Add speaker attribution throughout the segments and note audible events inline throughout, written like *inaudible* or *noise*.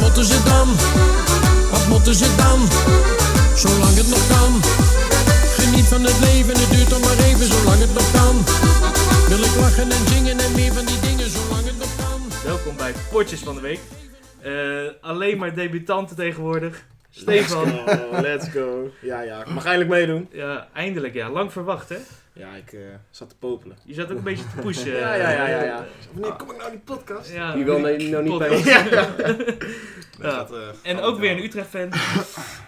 Speaker 1: moeten ze dan? Wat moeten ze dan? Zolang het nog kan. Geniet van het leven, het duurt toch maar even, zolang het nog kan. Wil ik lachen en zingen en meer van die dingen, zolang het nog kan.
Speaker 2: Welkom bij Potjes van de Week. Eh, alleen maar debutanten tegenwoordig. Stefan,
Speaker 3: Oh, let's go. Ja, ja. Ik mag eindelijk meedoen.
Speaker 2: ja, eindelijk ja. Lang verwacht hè?
Speaker 3: Ja, ik eh, zat te popelen.
Speaker 2: Je zat ook een beetje te pushen.
Speaker 3: Ja, ja, ja, ja. ja.
Speaker 2: Ah.
Speaker 4: Wanneer kom ik nou in die podcast?
Speaker 2: Ja,
Speaker 4: Je wil nou nou niet bij ons.
Speaker 2: Ja.
Speaker 4: Dat gaat, eh,
Speaker 2: En
Speaker 4: gaat
Speaker 2: ook weer een
Speaker 4: wel.
Speaker 2: Utrecht-fan.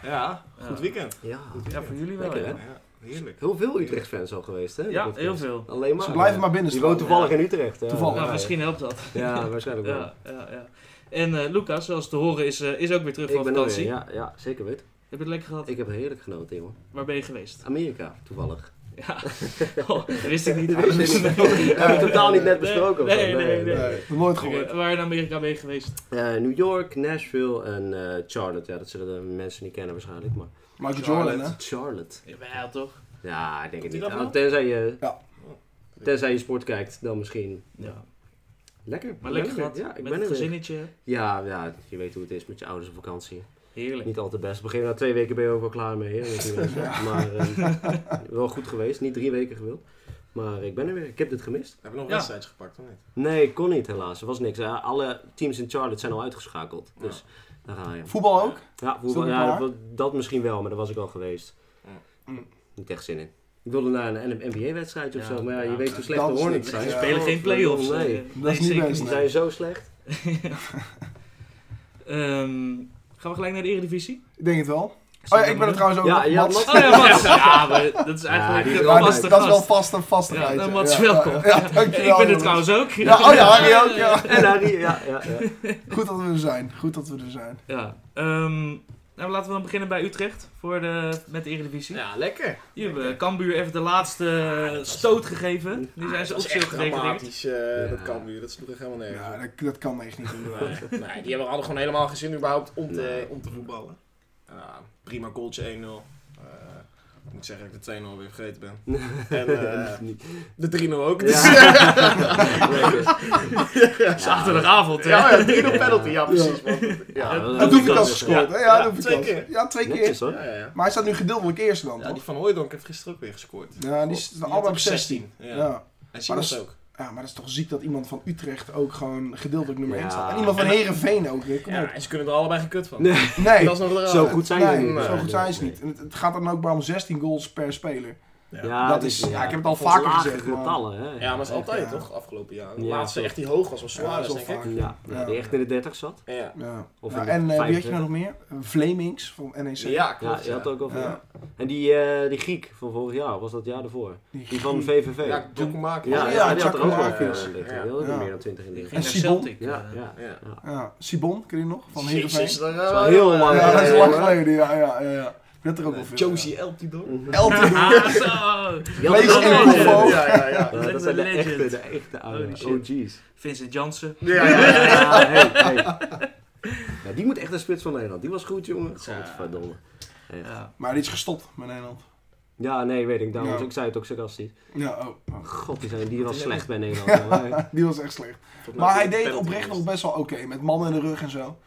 Speaker 3: Ja,
Speaker 4: Ja.
Speaker 3: goed weekend.
Speaker 5: Ja,
Speaker 2: Ja, voor jullie wel.
Speaker 5: Lekker,
Speaker 2: Ja,
Speaker 5: hè?
Speaker 4: Ja, heerlijk.
Speaker 5: heel veel Utrecht-fans al geweest, hè?
Speaker 2: ja
Speaker 5: Dat
Speaker 2: heel
Speaker 5: is-
Speaker 2: veel.
Speaker 5: Alleen maar.
Speaker 4: Ze blijven maar binnen
Speaker 5: Die
Speaker 4: staan.
Speaker 5: woont toevallig
Speaker 4: Ja.
Speaker 5: in Utrecht. ja.
Speaker 4: Toevallig.
Speaker 2: Nou,
Speaker 5: Ja,
Speaker 2: misschien helpt dat.
Speaker 5: Ja, waarschijnlijk wel.
Speaker 2: Ja, ja, ja. En eh, Lucas, zoals te horen is, eh, is ook weer terug
Speaker 5: Ik
Speaker 2: van
Speaker 5: ben er weer,
Speaker 2: vakantie.
Speaker 5: ja, ja, zeker weet.
Speaker 2: Heb je het lekker gehad?
Speaker 5: Ik heb heerlijk genoten, jongen.
Speaker 2: Waar ben je
Speaker 5: *laughs*
Speaker 2: geweest?
Speaker 5: Amerika, toevallig.
Speaker 2: Ja, oh, dat wist ik niet.
Speaker 5: *laughs* Dat wist ik niet. We
Speaker 2: *laughs*
Speaker 5: hebben het totaal niet net
Speaker 2: Nee,
Speaker 5: besproken. of
Speaker 2: nee,
Speaker 5: zo.
Speaker 2: nee, nee.
Speaker 4: Nee.
Speaker 3: Nog nooit
Speaker 2: Oké, waar in Amerika ben je geweest?
Speaker 5: Eh, New York, Nashville en eh, Charlotte. Ja, dat zullen de mensen niet kennen waarschijnlijk, maar...
Speaker 4: Michael
Speaker 3: Charlotte.
Speaker 4: Jordan, hè?
Speaker 5: Charlotte?
Speaker 2: Jawel, toch?
Speaker 5: Ja, ik denk het
Speaker 3: Doet
Speaker 5: niet.
Speaker 3: hij dat
Speaker 5: Oh, tenzij, je,
Speaker 4: Ja.
Speaker 5: tenzij je sport kijkt, dan misschien.
Speaker 2: Ja.
Speaker 5: Lekker.
Speaker 2: Maar
Speaker 5: Ik
Speaker 2: lekker
Speaker 5: ben er
Speaker 2: gehad.
Speaker 5: weer. Ja, ik
Speaker 2: Met
Speaker 5: ben
Speaker 2: een
Speaker 5: er weer.
Speaker 2: gezinnetje.
Speaker 5: Ja, ja, je weet hoe het is met je ouders op vakantie.
Speaker 2: Heerlijk.
Speaker 5: Niet al te best. Begin na twee weken ben je ook wel klaar mee. Hè?
Speaker 4: *laughs*
Speaker 5: natuurlijk. Maar eh, wel goed geweest. Niet drie weken gewild. Maar ik ben er weer. Ik heb dit gemist.
Speaker 3: Hebben we nog
Speaker 2: Ja.
Speaker 3: wedstrijdjes gepakt, of niet?
Speaker 5: Nee, ik kon niet helaas. Er was niks. Eh, alle teams in Charlotte zijn al uitgeschakeld. Dus daar ga je.
Speaker 4: Voetbal ook?
Speaker 5: Ja,
Speaker 4: Is dat
Speaker 5: voetbal,
Speaker 4: niet
Speaker 5: ja
Speaker 4: waar?
Speaker 5: dat, dat misschien wel, maar daar was ik al geweest.
Speaker 4: Mm.
Speaker 5: Niet echt zin in. Ik wilde naar een NBA-wedstrijd of
Speaker 2: Ja,
Speaker 5: zo, maar ja,
Speaker 2: ja.
Speaker 5: je weet hoe slecht de
Speaker 4: Dat is niks.
Speaker 5: Hornets zijn.
Speaker 2: Ze
Speaker 4: Ja.
Speaker 2: spelen geen play-offs.
Speaker 5: Nee.
Speaker 2: eh,
Speaker 4: Dat is niet
Speaker 2: zeker
Speaker 4: best.
Speaker 5: Ze *laughs* zijn zo slecht.
Speaker 2: Ehm, gaan we gelijk naar de Eredivisie?
Speaker 4: Ik denk het wel. Oh ja, ik ben er trouwens ook
Speaker 5: Ja,
Speaker 4: nog.
Speaker 5: ja,
Speaker 4: Mats.
Speaker 5: Mats.
Speaker 2: Oh ja,
Speaker 5: *laughs*
Speaker 2: Mats. Ja, maar dat is eigenlijk
Speaker 5: die
Speaker 2: een
Speaker 5: is
Speaker 4: Ja,
Speaker 5: wel-
Speaker 4: dat,
Speaker 2: vaste
Speaker 4: dat is wel
Speaker 2: gast.
Speaker 4: vast en vast
Speaker 2: Ja,
Speaker 4: ja,
Speaker 2: dan Mats, welkom.
Speaker 4: Ja, ja, dankjewel,
Speaker 2: Ik ben
Speaker 4: jongens.
Speaker 2: het trouwens ook.
Speaker 4: Ja, oh ja, Harry ook, ja.
Speaker 5: *laughs* En Harry, ja, ja, ja.
Speaker 4: Goed dat we er zijn. Goed dat we er zijn.
Speaker 2: Ja, ehm, nou, laten we dan beginnen bij Utrecht voor de, met de Eredivisie.
Speaker 3: Ja, lekker.
Speaker 2: Die hebben Cambuur even de laatste stoot gegeven. Nu zijn ze
Speaker 3: Dat
Speaker 2: op
Speaker 3: is
Speaker 2: stil
Speaker 3: echt
Speaker 2: gedegradeerd.
Speaker 3: dramatisch, eh,
Speaker 5: Ja.
Speaker 3: dat kan nu. Dat sloeg er helemaal nergens
Speaker 4: Ja,
Speaker 3: op.
Speaker 4: dat, dat kan echt niet.
Speaker 3: Nee, nee, die hebben, hadden gewoon helemaal geen zin überhaupt om te,
Speaker 5: Nee.
Speaker 3: om te voetballen. Ja, prima goaltje 1-0. Eh, ik moet zeggen dat ik de 2-0 weer vergeten ben. En
Speaker 5: *laughs*
Speaker 3: eh,
Speaker 5: Niet.
Speaker 3: de 3-0 ook. Dus, *laughs*
Speaker 5: Ja. Lekker.
Speaker 2: Het is zaterdagavond, hè? *laughs*
Speaker 3: ja, ja, 3-0 penalty. Ja, precies. man.
Speaker 5: Ja,
Speaker 3: Ja,
Speaker 5: dat-
Speaker 4: Dat doe ik
Speaker 5: dat
Speaker 4: als
Speaker 5: is-
Speaker 4: gescoord, hè?
Speaker 3: Ja,
Speaker 4: Ja, dat doe
Speaker 3: twee
Speaker 4: ik
Speaker 3: keer.
Speaker 4: Ja, twee keer.
Speaker 5: Netjes hoor.
Speaker 3: ja, ja.
Speaker 4: Maar hij staat nu gedeeltelijk eerst dan,
Speaker 3: Ja, die
Speaker 4: toch?
Speaker 3: van Hooijdonk heeft gisteren ook weer gescoord.
Speaker 4: Ja, die is allemaal op 16.
Speaker 3: Ja.
Speaker 4: Ja.
Speaker 3: En
Speaker 4: Maar dat
Speaker 3: Simons
Speaker 4: is-
Speaker 3: ook.
Speaker 4: Ja, maar dat is toch ziek dat iemand van Utrecht ook gewoon gedeeltelijk nummer
Speaker 5: Ja.
Speaker 4: 1 staat. En iemand van Herenveen ook, hè? Kom op.
Speaker 3: Ja, en ze kunnen er allebei geen kut van.
Speaker 5: Nee.
Speaker 4: Nee,
Speaker 3: Dat is nog het
Speaker 5: Zo
Speaker 3: raar.
Speaker 5: goed zijn ze
Speaker 4: nee,
Speaker 5: niet.
Speaker 4: Zo
Speaker 5: Nee,
Speaker 4: goed
Speaker 5: nee,
Speaker 4: zijn ze
Speaker 5: nee.
Speaker 4: niet. En het, het gaat dan ook maar om 16 goals per speler.
Speaker 5: Ja,
Speaker 4: dat
Speaker 5: dus,
Speaker 4: is, ja, ik heb het al
Speaker 5: dat is
Speaker 4: vaker
Speaker 5: lagere
Speaker 4: gezegd. maar-
Speaker 5: getallen, hè.
Speaker 3: Ja, maar dat is altijd
Speaker 4: Ja.
Speaker 3: toch, afgelopen jaar. De
Speaker 5: Ja,
Speaker 3: laatste
Speaker 5: toch.
Speaker 3: echt die hoog was, was
Speaker 4: Ja, dat
Speaker 3: Suarez,
Speaker 4: is wel
Speaker 3: denk ik.
Speaker 4: vaak.
Speaker 5: Ja, ja, die echt in de 30 zat.
Speaker 3: Ja,
Speaker 4: Ja.
Speaker 5: Of
Speaker 4: Nou,
Speaker 5: in de
Speaker 4: en eh, wie had je
Speaker 5: 35.
Speaker 4: nou nog meer? Vlemings van NEC.
Speaker 3: ja
Speaker 5: Ja,
Speaker 3: klopt.
Speaker 5: je had ook al.
Speaker 4: Ja.
Speaker 5: En die, eh, die Griek van vorig jaar, was dat jaar ervoor? Die van
Speaker 4: Griek.
Speaker 5: VVV.
Speaker 3: Ja, dokken maken.
Speaker 5: Ja,
Speaker 4: Oh,
Speaker 5: ja,
Speaker 4: ja,
Speaker 5: die had er ook eh, wel
Speaker 4: Chakrakis.
Speaker 5: veel in liggen.
Speaker 3: Ja.
Speaker 5: Die had ook
Speaker 4: Ja.
Speaker 5: meer dan 20 in
Speaker 2: Ging
Speaker 5: liggen.
Speaker 2: naar
Speaker 4: En Sibon?
Speaker 2: Celtic.
Speaker 5: Ja,
Speaker 2: eh.
Speaker 5: ja,
Speaker 3: Ja.
Speaker 5: ja.
Speaker 4: Ja, Sibon, ken je die nog? Van Herenveen.
Speaker 3: Jezus, daar
Speaker 5: is
Speaker 3: gaan
Speaker 5: wel
Speaker 3: we.
Speaker 5: heel lang
Speaker 4: Ja, dat is
Speaker 5: eh,
Speaker 4: lang geleden. Ja, ja, ja. ja. Dat er ook wel
Speaker 3: Eh,
Speaker 4: veel.
Speaker 3: Josie Eltidoor.
Speaker 4: Elton.
Speaker 2: Ah, zo.
Speaker 5: Die had
Speaker 4: Lees
Speaker 5: er ook
Speaker 4: in
Speaker 5: wel
Speaker 4: de
Speaker 5: veel.
Speaker 4: koffer.
Speaker 3: Ja, ja, ja.
Speaker 5: Ja, Dat zijn de
Speaker 2: Legend.
Speaker 5: echte, de echte oude
Speaker 2: Holy shit.
Speaker 5: OG's.
Speaker 2: Vincent Janssen.
Speaker 3: Ja, ja, ja.
Speaker 5: Ja, hey, hey. Ja, die moet echt een spits van Nederland. Die was goed, jongen.
Speaker 3: Ja.
Speaker 5: Godverdomme.
Speaker 2: Ja.
Speaker 4: Maar die is gestopt met Nederland.
Speaker 5: Ja, nee, weet ik. Daarom,
Speaker 4: Ja.
Speaker 5: ik zei het ook sarcastisch.
Speaker 4: Ja, oh. oh.
Speaker 5: God, die, zijn, die was
Speaker 3: Ja.
Speaker 5: slecht bij Nederland.
Speaker 4: *laughs*
Speaker 5: jongen.
Speaker 4: Die was echt slecht. Maar hij deed het oprecht nog best wel oké. met mannen in de rug en zo.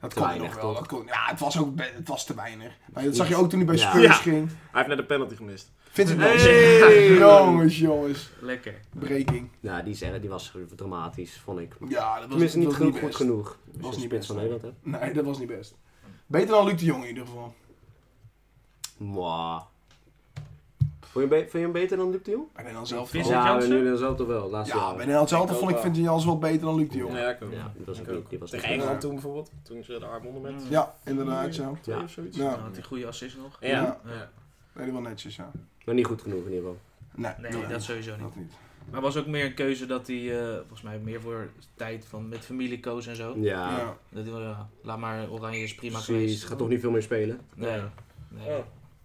Speaker 4: Dat
Speaker 5: Te
Speaker 4: kon
Speaker 5: weinig,
Speaker 4: nog wel.
Speaker 5: toch?
Speaker 4: Dat kon, ja, het was ook be- het was te weinig. Maar dat zag je ook toen hij bij
Speaker 5: Ja.
Speaker 4: Spurs
Speaker 3: Ja.
Speaker 4: ging.
Speaker 3: Hij heeft net de penalty gemist.
Speaker 4: Vincent
Speaker 2: Hey.
Speaker 4: Janssen. *laughs* Jongens, jongens.
Speaker 2: Lekker.
Speaker 4: Breking.
Speaker 5: Ja, Nou, die, is- die was dramatisch, vond ik.
Speaker 4: Ja, dat was,
Speaker 5: Tenminste, niet
Speaker 4: dat
Speaker 5: genoeg, goed
Speaker 4: best.
Speaker 5: genoeg. Als
Speaker 4: Was
Speaker 5: je een
Speaker 4: niet
Speaker 5: spits
Speaker 4: best,
Speaker 5: van
Speaker 4: nee.
Speaker 5: Nederland hebt.
Speaker 4: Nee, dat was niet best. Beter dan Luc de Jong in ieder geval.
Speaker 5: Mwah. Vond je, hem be- vond je hem beter dan Luc de Jong?
Speaker 4: Bij Nederland zelf
Speaker 2: Vincent-
Speaker 4: wel.
Speaker 5: ja,
Speaker 2: Janssen?
Speaker 5: nu dan zelf toch wel. Laatste
Speaker 4: Ja,
Speaker 5: jaar.
Speaker 4: bij Nederland zelf
Speaker 3: Ik ook
Speaker 4: vond ik
Speaker 3: wel.
Speaker 4: Vincent Jans wel beter dan Luc de Jong.
Speaker 3: Ja, ik ook.
Speaker 5: Ja, dat was
Speaker 3: Ik
Speaker 5: ook
Speaker 3: ook.
Speaker 5: niet- die was
Speaker 3: Tegen
Speaker 5: niet-
Speaker 3: Engeland toen bijvoorbeeld, toen ze de arm onder met.
Speaker 2: Mm.
Speaker 4: Ja, inderdaad, ja.
Speaker 3: Twee
Speaker 5: Ja.
Speaker 3: of zoiets.
Speaker 4: Ja.
Speaker 2: Nou, had die goede assist nog.
Speaker 3: Ja.
Speaker 2: Ja.
Speaker 3: Ja.
Speaker 4: Nee, wel netjes, ja.
Speaker 5: Maar niet goed genoeg in ieder geval.
Speaker 4: Nee,
Speaker 2: Nee, dat sowieso niet.
Speaker 4: dat niet.
Speaker 2: Maar was ook meer een keuze dat hij, eh, volgens mij, meer voor tijd van met familie koos en zo.
Speaker 5: Ja,
Speaker 4: Ja.
Speaker 2: Dat hij, wel, ja, laat maar, Oranje is prima
Speaker 5: precies.
Speaker 2: geweest.
Speaker 5: Gaat toch niet veel meer spelen.
Speaker 2: Nee.
Speaker 3: Ja.
Speaker 2: nee.
Speaker 3: Ja.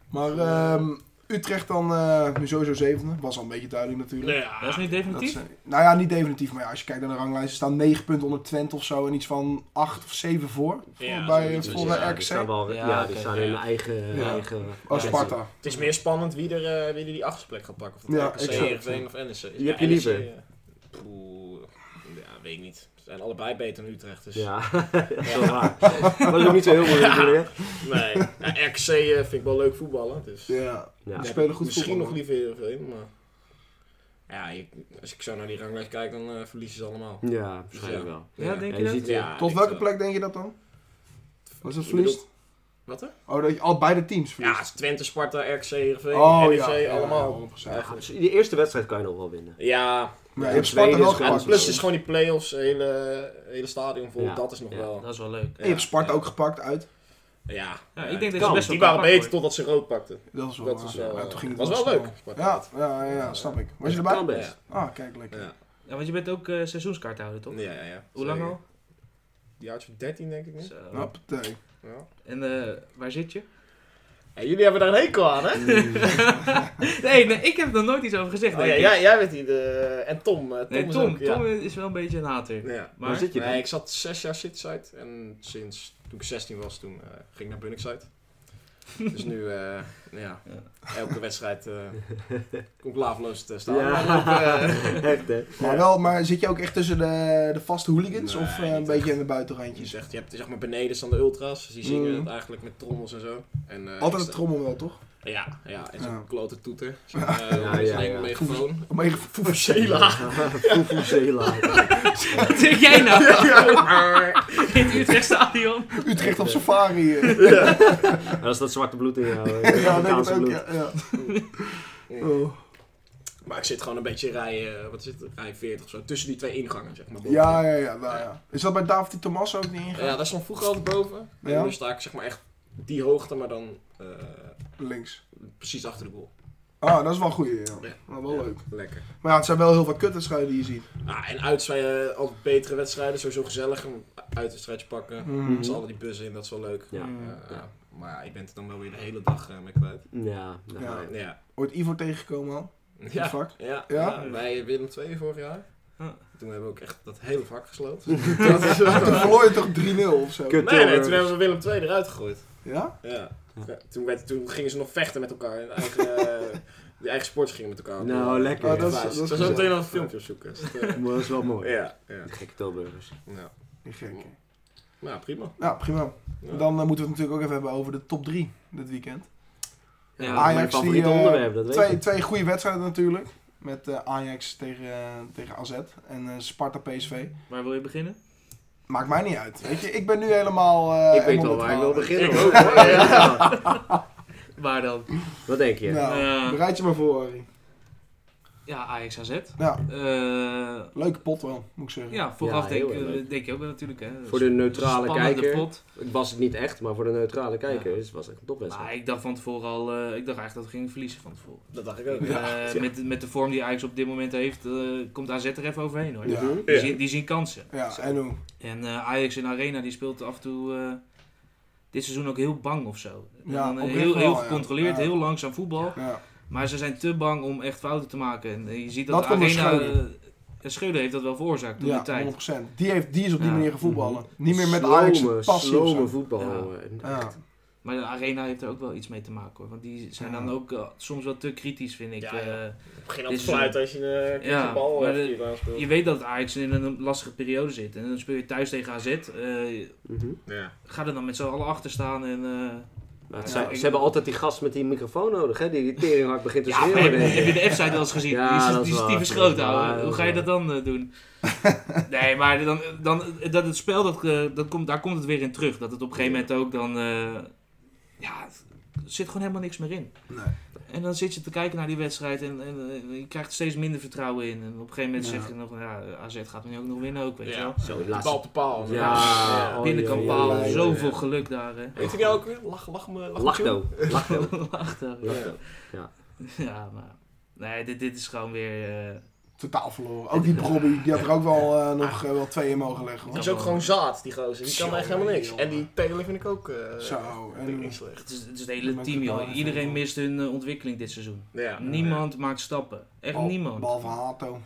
Speaker 4: Maar ehm, Utrecht dan eh, nu sowieso zevende. Was al een beetje duidelijk natuurlijk.
Speaker 3: Nee,
Speaker 2: Dat is
Speaker 3: ja.
Speaker 2: niet
Speaker 4: Dat
Speaker 2: definitief?
Speaker 4: ze- nou ja, niet definitief, maar ja, als je kijkt naar de ranglijst, ze staan 9 punten onder Twente of zo en iets van 8 of 7 voor. voor
Speaker 3: Ja,
Speaker 4: bij
Speaker 3: zoiets.
Speaker 4: eh, voor
Speaker 3: Volgende
Speaker 5: Dus ja,
Speaker 4: eh,
Speaker 5: die staan
Speaker 4: RKC.
Speaker 5: wel,
Speaker 2: Ja,
Speaker 5: ja, die
Speaker 2: oké,
Speaker 5: staan in
Speaker 3: ja.
Speaker 5: eigen...
Speaker 4: Ja.
Speaker 5: eigen
Speaker 4: Oh,
Speaker 5: ja,
Speaker 4: Sparta.
Speaker 3: Het is meer spannend wie er, eh, wie er die achtste plek gaat pakken. Of dat
Speaker 4: Ja,
Speaker 3: RKC,
Speaker 4: exact.
Speaker 3: Heerenveen of NEC.
Speaker 5: Wie heb je liever?
Speaker 3: Ja, NEC, eh, poeh, ja, weet ik niet. Ze zijn allebei beter dan Utrecht. Dus.
Speaker 5: Ja, *laughs* dat is wel waar. Dat was ook niet zo heel moeilijk. natuurlijk, hè?
Speaker 3: Nee. Ja, RKC eh, vind ik wel leuk voetballen. Dus.
Speaker 4: Ja.
Speaker 5: Ja.
Speaker 4: Die spelen goed
Speaker 3: Misschien
Speaker 4: voetbal,
Speaker 3: nog liever Heerenveen, maar... Ja, ik- als ik zo naar die ranglijst kijk, dan eh, verliezen ze allemaal.
Speaker 5: Ja, waarschijnlijk wel.
Speaker 2: Ja, denk
Speaker 5: Ja,
Speaker 2: je
Speaker 5: je
Speaker 2: dat?
Speaker 5: ziet, eh,
Speaker 4: Tot
Speaker 3: ik
Speaker 4: welke
Speaker 3: zou-
Speaker 4: plek denk je dat dan? Was het
Speaker 3: Ik bedoel-
Speaker 4: verliest?
Speaker 3: Wat er?
Speaker 4: Oh, dat je al beide teams
Speaker 3: Ja,
Speaker 4: verliest.
Speaker 3: Twente, Sparta, RKC, Heerenveen,
Speaker 4: oh
Speaker 3: NEC, E allemaal.
Speaker 4: Ja, 100%.
Speaker 5: ja, dus die eerste wedstrijd kan je nog wel winnen.
Speaker 3: Ja,
Speaker 4: Maar je hebt
Speaker 5: Tweede
Speaker 4: Sparta wel
Speaker 5: is gewoon-
Speaker 4: gepakt.
Speaker 3: en plus is gewoon die play-offs, hele, hele stadion vol.
Speaker 5: Ja.
Speaker 3: Dat is nog
Speaker 5: Ja.
Speaker 3: wel...
Speaker 2: Dat is wel leuk.
Speaker 4: En je hebt Sparta ook gepakt uit.
Speaker 3: Ja.
Speaker 2: Ja,
Speaker 3: Ja,
Speaker 2: ik denk dat
Speaker 5: kan.
Speaker 2: ze best wel
Speaker 3: Die waren
Speaker 2: kan pakken,
Speaker 3: beter totdat ze rood pakten.
Speaker 4: Dat is wel
Speaker 3: Dat
Speaker 4: waar.
Speaker 3: is wel... eh,
Speaker 4: Ja, toen ging het
Speaker 3: was wel
Speaker 4: snel.
Speaker 3: leuk. Sparta.
Speaker 4: Ja, ja, ja, ja, snap ik. Was je
Speaker 5: Dat
Speaker 4: erbij?
Speaker 5: Kan best.
Speaker 4: Ah, kijk, lekker.
Speaker 3: Ja.
Speaker 2: hoor. Ja, want je bent ook eh seizoenskaarthouder, toch?
Speaker 3: Ja, ja, ja.
Speaker 2: Hoe lang
Speaker 3: Zeker.
Speaker 2: al?
Speaker 3: Die oudste 13 denk ik nu.
Speaker 2: Zo.
Speaker 4: Hoppatee.
Speaker 3: Ja.
Speaker 2: En eh, waar zit je?
Speaker 3: Hey, jullie hebben daar een hekel aan, hè?
Speaker 2: Mm. nee, nee, ik heb er nooit iets over gezegd.
Speaker 3: Oh,
Speaker 2: denk
Speaker 3: *laughs* ja,
Speaker 2: ik.
Speaker 3: jij, jij bent hier de... En Tom. eh, Tom
Speaker 2: nee,
Speaker 3: is
Speaker 2: Tom,
Speaker 3: ook,
Speaker 2: Tom
Speaker 3: ja.
Speaker 2: is wel een beetje een hater.
Speaker 3: Ja.
Speaker 2: Maar
Speaker 5: Waar zit je dan?
Speaker 3: Nee, ik zat zes jaar Cityside en sinds toen ik 16 was, toen eh, ging ik naar
Speaker 5: *laughs*
Speaker 3: Bunningside. dus nu, eh,
Speaker 2: Ja.
Speaker 3: ja, elke wedstrijd
Speaker 5: *laughs*
Speaker 3: eh kom ik laveloos te staan.
Speaker 5: Ja,
Speaker 4: eh,
Speaker 5: *laughs* echt hè.
Speaker 4: Maar wel, maar zit je ook echt tussen de, de vaste hooligans
Speaker 3: Nee,
Speaker 4: of eh, een
Speaker 3: niet
Speaker 4: beetje in
Speaker 3: echt.
Speaker 4: de
Speaker 3: *laughs* Je,
Speaker 4: buitenrandjes?
Speaker 3: zegt, je hebt zeg maar beneden staan de ultras, dus die zingen
Speaker 4: Mm.
Speaker 3: het eigenlijk met trommels en zo. En, eh,
Speaker 4: Altijd
Speaker 3: ik
Speaker 4: het
Speaker 3: sta-
Speaker 4: trommel wel, toch?
Speaker 3: Ja, ja, en zo'n
Speaker 4: Ja.
Speaker 3: klote
Speaker 5: *laughs*
Speaker 3: toeter. Zo'n eh,
Speaker 5: Ja, ja,
Speaker 3: zo'n
Speaker 5: ja. *laughs*
Speaker 3: megafoon.
Speaker 4: Om even
Speaker 3: Foefusela.
Speaker 5: Fufuzela.
Speaker 2: Wat denk jij nou? *laughs* In het Utrechtstadion.
Speaker 4: Utrecht op
Speaker 3: *laughs*
Speaker 4: safari. eh.
Speaker 5: Dat is dat zwarte bloed in jou. hè.
Speaker 4: *laughs* ja, denk het
Speaker 5: Afrikaanse
Speaker 4: ook.
Speaker 5: bloed.
Speaker 4: Ja, ja.
Speaker 3: Mm.
Speaker 4: Oh.
Speaker 3: Maar ik zit gewoon een beetje rij, eh, wat is het, rij 40 of zo, tussen die twee ingangen zeg maar. boven.
Speaker 4: Ja, ja, ja, nou ja. Is dat bij David Di Tomas ook niet ingegaan?
Speaker 3: Ja, daar stond vroeger altijd boven. En
Speaker 4: Ja.
Speaker 3: nu sta ik zeg maar echt die hoogte, maar dan eh,
Speaker 4: Links.
Speaker 3: precies achter de goal.
Speaker 4: Ah, dat is wel een goeie, ja.
Speaker 3: Ja.
Speaker 4: Maar wel leuk.
Speaker 3: Lekker.
Speaker 4: Maar ja, het zijn wel heel veel kutwedstrijden die je ziet.
Speaker 3: Ah, en uit zijn eh, altijd betere wedstrijden, sowieso gezellig. Een uitwedstrijdje pakken.
Speaker 4: Mhm.
Speaker 3: Met z'n allen die bussen in, dat is wel leuk.
Speaker 5: Ja.
Speaker 3: Eh,
Speaker 5: Ja.
Speaker 3: Maar ja, ik ben er dan wel weer de hele dag eh, mee kwijt.
Speaker 5: Ja, dat
Speaker 4: Ja.
Speaker 5: ga je.
Speaker 3: Ja.
Speaker 4: Ooit Ivo tegengekomen al?
Speaker 3: Ja.
Speaker 4: Vak?
Speaker 3: Ja,
Speaker 4: Ja?
Speaker 3: ja, wij Willem 2 vorig jaar.
Speaker 2: Ja.
Speaker 3: Toen hebben we ook echt dat hele vak gesloten. *laughs* dat is wel-
Speaker 4: *laughs* Toen verloor je toch 3-0 of zo?
Speaker 5: Kut.
Speaker 3: Nee, nee, toen hebben we Willem 2 eruit gegooid.
Speaker 4: Ja?
Speaker 3: Ja. Ja, Toen, werd, toen gingen ze nog vechten met elkaar. En eigen, eh, de eigen sporters gingen met elkaar.
Speaker 5: Nou, lekker.
Speaker 4: Oh, dat is-
Speaker 3: Ja,
Speaker 4: dat is
Speaker 3: zo
Speaker 4: gezellig.
Speaker 3: meteen al een filmpje opzoeken. Is het, eh,
Speaker 5: Maar dat is wel
Speaker 4: *laughs*
Speaker 5: mooi.
Speaker 3: ja, ja.
Speaker 5: Die Gekke Tilburgers.
Speaker 3: ja.
Speaker 4: Die gekke.
Speaker 3: Nou, prima.
Speaker 4: Ja, prima.
Speaker 3: Ja.
Speaker 4: Dan eh, moeten we het natuurlijk ook even hebben over de top 3 dit weekend.
Speaker 2: Ja,
Speaker 5: dat is mijn
Speaker 4: Ajax die,
Speaker 5: favoriete
Speaker 4: eh,
Speaker 5: onderwerp, dat weet
Speaker 4: Twee,
Speaker 5: ik.
Speaker 4: twee goede wedstrijden natuurlijk. Met eh, Ajax tegen, eh, tegen AZ en eh, Sparta PSV.
Speaker 2: Waar wil je beginnen?
Speaker 4: Maakt mij niet uit. Weet je, ik ben nu helemaal... eh,
Speaker 5: Ik weet
Speaker 4: helemaal
Speaker 5: wel waar ik
Speaker 4: neutraal.
Speaker 5: wil beginnen.
Speaker 2: Ik
Speaker 5: hoor.
Speaker 2: ook,
Speaker 5: Ja, *laughs* ja.
Speaker 2: Waar dan?
Speaker 5: Wat denk je?
Speaker 4: Nou,
Speaker 2: Ja.
Speaker 4: bereid je maar voor, Arie.
Speaker 2: Ja, Ajax AZ.
Speaker 4: Ja,
Speaker 2: Eh,
Speaker 4: leuke pot wel, moet ik zeggen.
Speaker 2: ja, vooraf
Speaker 5: Ja,
Speaker 2: denk, eh,
Speaker 5: heel erg leuk.
Speaker 2: denk je ook wel natuurlijk. Hè.
Speaker 5: Voor de neutrale
Speaker 2: Spannende
Speaker 5: kijker.
Speaker 2: pot.
Speaker 5: Het was het niet echt, maar voor de neutrale kijker is- was het een topwedstrijd.
Speaker 2: Maar ik dacht van tevoren al, eh, ik dacht eigenlijk dat we gingen verliezen van tevoren.
Speaker 3: Dat dacht ik ook.
Speaker 5: *laughs*
Speaker 2: Eh, met, met de vorm die Ajax op dit moment heeft, eh, komt AZ er even overheen hoor.
Speaker 4: Ja.
Speaker 5: Mhm.
Speaker 2: Die, zien, die zien kansen.
Speaker 4: Ja, en hoe?
Speaker 2: En eh, Ajax in Arena die speelt af en toe eh, dit seizoen ook heel bang of zo. En
Speaker 4: Ja,
Speaker 2: dan, eh,
Speaker 4: oprecht
Speaker 2: heel,
Speaker 4: wel,
Speaker 2: heel
Speaker 4: ja.
Speaker 2: gecontroleerd,
Speaker 4: Ja.
Speaker 2: heel langzaam voetbal.
Speaker 4: Ja.
Speaker 2: Maar ze zijn te bang om echt fouten te maken. En eh, je ziet dat,
Speaker 4: Dat komt door
Speaker 2: Arena...
Speaker 4: Schreuder.
Speaker 2: eh, en Schreuder heeft dat wel veroorzaakt toen de
Speaker 4: Ja,
Speaker 2: tijd.
Speaker 4: 100%. Die, heeft, die is op die
Speaker 2: Ja.
Speaker 4: manier gaan voetballen. Niet meer met Ajax
Speaker 5: Mhm. Slome,
Speaker 4: passie of
Speaker 5: slome
Speaker 4: zo.
Speaker 5: voetbal.
Speaker 2: Ja.
Speaker 5: jongen.
Speaker 4: Ja.
Speaker 2: Maar de Arena heeft er ook wel iets mee te maken hoor. Want die zijn
Speaker 4: Ja.
Speaker 2: dan ook eh, soms wel te kritisch, vind ik.
Speaker 3: Ja, ja.
Speaker 2: Eh,
Speaker 3: Begin
Speaker 2: Dit
Speaker 3: altijd
Speaker 2: is-
Speaker 3: fluiten als je een keertje
Speaker 2: Ja,
Speaker 3: de bal
Speaker 2: maar
Speaker 3: hebt
Speaker 2: de-
Speaker 3: die je eraan speelt.
Speaker 2: je weet dat Ajax in een lastige periode zit. En dan speel je thuis tegen AZ. eh,
Speaker 5: Mhm.
Speaker 3: Ja.
Speaker 2: ga er dan met z'n allen achter staan en... eh,
Speaker 5: Maar Nou, het
Speaker 2: Ja,
Speaker 5: zijn-
Speaker 2: ik-
Speaker 5: ze hebben altijd die gast met die microfoon nodig, hè? Die, die teringhard begint te
Speaker 2: Ja, maar
Speaker 5: schreeuwen.
Speaker 2: heb,
Speaker 5: denk ik.
Speaker 2: heb je de F-site wel eens gezien?
Speaker 5: Ja,
Speaker 2: die is,
Speaker 5: dat is
Speaker 2: die is
Speaker 5: waar.
Speaker 2: die verschoten,
Speaker 5: Ja,
Speaker 2: ouwe.
Speaker 5: dat
Speaker 2: Hoe
Speaker 5: is
Speaker 2: ga je
Speaker 5: waar.
Speaker 2: dat dan eh, doen? nee, maar dan, dan, dat het spel, dat, eh, dat komt, daar komt het weer in terug. Dat het op een gegeven moment ook dan... eh, ja, het- er zit gewoon helemaal niks meer in.
Speaker 4: Nee.
Speaker 2: En dan zit je te kijken naar die wedstrijd en, en eh, je krijgt er steeds minder vertrouwen in. En op een gegeven moment
Speaker 4: Ja.
Speaker 2: zeg je nog, ja, AZ gaat nu ook nog winnen ook, weet je wel.
Speaker 5: Zo,
Speaker 3: De
Speaker 5: de
Speaker 3: bal
Speaker 5: laatste.
Speaker 3: op de paal.
Speaker 5: Ja.
Speaker 3: Ja.
Speaker 5: Oh,
Speaker 2: Binnenkant
Speaker 5: ja,
Speaker 2: paal,
Speaker 4: ja, ja.
Speaker 2: zoveel geluk daar, hè. *laughs*
Speaker 3: Weet je jou ook weer? Lach, lach me. Lach, me toe.
Speaker 5: Lachdo. Lachdo.
Speaker 2: Lacht daar.
Speaker 5: Lachdo.
Speaker 2: Ja, maar... Nee, dit, dit is gewoon weer... eh,
Speaker 4: Totaal verloren. Ook die Bobby, die had er ook wel eh, nog eh, wel twee in mogen leggen.
Speaker 3: Die
Speaker 4: Hoor.
Speaker 3: is ook gewoon zaad, die gozer. Die kan
Speaker 4: Jongen,
Speaker 3: echt helemaal niks.
Speaker 4: jongen.
Speaker 3: En die telen vind ik ook eh,
Speaker 4: Zo,
Speaker 3: vind
Speaker 4: en-
Speaker 3: ik niet slecht.
Speaker 2: Het is, het is het hele team, joh. Iedereen mist hun eh, ontwikkeling dit seizoen.
Speaker 3: Ja.
Speaker 2: niemand maakt stappen. Echt
Speaker 4: Bal-
Speaker 2: niemand.
Speaker 4: Behalve Hato.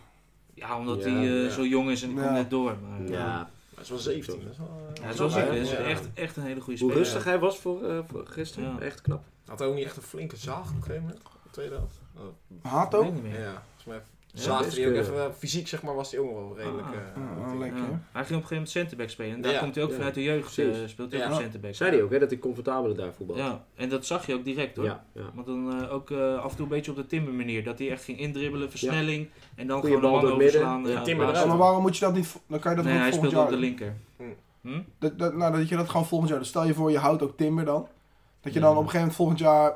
Speaker 2: Ja, omdat
Speaker 5: Ja,
Speaker 2: hij eh,
Speaker 3: ja.
Speaker 2: zo jong is en
Speaker 4: Ja.
Speaker 2: komt net door. Maar, eh, ja.
Speaker 5: Ja.
Speaker 3: Hij is wel 17. dat is wel, eh,
Speaker 2: hij is
Speaker 5: wel
Speaker 2: wel
Speaker 5: Ja,
Speaker 2: zeker.
Speaker 5: ja.
Speaker 2: Hij is
Speaker 5: Ja.
Speaker 2: echt, echt een hele goede
Speaker 5: Hoe
Speaker 2: speler.
Speaker 5: rustig hij was voor, eh, voor gisteren.
Speaker 2: Ja.
Speaker 5: Echt knap.
Speaker 3: Had hij ook niet echt een flinke zaag op een gegeven moment? Op de tweede helft? Oh.
Speaker 2: Ik weet
Speaker 4: Hato?
Speaker 2: niet meer.
Speaker 3: Ja, volgens mij Zaten die ook
Speaker 5: best
Speaker 3: echt, wel- fysiek zeg maar, was die ook nog wel redelijk.
Speaker 2: Ah,
Speaker 3: eh,
Speaker 4: ah,
Speaker 3: goed in.
Speaker 4: lekker.
Speaker 2: Ja. Hij ging op een gegeven moment centerback spelen. En daar
Speaker 3: Ja,
Speaker 2: komt hij ook
Speaker 5: ja.
Speaker 2: vanuit de jeugd, eh,
Speaker 5: Precies.
Speaker 2: speelt hij
Speaker 3: Ja.
Speaker 2: ook op centerback.
Speaker 5: Zei hij ook, hè, dat hij comfortabeler daar voetbal.
Speaker 2: Ja, en dat zag je ook direct hoor.
Speaker 5: ja, ja.
Speaker 2: Want dan eh, ook eh, af en toe een beetje op de timber manier. Dat hij echt ging indribbelen, versnelling. En dan
Speaker 5: Goeie
Speaker 2: gewoon
Speaker 5: bal
Speaker 2: de man
Speaker 5: door het midden.
Speaker 2: overslaan.
Speaker 5: Ja,
Speaker 2: Ja,
Speaker 3: Timber
Speaker 2: baas.
Speaker 3: eruit.
Speaker 4: Maar waarom moet je dat niet... vo- Dan kan je dat
Speaker 2: Nee,
Speaker 4: ook
Speaker 2: hij
Speaker 4: volgend
Speaker 2: speelde
Speaker 4: jaar...
Speaker 2: op de linker.
Speaker 3: Hm.
Speaker 2: Hm?
Speaker 4: Dat, dat, nou, dat je dat gewoon volgend jaar... Dus stel je voor, je houdt ook Timber dan. Dat je
Speaker 2: Ja.
Speaker 4: dan op een gegeven moment volgend jaar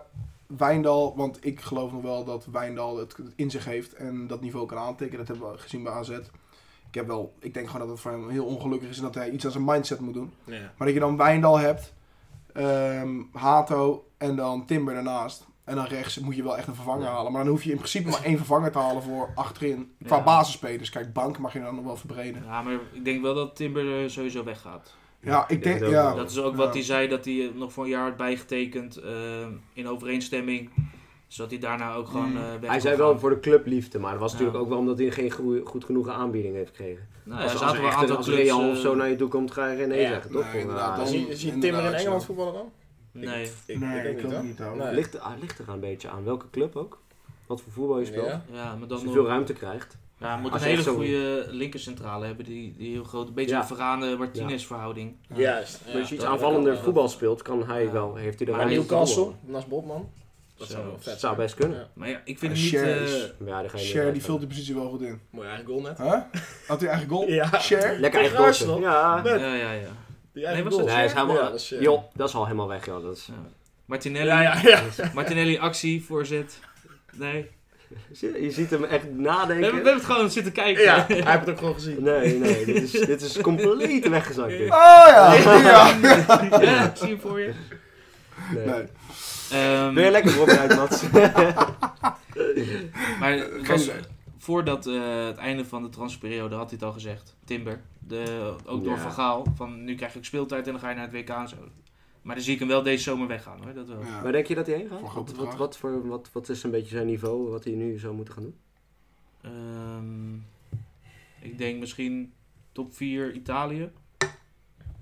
Speaker 4: Wijndal... Want ik geloof nog wel dat Wijndal het in zich heeft en dat niveau kan aantikken. Dat hebben we gezien bij AZ. Ik, heb wel, ik denk gewoon dat het voor hem heel ongelukkig is en dat hij iets aan zijn mindset moet doen.
Speaker 3: Ja.
Speaker 4: Maar dat je dan Wijndal hebt, ehm, Hato en dan Timber daarnaast. En dan rechts moet je wel echt een vervanger halen. Maar dan hoef je in principe maar één vervanger te halen voor achterin. Qua
Speaker 2: Ja.
Speaker 4: basisspelers. Kijk, bank mag je dan nog wel verbreden.
Speaker 2: Ja, maar ik denk wel dat Timber eh, sowieso weggaat.
Speaker 4: Ja, ik denk...
Speaker 5: het ook
Speaker 4: Ja,
Speaker 5: wel.
Speaker 2: Dat is ook
Speaker 4: Ja.
Speaker 2: wat hij zei, dat hij eh, nog voor een jaar had bijgetekend eh, in overeenstemming. Zodat hij daarna ook gewoon
Speaker 4: Mm.
Speaker 2: eh, weg
Speaker 5: Hmm. Hij
Speaker 2: kon
Speaker 5: zei
Speaker 2: gaan.
Speaker 5: wel voor de clubliefde, maar dat was
Speaker 2: Ja.
Speaker 5: natuurlijk ook wel omdat hij geen goeie- goed genoeg aanbieding heeft gekregen.
Speaker 2: Nou,
Speaker 5: als
Speaker 2: er
Speaker 5: als,
Speaker 2: zaten wel een
Speaker 5: echt,
Speaker 2: aantal
Speaker 5: als
Speaker 2: clubs...
Speaker 5: Real of
Speaker 2: eh,
Speaker 5: zo naar je toe komt, ga je geen nee
Speaker 3: Ja,
Speaker 5: zeggen, toch?
Speaker 4: nee, inderdaad,
Speaker 5: Ah,
Speaker 4: dan-
Speaker 3: Zie, zie je Timmer in
Speaker 4: Inderdaad,
Speaker 3: Engeland
Speaker 4: zo.
Speaker 3: voetballen dan? Ik-
Speaker 2: Nee.
Speaker 3: ik,
Speaker 4: nee,
Speaker 3: ik, ook niet, hoor.
Speaker 4: niet hoor.
Speaker 3: Nee.
Speaker 5: ligt, ah, ligt er een beetje aan welke club ook. Wat voor voetbal je speelt.
Speaker 3: Ja.
Speaker 2: Ja, maar
Speaker 5: Als
Speaker 2: dan
Speaker 5: je
Speaker 2: nog-
Speaker 5: veel ruimte krijgt.
Speaker 2: ja, moet
Speaker 5: Als
Speaker 2: een
Speaker 5: je echt
Speaker 2: hele
Speaker 5: zo-
Speaker 2: goede eh, linkercentrale hebben. Die, die heel groot, een beetje
Speaker 5: Ja.
Speaker 2: een verrane Martinez-verhouding.
Speaker 3: Juist. ja.
Speaker 5: Als je iets
Speaker 2: dat-
Speaker 5: aanvallender
Speaker 2: dat-
Speaker 5: voetbal speelt, kan hij
Speaker 2: Ja.
Speaker 5: wel, heeft hij de
Speaker 2: Maar
Speaker 5: ruimte. om te
Speaker 3: Newcastle,
Speaker 5: voetballen.
Speaker 3: Nas Botman. Dat
Speaker 2: Zo.
Speaker 3: zou wel
Speaker 5: Dat
Speaker 3: vet
Speaker 5: zou
Speaker 3: zijn.
Speaker 5: best kunnen.
Speaker 3: Ja.
Speaker 2: Maar ja, ik vind
Speaker 4: Ja,
Speaker 2: hem
Speaker 4: Cher
Speaker 2: niet... eh,
Speaker 4: is-
Speaker 5: Ja, daar ga je
Speaker 4: Cher, die
Speaker 5: niet uit.
Speaker 4: vult die positie wel goed in.
Speaker 3: Mooi eigen goal net.
Speaker 4: Huh? Had hij eigen goal?
Speaker 3: *laughs* Ja.
Speaker 4: Cher?
Speaker 5: Lekker eigen
Speaker 3: Tegen
Speaker 5: doelpunt.
Speaker 3: Arsenal.
Speaker 5: Ja.
Speaker 3: Nee.
Speaker 2: ja, ja, ja.
Speaker 3: Die
Speaker 2: Nee,
Speaker 3: eigen
Speaker 2: was
Speaker 3: goal.
Speaker 5: Nee, hij is helemaal...
Speaker 3: Ja, dat is, eh,
Speaker 5: joh, dat is al helemaal weg, joh.
Speaker 2: *laughs*
Speaker 5: Dat is...
Speaker 2: Ja. Martinelli,
Speaker 3: Ja,
Speaker 5: *laughs*
Speaker 3: ja, ja.
Speaker 2: Martinelli actie, voorzet. Nee.
Speaker 5: Zie Je je ziet hem echt
Speaker 2: We hebben, we
Speaker 5: nadenken.
Speaker 2: hebben het gewoon zitten *laughs* kijken.
Speaker 3: Ja, hij heeft het ook gewoon gezien.
Speaker 5: Nee, nee, dit is, dit is compleet weggezakt. dit.
Speaker 4: Oh ja!
Speaker 3: *laughs*
Speaker 5: *laughs*
Speaker 4: ja.
Speaker 2: Ja, ik zie hem voor je.
Speaker 5: Nee.
Speaker 4: Nee.
Speaker 2: Ehm,
Speaker 5: Weer lekker voorbereid, Mats.
Speaker 2: maar het was,
Speaker 4: idee.
Speaker 2: voordat eh, het einde van de transferperiode had hij het al gezegd. Timber. De, ook door
Speaker 5: Ja.
Speaker 2: Van Gaal. Van nu krijg ik speeltijd en dan ga je naar het WK en zo. Maar dan zie ik hem wel deze zomer weggaan hoor. Dat wel.
Speaker 4: Ja.
Speaker 5: Maar denk je dat hij heen gaat?
Speaker 4: Voor
Speaker 5: Wat,
Speaker 4: grote
Speaker 5: wat,
Speaker 4: vraag.
Speaker 5: wat, voor, wat, wat is een beetje zijn niveau, wat hij nu zou moeten gaan doen?
Speaker 2: Ehm, ik denk misschien top 4 Italië.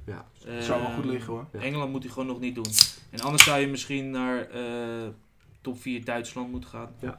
Speaker 5: Ja.
Speaker 2: Ehm,
Speaker 4: Zou wel goed liggen hoor.
Speaker 5: Ja.
Speaker 2: Engeland moet hij gewoon nog niet doen. En anders zou je misschien naar eh, top 4 Duitsland moeten gaan.
Speaker 3: Ja, iets als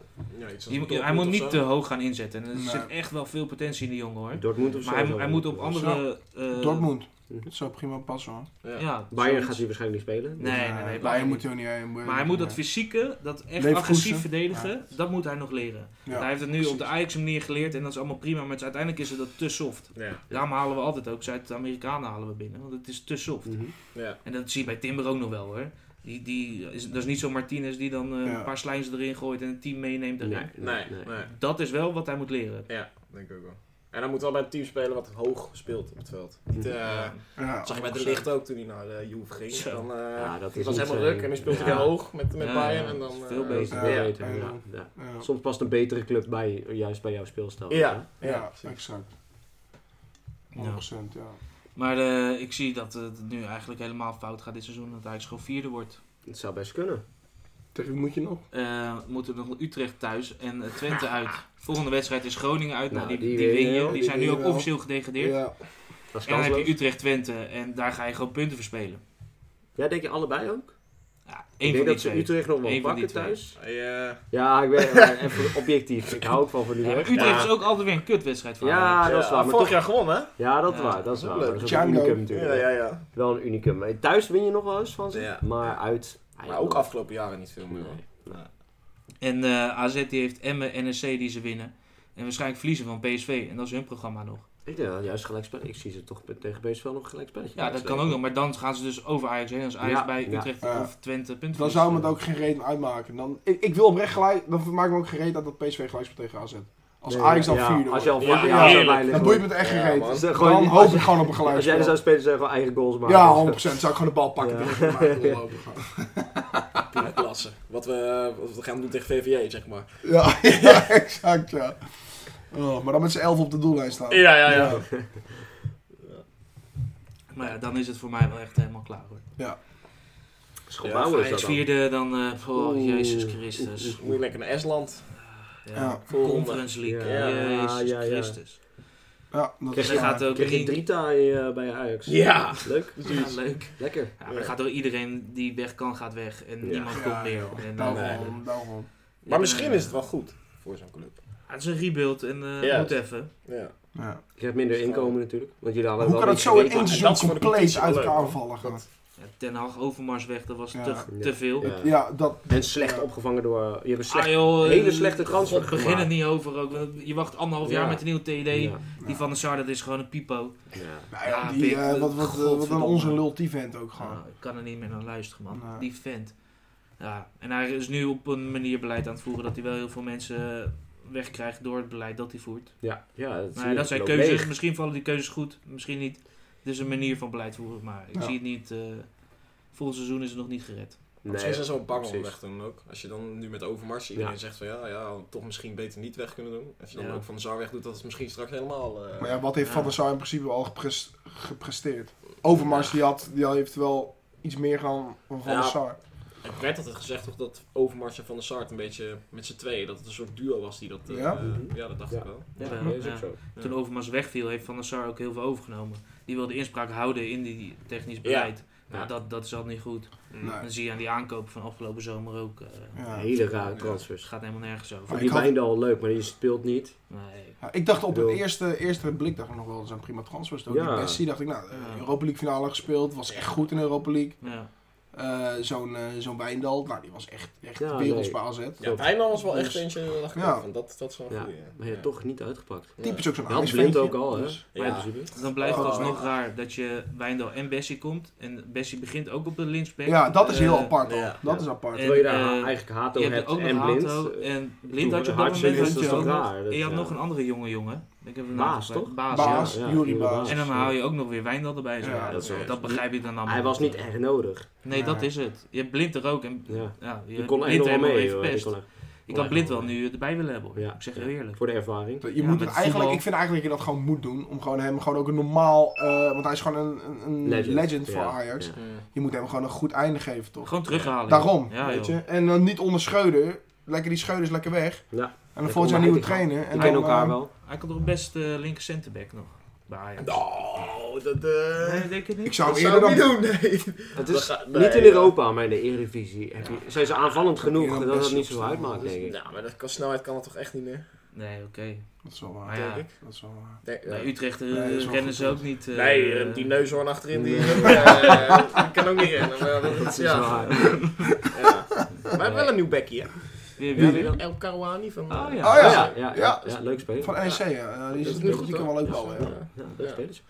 Speaker 2: Je-
Speaker 3: een doelpunt
Speaker 2: hij moet
Speaker 3: of zo.
Speaker 2: niet te hoog gaan inzetten. En er
Speaker 4: Nee.
Speaker 2: zit echt wel veel potentie in die jongen hoor.
Speaker 5: Dortmund of zo?
Speaker 2: Maar hij,
Speaker 5: zou
Speaker 2: hij moet op
Speaker 5: moeten.
Speaker 2: andere... eh,
Speaker 4: Dortmund.
Speaker 5: Mhm.
Speaker 4: Dat zou prima passen hoor.
Speaker 3: Ja.
Speaker 2: Ja,
Speaker 5: Bayern
Speaker 2: zoiets.
Speaker 5: gaat hij waarschijnlijk niet spelen.
Speaker 2: Nee, nee, nee.
Speaker 4: Bayern
Speaker 2: Bayern
Speaker 4: moet er niet heen.
Speaker 2: Maar hij moet dat fysieke, dat echt
Speaker 4: Leverkusen.
Speaker 2: agressief verdedigen, dat moet hij nog leren.
Speaker 4: Ja,
Speaker 2: hij heeft het nu op de
Speaker 4: precies.
Speaker 2: Ajax manier geleerd en dat is allemaal prima. Maar het- uiteindelijk is het dat te soft.
Speaker 3: Ja,
Speaker 2: Daarom halen we altijd ook Zuid-Amerikanen halen we binnen. Want het is te soft.
Speaker 5: Mhm.
Speaker 3: ja.
Speaker 2: En dat zie je bij Timber ook nog wel hoor. Die, die is, dat is niet zo Martinez die dan eh,
Speaker 4: Ja.
Speaker 2: een paar slijns erin gooit en het team meeneemt.
Speaker 5: Nee,
Speaker 2: erin.
Speaker 3: Nee, nee.
Speaker 2: Dat is wel wat hij moet leren.
Speaker 3: Ja, denk ik ook wel. En dan moet wel bij een team spelen wat hoog speelt op het veld. Niet, eh,
Speaker 2: Ja.
Speaker 4: Ja,
Speaker 3: dat zag je bij de licht ook toen hij naar de Juve ging.
Speaker 2: Zo.
Speaker 3: Dan, eh,
Speaker 5: Ja, dat
Speaker 3: het
Speaker 5: is
Speaker 3: was helemaal
Speaker 5: niet zijn-
Speaker 3: druk en dan speelt hij
Speaker 5: Ja.
Speaker 3: heel hoog met, met
Speaker 2: Ja,
Speaker 3: Bayern.
Speaker 2: ja,
Speaker 3: En dan,
Speaker 2: dat is
Speaker 3: eh,
Speaker 2: veel
Speaker 5: Dat is
Speaker 2: beter.
Speaker 5: wel
Speaker 3: Ja.
Speaker 5: beter,
Speaker 4: Ja.
Speaker 5: ja, ja.
Speaker 4: Ja,
Speaker 5: Soms past een betere club bij, juist bij jouw speelstijl.
Speaker 3: Ja,
Speaker 4: ja,
Speaker 3: ja, precies.
Speaker 4: exact. 100%
Speaker 2: Ja.
Speaker 4: ja.
Speaker 2: Maar eh, ik zie dat het nu eigenlijk helemaal fout gaat dit seizoen. Dat Ajax gewoon vierde wordt.
Speaker 5: Het zou best kunnen.
Speaker 4: Tegen wie moet je nog?
Speaker 2: Eh, moeten nog Utrecht thuis en eh, Twente *laughs* uit. Volgende wedstrijd is Groningen uit. Nou,
Speaker 5: Nou,
Speaker 2: die,
Speaker 5: die
Speaker 2: die
Speaker 5: win je
Speaker 2: win
Speaker 5: wel,
Speaker 2: je. Die
Speaker 4: die
Speaker 2: zijn nu
Speaker 4: win je
Speaker 2: ook
Speaker 4: wel.
Speaker 2: officieel gedegradeerd.
Speaker 4: Ja.
Speaker 5: Dat is
Speaker 2: En dan heb je
Speaker 5: kansloos.
Speaker 2: Utrecht-Twente en daar ga je gewoon punten verspelen.
Speaker 5: Ja, denk je allebei ook?
Speaker 2: Ja,
Speaker 5: ik
Speaker 2: één van
Speaker 5: denk
Speaker 2: die
Speaker 5: dat ze
Speaker 2: twee.
Speaker 5: Utrecht nog
Speaker 2: Eén
Speaker 5: wel
Speaker 2: van
Speaker 5: pakken
Speaker 2: die twee.
Speaker 5: thuis.
Speaker 3: Ja,
Speaker 5: Ja, ik weet maar even objectief. Ik hou ook wel van
Speaker 2: Ja, maar
Speaker 5: Utrecht.
Speaker 2: Utrecht
Speaker 3: Ja.
Speaker 2: is ook altijd weer een kutwedstrijd van Ajax.
Speaker 3: Ah,
Speaker 5: Ja, dat is waar. Maar
Speaker 3: vorig
Speaker 5: toch,
Speaker 3: jaar gewonnen, hè?
Speaker 5: ja, dat is
Speaker 2: Ja.
Speaker 5: waar. Dat is waar.
Speaker 3: Leuk.
Speaker 5: Maar Dat is ook een
Speaker 4: Django.
Speaker 5: unicum natuurlijk.
Speaker 3: Ja, ja, ja.
Speaker 5: Wel een unicum. Eh, Thuis win je nog wel eens van ze,
Speaker 3: Ja.
Speaker 5: maar uit...
Speaker 3: Maar ook afgelopen jaren niet veel meer.
Speaker 5: Nee.
Speaker 3: hoor.
Speaker 2: En eh, AZ die heeft Emmen, NSC die ze winnen. En waarschijnlijk verliezen van PSV. En dat is hun programma nog.
Speaker 5: Ik denk dat juist gelijk spel. Ik zie ze toch tegen PSV nog gelijk spelletje.
Speaker 2: Ja, dat kan ook nog. Maar dan gaan ze dus over Ajax heen. Als Ajax
Speaker 5: Ja,
Speaker 2: bij
Speaker 5: ja.
Speaker 2: Utrecht
Speaker 4: Ja.
Speaker 2: of Twente punten eh,
Speaker 4: Dan zou me het ook geen reden uitmaken. Dan, ik, ik wil oprecht gelijk, dan maakt me ook geen reden dat dat PSV gelijk speelt tegen AZ. Als
Speaker 5: Nee,
Speaker 4: Ajax dan
Speaker 5: ja,
Speaker 4: vierde
Speaker 5: Als je al
Speaker 4: wordt.
Speaker 5: voor
Speaker 3: Ja,
Speaker 5: ja,
Speaker 3: heerlijk.
Speaker 5: erbij ligt,
Speaker 4: dan boeit me het echt geen
Speaker 3: Ja,
Speaker 4: reet.
Speaker 3: man.
Speaker 5: Dus dan
Speaker 4: Dan
Speaker 5: gewoon- als-
Speaker 4: hoop ik gewoon op een
Speaker 5: *laughs* Als jij er
Speaker 4: gelijkspel.
Speaker 5: zou spelen, zou je gewoon eigen goals maken.
Speaker 4: Ja, 100%. Zou ik gewoon de bal pakken.
Speaker 5: Ja.
Speaker 4: en tegen de maat lopen gaan.
Speaker 3: Prima klasse. Wat we, eh, wat we gaan doen tegen VVJ, zeg maar.
Speaker 4: Ja, *laughs* ja, exact ja. Oh, maar dan met z'n elf op de doellijn staan.
Speaker 3: Ja, ja, ja.
Speaker 2: Maar ja, dan is het voor mij wel echt helemaal klaar hoor.
Speaker 5: Schopbouwer Oh, is dat
Speaker 2: Ajax
Speaker 5: dan.
Speaker 2: vierde, dan... eh oh,
Speaker 5: Oeh.
Speaker 2: Jezus Christus.
Speaker 3: Moet je lekker naar Estland.
Speaker 2: Ja.
Speaker 4: Ja.
Speaker 3: Volgende.
Speaker 2: Conference League.
Speaker 5: Ja.
Speaker 2: Jezus
Speaker 5: Ja, ja, ja.
Speaker 2: Christus.
Speaker 4: Ja, dat is
Speaker 5: Krijg
Speaker 2: Dus er
Speaker 4: waar.
Speaker 2: gaat ook
Speaker 5: Kreeg je
Speaker 2: in-
Speaker 5: Drita eh, bij Ajax.
Speaker 3: Ja.
Speaker 5: Leuk.
Speaker 2: Ja, leuk.
Speaker 5: Lekker.
Speaker 2: Ja, maar er gaat door iedereen die weg kan, gaat weg. En
Speaker 5: Ja.
Speaker 2: niemand
Speaker 4: Ja,
Speaker 2: komt
Speaker 4: ja.
Speaker 2: meer. En,
Speaker 4: Daarom,
Speaker 2: eh,
Speaker 4: daarom.
Speaker 3: Maar
Speaker 2: en,
Speaker 3: misschien
Speaker 2: eh,
Speaker 3: is het wel goed voor zo'n club.
Speaker 2: het is een rebuild en eh,
Speaker 3: Ja.
Speaker 2: moet even.
Speaker 3: Ja.
Speaker 4: Ja.
Speaker 5: Je hebt minder
Speaker 3: Staan.
Speaker 5: inkomen natuurlijk. Want jullie hadden
Speaker 4: Hoe
Speaker 5: wel
Speaker 4: kan het
Speaker 5: een
Speaker 4: zo in
Speaker 5: beetje
Speaker 4: één
Speaker 5: weten-
Speaker 3: dat
Speaker 4: seizoen
Speaker 3: is voor de
Speaker 4: compleet
Speaker 3: competitie wel
Speaker 4: uit
Speaker 3: leuk,
Speaker 4: elkaar
Speaker 3: hoor.
Speaker 4: vallen gaan?
Speaker 2: Ja, Den Haag Overmars weg, dat was
Speaker 4: Ja.
Speaker 2: te,
Speaker 5: Ja.
Speaker 2: te veel.
Speaker 5: Ja.
Speaker 4: Ja, dat...
Speaker 5: En slecht opgevangen door... Je hebt een slecht...
Speaker 2: Ah, joh,
Speaker 5: hele
Speaker 2: eh,
Speaker 5: slechte transfer
Speaker 2: God, begin er
Speaker 5: gemaakt.
Speaker 2: niet over ook. want Je wacht anderhalf jaar
Speaker 5: Ja.
Speaker 2: met een nieuw TD.
Speaker 5: Ja.
Speaker 2: Die van de Sar, dat is gewoon een pipo.
Speaker 5: Ja.
Speaker 4: Nou ja,
Speaker 2: Ja,
Speaker 4: die,
Speaker 2: Pik,
Speaker 4: eh, wat, wat, eh, wat een
Speaker 2: godverdomme.
Speaker 4: onze lul die vent ook gewoon.
Speaker 2: Nou, ik kan er niet meer naar luisteren, man.
Speaker 4: Nee.
Speaker 2: Die vent. Ja. En hij is nu op een manier beleid aan het voeren dat hij wel heel veel mensen eh, wegkrijgt door het beleid dat hij voert.
Speaker 5: Ja, ja dat, zie
Speaker 2: Nou,
Speaker 5: je.
Speaker 2: ja, dat zijn
Speaker 5: Het
Speaker 2: keuzes.
Speaker 5: loopt leeg.
Speaker 2: Misschien vallen die keuzes goed, misschien niet. Het is een manier van beleid voeren, maar ik
Speaker 4: Ja.
Speaker 2: zie het niet. eh volgend seizoen is het nog niet gered.
Speaker 3: Misschien zijn ze wel bang om
Speaker 5: precies.
Speaker 3: weg te doen ook. Als je dan nu met Overmars iedereen
Speaker 5: Ja.
Speaker 3: zegt van ja, ja, toch misschien beter niet weg kunnen doen. Als je dan
Speaker 2: Ja.
Speaker 3: ook van de zaal weg doet, dat is misschien straks helemaal... eh,
Speaker 4: Maar ja, wat heeft
Speaker 2: Ja.
Speaker 4: Van der Sar in principe al gepres- gepresteerd? Overmars die had, die heeft wel iets meer gedaan dan Van
Speaker 3: Ja.
Speaker 4: der Sar.
Speaker 3: Er werd altijd gezegd toch dat Overmars en Van der Sart een beetje met z'n tweeën, dat het een soort duo was die dat... eh,
Speaker 4: Ja?
Speaker 3: eh, ja, dat dacht
Speaker 5: Mhm.
Speaker 3: ik
Speaker 5: Ja.
Speaker 3: wel.
Speaker 5: Ja,
Speaker 2: Ja.
Speaker 5: dat is
Speaker 2: Ja.
Speaker 5: ook zo.
Speaker 2: Toen Overmars wegviel, heeft Van der Sar ook heel veel overgenomen. Die wilde inspraak houden in die technisch beleid. Nou,
Speaker 3: Ja.
Speaker 2: dat, dat is al niet goed.
Speaker 3: Mm.
Speaker 4: Nee.
Speaker 2: Dan zie je aan die aankopen van afgelopen zomer ook. eh,
Speaker 4: Ja.
Speaker 5: Hele rare
Speaker 3: Ja.
Speaker 2: het
Speaker 5: transfers.
Speaker 2: gaat helemaal nergens over.
Speaker 4: Maar
Speaker 5: Die
Speaker 4: ik had-
Speaker 5: Wijndal leuk, maar die speelt niet.
Speaker 2: Nee.
Speaker 4: Ja, Nou, ik dacht op het
Speaker 5: Bedoel-
Speaker 4: eerste, eerste blik dacht ik nog wel, dat zijn prima transfers. Door
Speaker 5: Ja.
Speaker 4: Die Bessie dacht ik, nou, eh,
Speaker 2: Ja.
Speaker 4: Europa League finale gespeeld, was echt goed in de Europa League.
Speaker 2: Ja.
Speaker 4: Eh, zo'n eh zo'n Wijndal, nou, die was echt, echt
Speaker 5: Ja,
Speaker 4: werelds
Speaker 5: nee.
Speaker 4: bij AZ.
Speaker 3: Ja, Wijnal was wel echt
Speaker 4: Dus-
Speaker 3: eentje, dacht ik
Speaker 4: Ja.
Speaker 3: ook, van dat, dat is wel een
Speaker 5: Ja.
Speaker 3: goeie.
Speaker 5: Maar je
Speaker 3: Ja.
Speaker 5: hebt toch niet uitgepakt.
Speaker 3: Ja.
Speaker 4: Typisch ook zo'n
Speaker 5: Hij had
Speaker 4: Ajax-ventje.
Speaker 5: blind ook al, hè?
Speaker 4: Dus-
Speaker 5: Maar
Speaker 3: Ja.
Speaker 5: in principe.
Speaker 2: Dan blijft het
Speaker 4: Oh,
Speaker 2: alsnog
Speaker 4: ja.
Speaker 2: raar dat je Wijndal en Bessie komt. En Bessie begint ook op de linksback.
Speaker 4: ja, dat is heel
Speaker 2: Eh,
Speaker 4: apart al.
Speaker 3: ja.
Speaker 4: Dat is apart.
Speaker 2: En,
Speaker 5: Terwijl je daar
Speaker 2: eh,
Speaker 5: ha- eigenlijk Hato
Speaker 2: Je hebt
Speaker 5: hebt
Speaker 2: ook nog
Speaker 5: en Blind.
Speaker 2: Hato
Speaker 5: eh,
Speaker 2: en
Speaker 5: toen
Speaker 2: Blind had je op
Speaker 5: de
Speaker 2: dat moment.
Speaker 5: hartstikke
Speaker 2: had
Speaker 4: is
Speaker 2: je
Speaker 4: dat
Speaker 2: ook
Speaker 4: toch
Speaker 2: nog-
Speaker 5: raar, dat,
Speaker 2: En je had
Speaker 5: ja.
Speaker 2: nog een andere jonge jongen. Ik heb hem
Speaker 5: Baas,
Speaker 2: nou gepakt.
Speaker 5: toch?
Speaker 2: Baas,
Speaker 4: Baas,
Speaker 2: ja.
Speaker 4: Jurie Baas.
Speaker 2: En dan haal je ook nog weer Wijndal erbij. Zo.
Speaker 4: Ja,
Speaker 2: dat,
Speaker 5: dat is wel-
Speaker 2: begrijp ik dan allemaal.
Speaker 5: Hij was niet echt nodig.
Speaker 2: Nee, dat
Speaker 4: Nee.
Speaker 2: is het. Je hebt Blind er ook. En,
Speaker 5: Ja.
Speaker 2: ja, je
Speaker 5: Die
Speaker 2: hebt
Speaker 5: kon echt
Speaker 2: Blind
Speaker 5: nog wel
Speaker 2: helemaal
Speaker 5: mee.
Speaker 2: even
Speaker 5: hoor. Die
Speaker 2: pest.
Speaker 5: kon echt-
Speaker 2: Ik
Speaker 5: kon
Speaker 2: had Blind
Speaker 5: echt
Speaker 2: wel nu erbij willen hebben. hoor.
Speaker 5: Ja.
Speaker 2: Ik zeg
Speaker 5: Ja.
Speaker 2: heel eerlijk.
Speaker 5: Voor de ervaring.
Speaker 4: Je
Speaker 2: Ja,
Speaker 4: moet
Speaker 2: met
Speaker 4: het eigenlijk,
Speaker 2: voetbal-
Speaker 4: ik vind eigenlijk dat je dat gewoon moet doen. Om gewoon hem gewoon ook een normaal, eh, want hij is gewoon een, een, een legend. voor
Speaker 5: ja.
Speaker 4: Ajax.
Speaker 5: Ja.
Speaker 3: Mm.
Speaker 4: Je moet hem gewoon een goed einde geven, toch?
Speaker 2: Gewoon terughalen.
Speaker 4: Daarom,
Speaker 2: joh. Ja,
Speaker 4: weet
Speaker 2: joh.
Speaker 4: je. En dan niet onder Schreuder. Lekker die Schreuder is lekker weg.
Speaker 5: Ja.
Speaker 4: En dan
Speaker 5: Ja,
Speaker 4: volgt zijn
Speaker 5: kom
Speaker 4: nieuwe
Speaker 5: maar uit,
Speaker 4: trainer. En dan,
Speaker 5: Die kennen elkaar
Speaker 4: eh,
Speaker 5: wel.
Speaker 2: Hij kan toch best eh linker centerback nog. Bij Ajax.
Speaker 3: Oh, dat... eh,
Speaker 2: Nee, denk je niet?
Speaker 4: Ik zou
Speaker 3: dat
Speaker 4: hem
Speaker 3: zou ik
Speaker 4: Nou, eerder
Speaker 3: niet
Speaker 4: dan...
Speaker 3: doen, nee.
Speaker 5: Het
Speaker 3: We
Speaker 5: is
Speaker 3: gaan-
Speaker 5: niet in
Speaker 3: nee,
Speaker 5: Europa, maar in de Eredivisie heb je- zijn ze aanvallend
Speaker 4: Ja,
Speaker 5: genoeg dat dat
Speaker 4: best
Speaker 5: niet zo
Speaker 4: opstaan,
Speaker 5: uitmaakt,
Speaker 4: dus-
Speaker 5: denk
Speaker 3: *laughs*
Speaker 5: ik.
Speaker 3: Ja, Nou, maar dat kan, snelheid kan het toch echt niet meer?
Speaker 2: Nee, oké.
Speaker 4: Dat is wel waar.
Speaker 2: Maar ja,
Speaker 3: denk ik.
Speaker 4: Dat is wel waar.
Speaker 3: Nee,
Speaker 2: bij Utrecht eh,
Speaker 4: Nee, dat is wel
Speaker 2: rennen
Speaker 4: goed
Speaker 2: ze
Speaker 4: punt.
Speaker 2: ook niet. eh,
Speaker 3: nee eh, die neushoorn achterin, die *laughs*
Speaker 5: Nee.
Speaker 3: eh, die kan ook niet rennen. Maar dat,
Speaker 5: Dat is
Speaker 3: ja.
Speaker 5: waar.
Speaker 4: Oh
Speaker 3: Ja. Maar we hebben wel een nieuw bekkie, hè?
Speaker 2: Wie- wie-
Speaker 5: Ja, wie dan?
Speaker 3: El Karouani van...
Speaker 2: Oh ja.
Speaker 4: Oh, ja.
Speaker 5: ja, ja, ja, ja, leuk spelen.
Speaker 4: Van NEC, ja. Eh, die, is, die, kan wel leuk ballen, ja.
Speaker 5: Ja, leuk spelen ze.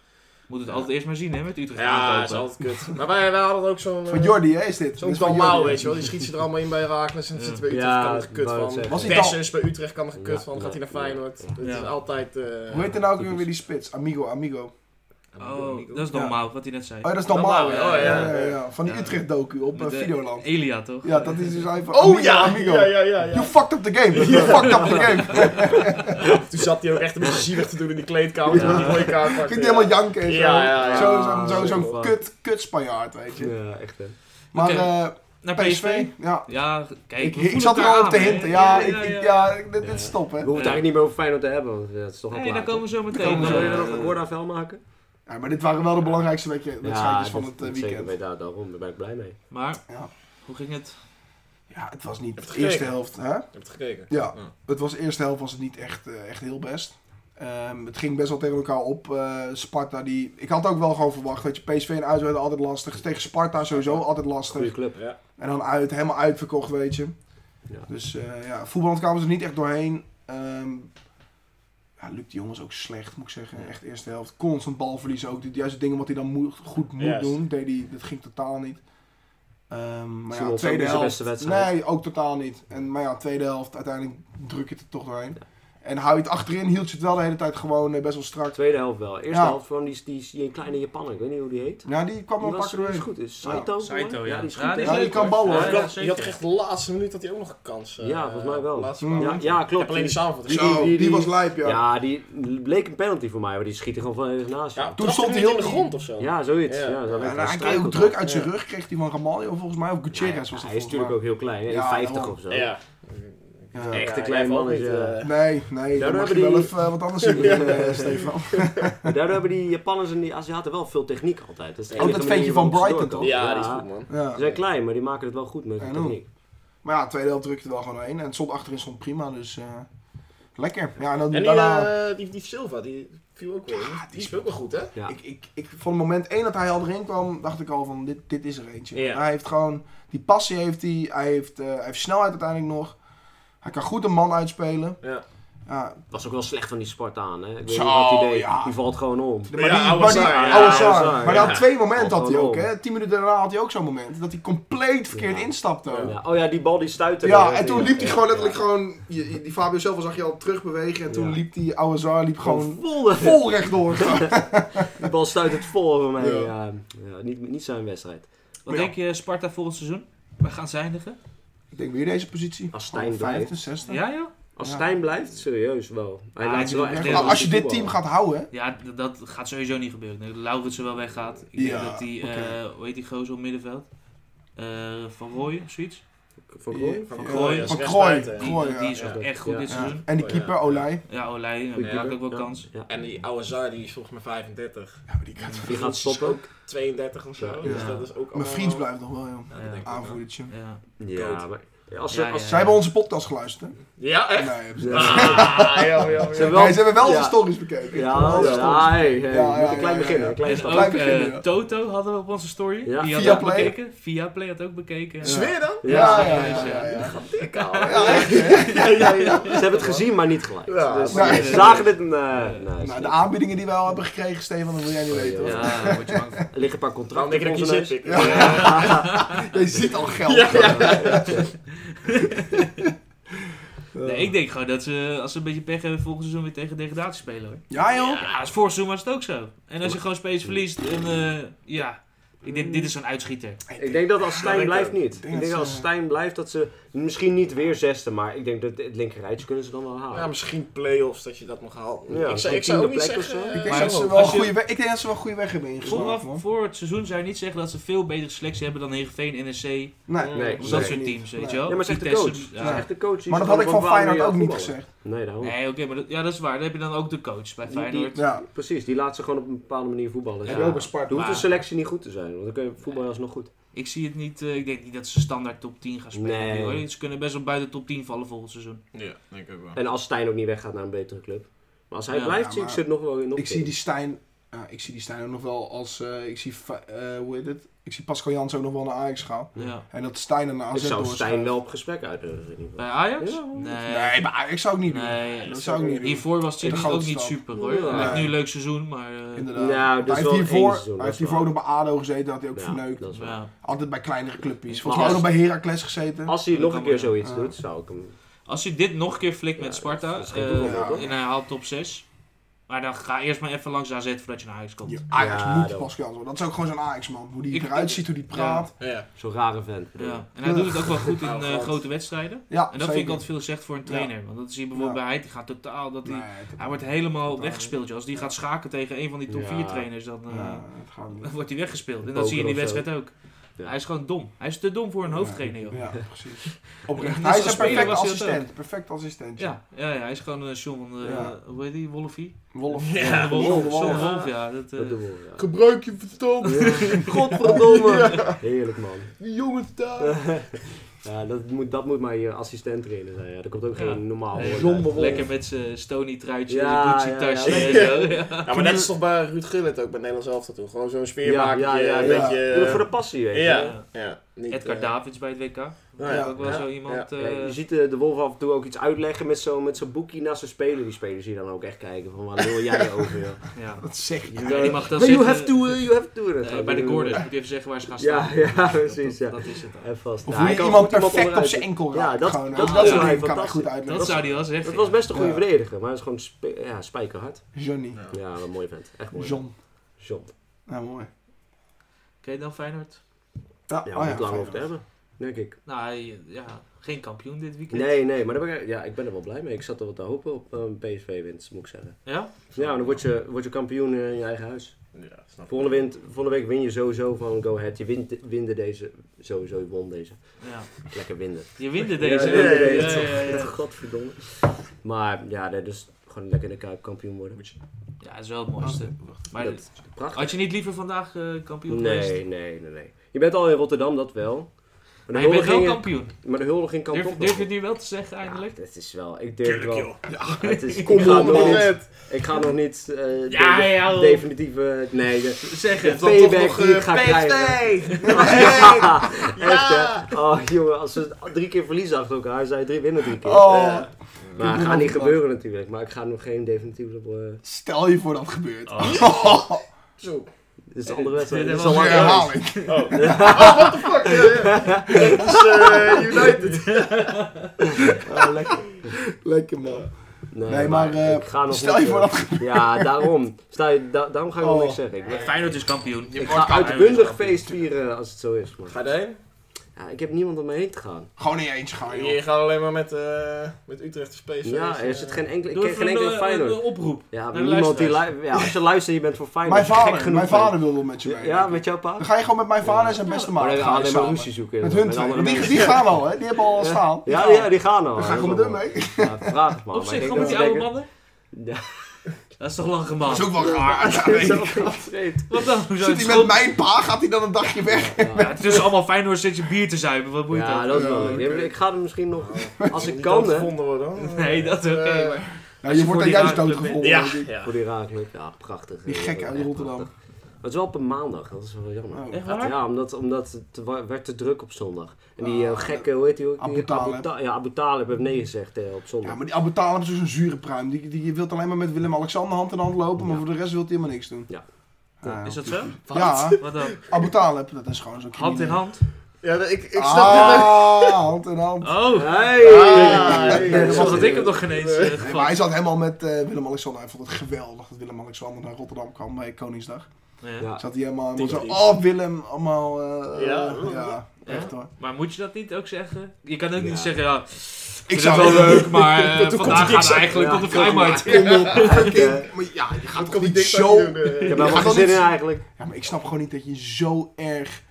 Speaker 2: Moet het altijd eerst maar zien, hè, met Utrecht.
Speaker 3: Ja, dat is
Speaker 2: aankopen.
Speaker 3: altijd kut. Maar wij, wij hadden ook zo'n... eh,
Speaker 4: Van Jordi, hè, is dit. Dit
Speaker 3: Zo'n
Speaker 4: is van
Speaker 3: normaal,
Speaker 4: Jordi.
Speaker 3: weet je wel. Die schiet ze er allemaal in bij Raakles en
Speaker 2: Ja.
Speaker 3: dat zit bij Utrecht
Speaker 5: Ja,
Speaker 3: kan er
Speaker 5: ik
Speaker 3: gekut
Speaker 5: wou het
Speaker 3: van.
Speaker 5: zeggen.
Speaker 4: Was hij
Speaker 3: Dessers bij Utrecht kan er gekut
Speaker 5: Ja,
Speaker 3: van. Gaat hij
Speaker 5: ja,
Speaker 3: naar
Speaker 5: ja.
Speaker 3: Feyenoord. Het
Speaker 2: Ja.
Speaker 3: is altijd... eh,
Speaker 4: Hoe heet er nou ook weer die spits? Amigo, Amigo.
Speaker 2: Oh, dat is normaal, wat hij net zei.
Speaker 4: Oh, dat is normaal,
Speaker 3: Normaal,
Speaker 4: ja.
Speaker 3: oh, ja.
Speaker 4: ja, ja, ja. Van die
Speaker 2: Ja.
Speaker 4: Utrecht-doku op eh,
Speaker 2: Met, eh,
Speaker 4: Videoland.
Speaker 2: Elia, toch?
Speaker 4: Ja, dat is dus even...
Speaker 3: Oh ja!
Speaker 4: Amigo.
Speaker 3: Ja, ja, ja. ja.
Speaker 4: You fucked up the game. You fucked up the game.
Speaker 3: Toen zat hij ook echt een beetje zielig te doen in die kleedkamer. Toen die mooie kaart pakte.
Speaker 4: Ging die helemaal janken en zo.
Speaker 3: Ja, ja, ja.
Speaker 4: Zo- Zo'n zo,
Speaker 5: Ah,
Speaker 4: zo'n
Speaker 5: zo.
Speaker 4: kut, kut Spanjaard, weet je.
Speaker 5: Ja, echt hè.
Speaker 4: Maar
Speaker 2: Oké.
Speaker 4: eh,
Speaker 2: *laughs* Naar
Speaker 4: PSV,
Speaker 2: PSV?
Speaker 4: ja.
Speaker 2: Ja, kijk.
Speaker 4: Ik,
Speaker 2: we
Speaker 4: ik
Speaker 2: voelen
Speaker 4: zat er
Speaker 2: elkaar
Speaker 4: al op te
Speaker 2: aan, hè.
Speaker 4: hinten. Ja, ik,
Speaker 2: ja,
Speaker 4: ik,
Speaker 2: ja.
Speaker 4: ja, dit- dit stopt, hè.
Speaker 5: We hoeven het eigenlijk niet meer over Feyenoord te hebben, want dat is toch al
Speaker 2: Nee, daar
Speaker 5: klaar.
Speaker 2: komen we zo meteen.
Speaker 4: komen we
Speaker 5: Zullen we er nog
Speaker 2: eh,
Speaker 5: een woord aan vuil maken?
Speaker 4: Ja, maar dit waren wel de belangrijkste wedje- wedstrijdjes van
Speaker 5: dat-
Speaker 4: het eh,
Speaker 5: dat Zeker,
Speaker 4: weekend.
Speaker 5: weet daar, daarom, daar ben ik blij mee.
Speaker 2: Maar,
Speaker 4: Ja.
Speaker 2: hoe ging het?
Speaker 4: Ja, het was niet
Speaker 3: Heb
Speaker 4: de
Speaker 3: het
Speaker 4: eerste
Speaker 3: gekeken?
Speaker 4: helft. Hè?
Speaker 3: Heb je het gekeken?
Speaker 4: Ja. Het was de eerste helft was het niet echt, eh, echt heel best. Ehm, het ging best wel tegen elkaar op. eh, Sparta, die... Ik had ook wel gewoon verwacht, weet je, PSV en uit werden altijd lastig. Tegen Sparta sowieso altijd lastig.
Speaker 5: Goede club.
Speaker 3: Ja.
Speaker 4: En dan uit, helemaal uitverkocht, weet je.
Speaker 5: Ja.
Speaker 4: Dus eh ja, voetballend kwamen ze er niet echt doorheen. Ehm, ja, Luc de Jong was ook slecht, moet ik zeggen. Echt eerste helft. Constant balverlies ook. Die juiste dingen wat hij dan moet, goed moet
Speaker 3: Juist.
Speaker 4: doen, deed hij, dat ging totaal niet. Ehm maar ja,
Speaker 5: Simons ook
Speaker 4: tweede
Speaker 5: niet zijn
Speaker 4: helft.
Speaker 5: beste wedstrijd.
Speaker 4: Nee, ook totaal niet. En, maar ja, tweede helft, uiteindelijk druk je het er toch doorheen. En hou je het achterin, hield je het wel de hele tijd gewoon eh, best wel strak.
Speaker 5: Tweede helft wel. Eerste
Speaker 4: Ja.
Speaker 5: helft gewoon die, die, die kleine Japaner, ik weet niet hoe die heet.
Speaker 4: Ja, die kwam
Speaker 5: Die
Speaker 4: wel een
Speaker 5: was,
Speaker 4: paar keer
Speaker 5: die is
Speaker 4: doorheen.
Speaker 5: goed. Is Saito?
Speaker 2: Saito,
Speaker 5: hoor.
Speaker 2: ja.
Speaker 5: Ja, die is goed.
Speaker 2: Ja, die
Speaker 5: hè?
Speaker 2: is
Speaker 4: Ja, die
Speaker 2: leuk,
Speaker 4: kan
Speaker 2: hoor.
Speaker 4: ballen, hoor.
Speaker 2: Ja,
Speaker 3: Je
Speaker 2: ja,
Speaker 3: had, je had
Speaker 2: zeker.
Speaker 3: echt de laatste minuut had hij ook nog een kans. eh,
Speaker 5: Ja, volgens mij wel.
Speaker 3: Laatste
Speaker 4: Mm.
Speaker 5: Ja,
Speaker 3: ja,
Speaker 5: ja,
Speaker 3: Ik
Speaker 5: klopt.
Speaker 3: heb alleen die samenvatting.
Speaker 5: Die-
Speaker 4: Zo, die,
Speaker 5: die- die-
Speaker 4: was lijp, ja.
Speaker 5: Ja, die bleek een penalty voor mij, maar die schiet er gewoon volledig naast.
Speaker 3: Ja,
Speaker 5: Ja,
Speaker 3: trapte
Speaker 4: stond hij
Speaker 3: niet
Speaker 4: heel-
Speaker 3: in de grond of zo.
Speaker 5: ja zoiets.
Speaker 3: Ja.
Speaker 5: Ja, zo
Speaker 4: Ja,
Speaker 5: leuk.
Speaker 4: en
Speaker 5: Hij
Speaker 4: hij kreeg ook
Speaker 5: struikelt
Speaker 4: druk
Speaker 5: wel.
Speaker 4: uit zijn
Speaker 3: Ja.
Speaker 4: rug, kreeg hij van Ramaljo volgens mij. Of Gutierrez was dat
Speaker 5: Hij
Speaker 4: volgens mij.
Speaker 5: is natuurlijk ook heel klein, hè,
Speaker 4: Ja,
Speaker 5: 50
Speaker 4: daarom.
Speaker 5: of zo.
Speaker 3: Ja.
Speaker 4: Ja.
Speaker 5: Echt een
Speaker 3: Ja,
Speaker 5: klein
Speaker 3: jij valt
Speaker 5: mannetje.
Speaker 3: niet, eh,
Speaker 4: Nee, nee, dan
Speaker 5: Daardoor
Speaker 4: mag je
Speaker 5: hebben
Speaker 4: wel
Speaker 5: die-
Speaker 4: even eh, wat anders zien, eh, Stefan.
Speaker 5: Maar Daardoor hebben die Japanners en die Aziaten wel veel techniek altijd. Dat is de
Speaker 4: Ook
Speaker 5: enige
Speaker 4: dat
Speaker 5: manier
Speaker 4: ventje van
Speaker 5: waarop ze
Speaker 4: Brighton,
Speaker 5: doorkomen.
Speaker 3: Ja, die is goed, man.
Speaker 4: Ja.
Speaker 5: Ze zijn klein, maar die maken het wel goed met de
Speaker 4: Ja, nou.
Speaker 5: techniek.
Speaker 4: Maar ja, tweede helft drukte wel gewoon heen. En het stond achterin stond prima, dus... eh, Lekker. Ja, en dan
Speaker 3: En die,
Speaker 4: daarna...
Speaker 3: eh, die, die Silva, die viel ook weer. die,
Speaker 4: die-
Speaker 3: speelt wel goed, hè?
Speaker 5: Ja.
Speaker 4: Ik, ik, ik, van het moment één dat hij al erin kwam, dacht ik al van dit, dit is er eentje.
Speaker 3: Ja.
Speaker 4: Hij heeft gewoon, die passie heeft hij, hij heeft, eh, hij heeft snelheid uiteindelijk nog. Hij kan goed een man uitspelen.
Speaker 3: Ja.
Speaker 4: Ja,
Speaker 5: Was ook wel slecht van die Spartaan, hè? Ik weet
Speaker 4: Zo,
Speaker 5: niet wat die deed.
Speaker 4: ja.
Speaker 5: Die valt gewoon om.
Speaker 4: maar
Speaker 3: Ja,
Speaker 4: die, maar die,
Speaker 3: Awassar, ja,
Speaker 4: Awassar.
Speaker 5: Awassar,
Speaker 4: Maar hij
Speaker 5: ja.
Speaker 4: had twee momenten had
Speaker 5: Valt
Speaker 4: hij
Speaker 5: gewoon
Speaker 4: ook,
Speaker 5: om.
Speaker 4: hè. Tien minuten daarna had hij ook zo'n moment. Dat hij compleet verkeerd
Speaker 5: Ja.
Speaker 4: instapte. ook. Ja.
Speaker 5: Ja. Oh ja, die bal die stuitte. er,
Speaker 4: en toen
Speaker 5: ja.
Speaker 4: liep hij
Speaker 5: Ja.
Speaker 4: gewoon letterlijk gewoon, je- je- die Fabio zelf zag je al terugbewegen. En toen
Speaker 5: Ja.
Speaker 4: liep die Awassar liep
Speaker 5: Gewoon
Speaker 4: gewoon
Speaker 5: vol.
Speaker 4: vol rechtdoor.
Speaker 5: Die bal stuit het vol over mij.
Speaker 4: Ja.
Speaker 5: Ja. Ja, niet, niet zijn wedstrijd.
Speaker 2: Wat
Speaker 4: Ja.
Speaker 2: denk je, Sparta volgend seizoen? We gaan ze eindigen?
Speaker 4: ik denk weer deze positie.
Speaker 5: Als Stijn blijft.
Speaker 4: 65.
Speaker 2: Ja, joh.
Speaker 5: Als
Speaker 4: Ja.
Speaker 5: Stijn blijft, serieus wel. Hij
Speaker 2: Ah,
Speaker 5: laat
Speaker 2: ik
Speaker 5: ze wel
Speaker 2: denk
Speaker 5: echt
Speaker 2: echt wel.
Speaker 5: heel
Speaker 4: Nou, als je
Speaker 5: goed
Speaker 4: dit team
Speaker 5: voetballen.
Speaker 4: gaat houden, hè.
Speaker 2: Ja, d- dat gaat sowieso niet gebeuren. Ik denk dat Lauritsen wel weggaat. Ik
Speaker 4: Ja,
Speaker 2: denk dat die, eh,
Speaker 4: oké.
Speaker 2: hoe heet die gozer op middenveld? Eh, van Rooij of zoiets?
Speaker 5: Van Krooi?
Speaker 3: Van
Speaker 4: Ja.
Speaker 2: Krooi.
Speaker 3: Krooi.
Speaker 4: Van
Speaker 3: Van
Speaker 4: Krooi.
Speaker 2: Die,
Speaker 4: Gooi,
Speaker 2: die
Speaker 4: ja,
Speaker 2: is ook
Speaker 5: ja.
Speaker 2: echt goed
Speaker 5: Ja.
Speaker 2: dit
Speaker 4: Ja.
Speaker 2: seizoen.
Speaker 4: En de
Speaker 3: Oh,
Speaker 4: keeper,
Speaker 3: ja.
Speaker 4: Olij.
Speaker 2: Ja, Olij, eh,
Speaker 5: Goeie
Speaker 2: die maakt
Speaker 5: keeper.
Speaker 2: ook wel
Speaker 5: Ja.
Speaker 2: kans.
Speaker 5: Ja.
Speaker 3: En die Awazar, die is volgens mij 35.
Speaker 4: Ja, maar die gaat
Speaker 5: Die gaat stoppen.
Speaker 3: 32 of zo.
Speaker 5: Ja.
Speaker 3: Dus
Speaker 2: Ja.
Speaker 3: dat is ook allemaal...
Speaker 4: Mijn vriend blijft nog wel, joh.
Speaker 3: Ja, dat denk ik ook wel.
Speaker 4: Aanvoerdertje.
Speaker 2: Ja.
Speaker 5: Ja, maar als ze,
Speaker 2: Ja, ja,
Speaker 5: als
Speaker 2: ja.
Speaker 4: Zij hebben onze podcast geluisterd, hè?
Speaker 3: Ja, echt?
Speaker 4: Nee, hebben ze
Speaker 5: Ja.
Speaker 4: niet.
Speaker 3: Ah, ja, ja,
Speaker 5: Ze
Speaker 3: ja.
Speaker 5: hebben wel...
Speaker 4: Nee, ze hebben wel
Speaker 5: ja.
Speaker 4: onze stories bekeken.
Speaker 5: Ja,
Speaker 4: Onze
Speaker 5: ja,
Speaker 4: stories.
Speaker 5: hey, hey.
Speaker 4: Ja,
Speaker 5: we
Speaker 4: ja,
Speaker 5: moeten klein
Speaker 4: ja,
Speaker 5: beginnen.
Speaker 4: ja.
Speaker 5: Klein
Speaker 2: En
Speaker 5: stap.
Speaker 2: ook
Speaker 4: beginnen,
Speaker 2: eh,
Speaker 4: ja.
Speaker 2: Toto hadden we op onze story.
Speaker 5: Ja.
Speaker 2: Die had ook
Speaker 4: Viaplay.
Speaker 2: bekeken. Viaplay had ook bekeken. Ja.
Speaker 3: Zweer dan?
Speaker 4: Ja,
Speaker 5: Ja,
Speaker 4: ja, ja, ja, ja.
Speaker 5: dik, ouwe. Ze hebben het gezien, maar niet gelijk.
Speaker 3: Ja,
Speaker 5: dus
Speaker 4: maar-
Speaker 5: ze zagen dit... Nee, nee,
Speaker 4: Nou, de aanbiedingen die we al hebben gekregen, Stefan, dat wil jij niet weten, hoor.
Speaker 2: Ja, daar word je bang van.
Speaker 5: er liggen een paar
Speaker 3: Dan
Speaker 5: contracten
Speaker 3: denk ik dat
Speaker 5: op
Speaker 3: je
Speaker 5: onze
Speaker 3: zit.
Speaker 5: neus.
Speaker 3: ik. Ja.
Speaker 4: *laughs* Je ziet al geld.
Speaker 2: Nee, ik denk gewoon dat ze, als ze een beetje pech hebben, volgend seizoen weer tegen degradatie spelen hoor.
Speaker 4: Ja, joh.
Speaker 2: Ja, als vorig seizoen was het ook zo. En als je gewoon space verliest, en, eh, ja. Ik denk, dit is zo'n uitschieter.
Speaker 5: Ik denk dat als Stijn
Speaker 3: denk
Speaker 5: blijft
Speaker 3: ook.
Speaker 5: niet.
Speaker 4: denk
Speaker 5: Ik denk
Speaker 4: dat
Speaker 5: dat als
Speaker 4: ze-
Speaker 5: Stijn blijft dat ze misschien niet weer zesde, maar ik denk dat het linkerrijtje kunnen ze dan wel halen.
Speaker 3: Ja, misschien play-offs dat je dat nog haalt.
Speaker 5: Ja,
Speaker 3: ik
Speaker 5: zo'n
Speaker 3: zou, ik zou ook
Speaker 5: tiende
Speaker 3: niet
Speaker 5: plek of
Speaker 3: zeggen...
Speaker 5: zo.
Speaker 3: eh,
Speaker 4: Ik denk,
Speaker 2: Maar
Speaker 4: dat ze
Speaker 2: joh,
Speaker 4: wel een
Speaker 2: als je-
Speaker 4: goede weg- ik denk dat ze wel een goede weg hebben ingeslagen,
Speaker 2: Vooraf,
Speaker 4: man.
Speaker 2: voor het seizoen zou je niet zeggen dat ze veel betere selectie hebben dan Heerenveen, NEC,
Speaker 4: Nee,
Speaker 3: Nee,
Speaker 4: nee,
Speaker 2: of dat
Speaker 5: nee.
Speaker 2: soort
Speaker 4: niet.
Speaker 2: teams,
Speaker 4: Nee.
Speaker 2: weet je wel.
Speaker 5: Ja, maar zegt de
Speaker 2: Vitesse,
Speaker 5: coach.
Speaker 2: ja.
Speaker 5: Zegt de coach. die
Speaker 4: Maar
Speaker 5: ze
Speaker 4: dat had ik
Speaker 5: gewoon
Speaker 4: van Feyenoord
Speaker 5: bepalen
Speaker 4: ook niet
Speaker 5: voetballen.
Speaker 4: gezegd.
Speaker 5: Nee, daarom.
Speaker 2: Nee, oké, maar dat, ja, dat is waar. Dan heb je dan ook de coach bij
Speaker 5: Die- die-
Speaker 2: Feyenoord.
Speaker 4: Ja,
Speaker 5: Precies, die laat ze gewoon op een bepaalde manier voetballen.
Speaker 4: heb
Speaker 5: Ja.
Speaker 4: je ook bij Sparta.
Speaker 5: Dan hoeft de
Speaker 2: Maar-
Speaker 5: selectie niet goed te zijn, want dan kun je voetballen alsnog goed.
Speaker 2: Ik zie het niet, eh, ik denk niet dat ze standaard top 10 gaan spelen.
Speaker 5: Nee.
Speaker 2: nu, hoor. Ze kunnen best wel buiten top 10 vallen volgend seizoen.
Speaker 3: Ja, denk ik ook wel.
Speaker 5: En als Stijn ook niet weggaat naar een betere club. Maar als hij
Speaker 2: Ja,
Speaker 5: blijft,
Speaker 4: ja,
Speaker 5: zie ik
Speaker 4: maar-
Speaker 5: ze nog wel in
Speaker 4: Ik
Speaker 5: opzet.
Speaker 4: zie die Stijn, ja, ik zie die Stijn ook nog wel als, eh, ik zie, Fa- eh, hoe heet het? Ik zie Pascal Jans ook nog wel naar Ajax gaan.
Speaker 5: Ja.
Speaker 2: Ja.
Speaker 4: En dat Stijn er naar
Speaker 5: Ik
Speaker 4: AZ
Speaker 5: zou Stijn
Speaker 4: doorschuift.
Speaker 5: wel op gesprek uitnodigen. in ieder geval.
Speaker 2: Bij Ajax?
Speaker 5: Ja, hoor.
Speaker 4: Nee, maar Ajax zou ik niet doen.
Speaker 2: Nee,
Speaker 4: dat
Speaker 2: dat
Speaker 4: zou ik niet doen.
Speaker 2: Hiervoor was
Speaker 4: In de
Speaker 2: het ook
Speaker 4: grote
Speaker 2: niet
Speaker 4: stad.
Speaker 2: super hoor.
Speaker 5: Ja.
Speaker 2: Hij heeft nu
Speaker 4: Nee.
Speaker 2: een leuk seizoen, maar... eh,
Speaker 4: Inderdaad.
Speaker 5: Nou,
Speaker 4: hij
Speaker 5: dit is
Speaker 4: heeft
Speaker 5: wel één
Speaker 4: hiervoor,
Speaker 5: seizoen,
Speaker 4: hij
Speaker 5: dat
Speaker 4: heeft
Speaker 5: is
Speaker 4: hiervoor nog
Speaker 5: waar.
Speaker 4: bij ADO gezeten, dat had hij ook
Speaker 5: Ja,
Speaker 4: verneukt.
Speaker 5: dat is waar.
Speaker 2: ja.
Speaker 4: Altijd bij kleinere clubjes.
Speaker 5: Maar
Speaker 4: Volgens mij ook nog
Speaker 5: als-
Speaker 4: bij Heracles gezeten.
Speaker 5: Als hij
Speaker 2: Dat
Speaker 5: nog
Speaker 2: kan
Speaker 5: een keer
Speaker 2: wel,
Speaker 5: zoiets
Speaker 4: ja.
Speaker 5: doet, zou ik hem...
Speaker 2: Als je dit nog een keer flikt
Speaker 5: Ja,
Speaker 2: met Sparta,
Speaker 5: dat is geen
Speaker 2: eh,
Speaker 5: toeval,
Speaker 4: toch?
Speaker 2: en hij haalt top 6... Maar dan ga eerst maar even langs AZ voordat je naar Ajax komt.
Speaker 4: Ja, Ajax
Speaker 5: Ja,
Speaker 4: moet
Speaker 5: dat-
Speaker 4: Pascal worden. Dat is ook gewoon zo'n Ajax-man. Hoe die
Speaker 2: Ik-
Speaker 4: eruit ziet, hoe die praat.
Speaker 3: Ja.
Speaker 5: Zo'n rare vent.
Speaker 2: Ja. En hij doet het ook wel goed in
Speaker 3: Nou,
Speaker 2: eh,
Speaker 3: God.
Speaker 2: grote wedstrijden.
Speaker 4: Ja,
Speaker 2: En dat
Speaker 4: zeker.
Speaker 2: vind ik altijd veel gezegd voor een trainer. Want dat is hier bijvoorbeeld
Speaker 4: Ja.
Speaker 2: bij hij, die gaat totaal... Dat hij,
Speaker 4: Nee, dat-
Speaker 2: hij wordt helemaal
Speaker 4: Totaal.
Speaker 2: weggespeeld. joh. Als die gaat schaken tegen een van die top
Speaker 5: Ja.
Speaker 2: 4 trainers, dan... eh,
Speaker 4: Ja, dat gaat niet.
Speaker 2: Dan wordt hij weggespeeld. En
Speaker 5: Poker
Speaker 2: dat zie je in die
Speaker 5: of zo.
Speaker 2: wedstrijd ook.
Speaker 5: Ja.
Speaker 2: Hij is gewoon dom. Hij is te dom voor een hoofdtrainer, joh.
Speaker 4: Ja, precies. Oprecht. Hij
Speaker 2: Net
Speaker 4: is
Speaker 2: als
Speaker 4: een
Speaker 2: speler
Speaker 4: perfect
Speaker 2: was hij dat
Speaker 4: assistent. Perfect assistent.
Speaker 2: Ja, ja, ja, hij is gewoon een John van de...
Speaker 4: Ja.
Speaker 2: Hoe heet die? Wolfie?
Speaker 4: Wolf.
Speaker 2: John de Wolf.
Speaker 4: John de Wolf.
Speaker 2: John de Wolf, ja. Dat, eh,
Speaker 5: Dat doen we, ja.
Speaker 3: Gebruik je verstand.
Speaker 2: *laughs*
Speaker 5: Godverdomme! *laughs* Heerlijk man.
Speaker 3: Die jongens daar.
Speaker 5: Ja, dat moet, dat moet maar je assistent trainer zijn. Ja. Daar komt ook
Speaker 2: Ja.
Speaker 5: geen normaal
Speaker 2: Nee,
Speaker 5: woord
Speaker 4: John de
Speaker 5: uit.
Speaker 4: Wolf.
Speaker 2: lekker met zijn Stony-truitje,
Speaker 5: Ja,
Speaker 2: zijn
Speaker 5: ja,
Speaker 2: Gucci-tasje
Speaker 5: ja,
Speaker 2: en zo. Ja.
Speaker 3: Ja, maar dat is toch bij Ruud Gullit ook bij Nederland zelf toe. Gewoon zo'n sfeer
Speaker 5: Ja,
Speaker 3: maken.
Speaker 5: ja, ja.
Speaker 3: Een
Speaker 5: ja.
Speaker 3: beetje... eh,
Speaker 5: Doe het voor de passie, weet je.
Speaker 3: Ja.
Speaker 2: Ja.
Speaker 3: Ja, niet,
Speaker 2: Edgar
Speaker 3: eh,
Speaker 2: Davids bij het WK. Dat
Speaker 3: ja.
Speaker 2: is ook wel
Speaker 3: Ja.
Speaker 2: zo iemand...
Speaker 5: Ja,
Speaker 2: eh,
Speaker 5: je ziet eh, de Wolf af en toe ook iets uitleggen met zo'n met zo'n boekje naast zijn speler. Die spelers die dan ook echt kijken van waar wil jij over, joh.
Speaker 2: ja.
Speaker 4: Dat zeg
Speaker 5: Je
Speaker 4: je.
Speaker 2: Ja, die mag dan
Speaker 5: "Hey, you
Speaker 2: zeggen-
Speaker 5: have to, eh, you have to.
Speaker 2: Eh, bij de Gordon. Moet je even zeggen waar ze gaan staan.
Speaker 5: Ja, ja, precies, ja.
Speaker 2: Dat, dat is het dan.
Speaker 5: En vast.
Speaker 4: Of
Speaker 5: Ja,
Speaker 4: hoe
Speaker 5: hij
Speaker 4: je
Speaker 5: kan
Speaker 4: iemand
Speaker 5: goed
Speaker 4: perfect
Speaker 5: iemand
Speaker 4: op
Speaker 5: onderuit.
Speaker 4: zijn enkel raakt.
Speaker 5: Ja, dat-
Speaker 4: gewoon, hè.
Speaker 5: dat- dat
Speaker 4: soort
Speaker 5: zou
Speaker 4: dingen
Speaker 5: hij
Speaker 4: kan hij goed
Speaker 5: fantastisch-
Speaker 2: Dat
Speaker 4: uitleggen.
Speaker 2: zou die wel zeggen.
Speaker 5: Dat was best een goede
Speaker 4: Ja.
Speaker 5: verdediger, maar hij is gewoon spe- ja, spijkerhard.
Speaker 4: Johnny.
Speaker 3: Ja.
Speaker 5: Ja, wat een mooi vent. Echt mooi.
Speaker 4: John.
Speaker 5: John.
Speaker 4: Nou, mooi.
Speaker 2: Oké, dan Feyenoord.
Speaker 4: Ja,
Speaker 5: Ja,
Speaker 4: oh
Speaker 5: we
Speaker 4: ja,
Speaker 5: moeten lang
Speaker 4: fijn.
Speaker 5: over te hebben. Denk ik.
Speaker 2: Nou, hij, ja, geen kampioen dit weekend.
Speaker 5: Nee, nee, maar daar ben ik, ja, ik ben er wel blij mee. Ik zat er wel te hopen op eh, een PSV-winst, moet ik zeggen.
Speaker 2: Ja?
Speaker 5: Ja, maar dan word je, word je kampioen eh, in je eigen huis.
Speaker 3: Ja, snap ik.
Speaker 5: Volgende, wint- volgende week win je sowieso van Go Ahead. Je wint, winde deze, sowieso je won deze.
Speaker 2: Ja.
Speaker 5: Lekker winnen.
Speaker 2: Je
Speaker 5: *laughs*
Speaker 2: winde deze.
Speaker 5: Ja, ja, ja, ja,
Speaker 2: Ja, ja, ja. *laughs*
Speaker 5: Godverdomme. Maar ja, nee, dus gewoon lekker in de Kuip kampioen worden.
Speaker 2: Ja, dat is wel het mooiste. Maar
Speaker 5: Ah, Dat- Prachtig.
Speaker 2: had je niet liever vandaag eh, kampioen
Speaker 5: Nee,
Speaker 2: geweest?
Speaker 5: nee, nee, nee. Je bent al in Rotterdam, dat wel. Maar de
Speaker 2: Maar je bent
Speaker 5: huldiging,
Speaker 2: wel kampioen.
Speaker 5: maar de huldiging kan
Speaker 2: Durf,
Speaker 5: toch
Speaker 2: durf je
Speaker 5: nog.
Speaker 2: het nu wel te zeggen
Speaker 5: Ja,
Speaker 2: eigenlijk?
Speaker 5: dat is wel... Ik durf het
Speaker 3: Tuurlijk,
Speaker 5: wel.
Speaker 3: joh.
Speaker 5: Het is,
Speaker 3: Kom
Speaker 5: ik, ga
Speaker 3: op,
Speaker 5: nog
Speaker 3: man.
Speaker 5: niet,
Speaker 3: Red.
Speaker 5: ik ga nog niet... eh,
Speaker 2: Ja,
Speaker 5: de-
Speaker 2: ja, oh. hoor.
Speaker 5: Definitieve... Nee, de-
Speaker 2: *laughs* Zeg
Speaker 5: De
Speaker 2: het.
Speaker 3: Dat toch
Speaker 5: payback
Speaker 3: nog,
Speaker 5: die ik
Speaker 3: eh,
Speaker 5: ga
Speaker 3: PSV.
Speaker 5: krijgen.
Speaker 3: Nee.
Speaker 5: Ja, *laughs* echt hè. Oh jongen, als ze drie keer verliezen achter elkaar, zou je drie winnen drie keer.
Speaker 4: Oh,
Speaker 5: maar
Speaker 4: Ik
Speaker 5: gaat niet
Speaker 4: ben nog
Speaker 5: gebeuren natuurlijk, maar ik ga nog geen definitieve... eh
Speaker 4: stel je voor dat het gebeurt.
Speaker 3: Zo.
Speaker 5: dit is de
Speaker 2: Eh,
Speaker 5: andere
Speaker 2: *laughs*
Speaker 5: wedstrijd,
Speaker 2: dit
Speaker 5: dit is al
Speaker 2: was
Speaker 5: lang
Speaker 2: een
Speaker 5: uit.
Speaker 4: herhaling.
Speaker 3: Fuck, ja, ja. Het is eh, United.
Speaker 5: Oh, lekker.
Speaker 4: Lekker man.
Speaker 5: Nee,
Speaker 4: Nee, maar, eh,
Speaker 5: ik ga nog
Speaker 4: stel je
Speaker 5: niet,
Speaker 4: voor
Speaker 5: eh,
Speaker 4: dat het
Speaker 5: Ja, daarom. Stel je, da- daarom ga ik nog
Speaker 4: Oh.
Speaker 5: niks zeggen. Ik, ben-
Speaker 2: Feyenoord is kampioen.
Speaker 5: ik ga uitbundig feest vieren als het zo is. Maar.
Speaker 3: Ga je erheen?
Speaker 5: Ja, ik heb niemand om me heen te gaan.
Speaker 4: gewoon in je eentje gaan, joh.
Speaker 3: Je gaat alleen maar met, eh, met Utrecht of PSV.
Speaker 5: Ja, er
Speaker 3: eh,
Speaker 5: zit geen enkele, ik
Speaker 2: Doe
Speaker 5: ken
Speaker 2: even
Speaker 5: geen
Speaker 2: een,
Speaker 5: enkele
Speaker 2: eh, een
Speaker 5: Feyenoord.
Speaker 2: oproep.
Speaker 5: Ja,
Speaker 2: naar de
Speaker 5: niemand die
Speaker 2: luisteraars.
Speaker 5: lu- ja, als je luistert, je bent voor Feyenoord.
Speaker 4: Mijn
Speaker 5: Dat is gek
Speaker 4: vader,
Speaker 5: genoeg,
Speaker 4: mijn
Speaker 5: man.
Speaker 4: vader wil wel met je mee.
Speaker 5: Ja, met jouw pa?
Speaker 4: Dan ga je gewoon met mijn vader en zijn beste maat.
Speaker 5: Maar
Speaker 4: Ga
Speaker 5: dan
Speaker 4: je
Speaker 5: gaan we alleen maar
Speaker 4: samen.
Speaker 5: ruzie zoeken.
Speaker 4: Met
Speaker 5: dan,
Speaker 4: hun
Speaker 5: andere
Speaker 4: twee. Die,
Speaker 5: mensen.
Speaker 4: die gaan al, hè? Die hebben al staan.
Speaker 5: Ja, ja, die gaan al.
Speaker 4: Dan ga ik
Speaker 5: Dat
Speaker 4: gewoon
Speaker 5: is
Speaker 4: met hem
Speaker 5: wel
Speaker 4: mee.
Speaker 5: mooi. Ja, vraag het
Speaker 2: Op
Speaker 5: maar. maar ik
Speaker 2: zich,
Speaker 5: denk
Speaker 2: gewoon met die
Speaker 5: dat
Speaker 2: oude
Speaker 5: ze
Speaker 2: mannen?
Speaker 5: denken-
Speaker 2: Dat is toch lang
Speaker 4: Dat is
Speaker 2: man.
Speaker 4: ook wel raar. Ja, weet
Speaker 5: *laughs* Ja,
Speaker 4: *laughs* ik.
Speaker 5: dat is vreemd.
Speaker 2: Wat dan? Hoezo?
Speaker 4: Zit
Speaker 2: Het
Speaker 4: hij met mijn pa? Gaat hij dan een dagje weg?
Speaker 2: Ja, het is dus allemaal Feyenoord zit je bier te zuipen. Wat moet je
Speaker 5: Ja,
Speaker 2: dan?
Speaker 5: dat is wel
Speaker 4: Ja,
Speaker 5: leuk.
Speaker 3: oké.
Speaker 5: Ik ga er misschien nog, als ik
Speaker 3: niet
Speaker 5: kan, hè,
Speaker 3: uitgevonden worden, hoor.
Speaker 2: *laughs* Nee, dat is oké.
Speaker 4: Eh,
Speaker 2: maar-
Speaker 4: Nou, je
Speaker 2: voor
Speaker 4: wordt dan
Speaker 2: die
Speaker 4: juist
Speaker 2: raar-
Speaker 4: doodgevonden.
Speaker 3: Ja,
Speaker 4: denk ik.
Speaker 3: ja.
Speaker 5: voor die raakclub. Ja, prachtig.
Speaker 4: Die
Speaker 5: Ja,
Speaker 4: gek uit
Speaker 5: echt
Speaker 4: Rotterdam.
Speaker 5: prachtig. Maar het is wel op een maandag, dat is wel jammer.
Speaker 4: Oh.
Speaker 2: Echt waar?
Speaker 5: Ja, omdat, omdat het wa- werd te druk op zondag. En die
Speaker 4: Ah,
Speaker 5: eh, gekke, hoe heet die ook? Die
Speaker 4: Abu Talib.
Speaker 5: Ta- Ja, Abu Talib heeft nee gezegd eh, op zondag.
Speaker 4: Ja, maar die Abu Talib is dus een zure pruim. Die, die, je wilt alleen maar met Willem-Alexander hand in hand lopen, maar
Speaker 5: Ja.
Speaker 4: voor de rest wilt hij helemaal niks doen.
Speaker 5: Ja.
Speaker 4: Ah,
Speaker 2: Is dat zo?
Speaker 4: Ja,
Speaker 2: Wat dan?
Speaker 4: Abu Talib, dat is gewoon zo'n
Speaker 2: Hand in
Speaker 4: crimineel.
Speaker 2: hand?
Speaker 3: Ja, ik, ik snap dit ook.
Speaker 4: Ah, hand in hand.
Speaker 2: Oh,
Speaker 5: Hey!
Speaker 3: Ah, hey.
Speaker 5: Ja,
Speaker 2: zoals
Speaker 5: dat
Speaker 2: dat ik hem nog geen eens eh,
Speaker 4: Nee, maar hij
Speaker 2: gevat.
Speaker 4: zat helemaal met eh, Willem-Alexander. Hij vond het geweldig dat Willem-Alexander naar Rotterdam kwam bij Koningsdag.
Speaker 2: Ja.
Speaker 5: Ja.
Speaker 4: Zat hij helemaal, helemaal zo,
Speaker 3: Tien
Speaker 4: oh Willem, allemaal, eh,
Speaker 3: Ja.
Speaker 4: eh, ja, echt hoor.
Speaker 2: Maar moet je dat niet ook zeggen? Je kan ook niet
Speaker 5: Ja.
Speaker 2: zeggen, ja,
Speaker 4: Ik
Speaker 2: ik zou wel leuk, maar eh,
Speaker 3: komt
Speaker 2: vandaag
Speaker 3: die
Speaker 2: gaat het eigenlijk
Speaker 5: Ja,
Speaker 2: op de
Speaker 5: kom
Speaker 2: vrijmarkt.
Speaker 4: Kom op,
Speaker 5: Ja.
Speaker 4: fucking- *laughs* maar ja, je gaat toch niet zo...
Speaker 5: Ik
Speaker 3: eh,
Speaker 5: heb
Speaker 4: Je
Speaker 5: er wel
Speaker 4: gaat
Speaker 5: geen
Speaker 4: wel
Speaker 5: zin
Speaker 4: niet-
Speaker 5: in eigenlijk.
Speaker 4: Ja, maar ik snap gewoon niet dat je zo erg...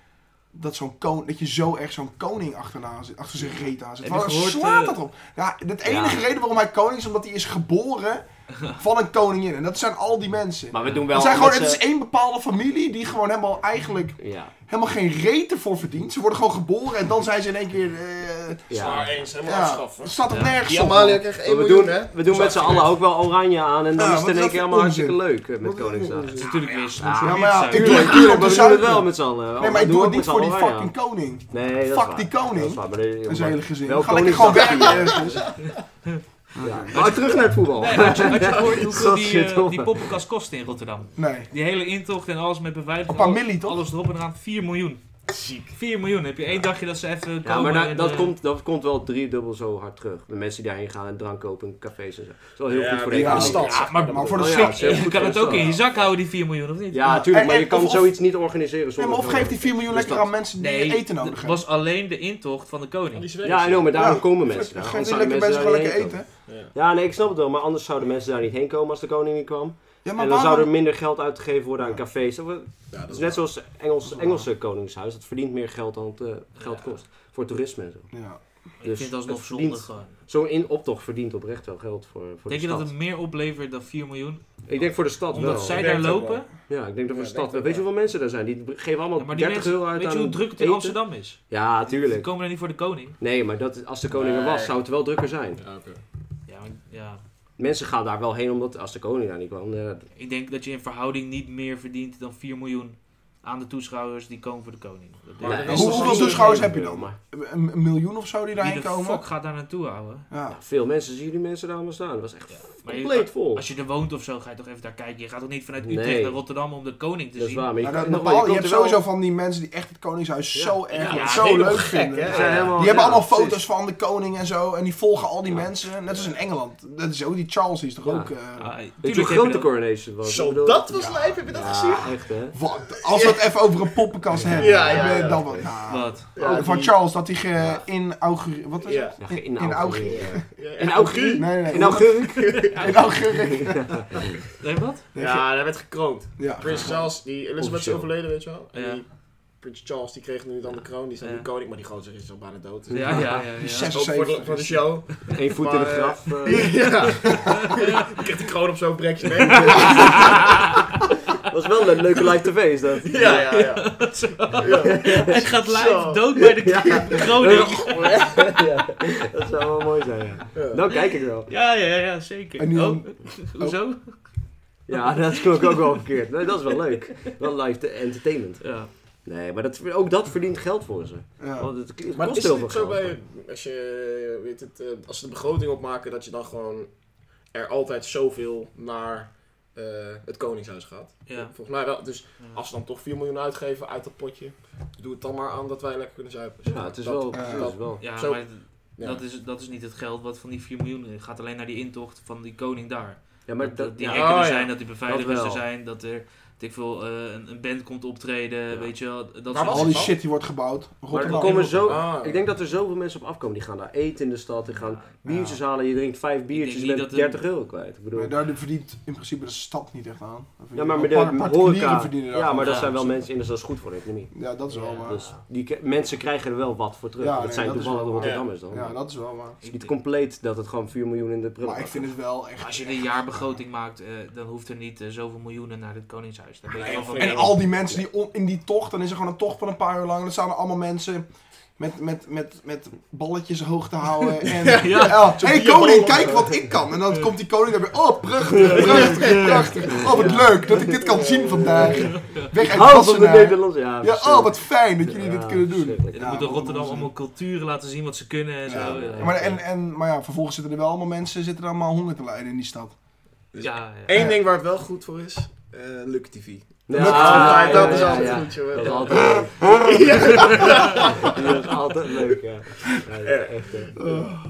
Speaker 4: Dat, zo'n koning, dat je zo erg zo'n koning achterna zit, achter zijn reet aan zit.
Speaker 2: Heb je
Speaker 4: Waar
Speaker 2: gehoord,
Speaker 4: slaat
Speaker 2: eh,
Speaker 4: dat op? Ja, de
Speaker 5: Ja.
Speaker 4: enige reden waarom hij koning is, omdat hij is geboren van een koningin. En dat zijn al die mensen.
Speaker 5: Maar we doen wel...
Speaker 4: Het, zijn gewoon,
Speaker 5: omdat
Speaker 4: het is
Speaker 5: ze-
Speaker 4: één bepaalde familie die gewoon helemaal eigenlijk
Speaker 5: Ja,
Speaker 4: helemaal geen reet ervoor verdient. Ze worden gewoon geboren en dan zijn ze in één keer... eh
Speaker 5: ja.
Speaker 3: eens, helemaal
Speaker 4: ja,
Speaker 3: afschaffen.
Speaker 4: het staat op
Speaker 2: Ja.
Speaker 4: nergens
Speaker 3: Die
Speaker 4: op.
Speaker 3: Amalia krijgt
Speaker 5: Maar
Speaker 3: 1
Speaker 5: we
Speaker 3: miljoen,
Speaker 5: doen,
Speaker 3: hè?
Speaker 5: we doen met z'n allen ook wel oranje aan en dan
Speaker 4: Ja,
Speaker 5: is het
Speaker 4: wat
Speaker 5: in
Speaker 4: is
Speaker 5: één
Speaker 4: dat
Speaker 5: keer
Speaker 4: voor
Speaker 5: allemaal
Speaker 4: onzin?
Speaker 5: hartstikke leuk eh, met
Speaker 4: Wat is dat
Speaker 5: Koningsdag.
Speaker 4: voor
Speaker 2: Het
Speaker 4: onzin?
Speaker 2: is natuurlijk weer snoes.
Speaker 5: Ja,
Speaker 4: Ja, maar ja, ik doe het,
Speaker 5: Tuurlijk,
Speaker 4: tuurlijk,
Speaker 5: tuurlijk,
Speaker 4: maar
Speaker 5: maar we doen het wel met z'n allen.
Speaker 4: Nee, maar ik
Speaker 5: We
Speaker 4: doe
Speaker 5: doen
Speaker 4: het niet voor die
Speaker 5: met z'n allen
Speaker 4: fucking
Speaker 5: oranje
Speaker 4: koning.
Speaker 5: aan. Nee, dat is
Speaker 4: Fuck
Speaker 5: waar.
Speaker 4: die koning.
Speaker 5: Dat is waar, maar dat-
Speaker 4: Dat is
Speaker 5: maar-
Speaker 4: hele gezin.
Speaker 5: Wel
Speaker 4: Ga lekker gewoon
Speaker 5: Koningsdag.
Speaker 4: werken dus. ergens.
Speaker 5: *laughs* Ja. Maar terug naar het voetbal.
Speaker 2: Nee, had je, had je gehoord hoeveel die, eh,
Speaker 5: Godverdomme.
Speaker 2: die poppenkast kostte in Rotterdam?
Speaker 4: Nee.
Speaker 2: Die hele intocht en alles met beveiliging.
Speaker 4: Een paar
Speaker 2: alles-
Speaker 4: milli, toch?
Speaker 2: Alles erop en eraan, 4 miljoen. Ziek. 4 miljoen, heb je één dagje dat ze even komen.
Speaker 5: Ja, maar da-
Speaker 2: en,
Speaker 5: dat,
Speaker 2: eh,
Speaker 5: komt, dat komt wel driedubbel zo hard terug. De mensen die daarheen gaan en drank kopen en cafés en zo. Dat is wel heel
Speaker 3: Ja,
Speaker 5: goed voor de
Speaker 4: ja,
Speaker 5: economie.
Speaker 4: stad.
Speaker 2: Ja, maar,
Speaker 4: Maar voor de
Speaker 5: Oh ja,
Speaker 4: sfeer.
Speaker 5: dat is heel
Speaker 2: je
Speaker 5: goed
Speaker 2: kan
Speaker 5: voor
Speaker 2: het
Speaker 5: de
Speaker 2: ook in
Speaker 5: stad.
Speaker 2: je zak houden, die 4 miljoen, of niet?
Speaker 5: Ja,
Speaker 4: Ja.
Speaker 5: tuurlijk,
Speaker 4: En-
Speaker 5: maar je
Speaker 4: en-
Speaker 5: kan
Speaker 4: Eh, of-
Speaker 5: zoiets niet organiseren
Speaker 4: Nee,
Speaker 5: zonder...
Speaker 4: maar of geeft die 4 miljoen
Speaker 5: Dus
Speaker 4: lekker
Speaker 5: dat-
Speaker 4: aan mensen die
Speaker 2: Nee,
Speaker 4: eten nodig
Speaker 2: het
Speaker 4: hebben?
Speaker 2: was alleen de intocht van de koning.
Speaker 5: Ja, nee, maar daarom
Speaker 4: Ja.
Speaker 5: komen mensen daar.
Speaker 4: Geef
Speaker 5: Anders
Speaker 4: die
Speaker 5: zouden
Speaker 4: lekker mensen
Speaker 5: mensen daar
Speaker 4: gewoon
Speaker 5: niet
Speaker 4: lekker
Speaker 5: heen komen.
Speaker 4: eten.
Speaker 5: Ja, nee, ik snap het wel. Maar anders zouden mensen daar niet heen komen als de koning niet kwam.
Speaker 4: Ja,
Speaker 5: en
Speaker 4: maar
Speaker 5: dan zou er
Speaker 4: waarom...
Speaker 5: minder geld uitgegeven worden aan cafés. Dat we-
Speaker 3: Ja, dat is
Speaker 5: Net
Speaker 3: net zo.
Speaker 5: zoals Engels, Engelse koningshuis. Dat verdient meer geld dan het eh, geld kost. Voor toerisme en zo.
Speaker 4: Ja.
Speaker 2: ik vind
Speaker 5: dus
Speaker 2: het alsnog
Speaker 5: het verdient-
Speaker 2: zonde gewoon.
Speaker 5: Zo'n in optocht verdient oprecht wel geld voor, voor
Speaker 2: Denk
Speaker 5: de
Speaker 2: je
Speaker 5: stad.
Speaker 2: dat het meer oplevert dan 4 miljoen?
Speaker 5: Ik denk voor de stad
Speaker 2: Omdat
Speaker 5: wel.
Speaker 2: zij
Speaker 3: Ik
Speaker 2: daar
Speaker 3: denk het ook
Speaker 2: lopen?
Speaker 5: Ja, ik denk dat
Speaker 3: Ja,
Speaker 5: we
Speaker 3: ik
Speaker 5: stad.
Speaker 3: denk het
Speaker 5: Weet je
Speaker 3: wel.
Speaker 5: hoeveel mensen er zijn? Die geven allemaal
Speaker 2: Ja, maar die
Speaker 5: 30
Speaker 2: mensen,
Speaker 5: euro uit
Speaker 2: weet je
Speaker 5: aan
Speaker 2: hoe druk het in
Speaker 5: eten.
Speaker 2: Amsterdam is?
Speaker 5: Ja,
Speaker 2: Ze
Speaker 5: tuurlijk.
Speaker 2: komen daar niet voor de koning.
Speaker 5: Nee, maar dat, als de koning er was,
Speaker 3: Nee.
Speaker 5: zou het wel drukker zijn.
Speaker 3: Ja, oké.
Speaker 2: Ja, maar- ja.
Speaker 5: Mensen gaan daar wel heen omdat als de koning daar niet kwam. eh,
Speaker 2: Ik denk dat je in verhouding niet meer verdient dan 4 miljoen aan de toeschouwers die komen voor de koning. Dat
Speaker 5: Ja,
Speaker 2: denk
Speaker 5: dat
Speaker 2: ik.
Speaker 5: is
Speaker 4: Hoe-
Speaker 5: toch
Speaker 4: Hoeveel
Speaker 5: niet
Speaker 4: toeschouwers
Speaker 5: zo
Speaker 4: heb je
Speaker 5: veel,
Speaker 4: dan?
Speaker 5: maar-
Speaker 4: Een een miljoen of zo die
Speaker 2: Wie
Speaker 4: daarheen
Speaker 2: de
Speaker 4: komen?
Speaker 2: fuck gaat daar naartoe, ouwe?
Speaker 4: Ja.
Speaker 5: Veel mensen zien die mensen daar allemaal staan. Dat was echt
Speaker 2: Maar je-
Speaker 5: compleet vol.
Speaker 2: Als je er woont of zo, ga je toch even daar kijken. Je gaat toch niet vanuit
Speaker 5: Nee.
Speaker 2: Utrecht naar Rotterdam om de koning te
Speaker 5: Dat is
Speaker 2: zien?
Speaker 5: waar, maar je,
Speaker 4: Maar Nou, dat-
Speaker 5: kan-
Speaker 4: bepaal-
Speaker 5: nogmaals, je
Speaker 4: je
Speaker 5: komt
Speaker 4: hebt
Speaker 5: er wel-
Speaker 4: sowieso van die mensen die echt het koningshuis zo erg
Speaker 2: Ja,
Speaker 4: zo
Speaker 3: helemaal
Speaker 4: leuk
Speaker 3: gek,
Speaker 4: vinden.
Speaker 3: hè?
Speaker 5: Ze zijn helemaal-
Speaker 4: Die hebben
Speaker 5: Oh, ja,
Speaker 4: allemaal
Speaker 5: precies.
Speaker 4: foto's van de koning en zo. En die volgen al die
Speaker 5: Ja.
Speaker 4: mensen. Net als in Engeland. Dat is ook die Charles, die is toch
Speaker 5: Ja.
Speaker 4: ook... eh,
Speaker 2: Ah,
Speaker 5: Weet je hoe
Speaker 2: tuurlijk heb
Speaker 5: groot
Speaker 2: je
Speaker 5: de
Speaker 2: dat.
Speaker 5: coronation was? Ik
Speaker 3: Zo,
Speaker 5: bedoel-
Speaker 3: dat was lijf, heb je dat gezien?
Speaker 5: Ja, echt hè.
Speaker 4: Wat? Als we het even over een poppenkast hebben.
Speaker 3: *laughs* Ja, ja,
Speaker 4: eh,
Speaker 3: ja.
Speaker 4: dan wel. nou,
Speaker 2: Wat?
Speaker 4: ook
Speaker 3: Ja,
Speaker 4: van
Speaker 3: die-
Speaker 4: Charles dat hij ge- in augur... Wat is
Speaker 3: Ja.
Speaker 4: het?
Speaker 5: Ja,
Speaker 4: In, in,
Speaker 5: geïnaugureerd.
Speaker 4: augur...
Speaker 3: Ja,
Speaker 5: In
Speaker 3: ja.
Speaker 5: augurk?
Speaker 4: Nee, nee, nee.
Speaker 5: In augurk?
Speaker 4: *laughs* In augur...
Speaker 2: Nee, wat?
Speaker 3: Ja, hij werd gekroond.
Speaker 4: Ja.
Speaker 3: Prins Charles, die Elizabeth is
Speaker 5: Officieel.
Speaker 3: overleden, weet je wel. En
Speaker 2: Ja.
Speaker 3: die Prins Charles, die kreeg nu dan de kroon. Die is nu
Speaker 2: Ja.
Speaker 3: koning, maar die gozer is al bijna dood. Dus
Speaker 2: Ja, ja, ja. ja,
Speaker 4: Die
Speaker 2: ja.
Speaker 3: Ook voor de, voor de
Speaker 4: 76.
Speaker 3: show.
Speaker 5: *laughs* Eén voet in de
Speaker 3: Maar, eh,
Speaker 5: graf.
Speaker 3: *laughs*
Speaker 5: eh,
Speaker 3: Ja. Je krijgt de kroon op zo'n brekje mee.
Speaker 5: was wel een leuke live tv, is
Speaker 2: *laughs*
Speaker 5: dat?
Speaker 3: Ja, ja, ja.
Speaker 2: Hij gaat live
Speaker 3: Zo.
Speaker 2: dood bij de
Speaker 5: *laughs* Ja.
Speaker 2: Groningen.
Speaker 5: *laughs* Ja, dat zou wel mooi zijn, ja. Dan kijk ik wel.
Speaker 2: Ja, ja, ja, zeker.
Speaker 4: En nu
Speaker 2: Oh,
Speaker 4: dan-
Speaker 2: hoezo?
Speaker 5: Ja, dat klonk ook wel verkeerd. Nee, dat is wel leuk. Wel live te- entertainment.
Speaker 2: Ja.
Speaker 5: Nee, maar dat, ook dat verdient geld voor ze.
Speaker 4: Ja.
Speaker 5: Want het kost
Speaker 3: Maar is het
Speaker 5: heel veel
Speaker 3: niet zo
Speaker 5: geld.
Speaker 3: bij, als je, weet het, eh, als ze de begroting opmaken, dat je dan gewoon er altijd zoveel naar eh, het Koningshuis gaat?
Speaker 2: Ja.
Speaker 3: Volgens mij wel. Dus
Speaker 2: Ja.
Speaker 3: als ze dan toch 4 miljoen uitgeven uit dat potje, doe het dan maar aan dat wij lekker kunnen zuipen.
Speaker 5: Ja, het is
Speaker 3: Dat-
Speaker 5: wel...
Speaker 4: eh,
Speaker 5: het is wel.
Speaker 2: Ja,
Speaker 3: Zo.
Speaker 2: maar
Speaker 3: ja.
Speaker 2: dat is, dat is niet het geld wat van die 4 miljoen gaat alleen naar die intocht van die koning daar.
Speaker 5: Ja,
Speaker 2: Maar
Speaker 5: maar
Speaker 2: dat,
Speaker 5: dat...
Speaker 2: die
Speaker 3: ja.
Speaker 2: hekken er
Speaker 3: Oh, ja.
Speaker 2: zijn, dat die beveiligers
Speaker 5: Dat
Speaker 2: er
Speaker 5: wel.
Speaker 2: zijn, dat er weet ik veel, eh, een, een band komt optreden,
Speaker 5: Ja.
Speaker 2: weet je wel. Dat
Speaker 3: Maar
Speaker 2: soort-
Speaker 4: Al die
Speaker 3: was-
Speaker 4: shit die wordt gebouwd.
Speaker 5: Maar er
Speaker 4: Rotterdam.
Speaker 5: komen zo...
Speaker 3: Ah, ja.
Speaker 5: Ik denk dat er zoveel mensen op afkomen. Die gaan daar eten in de stad. Die gaan biertjes
Speaker 4: Ja.
Speaker 5: halen. Je drinkt vijf biertjes.
Speaker 2: niet
Speaker 5: Je bent
Speaker 2: dat een-
Speaker 5: 30 euro kwijt. Ik bedoel...
Speaker 4: Maar daar verdient in principe de stad niet echt aan. Dat
Speaker 5: Ja,
Speaker 4: verdient-
Speaker 5: maar met de
Speaker 4: Par- particulieren
Speaker 5: horeca...
Speaker 4: verdienen daar
Speaker 5: Ja, maar
Speaker 4: gewoon
Speaker 5: dat
Speaker 2: Ja,
Speaker 5: zijn wel
Speaker 4: aan.
Speaker 5: mensen... En dat is goed voor de economie.
Speaker 4: Ja, dat is wel
Speaker 2: Ja,
Speaker 4: waar.
Speaker 5: Dus die ke- mensen krijgen er wel wat voor terug.
Speaker 4: Ja,
Speaker 5: dat
Speaker 4: nee,
Speaker 5: zijn
Speaker 4: dat is
Speaker 5: toevallig de
Speaker 4: wel waar.
Speaker 5: Rotterdammers dan.
Speaker 4: Ja, dat is wel waar.
Speaker 5: Het is niet compleet dat het gewoon 4 miljoen in de prullenbak
Speaker 4: Maar ik vind het wel echt...
Speaker 2: Als je een jaarbegroting maakt, eh, dan hoeft er niet eh, zoveel miljoenen naar het Koningshuis. Daar ben ik
Speaker 3: Nee,
Speaker 2: wel
Speaker 3: of
Speaker 2: van.
Speaker 3: niet.
Speaker 4: En al die mensen die on- in die tocht, dan is er gewoon een tocht van een paar uur lang. En dan staan er allemaal mensen met, met, met, met balletjes hoog te
Speaker 5: *laughs*
Speaker 4: houden. En, ja, Hé hey, koning, kijk wat ik kan. En dan komt die koning daarbij. Oh, prachtig, prachtig, prachtig. Oh, wat leuk dat ik dit kan zien vandaag. Weg uit
Speaker 5: Haal van de
Speaker 4: Wassenaar.
Speaker 5: Nederlandse. Oh, Ja,
Speaker 4: nou- Ja, oh, wat fijn dat jullie
Speaker 5: Ja,
Speaker 4: dit kunnen doen.
Speaker 5: verschrikkelijk.
Speaker 2: En
Speaker 4: Ja,
Speaker 2: dan moet
Speaker 4: wat een
Speaker 2: Rotterdam
Speaker 4: onzin.
Speaker 2: allemaal culturen laten zien wat ze kunnen en
Speaker 4: Ja.
Speaker 2: zo.
Speaker 4: Ja, Maar, en, en, maar ja, vervolgens zitten er wel allemaal mensen zitten er allemaal honger te lijden in die stad.
Speaker 5: Dus
Speaker 2: ja, ja.
Speaker 3: Eén ding waar het wel goed voor is, eh Lucky TV.
Speaker 5: Ja,
Speaker 4: Dat-
Speaker 5: ja,
Speaker 3: dat
Speaker 5: ja,
Speaker 3: is
Speaker 5: ja,
Speaker 3: altijd
Speaker 5: ja.
Speaker 3: goed, joh.
Speaker 5: Dat
Speaker 4: *laughs*
Speaker 5: is
Speaker 3: Ja.
Speaker 5: altijd leuk. Dat is altijd leuk, ja. Ja, dat is echt, eh,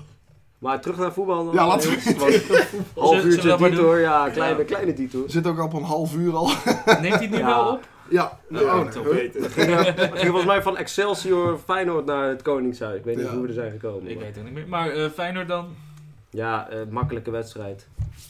Speaker 5: Maar terug naar voetbal. dan.
Speaker 4: Ja, laten we-
Speaker 5: Want
Speaker 4: *laughs*
Speaker 5: een Half
Speaker 2: Zullen- zullen
Speaker 5: uurtje
Speaker 2: we maar
Speaker 5: detour, ja,
Speaker 2: Ja.
Speaker 5: kleine, kleine detour.
Speaker 4: We zitten ook al op een half uur al.
Speaker 2: Neemt hij het nu
Speaker 5: Ja.
Speaker 2: wel op?
Speaker 4: Ja,
Speaker 3: Ja,
Speaker 4: oh, nee.
Speaker 3: toch beter.
Speaker 5: Het ging, eh, het ging volgens mij van Excelsior Feyenoord naar het Koningshuis. Ik weet niet
Speaker 4: Ja.
Speaker 5: hoe we er zijn gekomen.
Speaker 2: Ik
Speaker 5: maar-
Speaker 2: weet het niet meer. Maar eh Feyenoord dan?
Speaker 5: Ja, eh, makkelijke wedstrijd.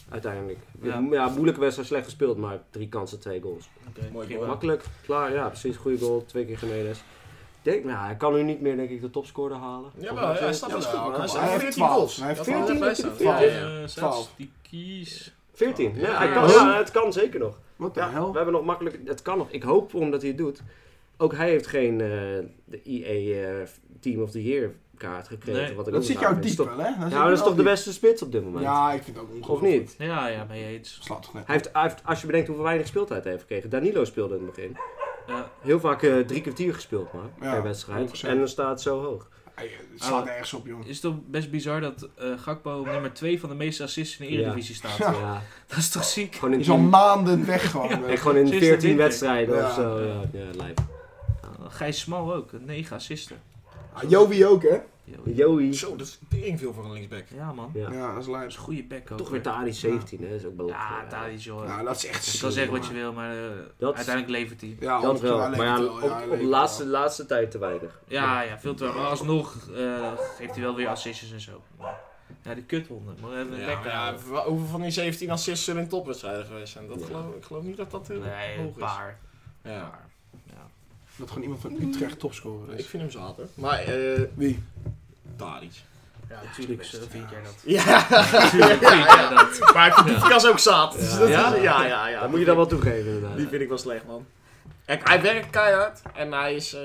Speaker 5: Uiteindelijk.
Speaker 2: Ja.
Speaker 5: Ja. moeilijke wedstrijd, slecht gespeeld, maar drie kansen, twee goals.
Speaker 2: Oké,
Speaker 3: Mooi
Speaker 2: prima.
Speaker 3: goal.
Speaker 5: Makkelijk, klaar, ja, precies. Goede goal, twee keer Jiménez. Ik Denk, nou, hij kan nu niet meer, denk ik, de topscorer halen.
Speaker 3: Jawel, hij staat wel
Speaker 4: Ja,
Speaker 3: goed,
Speaker 4: kom
Speaker 3: man.
Speaker 5: nou,
Speaker 4: op.
Speaker 3: Hij
Speaker 4: Hij
Speaker 3: staat
Speaker 4: heeft
Speaker 3: 14
Speaker 4: 12.
Speaker 3: goals.
Speaker 4: Hij heeft
Speaker 3: Ja,
Speaker 5: 14.
Speaker 3: hij staat.
Speaker 5: Ja,
Speaker 4: ja.
Speaker 2: Eh,
Speaker 4: Twaalf.
Speaker 2: statistiekjes.
Speaker 5: 14. Ja,
Speaker 2: Ja,
Speaker 5: hij
Speaker 2: ja.
Speaker 5: kan, ja, het kan zeker nog.
Speaker 4: Wat de
Speaker 5: Ja,
Speaker 4: hel?
Speaker 5: we hebben nog makkelijk, het kan nog. Ik hoop omdat hij het doet. Ook hij heeft geen eh, de EA eh, Team of the Year kaart gekregen.
Speaker 2: Nee.
Speaker 5: wat ik
Speaker 4: Dat
Speaker 5: ook
Speaker 4: zit
Speaker 5: raar
Speaker 4: jou
Speaker 5: vind.
Speaker 4: diep
Speaker 5: Is toch-
Speaker 4: wel, hè? Dat
Speaker 5: Ja, maar dat is toch de beste spits op dit moment?
Speaker 4: Ja, ik vind het ook
Speaker 5: Of
Speaker 4: ongelooflijk.
Speaker 5: niet?
Speaker 2: Ja, ja, mee eens.
Speaker 4: Slaat toch net.
Speaker 5: Hij heeft, hij heeft- als je bedenkt hoeveel weinig speeltijd hij heeft gekregen. Danilo speelde in het begin.
Speaker 2: Ja.
Speaker 5: Heel vaak eh, drie kwartier gespeeld maar
Speaker 4: Ja,
Speaker 5: per wedstrijd.
Speaker 4: 100%.
Speaker 5: En dan staat het zo hoog.
Speaker 4: Hij, eh, Het slaat nergens op, jongen.
Speaker 2: Is het toch best bizar dat eh, Gakpo op nummer 2 van de meeste assists in de
Speaker 5: Ja.
Speaker 2: Eredivisie staat?
Speaker 4: Ja.
Speaker 5: Ja,
Speaker 2: *laughs* Dat is toch ziek?
Speaker 5: gewoon in,
Speaker 4: Is al maanden weg gewoon. weet je.
Speaker 5: echt gewoon in
Speaker 2: Sinds de
Speaker 5: 14
Speaker 2: winter.
Speaker 5: wedstrijden
Speaker 4: Ja.
Speaker 5: of zo. Ja, ja, lijp.
Speaker 2: Ja, Gijs Smal ook, 9 assisten.
Speaker 4: Ah, Jovi ook, hè?
Speaker 2: Yo.
Speaker 5: Joey.
Speaker 3: Zo, dat is tering veel voor een linksback.
Speaker 2: Ja, man.
Speaker 5: Ja.
Speaker 4: Ja, dat is
Speaker 2: Dat
Speaker 4: lijp.
Speaker 2: is een goede back ook.
Speaker 5: Toch weer
Speaker 2: hè.
Speaker 5: Tari 17, hè? is ook wel
Speaker 2: Ja, Thadis, joh.
Speaker 4: Ja, dat is echt
Speaker 2: je
Speaker 4: ziek,
Speaker 2: kan zeggen wat je
Speaker 4: jongen.
Speaker 2: wil, maar eh,
Speaker 5: Dat-
Speaker 2: uiteindelijk levert hij.
Speaker 4: Ja,
Speaker 5: Dat
Speaker 4: 100%
Speaker 5: wel,
Speaker 4: hij
Speaker 5: maar
Speaker 4: leeft
Speaker 5: ja,
Speaker 4: wel. Ja, hij
Speaker 5: op, op
Speaker 4: leeft
Speaker 5: de
Speaker 4: wel.
Speaker 5: laatste, laatste tijd te weinig.
Speaker 2: Ja, ja, veel te Maar alsnog eh, geeft hij wel weer assistjes en zo. Ja, de kuthonden. Maar even een
Speaker 3: Ja,
Speaker 2: bek
Speaker 3: maar ja,
Speaker 2: houden.
Speaker 3: wa- hoeveel van die 17 assists zullen in topwedstrijden geweest zijn? Dat
Speaker 5: Ja.
Speaker 3: geloof, ik geloof niet dat dat heel
Speaker 2: Nee, een
Speaker 3: hoog is.
Speaker 2: paar.
Speaker 3: Ja.
Speaker 2: Maar,
Speaker 4: Dat gewoon iemand van Utrecht topscorer
Speaker 3: Ik
Speaker 4: is.
Speaker 3: vind hem zater. Maar, eh,
Speaker 4: Wie?
Speaker 3: Tadic.
Speaker 2: ja, natuurlijk ja, vind jij dat.
Speaker 3: *laughs* Ja,
Speaker 2: *laughs* Natuurlijk vind jij dat.
Speaker 3: maar ik vind Doefikas ook zater. Dus dat is-
Speaker 2: Ja?
Speaker 3: ja, ja, ja.
Speaker 5: Dat moet je dan wel toegeven, inderdaad.
Speaker 3: Die vind ik wel slecht, man. Kijk, hij werkt keihard en hij is, eh,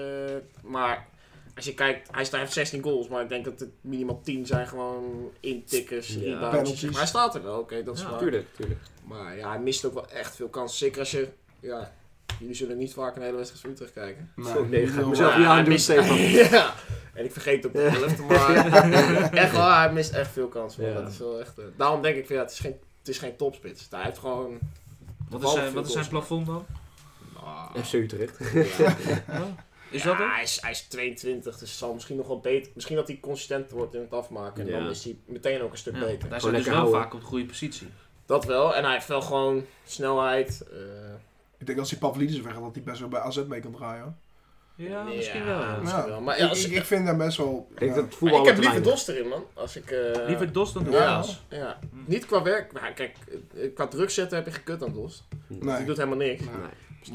Speaker 3: maar als je kijkt, hij, staat, hij heeft 16 goals, maar ik denk dat het minimaal 10 zijn gewoon intikkers,
Speaker 5: Ja.
Speaker 3: ja.
Speaker 4: Penalties.
Speaker 3: Maar hij staat er wel, oké, dat is
Speaker 2: Ja,
Speaker 3: waar.
Speaker 5: Tuurlijk, tuurlijk.
Speaker 3: Maar ja, hij mist ook wel echt veel kansen. Zeker als je, ja, jullie zullen niet vaak een hele wedstrijd van Utrecht kijken.
Speaker 5: Zo, nee,
Speaker 4: niet
Speaker 5: ga ik
Speaker 4: heel
Speaker 5: mezelf
Speaker 4: waar.
Speaker 5: niet
Speaker 3: hij
Speaker 5: aandoen,
Speaker 3: mist-
Speaker 5: Stefan.
Speaker 3: *laughs* ja. En ik vergeet het op de helft,
Speaker 5: *laughs*
Speaker 3: maar echt waar, hij mist echt veel kansen. man.
Speaker 5: Ja.
Speaker 3: Dat is wel echt, eh, daarom denk ik, van, ja, het, is geen, het is geen topspits. Hij heeft gewoon...
Speaker 2: Wat is zijn,
Speaker 3: veel
Speaker 2: wat is zijn
Speaker 3: goals.
Speaker 2: plafond dan?
Speaker 3: Ah,
Speaker 5: FC Utrecht.
Speaker 3: ja.
Speaker 5: *laughs*
Speaker 2: Ja? Is
Speaker 3: Ja,
Speaker 2: dat het?
Speaker 3: Hij is, hij is 22, dus het zal misschien nog wel beter... Misschien dat hij consistenter wordt in het afmaken. En
Speaker 5: Ja.
Speaker 3: dan is hij meteen ook een stuk
Speaker 2: Ja,
Speaker 3: beter.
Speaker 2: Daar zijn dus
Speaker 5: lekker
Speaker 2: wel
Speaker 5: houden.
Speaker 2: vaak op de goede positie.
Speaker 3: Dat wel. En hij heeft wel gewoon snelheid. eh,
Speaker 4: Ik denk als die Pavlidis weg gaat, dat hij best wel bij AZ mee kan draaien. hoor.
Speaker 2: Ja,
Speaker 3: nee,
Speaker 2: misschien wel. ja.
Speaker 3: misschien
Speaker 4: Ja.
Speaker 3: wel. Maar ja,
Speaker 4: Ik,
Speaker 3: als
Speaker 4: ik,
Speaker 3: ik,
Speaker 4: ik vind hem best wel...
Speaker 5: Ik denk
Speaker 4: ja.
Speaker 5: dat
Speaker 3: maar
Speaker 5: voetbal
Speaker 3: ik heb liever Dos erin, man. Als ik, eh,
Speaker 2: Liever Dos dan
Speaker 3: Ja,
Speaker 4: Ja.
Speaker 2: Doelgaas.
Speaker 3: ja.
Speaker 5: Hm.
Speaker 3: Niet qua werk. Nou, kijk, eh, qua druk zetten heb je gekut aan Dus Dos. Die
Speaker 4: Nee.
Speaker 3: doet helemaal niks.
Speaker 4: Nee.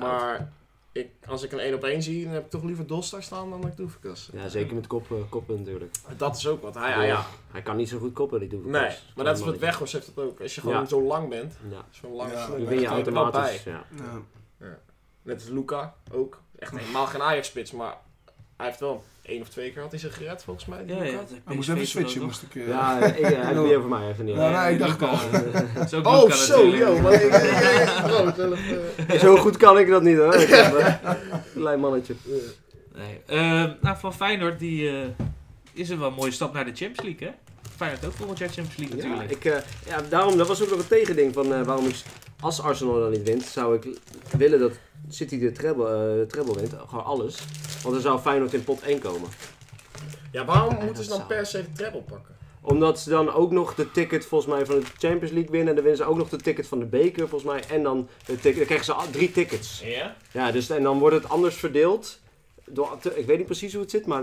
Speaker 3: Maar ik, als ik een 1 op 1 zie, dan heb ik toch liever Dos daar staan dan dat ik Doefikas.
Speaker 5: Ja, zeker met kop, eh, koppen natuurlijk.
Speaker 3: Dat is ook wat. Hij, Ah, ja, ja.
Speaker 5: Hij kan niet zo goed koppen, die doet
Speaker 3: Nee, maar dat is wat Weghorst heeft dat ook. Als je gewoon
Speaker 5: Ja.
Speaker 3: zo lang bent,
Speaker 5: Ja,
Speaker 3: zo'n lange
Speaker 4: Ja.
Speaker 3: slip,
Speaker 5: dan
Speaker 3: dan
Speaker 5: win je
Speaker 3: heb er knap
Speaker 5: automatisch.
Speaker 3: bij.
Speaker 5: Ja.
Speaker 4: Ja.
Speaker 3: Net als Luca ook. Echt helemaal geen Ajax-spits, maar hij heeft wel één of twee keer had hij zich gered volgens mij. die
Speaker 2: Ja,
Speaker 3: Luca.
Speaker 2: ja. dat
Speaker 4: Hij
Speaker 2: PSV
Speaker 4: moest even
Speaker 2: doet
Speaker 4: switchen,
Speaker 2: dat
Speaker 4: moest ik... eh,
Speaker 5: Ja, ik,
Speaker 4: *laughs*
Speaker 5: eh, hij heeft die over mij even niet.
Speaker 4: Ja,
Speaker 2: toch?
Speaker 4: nee, ik dacht
Speaker 2: *laughs* Luca.
Speaker 4: al.
Speaker 2: Dat is ook
Speaker 3: Oh,
Speaker 2: Luca
Speaker 3: zo,
Speaker 2: natuurlijk.
Speaker 3: yo.
Speaker 4: *laughs*
Speaker 3: Maar ik, ik, ik- oh, zelf, eh,
Speaker 5: Zo goed kan ik dat niet hoor. Ik heb, eh, Klein mannetje.
Speaker 2: Nee. Eh, nou, van Feyenoord die, eh, is een wel mooie stap naar de Champions League, hè? Feyenoord ook volgend jaar Champions League
Speaker 5: Ja,
Speaker 2: natuurlijk.
Speaker 5: ik, eh, ja, daarom, dat was ook nog een tegending van eh, waarom ik, als Arsenal dan niet wint, zou ik willen dat City de treble, eh, treble wint. Gewoon alles. Want dan zou Feyenoord in pot 1 komen.
Speaker 3: ja, waarom
Speaker 5: Ja,
Speaker 3: moeten ze
Speaker 5: dat
Speaker 3: dan
Speaker 5: zou-
Speaker 3: per se de treble pakken?
Speaker 5: Omdat ze dan ook nog de ticket volgens mij van de Champions League winnen. En dan winnen ze ook nog de ticket van de beker volgens mij. En dan, de ticket, dan krijgen ze al- drie tickets.
Speaker 3: Ja?
Speaker 5: Ja, dus, en dan wordt het anders verdeeld. Door, ik weet niet precies hoe het zit, maar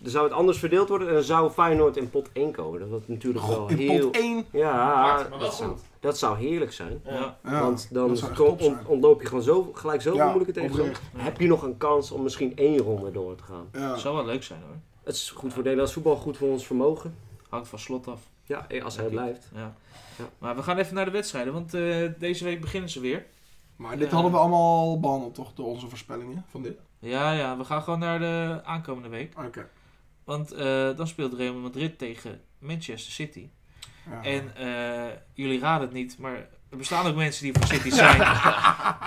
Speaker 5: dan zou het anders verdeeld worden. En dan zou Feyenoord in pot 1 komen. Dat was natuurlijk wel
Speaker 4: God, Oh, in
Speaker 5: heel...
Speaker 4: pot 1.
Speaker 5: Ja,
Speaker 3: Maakt het maar wel
Speaker 5: dat zou,
Speaker 3: goed.
Speaker 5: dat zou heerlijk zijn.
Speaker 2: Ja.
Speaker 5: Want
Speaker 4: dat
Speaker 5: dan
Speaker 4: zou echt
Speaker 5: kom-
Speaker 4: top zijn.
Speaker 5: ont- ontloop je gewoon zo, gelijk zoveel
Speaker 4: Ja,
Speaker 5: moeilijke tegenstanders.
Speaker 4: oprecht.
Speaker 5: Heb je nog een kans om misschien één ronde door te gaan?
Speaker 4: Ja.
Speaker 2: zou wel leuk zijn hoor.
Speaker 5: Het is goed voor Nederlands voetbal, goed voor ons vermogen.
Speaker 2: Hangt van slot af.
Speaker 5: Ja, eh, als hij blijft.
Speaker 2: Ja.
Speaker 5: Ja.
Speaker 2: Maar we gaan even naar de wedstrijden, want eh, deze week beginnen ze weer.
Speaker 4: Maar dit
Speaker 2: Ja.
Speaker 4: hadden we allemaal al behandeld, toch? Door onze voorspellingen van dit.
Speaker 2: Ja, ja, we gaan gewoon naar de aankomende week.
Speaker 4: Oké.
Speaker 2: Want eh, dan speelt Real Madrid tegen Manchester City.
Speaker 5: Ah.
Speaker 4: Ja.
Speaker 2: En eh, jullie raden het niet, maar er bestaan ook mensen die voor City
Speaker 5: *laughs*
Speaker 2: zijn.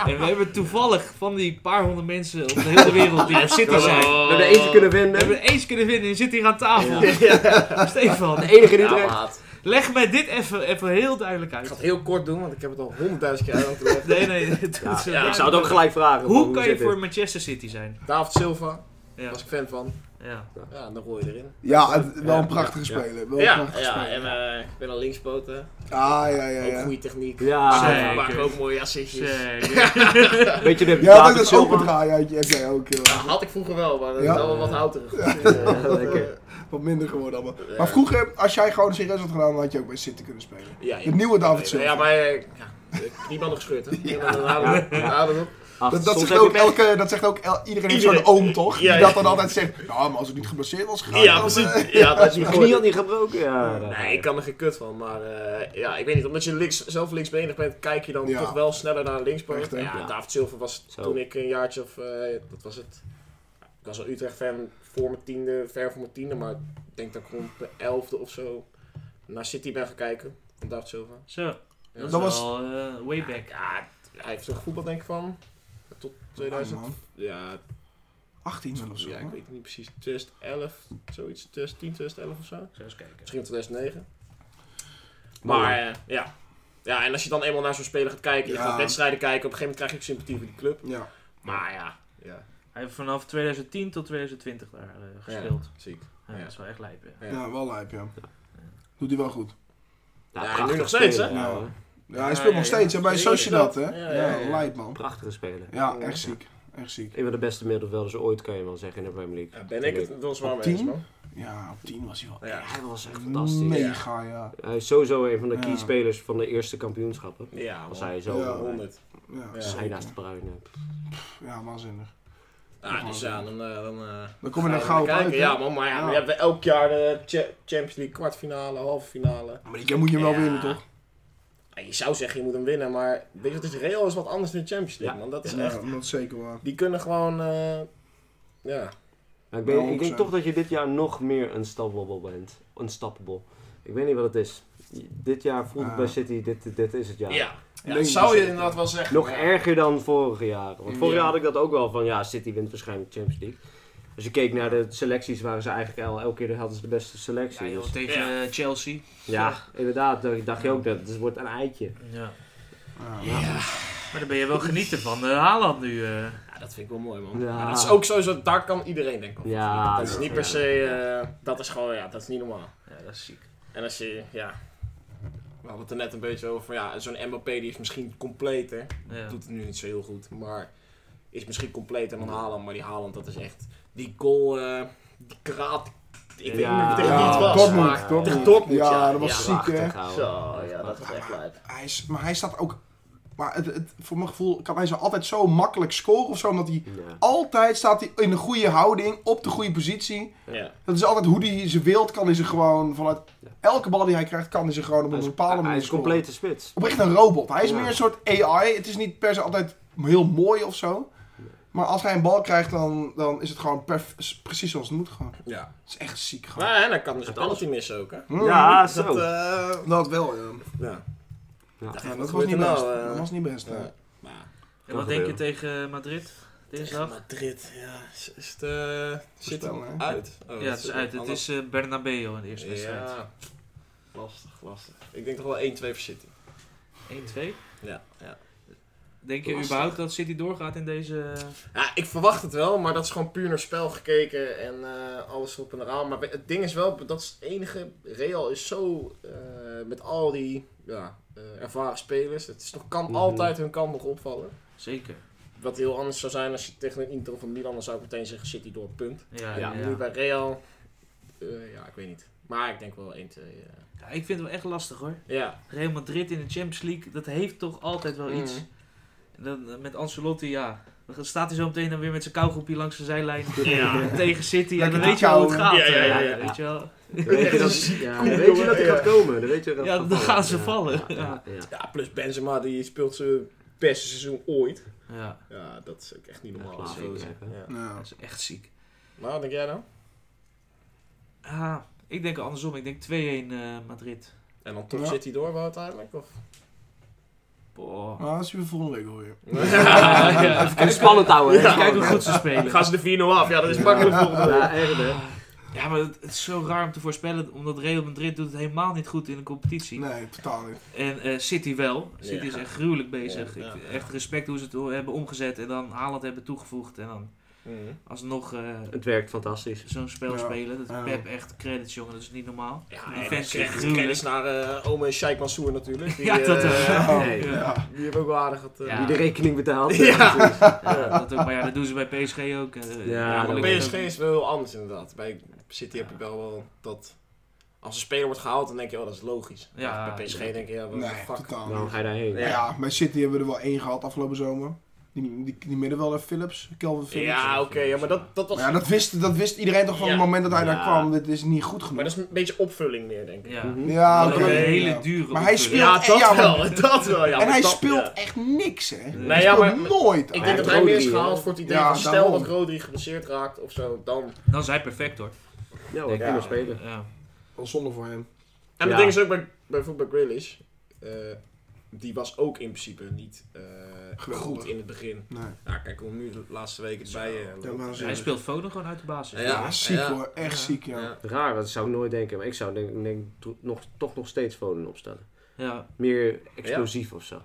Speaker 2: en we hebben toevallig van die paar honderd mensen op de hele wereld die voor City zijn.
Speaker 5: We hebben er eentje kunnen
Speaker 2: Oh. We
Speaker 5: vinden.
Speaker 2: hebben er eens kunnen vinden en zit hier aan tafel. Stefan,
Speaker 5: De enige die
Speaker 3: Ja,
Speaker 5: het redt.
Speaker 3: maat.
Speaker 2: leg mij dit even, even heel duidelijk
Speaker 3: Ik ga
Speaker 2: uit.
Speaker 3: het heel kort doen, want ik heb het al honderdduizend keer *laughs* uitgelegd.
Speaker 2: Nee, nee, het
Speaker 5: Ja,
Speaker 2: is-
Speaker 5: ik zou het ook gelijk vragen.
Speaker 2: Hoe kan je
Speaker 5: zit dit?
Speaker 2: voor Manchester City zijn?
Speaker 3: David Silva,
Speaker 2: Ja.
Speaker 3: was ik fan van.
Speaker 2: Ja.
Speaker 3: Ja, dan gooi je erin.
Speaker 4: ja, het- wel een
Speaker 5: Ja,
Speaker 4: prachtige
Speaker 5: ja, ja.
Speaker 4: speler. Wel een
Speaker 3: Ja,
Speaker 4: prachtige
Speaker 3: ja
Speaker 4: speler.
Speaker 3: en eh, ik ben al linkspoten.
Speaker 4: Ah, ja, ja,
Speaker 3: Ook
Speaker 4: ja.
Speaker 3: goede techniek.
Speaker 5: Ja,
Speaker 2: Zeker.
Speaker 3: Maar ook mooie
Speaker 2: *laughs*
Speaker 3: assistjes.
Speaker 2: Zeker.
Speaker 5: weet je, de
Speaker 4: Ja, dat is
Speaker 5: David
Speaker 4: ook
Speaker 5: Silva.
Speaker 4: een draaiuitje. Heb jij ook.
Speaker 3: Ja,
Speaker 4: joh.
Speaker 3: had ik vroeger wel, maar dat
Speaker 4: Ja.
Speaker 3: is allemaal wat houterig.
Speaker 5: Ja, lekker.
Speaker 4: Wat minder geworden allemaal. Maar vroeger, als jij gewoon serieus had gedaan, dan had je ook bij City kunnen spelen.
Speaker 3: Ja,
Speaker 4: De nieuwe David
Speaker 3: Ja,
Speaker 4: Silva.
Speaker 3: maar eh, ja, drie banden gescheurd, hè? Ja, dan
Speaker 5: Ja.
Speaker 3: houden we- dan houden we op.
Speaker 4: *laughs*
Speaker 5: Ach,
Speaker 4: Dat, dat,
Speaker 5: soms
Speaker 4: zegt
Speaker 5: heb je
Speaker 4: ook
Speaker 5: pech.
Speaker 4: elke, dat zegt ook el- iedereen heeft
Speaker 3: Iedereen.
Speaker 4: zo'n oom, toch?
Speaker 3: Ja,
Speaker 4: die
Speaker 3: ja.
Speaker 4: dat dan altijd zegt, nou, maar als ik niet geblesseerd was gegaan,
Speaker 3: Ja,
Speaker 4: dan... eh,
Speaker 3: precies. Ja, dat is niet
Speaker 5: Mijn knie had
Speaker 3: goed.
Speaker 5: niet gebroken. Ja, dat-
Speaker 3: Nee, ik kan er geen kut van, maar eh, ja, ik weet niet. Omdat je links, zelf linksbenig bent, kijk je dan
Speaker 4: Ja.
Speaker 3: toch wel sneller naar
Speaker 4: Echt,
Speaker 3: linkspoot.
Speaker 4: hè?
Speaker 3: Ja,
Speaker 5: Ja.
Speaker 3: David Silva was
Speaker 5: Zo.
Speaker 3: toen ik een jaartje of, eh, dat was het. Ik was al Utrecht-fan voor mijn tiende, ver voor mijn tiende, maar ik denk dat ik rond de elfde of zo naar City ben gaan kijken. Van David Silva.
Speaker 2: Zo,
Speaker 3: Ja,
Speaker 2: dat,
Speaker 4: Dat
Speaker 2: was
Speaker 4: was-
Speaker 2: wel eh, way back.
Speaker 3: Ja, hij heeft toch voetbal denk ik van tot
Speaker 4: eh,
Speaker 3: 2000.
Speaker 4: Ah, man,
Speaker 3: Ja,
Speaker 4: 18 of zo.
Speaker 3: ja, ik weet het niet precies. 2011, zoiets. 2010, 2011 of zo.
Speaker 2: Zo eens kijken.
Speaker 3: Misschien 2009.
Speaker 5: Maar-
Speaker 3: Maar eh, ja. Ja, en als je dan eenmaal naar zo'n speler gaat kijken, je
Speaker 4: Ja.
Speaker 3: gaat wedstrijden kijken, op een gegeven moment krijg je ook sympathie voor die club.
Speaker 4: Ja.
Speaker 3: Maar ja, ja,
Speaker 2: Hij heeft vanaf 2010 tot 2020 daar eh, gespeeld.
Speaker 3: ziek.
Speaker 2: Ja.
Speaker 3: Ja.
Speaker 2: Dat is wel echt lijp. ja.
Speaker 4: Ja. wel lijp, ja. Doet hij wel goed.
Speaker 5: Ja,
Speaker 3: Ja,
Speaker 5: prachtige
Speaker 3: nu nog steeds,
Speaker 5: speler,
Speaker 4: hè?
Speaker 5: ja,
Speaker 4: Ja.
Speaker 5: hoor.
Speaker 4: Ja, hij
Speaker 2: Ja,
Speaker 4: speelt
Speaker 2: ja,
Speaker 4: nog
Speaker 2: ja.
Speaker 4: steeds, hè, bij
Speaker 3: Zeker.
Speaker 4: Sociedad, hè?
Speaker 3: Ja, ja,
Speaker 4: Ja,
Speaker 3: ja.
Speaker 4: lijp, man.
Speaker 5: Prachtige speler.
Speaker 4: Ja, echt ziek. Echt ziek.
Speaker 5: Een van de beste middenvelders ooit, kan je wel zeggen, in de Premier League.
Speaker 3: Ja, ben ik het wel zwaar
Speaker 4: Op
Speaker 3: mee eens,
Speaker 4: tien?
Speaker 3: man.
Speaker 4: Ja, op 10 was hij wel
Speaker 3: Ja.
Speaker 5: Hij was echt
Speaker 4: echt
Speaker 5: fantastisch.
Speaker 4: mega, ja.
Speaker 5: Hij is sowieso een van de key
Speaker 4: Ja.
Speaker 5: spelers van de eerste kampioenschappen.
Speaker 3: Ja,
Speaker 5: Als
Speaker 3: man.
Speaker 5: hij zo...
Speaker 4: Ja.
Speaker 5: eh,
Speaker 3: 100.
Speaker 4: Ja,
Speaker 3: Ja.
Speaker 5: als hij
Speaker 4: zeker.
Speaker 5: naast de bruin hebt.
Speaker 4: Ja, waanzinnig.
Speaker 3: Ah, dus ja, dan... eh, dan eh,
Speaker 4: Dan kom je er
Speaker 3: Ja,
Speaker 4: gauw op
Speaker 3: kijken,
Speaker 4: uit, hè?
Speaker 3: Ja, man, maar ja,
Speaker 4: Ja.
Speaker 3: we hebben elk jaar de Cha- Champions League kwartfinale, halve finale.
Speaker 4: Maar die keer moet je hem wel
Speaker 3: Ja.
Speaker 4: winnen, toch?
Speaker 3: Ja, je zou zeggen, je moet hem winnen, maar weet je wat het is? Real is wat anders dan de Champions League,
Speaker 5: Ja.
Speaker 3: man. Dat is echt...
Speaker 4: Ja, dat is zeker waar.
Speaker 3: Die kunnen gewoon... eh, ja.
Speaker 5: Maar ik, ben,
Speaker 4: Ja,
Speaker 5: ik denk
Speaker 4: 100%.
Speaker 5: toch dat je dit jaar nog meer unstoppable bent. Unstoppable. Ik weet niet wat het is. Dit jaar voelt het
Speaker 4: Ja.
Speaker 5: bij City, dit, dit is het
Speaker 3: Ja.
Speaker 5: jaar.
Speaker 3: ja.
Speaker 4: Nee,
Speaker 3: dat zou je
Speaker 4: zeker.
Speaker 3: inderdaad wel zeggen.
Speaker 5: Nog
Speaker 3: ja.
Speaker 5: erger dan vorige jaren. Want vorig
Speaker 3: Ja.
Speaker 5: jaar had ik dat ook wel van, ja, City wint waarschijnlijk de Champions League. Als je keek naar de selecties, waren ze eigenlijk el, elke keer hadden ze de beste selectie.
Speaker 2: Ja, joh,
Speaker 5: Dus-
Speaker 2: tegen eh, Chelsea.
Speaker 5: ja, inderdaad. Dan dacht je ook dat dus het wordt een eitje.
Speaker 2: Ja.
Speaker 4: Ja.
Speaker 2: Maar dan ben je wel genieten van eh, Haaland nu. eh.
Speaker 3: Ja, dat vind ik wel mooi, man.
Speaker 5: Ja.
Speaker 3: Maar dat is ook sowieso... Daar kan iedereen denken over.
Speaker 5: Ja,
Speaker 3: dat is niet per se... eh, dat is gewoon... Ja, dat is niet normaal.
Speaker 2: Ja, dat is ziek.
Speaker 3: En als je... Ja. We hadden het er net een beetje over. Ja, zo'n Mbappé die is misschien completer.
Speaker 2: Ja.
Speaker 3: doet het nu niet zo heel goed, maar is misschien completer dan Haaland. Maar die Haaland, dat is echt die goal, eh, die kraat. Ik weet
Speaker 5: Ja.
Speaker 3: niet tegen wie het
Speaker 5: Ja,
Speaker 3: was.
Speaker 4: Dortmund,
Speaker 3: maar-
Speaker 4: Dortmund.
Speaker 3: Tegen Dortmund, ja.
Speaker 4: Ja, dat was ziek, hè?
Speaker 5: Prachtig, ouwe.
Speaker 3: Zo, ja, dat is echt lijp.
Speaker 4: Hij is, maar hij staat ook... Maar het, het, voor mijn gevoel kan hij zo altijd zo makkelijk scoren of zo, omdat hij...
Speaker 5: Ja.
Speaker 4: Altijd staat hij in de goede houding, op de goede positie.
Speaker 3: Ja.
Speaker 4: Dat is altijd hoe hij ze wilt, kan hij ze gewoon vanuit elke bal die hij krijgt, kan hij ze gewoon op
Speaker 5: Hij
Speaker 4: een
Speaker 5: is-
Speaker 4: bepaalde
Speaker 5: Hij
Speaker 4: manier
Speaker 5: is
Speaker 4: scoren.
Speaker 5: complete spits.
Speaker 4: Oprecht een robot. Hij is
Speaker 5: Ja.
Speaker 4: meer een soort AI. Het is niet per se altijd heel mooi of zo. Maar als hij een bal krijgt, dan, dan is het gewoon perf- precies zoals het moet. Gewoon.
Speaker 3: Ja.
Speaker 4: Het is echt ziek gewoon.
Speaker 3: Maar en hij kan dus een
Speaker 5: Met alles.
Speaker 3: penalty missen ook, hè?
Speaker 4: Mm.
Speaker 5: Ja, zo.
Speaker 3: Dat, eh,
Speaker 4: Dat wel, ja.
Speaker 3: ja.
Speaker 5: Ja.
Speaker 4: Ja, dat, was
Speaker 3: gebeurt
Speaker 4: niet
Speaker 3: er nou,
Speaker 4: best.
Speaker 3: eh?
Speaker 4: dat was niet best.
Speaker 3: Ja.
Speaker 4: hè.
Speaker 3: Maar
Speaker 2: En wat denk je tegen eh, Madrid dinsdag?
Speaker 3: Madrid, ja. Is, is het... eh zit
Speaker 4: Voorspel, hè?
Speaker 3: het uit? Oh,
Speaker 2: Ja, het is uit. Het
Speaker 3: anders.
Speaker 2: is eh, Bernabeu in de eerste wedstrijd.
Speaker 3: Ja. Lastig, lastig. Ik denk toch wel 1-2 voor City.
Speaker 2: 1-2.
Speaker 3: Ja, ja.
Speaker 2: Denk je
Speaker 3: Lastig.
Speaker 2: überhaupt dat City doorgaat in deze... eh,
Speaker 3: ja, ik verwacht het wel, maar dat is gewoon puur naar spel gekeken en eh, alles op en eraan. Maar het ding is wel, dat is het enige. Real is zo eh, met al die ja, eh, ervaren spelers. Het is nog, kan
Speaker 5: Mhm.
Speaker 3: altijd hun kant nog opvallen.
Speaker 2: Zeker.
Speaker 3: Wat heel anders zou zijn als je tegen een Inter of een Milan, dan zou ik meteen zeggen City door, punt.
Speaker 2: Ja,
Speaker 3: Ja,
Speaker 2: ja,
Speaker 3: Nu bij Real, eh, ja, ik weet niet. Maar ik denk wel 1-2. eh.
Speaker 2: Ja, ik vind het wel echt lastig hoor.
Speaker 3: Ja,
Speaker 2: Real Madrid in de Champions League, dat heeft toch altijd wel iets.
Speaker 3: Mm.
Speaker 2: En dan eh, met Ancelotti, ja. Dan staat hij zo meteen dan weer met zijn kauwgroepje langs de zijlijn tegen City. En
Speaker 4: Lekker
Speaker 2: dan
Speaker 4: die
Speaker 2: weet je wel hoe het
Speaker 4: kauwen.
Speaker 2: gaat.
Speaker 3: Ja, ja,
Speaker 2: eh,
Speaker 3: ja,
Speaker 5: ja.
Speaker 2: Weet je wel.
Speaker 5: Dan weet je dat,
Speaker 3: *laughs*
Speaker 5: ja, dan weet je dat hij gaat komen. Dan weet je dat
Speaker 2: Ja, dan gaan ze vallen.
Speaker 5: Ja, ja, ja.
Speaker 3: ja, plus Benzema, die speelt zijn beste seizoen ooit.
Speaker 2: Ja,
Speaker 3: Ja, dat is ook echt niet normaal.
Speaker 5: Ja,
Speaker 3: als je
Speaker 5: zeker,
Speaker 3: zo zegt.
Speaker 5: hè.
Speaker 3: Ja.
Speaker 4: Ja.
Speaker 2: dat is echt ziek.
Speaker 3: Maar wat denk jij dan?
Speaker 2: Ah, ik denk andersom. Ik denk 2-1 eh, Madrid.
Speaker 3: En dan toch
Speaker 4: Ja.
Speaker 3: City door wel uiteindelijk? *laughs* Of?
Speaker 4: *laughs*
Speaker 2: Boah.
Speaker 4: Maar dat zien we volgende week alweer.
Speaker 3: *laughs*
Speaker 2: Ja, ja.
Speaker 5: Even kijken. spannend houden. hè.
Speaker 2: Even kijken hoe goed ze spelen.
Speaker 3: Gaan ze de 4-0 af? Ja, dat is makkelijk volgende week.
Speaker 5: Ja, echt hè.
Speaker 2: Ja, maar het, het is zo raar om te voorspellen, omdat Real Madrid doet het helemaal niet goed in de competitie.
Speaker 4: Nee, totaal niet.
Speaker 2: En eh, City wel. City
Speaker 3: Ja.
Speaker 2: is echt gruwelijk bezig.
Speaker 3: Ja, ja,
Speaker 2: Ik-
Speaker 3: ja.
Speaker 2: Echt respect hoe ze het hebben omgezet en dan Haaland hebben toegevoegd. En dan alsnog eh,
Speaker 5: Het werkt fantastisch.
Speaker 2: zo'n spel
Speaker 4: Ja.
Speaker 2: spelen. Dat
Speaker 4: Ja.
Speaker 2: Pep echt credits, jongen. Dat is niet normaal.
Speaker 3: Ja,
Speaker 2: Die
Speaker 3: en
Speaker 2: fans
Speaker 3: dan
Speaker 2: echt
Speaker 3: krijg-
Speaker 2: gruwelijk.
Speaker 3: kennis naar eh ome Sheikh Mansour natuurlijk. Die,
Speaker 2: ja, dat
Speaker 3: eh,
Speaker 2: eh,
Speaker 4: Ja.
Speaker 5: nee.
Speaker 2: ja.
Speaker 4: Ja.
Speaker 3: Die hebben ook wel aardig wat... eh,
Speaker 2: Ja.
Speaker 5: Die de rekening betaalt.
Speaker 3: Ja.
Speaker 5: precies.
Speaker 2: Ja, dat ook, maar ja, dat doen ze bij PSG ook. eh,
Speaker 5: Ja,
Speaker 2: maar
Speaker 3: maar
Speaker 5: dat
Speaker 2: lukt
Speaker 3: PSG
Speaker 2: het ook
Speaker 3: is wel heel anders inderdaad. Bij City heb je
Speaker 2: Ja.
Speaker 3: wel wel dat... Als een speler wordt gehaald, dan denk je, oh, dat is logisch.
Speaker 2: Ja.
Speaker 3: Bij PSG denk je, ja, wat
Speaker 4: Nee,
Speaker 3: de fuck.
Speaker 4: totaal
Speaker 5: Waarom
Speaker 4: niet.
Speaker 5: ga je daarheen?
Speaker 4: Ja, ja, bij City hebben we er wel één gehad afgelopen zomer. Die, die, die middenvelder Philips, Kelvin Philips.
Speaker 3: Ja, oké, ja, maar dat, dat was...
Speaker 4: Maar ja, dat wist, dat wist iedereen toch van het
Speaker 3: Ja.
Speaker 4: moment dat hij daar
Speaker 5: Ja.
Speaker 4: kwam. Dit is niet goed
Speaker 3: Maar
Speaker 4: genoeg.
Speaker 3: dat is een beetje opvulling meer, denk ik.
Speaker 2: Ja,
Speaker 5: Mhm.
Speaker 4: Ja,
Speaker 2: Dat
Speaker 4: oké,
Speaker 2: is een
Speaker 4: ja.
Speaker 2: hele dure
Speaker 4: Maar hij
Speaker 2: opvulling.
Speaker 4: speelt-
Speaker 3: Ja, dat
Speaker 4: Ja, maar-
Speaker 3: wel, *laughs* dat wel. Ja,
Speaker 4: en
Speaker 3: maar
Speaker 4: hij
Speaker 3: dat-
Speaker 4: speelt
Speaker 3: ja.
Speaker 4: echt niks, hè?
Speaker 2: Nee,
Speaker 4: hij
Speaker 3: ja,
Speaker 4: speelt
Speaker 3: maar-
Speaker 4: nooit.
Speaker 3: Ik
Speaker 5: Ja,
Speaker 3: denk dat hij meer is
Speaker 5: Rodri, hè?
Speaker 3: gehaald voor het idee
Speaker 4: Ja,
Speaker 3: van stel
Speaker 4: daarom.
Speaker 3: dat Rodri geblesseerd raakt of zo, dan...
Speaker 2: Dan is hij perfect hoor.
Speaker 5: Ja, hoor, prima
Speaker 3: Ja.
Speaker 5: spelen.
Speaker 2: Ja.
Speaker 4: Wel zonde voor hem.
Speaker 3: En
Speaker 5: Ja.
Speaker 3: het ding is ook bij, bijvoorbeeld bij Grealish, eh, die was ook in principe niet eh,
Speaker 4: Geweldig.
Speaker 3: goed in het begin.
Speaker 4: Nee.
Speaker 3: Nou, kijk hoe nu de laatste weken erbij eh, loopt.
Speaker 4: Ja, maar-
Speaker 2: Hij speelt Foden gewoon uit de basis.
Speaker 3: Ja.
Speaker 4: Ja, ziek
Speaker 3: ja.
Speaker 4: hoor. Echt ziek, ja.
Speaker 3: Ja.
Speaker 5: Raar, dat zou ik nooit denken. Maar ik zou denk, denk, to- nog, toch nog steeds Foden opstellen.
Speaker 2: Ja,
Speaker 5: Meer explosief of zo.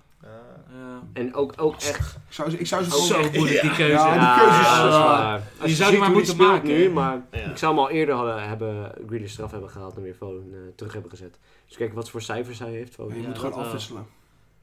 Speaker 2: ja.
Speaker 5: En ook, ook echt...
Speaker 4: Ik zou, ze- ik zou ze gewoon...
Speaker 2: Zo moeilijk die keuze.
Speaker 4: Ja, die keuze is-
Speaker 5: dat is
Speaker 4: Ja.
Speaker 5: waar. Als je
Speaker 2: zou die maar
Speaker 5: ziet hoe
Speaker 2: moeten
Speaker 5: speelt
Speaker 2: maken,
Speaker 5: nu,
Speaker 2: hè?
Speaker 5: maar
Speaker 3: Ja.
Speaker 5: ik zou hem al eerder hadden, hebben Grealish straf hebben gehaald en weer Foden eh, terug hebben gezet. Dus kijk wat voor cijfers hij heeft. Foden.
Speaker 4: Oh, Je moet
Speaker 2: dat
Speaker 4: gewoon
Speaker 2: wel.
Speaker 4: afwisselen.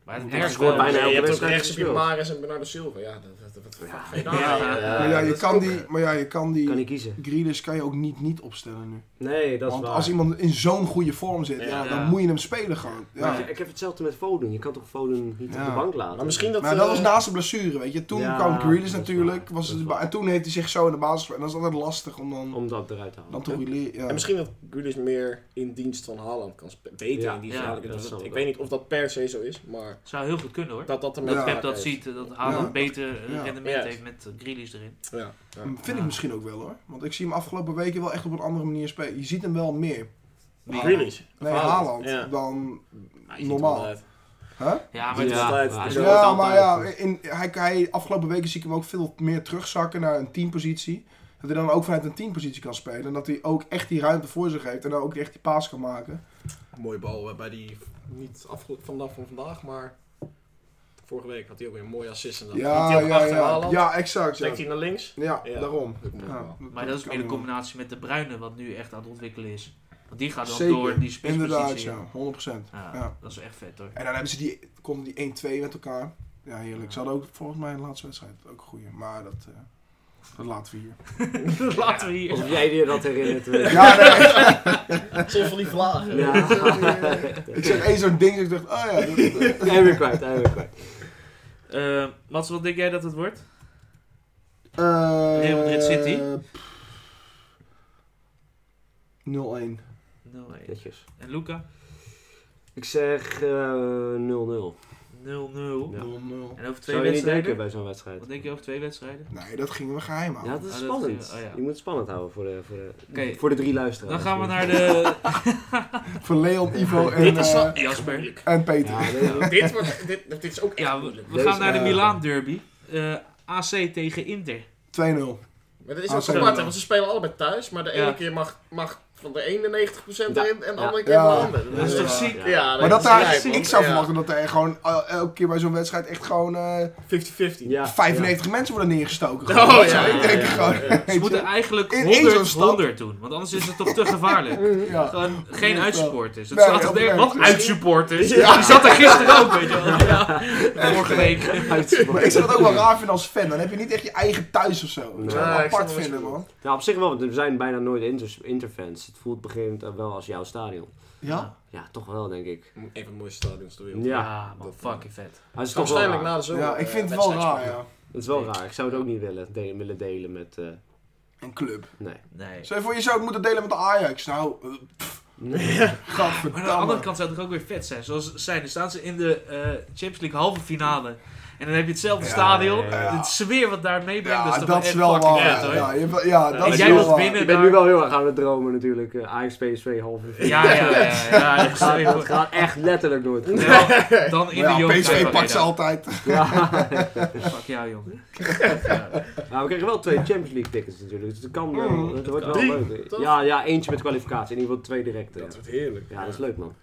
Speaker 2: Maar
Speaker 4: Want
Speaker 2: het
Speaker 4: hij
Speaker 2: ergste
Speaker 5: scoort
Speaker 2: wel-
Speaker 5: bijna
Speaker 3: je
Speaker 5: elke
Speaker 3: hebt ook
Speaker 5: wedstrijd
Speaker 3: rechts op je
Speaker 5: gespeeld.
Speaker 3: Maris en Bernardo Silva. Ja, dat, dat, wat de fuck ga je daar-
Speaker 2: Ja.
Speaker 3: Ja,
Speaker 5: Ja,
Speaker 4: maar ja, je
Speaker 3: dat is
Speaker 4: kan
Speaker 3: ook,
Speaker 4: die,
Speaker 3: eh,
Speaker 4: maar ja, je kan die...
Speaker 5: Kan ik kiezen?
Speaker 4: Grealish kan je ook niet niet opstellen nu.
Speaker 5: Nee, dat is
Speaker 4: Want
Speaker 5: waar.
Speaker 4: als iemand in zo'n goede vorm zit, ja,
Speaker 3: Ja.
Speaker 4: dan
Speaker 2: Ja.
Speaker 4: moet je hem spelen gewoon. Ja.
Speaker 5: Maar ik- Ik heb hetzelfde met Foden. Je kan toch Foden niet op
Speaker 4: Ja.
Speaker 5: de bank laten?
Speaker 3: Maar misschien dat...
Speaker 4: Maar dat
Speaker 3: eh,
Speaker 4: was nou- naast de blessure, weet je. Toen
Speaker 5: Ja,
Speaker 4: kwam
Speaker 5: dat
Speaker 4: Grealish
Speaker 5: is
Speaker 4: natuurlijk.
Speaker 5: waar.
Speaker 4: Was
Speaker 5: Dat
Speaker 4: het,
Speaker 5: is
Speaker 4: de ba-
Speaker 5: waar.
Speaker 4: en toen heeft hij zich zo in de basis... En dat is altijd lastig om dan,
Speaker 5: Om dat eruit te halen.
Speaker 4: dan te roleren. Ja.
Speaker 3: en misschien dat Grealish meer in dienst van Haaland kan spelen. Beter
Speaker 5: Ja,
Speaker 3: in dienst
Speaker 2: ja,
Speaker 3: van Haaland.
Speaker 5: dat
Speaker 3: Dus dat-
Speaker 5: zal
Speaker 3: ik
Speaker 5: wel.
Speaker 3: weet niet of dat per se zo is, maar
Speaker 2: Zou heel goed kunnen hoor.
Speaker 3: dat dat er met
Speaker 2: Dat
Speaker 4: Ja.
Speaker 2: Pep dat ziet, eh, dat Haaland
Speaker 4: Ja.
Speaker 2: beter eh,
Speaker 4: Ja.
Speaker 2: rendement
Speaker 3: Ja.
Speaker 2: heeft met Grealish erin.
Speaker 3: Ja, ja.
Speaker 4: Vind ik misschien ook wel hoor. Want ik zie hem afgelopen weken wel echt op een andere manier spelen. Je ziet hem wel meer.
Speaker 3: Wie?
Speaker 4: Haaland.
Speaker 3: Grealish.
Speaker 4: Nee,
Speaker 3: Haaland.
Speaker 4: Haaland.
Speaker 3: Ja.
Speaker 4: Dan...
Speaker 3: Hij ziet
Speaker 4: Normaal.
Speaker 3: er wel uit.
Speaker 4: Hè?
Speaker 2: Ja,
Speaker 3: maar
Speaker 2: maar
Speaker 3: het is altijd-
Speaker 2: hij
Speaker 3: het
Speaker 2: is
Speaker 3: is
Speaker 2: wel-
Speaker 3: altijd
Speaker 4: Ja, maar ja,
Speaker 3: altijd.
Speaker 4: in, hij, hij, afgelopen weken zie ik hem ook veel meer terugzakken naar een teampositie. Dat hij dan ook vanuit een teampositie kan spelen. En dat hij ook echt die ruimte voor zich heeft. En dan ook echt die paas kan maken.
Speaker 3: Mooie bal eh, bij die, niet afge- vanaf van vandaag, maar vorige week had hij ook weer een mooie assist. En dan
Speaker 4: Ja,
Speaker 3: hij ook
Speaker 4: ja,
Speaker 3: achter
Speaker 4: ja.
Speaker 3: Haaland.
Speaker 4: Ja, exact. Ja,
Speaker 3: Trekt hij naar links?
Speaker 4: ja,
Speaker 3: Ja.
Speaker 4: daarom.
Speaker 3: Dat komt
Speaker 4: Ja,
Speaker 3: wel.
Speaker 2: Maar dat is
Speaker 4: kan
Speaker 2: meer de
Speaker 4: wel.
Speaker 2: combinatie met de Bruine, wat nu echt aan het ontwikkelen is. Want die gaat dan
Speaker 4: Zeker,
Speaker 2: door die spitspositie.
Speaker 4: Inderdaad,
Speaker 2: ja.
Speaker 4: ja. 100%. Ja.
Speaker 2: Dat is echt vet
Speaker 5: *laughs*
Speaker 2: hoor. *laughs*
Speaker 4: En dan hebben ze die, konden die 1-2 met elkaar. Ja, heerlijk. Ze hadden ook volgens mij in de laatste wedstrijd ook een goeie. Maar dat, eh, dat laten
Speaker 3: *laughs*
Speaker 4: we hier.
Speaker 2: Laten we hier.
Speaker 5: Alsof jij je dat
Speaker 4: *laughs*
Speaker 5: herinnert. eh.
Speaker 4: Ja, nee. *laughs*
Speaker 3: Soms van die vlagen.
Speaker 5: Ja.
Speaker 4: ik zeg één zo'n ding. Ik dacht, oh ja. dat-
Speaker 3: *laughs*
Speaker 4: dat-
Speaker 5: En weer kwijt, en weer kwijt.
Speaker 2: Eh, Mats, wat denk jij dat het wordt?
Speaker 4: Eh,
Speaker 2: Real Madrid City.
Speaker 4: 0-1.
Speaker 2: 0-1.
Speaker 5: Netjes.
Speaker 2: En Luca?
Speaker 5: Ik zeg eh, 0-0.
Speaker 2: 0-0.
Speaker 4: 0-0.
Speaker 5: Ja.
Speaker 2: En over twee
Speaker 5: Zou je niet denken
Speaker 2: wedstrijden?
Speaker 5: bij zo'n wedstrijd?
Speaker 2: Wat denk je over twee wedstrijden?
Speaker 4: Nee, dat gingen we geheim
Speaker 5: Ja,
Speaker 4: houden.
Speaker 5: dat is
Speaker 2: Oh, dat-
Speaker 5: spannend.
Speaker 2: oh, ja.
Speaker 5: Je moet het spannend houden voor de, voor de,
Speaker 2: Oké.
Speaker 5: voor de drie luisteraars.
Speaker 2: Dan gaan we naar de
Speaker 5: *laughs*
Speaker 4: Voor Leon, Ivo en,
Speaker 3: Dit is wel
Speaker 4: eh,
Speaker 3: echt
Speaker 2: Jasper.
Speaker 3: moeilijk.
Speaker 4: en Peter.
Speaker 5: Ja, nee,
Speaker 3: *laughs* dit, wordt, dit, dit is ook echt
Speaker 2: Ja, we,
Speaker 3: moeilijk.
Speaker 2: we gaan naar de
Speaker 4: eh,
Speaker 2: Milaan derby. Eh, AC tegen Inter.
Speaker 4: 2-0.
Speaker 3: Maar dat is
Speaker 4: Ah,
Speaker 3: ook
Speaker 4: sorry.
Speaker 3: apart, hè, want ze spelen allebei thuis, maar de ene
Speaker 2: Ja.
Speaker 3: keer mag, mag van de ene 90%
Speaker 5: Ja.
Speaker 3: in en de
Speaker 5: Ja.
Speaker 3: andere keer
Speaker 4: Ja.
Speaker 3: de
Speaker 2: *laughs*
Speaker 3: andere.
Speaker 2: Dat is
Speaker 3: Dus,
Speaker 2: toch
Speaker 4: Ja.
Speaker 2: ziek?
Speaker 5: Ja.
Speaker 3: eh, ja,
Speaker 4: Maar
Speaker 3: dat
Speaker 4: dat
Speaker 3: is
Speaker 4: daar,
Speaker 3: lijp, man.
Speaker 4: ik zou
Speaker 3: Ja.
Speaker 4: verwachten dat er gewoon el- elke keer bij zo'n wedstrijd echt gewoon eh,
Speaker 3: 50-50.
Speaker 5: ja,
Speaker 4: 95 mensen worden neergestoken.
Speaker 3: Oh,
Speaker 4: Gewoon.
Speaker 3: ja,
Speaker 4: Ik denk
Speaker 5: ja,
Speaker 4: gewoon.
Speaker 5: ja.
Speaker 4: weet
Speaker 2: Ze
Speaker 4: je.
Speaker 2: moeten eigenlijk
Speaker 4: In- in zo'n
Speaker 2: 100,
Speaker 4: stad.
Speaker 2: 100 doen, want anders is het toch te gevaarlijk.
Speaker 4: Ja.
Speaker 2: Gewoon geen
Speaker 4: Ja.
Speaker 2: uitsupporters. Het
Speaker 4: Nee,
Speaker 2: staat
Speaker 4: dat
Speaker 2: er,
Speaker 4: werkt.
Speaker 2: wat uitsupporters?
Speaker 4: Ja.
Speaker 2: Die zat er gisteren ook, weet je wel.
Speaker 4: *laughs*
Speaker 2: Ja. Vorige week.
Speaker 4: Maar ik zou het ook wel raar vinden als fan. Dan heb je niet echt je eigen thuis of zo.
Speaker 5: Nee.
Speaker 4: Ik zou het
Speaker 3: Nee,
Speaker 4: wel
Speaker 3: ik snap
Speaker 4: apart
Speaker 3: wat je
Speaker 4: vinden,
Speaker 3: bedoelt.
Speaker 4: man.
Speaker 5: Nou, op zich wel, want er zijn bijna nooit inter interfans. Het voelt begint wel als jouw stadion.
Speaker 4: Ja?
Speaker 5: Ja, toch wel, denk ik.
Speaker 3: Een van de mooiste stadions ter wereld.
Speaker 5: Ja,
Speaker 2: Ja, man, fucking vet.
Speaker 5: maar het is toch wel
Speaker 3: Waarschijnlijk
Speaker 5: raar.
Speaker 3: na de zomer.
Speaker 4: Ja, ik
Speaker 3: eh,
Speaker 4: vind het wel
Speaker 3: wedstrijd
Speaker 4: raar,
Speaker 3: spelen.
Speaker 4: ja.
Speaker 5: Het is wel raar. Ik zou het ook niet willen, de- willen delen met... eh,
Speaker 4: Een club.
Speaker 5: nee.
Speaker 2: Nee.
Speaker 4: Stel je voor, je zou het moeten delen met de Ajax. Nou, eh,
Speaker 2: Maar aan de andere
Speaker 4: gadverdamme.
Speaker 2: kant zou het toch ook weer vet zijn. Zoals ze zijn, dan staan ze in de eh, Champions League halve finale. En dan heb je hetzelfde
Speaker 4: Ja,
Speaker 2: stadion.
Speaker 5: ja,
Speaker 4: ja.
Speaker 2: Het sfeer wat daar meebrengt,
Speaker 4: Ja,
Speaker 2: dat is dus toch wel
Speaker 4: dat
Speaker 2: echt
Speaker 4: is wel
Speaker 2: fucking
Speaker 4: waar.
Speaker 2: vet, hoor.
Speaker 4: Ja, je hebt wel- ja, dat
Speaker 2: en
Speaker 4: is
Speaker 2: jij
Speaker 4: wel
Speaker 2: wilt
Speaker 4: waar.
Speaker 2: winnen
Speaker 5: Ik ben
Speaker 2: daar.
Speaker 5: nu wel heel erg aan het dromen natuurlijk. Eh, Ajax, PSV, halve finale.
Speaker 2: Ja,
Speaker 5: *laughs*
Speaker 2: ja, ja. ja, ja.
Speaker 5: Het gaat, het gaat echt letterlijk nooit
Speaker 2: Dan-
Speaker 5: goed.
Speaker 2: Dan in
Speaker 4: Maar
Speaker 2: de
Speaker 4: ja,
Speaker 2: Johan
Speaker 4: PSV pakt ze
Speaker 2: Cruijff
Speaker 4: altijd.
Speaker 5: Ja. *laughs*
Speaker 2: Arena. Fuck jou, jongen.
Speaker 5: Nou, we krijgen wel twee Champions League tickets natuurlijk. Dus het kan wel.
Speaker 4: Mm,
Speaker 5: het wordt
Speaker 3: kan.
Speaker 5: wel
Speaker 3: Drie,
Speaker 5: leuk.
Speaker 3: toch?
Speaker 5: Ja, ja, eentje met kwalificatie. In ieder geval twee directe. Ja.
Speaker 3: Dat wordt heerlijk.
Speaker 5: Ja, dat is leuk man.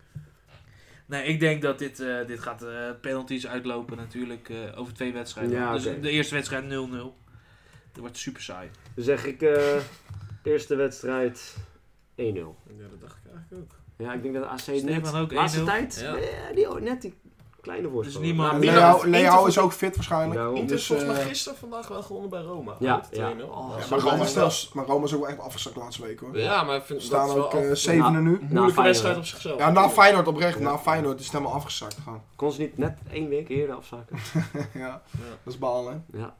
Speaker 2: Nee, ik denk dat dit, eh, dit gaat eh, penalties uitlopen natuurlijk eh, over twee wedstrijden.
Speaker 5: Ja, oké.
Speaker 2: Dus de eerste wedstrijd 0-0. Dat wordt super saai.
Speaker 5: Dan zeg ik eh, eerste wedstrijd 1-0.
Speaker 3: Ja, dat dacht ik eigenlijk ook.
Speaker 5: Ja, ik denk dat AC net...
Speaker 2: Steven ook
Speaker 5: laatste
Speaker 2: 1-0.
Speaker 5: tijd?
Speaker 3: Ja.
Speaker 5: eh, die, net die kleine voorsprong.
Speaker 2: Dus niemand-
Speaker 4: En
Speaker 3: Milan-
Speaker 4: Leo, Leo
Speaker 3: Inter-
Speaker 4: is ook fit waarschijnlijk.
Speaker 5: Daarom.
Speaker 4: Dus,
Speaker 3: Inter is volgens mij
Speaker 4: eh,
Speaker 3: gisteren vandaag wel gewonnen bij Roma.
Speaker 5: Ja,
Speaker 3: Met 2-0.
Speaker 5: ja.
Speaker 3: Oh,
Speaker 4: maar,
Speaker 3: zo
Speaker 4: Roma is
Speaker 3: wel-
Speaker 4: wel- maar Roma is ook wel echt afgezakt laatste week hoor.
Speaker 3: Ja, maar ik
Speaker 4: We
Speaker 3: vind
Speaker 4: staan
Speaker 3: dat is
Speaker 4: ook
Speaker 3: wel
Speaker 4: eh,
Speaker 3: altijd een
Speaker 4: zevende nu.
Speaker 3: moeilijke
Speaker 5: Na
Speaker 3: wedstrijd op
Speaker 5: Feyenoord.
Speaker 3: zichzelf.
Speaker 4: Ja, na Feyenoord oprecht. Na Feyenoord is het helemaal afgezakt gewoon.
Speaker 5: Kon ze niet net één week eerder afzakken? *laughs*
Speaker 4: ja, dat is balen hè.
Speaker 5: ja.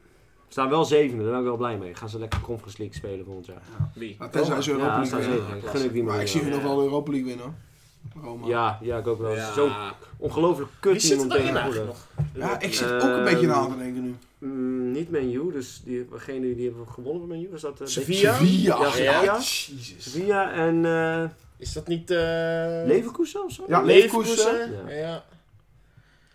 Speaker 5: We staan wel zevende, daar ben ik wel blij mee. Gaan ze lekker Conference League spelen volgend jaar.
Speaker 3: Wie?
Speaker 4: Nou, tenzij ze Europa
Speaker 5: Ja, we
Speaker 4: League
Speaker 5: staan
Speaker 4: winnen.
Speaker 5: zevende. Ik Gun ik die
Speaker 4: Maar ik zie hun
Speaker 5: man.
Speaker 4: nog wel de Europa League winnen hoor. Roma.
Speaker 5: Ja, ja, ik ook wel.
Speaker 3: Ja.
Speaker 5: Zo'n ongelooflijk kut
Speaker 3: Wie zit er
Speaker 5: iemand
Speaker 3: daarin
Speaker 5: tegen
Speaker 3: eigenlijk
Speaker 5: voetballen.
Speaker 3: nog?
Speaker 4: Ja, ik zit ook een beetje na te denken nu.
Speaker 5: Mm, niet Menu, dus die, degene die, die hebben gewonnen van Menu, was dat... eh,
Speaker 3: Sevilla? Ja.
Speaker 4: Sevilla.
Speaker 5: Ja,
Speaker 4: ach, Ja,
Speaker 5: Sevilla.
Speaker 4: jezus.
Speaker 5: Sevilla en eh
Speaker 3: Is dat niet... eh
Speaker 5: Leverkusen of zo?
Speaker 4: Ja, Leverkusen.
Speaker 3: Ja.
Speaker 5: Ja.
Speaker 3: ja.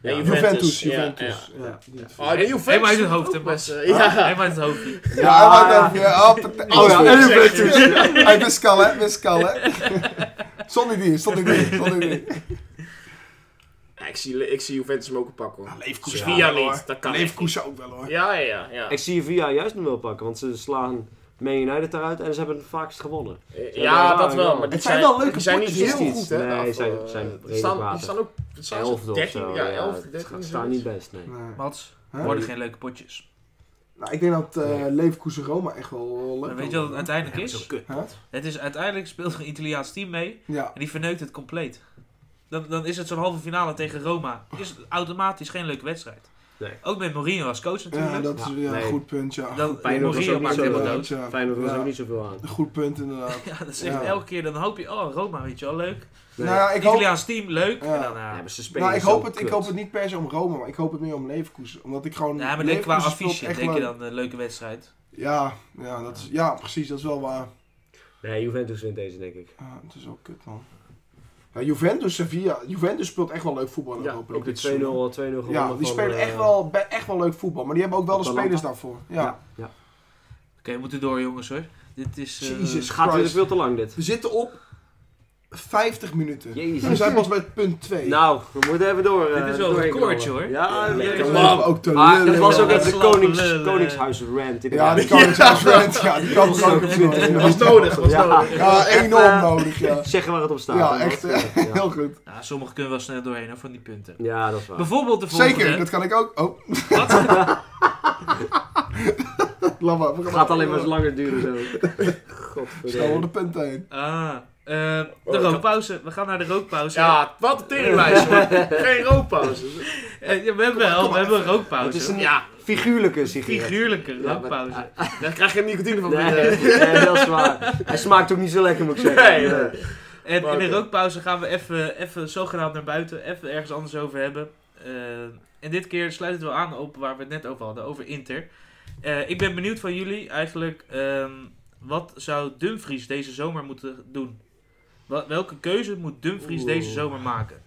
Speaker 5: Ja,
Speaker 4: Juventus.
Speaker 3: Ja,
Speaker 4: Juventus.
Speaker 5: ja.
Speaker 4: Ja, die-
Speaker 3: Ah, de Juventus
Speaker 2: Helemaal uit het
Speaker 3: doet
Speaker 2: hoofd,
Speaker 3: ook
Speaker 2: hè,
Speaker 3: best,
Speaker 2: Bas?
Speaker 3: eh, ja.
Speaker 2: Helemaal uit het hoofd.
Speaker 4: Ja,
Speaker 5: Ja.
Speaker 4: hij maakt ook- ja, paté-
Speaker 5: Oh ja,
Speaker 4: alles
Speaker 5: en
Speaker 4: goed.
Speaker 5: Juventus.
Speaker 4: Hey, Pascal hè, Pascal hè. Stond niet hier, stond niet hier, stond niet hier.
Speaker 3: Ja, ik, zie, ik zie Juventus hem ook een pak, hoor.
Speaker 4: Leverkusen
Speaker 3: Sevilla
Speaker 4: ook wel,
Speaker 3: niet,
Speaker 4: hoor.
Speaker 3: dat kan
Speaker 4: Leverkusen ook wel hoor.
Speaker 3: Ja, ja, ja.
Speaker 5: Ik zie Sevilla juist nog wel pakken, want ze slaan Man United eruit en ze hebben het vaakst gewonnen.
Speaker 3: Ja,
Speaker 5: Ja,
Speaker 3: dat wel.
Speaker 5: ja.
Speaker 3: Maar die
Speaker 4: Het zijn wel leuke
Speaker 3: die zijn niet
Speaker 4: potjes,
Speaker 3: heel
Speaker 5: iets.
Speaker 3: goed, hè?
Speaker 5: Nee,
Speaker 3: af,
Speaker 5: zijn-
Speaker 3: eh,
Speaker 5: zijn
Speaker 3: die
Speaker 5: redelijk
Speaker 3: staan, die
Speaker 5: matig.
Speaker 3: staan ook... Het staan zo
Speaker 5: Elfde of
Speaker 3: 13,
Speaker 5: zo.
Speaker 3: ja, 11,
Speaker 5: het
Speaker 3: 13.
Speaker 5: gaat- staan niet best, nee.
Speaker 4: Nee.
Speaker 2: Wat?
Speaker 4: Huh?
Speaker 2: Worden geen leuke potjes.
Speaker 4: Nou, ik denk dat eh Leverkusen Roma echt wel, wel
Speaker 2: Maar
Speaker 4: leuk
Speaker 2: weet je wat
Speaker 4: wordt.
Speaker 2: het uiteindelijk is?
Speaker 4: Huh?
Speaker 2: Het is uiteindelijk speelt er een Italiaans team mee.
Speaker 4: Ja.
Speaker 2: En die verneukt het compleet. Dan, dan is het zo'n halve finale tegen Roma. Is het automatisch geen leuke wedstrijd.
Speaker 5: Nee.
Speaker 2: Ook met Mourinho als coach natuurlijk.
Speaker 4: ja, dat is
Speaker 5: Ja,
Speaker 4: weer
Speaker 5: nee.
Speaker 4: een goed punt, ja.
Speaker 2: Dan-
Speaker 4: Goed
Speaker 5: Feyenoord was
Speaker 2: Mourinho
Speaker 5: ook niet
Speaker 2: maakt
Speaker 5: zo
Speaker 2: helemaal
Speaker 5: leuk.
Speaker 2: dood. *laughs*
Speaker 4: ja.
Speaker 5: Feyenoord was
Speaker 4: Ja.
Speaker 5: ook niet zoveel aan.
Speaker 4: Een goed punt inderdaad.
Speaker 2: Ja, dat is echt
Speaker 4: Ja.
Speaker 2: elke keer. Dan hoop je, oh Roma weet je wel, leuk.
Speaker 5: Nee.
Speaker 4: Nou, ja, ik hoop,
Speaker 2: Italiaans team, leuk.
Speaker 4: Ja.
Speaker 2: En dan, eh, ja.
Speaker 5: Ja, maar ze spelen
Speaker 4: nou, ik,
Speaker 5: zo
Speaker 4: hoop het, ik
Speaker 5: kut.
Speaker 4: hoop het niet per se om Rome, maar ik hoop het meer om Leverkusen. Omdat ik gewoon...
Speaker 2: Ja, maar denk qua
Speaker 4: Leverkusen speelt
Speaker 2: affiche,
Speaker 4: echt
Speaker 2: denk je
Speaker 4: leuk.
Speaker 2: dan een leuke wedstrijd.
Speaker 4: Ja, ja, dat is, ja, precies, dat is wel waar.
Speaker 5: Nee, Juventus wint deze, denk ik.
Speaker 4: Ja, het is ook kut man. Ja, Juventus, Sevilla. Juventus speelt echt wel leuk voetbal in
Speaker 5: Ja,
Speaker 4: Europa
Speaker 5: ook
Speaker 4: League
Speaker 5: de 2-0
Speaker 4: dit seizoen.
Speaker 5: 2-0 gewonnen
Speaker 4: Ja, die
Speaker 5: van,
Speaker 4: spelen
Speaker 5: eh,
Speaker 4: echt, wel, be- echt wel leuk voetbal, maar die hebben ook wel de
Speaker 5: Atalanta.
Speaker 4: spelers daarvoor. Ja.
Speaker 5: Ja. ja.
Speaker 2: Oké, we moeten door jongens hoor. Dit is... eh,
Speaker 4: Jezus.
Speaker 5: Gaat weer
Speaker 4: Christ.
Speaker 5: veel te lang, dit.
Speaker 4: We zitten op 50 minuten.
Speaker 5: Jezus.
Speaker 4: We zijn pas bij punt 2.
Speaker 5: Nou, we moeten even door. eh,
Speaker 2: Dit is wel een
Speaker 5: doorheen
Speaker 2: recordje,
Speaker 5: knallen.
Speaker 2: hoor.
Speaker 5: Ja,
Speaker 3: Ja,
Speaker 5: lekker
Speaker 3: lekker
Speaker 5: man.
Speaker 3: man.
Speaker 4: Lopen ook te
Speaker 5: Maar dat
Speaker 4: lullen,
Speaker 5: Ah, was
Speaker 4: man.
Speaker 5: ook even de
Speaker 2: Slappe
Speaker 5: konings,
Speaker 2: lullen.
Speaker 5: koningshuis rant.
Speaker 4: Ja, die
Speaker 5: inderdaad.
Speaker 4: kan het Ja, die kan het ook
Speaker 2: *laughs*
Speaker 3: Dat was
Speaker 4: even
Speaker 3: nodig, dat was
Speaker 5: Ja.
Speaker 3: nodig.
Speaker 4: Ja,
Speaker 5: Echt,
Speaker 4: enorm
Speaker 5: eh,
Speaker 4: nodig, ja.
Speaker 5: Zeggen waar het op staat.
Speaker 4: Ja,
Speaker 5: hè,
Speaker 4: echt.
Speaker 5: dat,
Speaker 4: eh,
Speaker 5: eh, ja.
Speaker 4: Heel goed.
Speaker 2: Nou, sommigen kunnen wel snel doorheen hoor, van die punten.
Speaker 5: Ja, dat is waar.
Speaker 2: Bijvoorbeeld de volgende.
Speaker 4: Zeker, dat kan ik ook. Oh,
Speaker 2: Wat?
Speaker 4: *laughs* laat maar. we gaan
Speaker 5: Het gaat alleen maar eens langer duren
Speaker 4: *laughs*
Speaker 5: zo.
Speaker 4: Snel om
Speaker 5: Godverdomme.
Speaker 4: de punten heen.
Speaker 2: Ah, eh, de rookpauze. We gaan naar de rookpauze.
Speaker 3: Ja, wat een teringwijs, hoor. Geen rookpauze.
Speaker 2: Eh, ja, we hebben wel, we hebben een rookpauze.
Speaker 5: Het is een
Speaker 3: Ja,
Speaker 5: figuurlijke sigaret.
Speaker 2: figuurlijke
Speaker 5: maar-
Speaker 2: rookpauze.
Speaker 3: daar krijg je nicotine van
Speaker 5: Nee,
Speaker 3: binnen.
Speaker 5: nee, dat is waar. Hij smaakt ook niet zo lekker, moet ik zeggen.
Speaker 3: Nee, nee.
Speaker 2: En
Speaker 3: Maar
Speaker 2: in de
Speaker 3: oké.
Speaker 2: rookpauze gaan we even, even zogenaamd naar buiten, even ergens anders over hebben. Eh, Eh, en dit keer sluit het wel aan op waar we het net over hadden, over Inter. Eh, ik ben benieuwd van jullie eigenlijk, ehm, wat zou Dumfries deze zomer moeten doen? Wa- welke keuze moet Dumfries
Speaker 5: Oeh.
Speaker 2: deze zomer maken?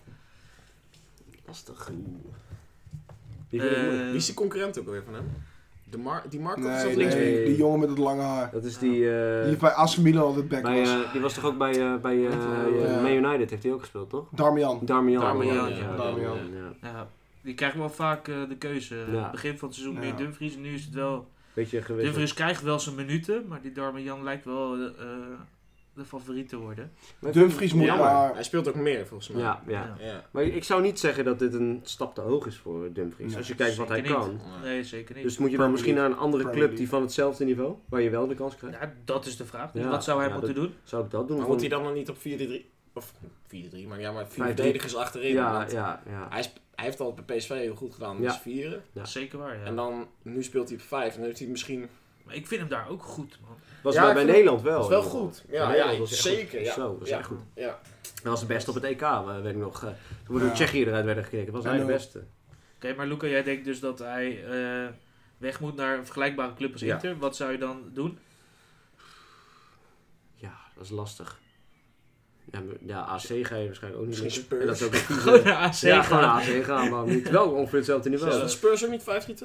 Speaker 5: Lastig. Wie vindt het moeilijk?
Speaker 2: Eh,
Speaker 3: Wie is die concurrent ook alweer van hem? De Mar die Marco of is
Speaker 4: Nee,
Speaker 3: dat
Speaker 4: nee,
Speaker 3: linksback?
Speaker 5: linksback?
Speaker 4: die jongen met het lange haar.
Speaker 5: Dat is die... eh,
Speaker 4: Die heeft bij AC Milan altijd back
Speaker 5: bij,
Speaker 4: was.
Speaker 5: eh, die was toch ook bij, eh, bij eh,
Speaker 4: Ja.
Speaker 5: Man United, heeft hij ook gespeeld, toch?
Speaker 4: Darmian.
Speaker 5: Darmian.
Speaker 3: Darmian,
Speaker 5: ja.
Speaker 3: ja.
Speaker 5: ja,
Speaker 4: Darmian.
Speaker 5: ja.
Speaker 2: Ja, die krijgt wel vaak eh, de keuze.
Speaker 5: Ja.
Speaker 2: Begin van het seizoen
Speaker 4: Ja.
Speaker 2: meer Dumfries. Nu is het wel...
Speaker 5: Beetje gewisseld.
Speaker 2: Dumfries krijgt wel zijn minuten, maar die Darmian lijkt wel eh, de favoriet te worden.
Speaker 4: Dumfries moet
Speaker 3: Jammer.
Speaker 4: maar...
Speaker 3: Hij speelt ook meer volgens mij.
Speaker 5: Ja, ja.
Speaker 2: Ja.
Speaker 3: Ja.
Speaker 5: Maar ik zou niet zeggen dat dit een stap te hoog is voor Dumfries.
Speaker 4: Nee,
Speaker 5: als je kijkt wat hij
Speaker 2: zeker
Speaker 5: kan.
Speaker 2: Nee, zeker niet.
Speaker 5: Dus moet je dan misschien naar een andere
Speaker 4: Premier
Speaker 5: club die
Speaker 4: League.
Speaker 5: van hetzelfde niveau, waar je wel de kans krijgt.
Speaker 2: Ja, dat is de vraag.
Speaker 5: Ja.
Speaker 2: Wat zou hij
Speaker 5: Ja,
Speaker 2: moeten doen?
Speaker 5: Zou ik dat doen?
Speaker 3: Maar
Speaker 5: Gewoon-
Speaker 3: moet hij dan nog niet op 4-3? Of 4-3, maar ja, maar vier
Speaker 5: 5-3.
Speaker 3: verdedigers achterin.
Speaker 5: Ja,
Speaker 3: want
Speaker 5: ja, ja.
Speaker 3: Hij, is- hij heeft al bij PSV heel goed gedaan,
Speaker 5: Ja.
Speaker 3: dus vieren.
Speaker 5: Ja.
Speaker 2: Zeker waar, ja.
Speaker 3: En dan, nu speelt hij op 5 en dan heeft hij misschien...
Speaker 2: Maar ik vind hem daar ook goed, man.
Speaker 5: Was
Speaker 3: Ja,
Speaker 5: bij,
Speaker 3: ik
Speaker 5: bij
Speaker 3: vind-
Speaker 5: Nederland wel.
Speaker 3: dat is wel
Speaker 5: in ieder geval.
Speaker 3: goed. Ja,
Speaker 5: Bij Nederland
Speaker 3: ja,
Speaker 5: was hij echt
Speaker 3: zeker,
Speaker 5: goed.
Speaker 3: ja.
Speaker 5: Zo, was
Speaker 3: Ja.
Speaker 5: echt goed.
Speaker 3: Ja,
Speaker 5: Hij was de beste op het EK, eh, weet ik nog. eh, Toen we door
Speaker 4: Ja.
Speaker 5: Tsjechië eruit werden gekeken, was hij
Speaker 4: En
Speaker 5: de
Speaker 4: ook-
Speaker 5: beste.
Speaker 2: Oké, maar Luca, jij denkt dus dat hij eh, weg moet naar een vergelijkbare club als
Speaker 5: Ja.
Speaker 2: Inter. Wat zou je dan doen?
Speaker 5: Ja, dat is lastig. Ja, maar- ja AC ga je waarschijnlijk ook niet
Speaker 3: Misschien
Speaker 5: lukken.
Speaker 3: Spurs.
Speaker 5: En dat is ook een
Speaker 2: Gewoon
Speaker 5: goede...
Speaker 2: naar AC
Speaker 5: Ja,
Speaker 2: gaan.
Speaker 5: gewoon naar AC gaan, maar niet wel ongeveer hetzelfde
Speaker 3: Is dat
Speaker 5: niveau.
Speaker 3: Spurs ook niet 5-3-2?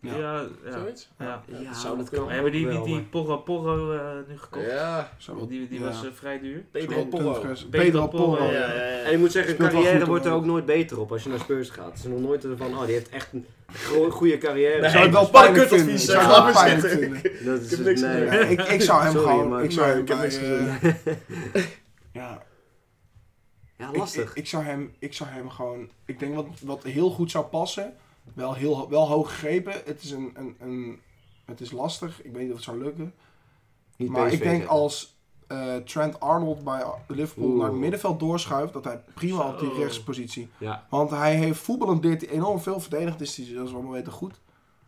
Speaker 2: Ja, ja. ja.
Speaker 3: Zoiets?
Speaker 5: Ja,
Speaker 3: zou dat
Speaker 5: kan
Speaker 3: kunnen.
Speaker 2: Maar hebben die
Speaker 5: ook
Speaker 2: niet
Speaker 5: wel,
Speaker 2: die
Speaker 5: maar-
Speaker 2: Porro Porro eh, nu gekocht?
Speaker 3: Ja,
Speaker 4: Zou wel-
Speaker 2: Die, die
Speaker 4: ja.
Speaker 2: was eh, vrij duur.
Speaker 3: Pedro
Speaker 4: Zou wel
Speaker 3: Porro.
Speaker 4: Dumfries-
Speaker 2: Pedro
Speaker 4: Pedro
Speaker 2: Porro,
Speaker 4: Porro.
Speaker 3: Ja,
Speaker 4: ja.
Speaker 3: ja, ja,
Speaker 5: En
Speaker 3: ja.
Speaker 5: ik moet zeggen,
Speaker 4: Speelt
Speaker 5: een
Speaker 4: wel
Speaker 5: carrière
Speaker 4: goed,
Speaker 5: wordt er
Speaker 4: hoor.
Speaker 5: ook nooit beter op als je naar Spurs gaat. Het is nog nooit van, oh, die heeft echt een gro- goede carrière.
Speaker 4: Ik
Speaker 3: Nee,
Speaker 4: zou het wel
Speaker 3: dat is wel een
Speaker 4: pijnlijk vinden. Ik
Speaker 3: kutadvies,
Speaker 4: zou
Speaker 3: hè.
Speaker 4: het wel
Speaker 3: Laat maar
Speaker 4: pijnlijk
Speaker 3: zitten.
Speaker 4: vinden.
Speaker 5: Dat is
Speaker 3: Ik heb
Speaker 5: het,
Speaker 3: niks
Speaker 5: nee.
Speaker 3: gezegd.
Speaker 4: Ja, ik, ik zou hem
Speaker 5: Sorry,
Speaker 4: gewoon...
Speaker 5: maar-
Speaker 4: ik zou
Speaker 3: Nee,
Speaker 4: hem
Speaker 3: ik heb
Speaker 4: bij,
Speaker 3: niks
Speaker 4: eh, *laughs* ja,
Speaker 5: Ja,
Speaker 4: Ik-
Speaker 5: lastig.
Speaker 4: Ik, ik, zou hem, ik zou hem gewoon. Ik denk wat, wat heel goed zou passen. Wel, heel, ho- wel hoog gegrepen. Het is, een, een, een, het is lastig. Ik weet niet of het zou lukken.
Speaker 5: Niet
Speaker 4: maar
Speaker 5: PSV
Speaker 4: ik denk
Speaker 5: zetten.
Speaker 4: als eh, Trent Arnold bij Liverpool
Speaker 5: Oeh.
Speaker 4: naar het middenveld doorschuift, dat hij prima op die
Speaker 2: Zo.
Speaker 4: rechtspositie.
Speaker 5: Ja.
Speaker 4: Want hij heeft voetballend deed hij enorm veel verdedigd. Dus die- dat is wel weten goed.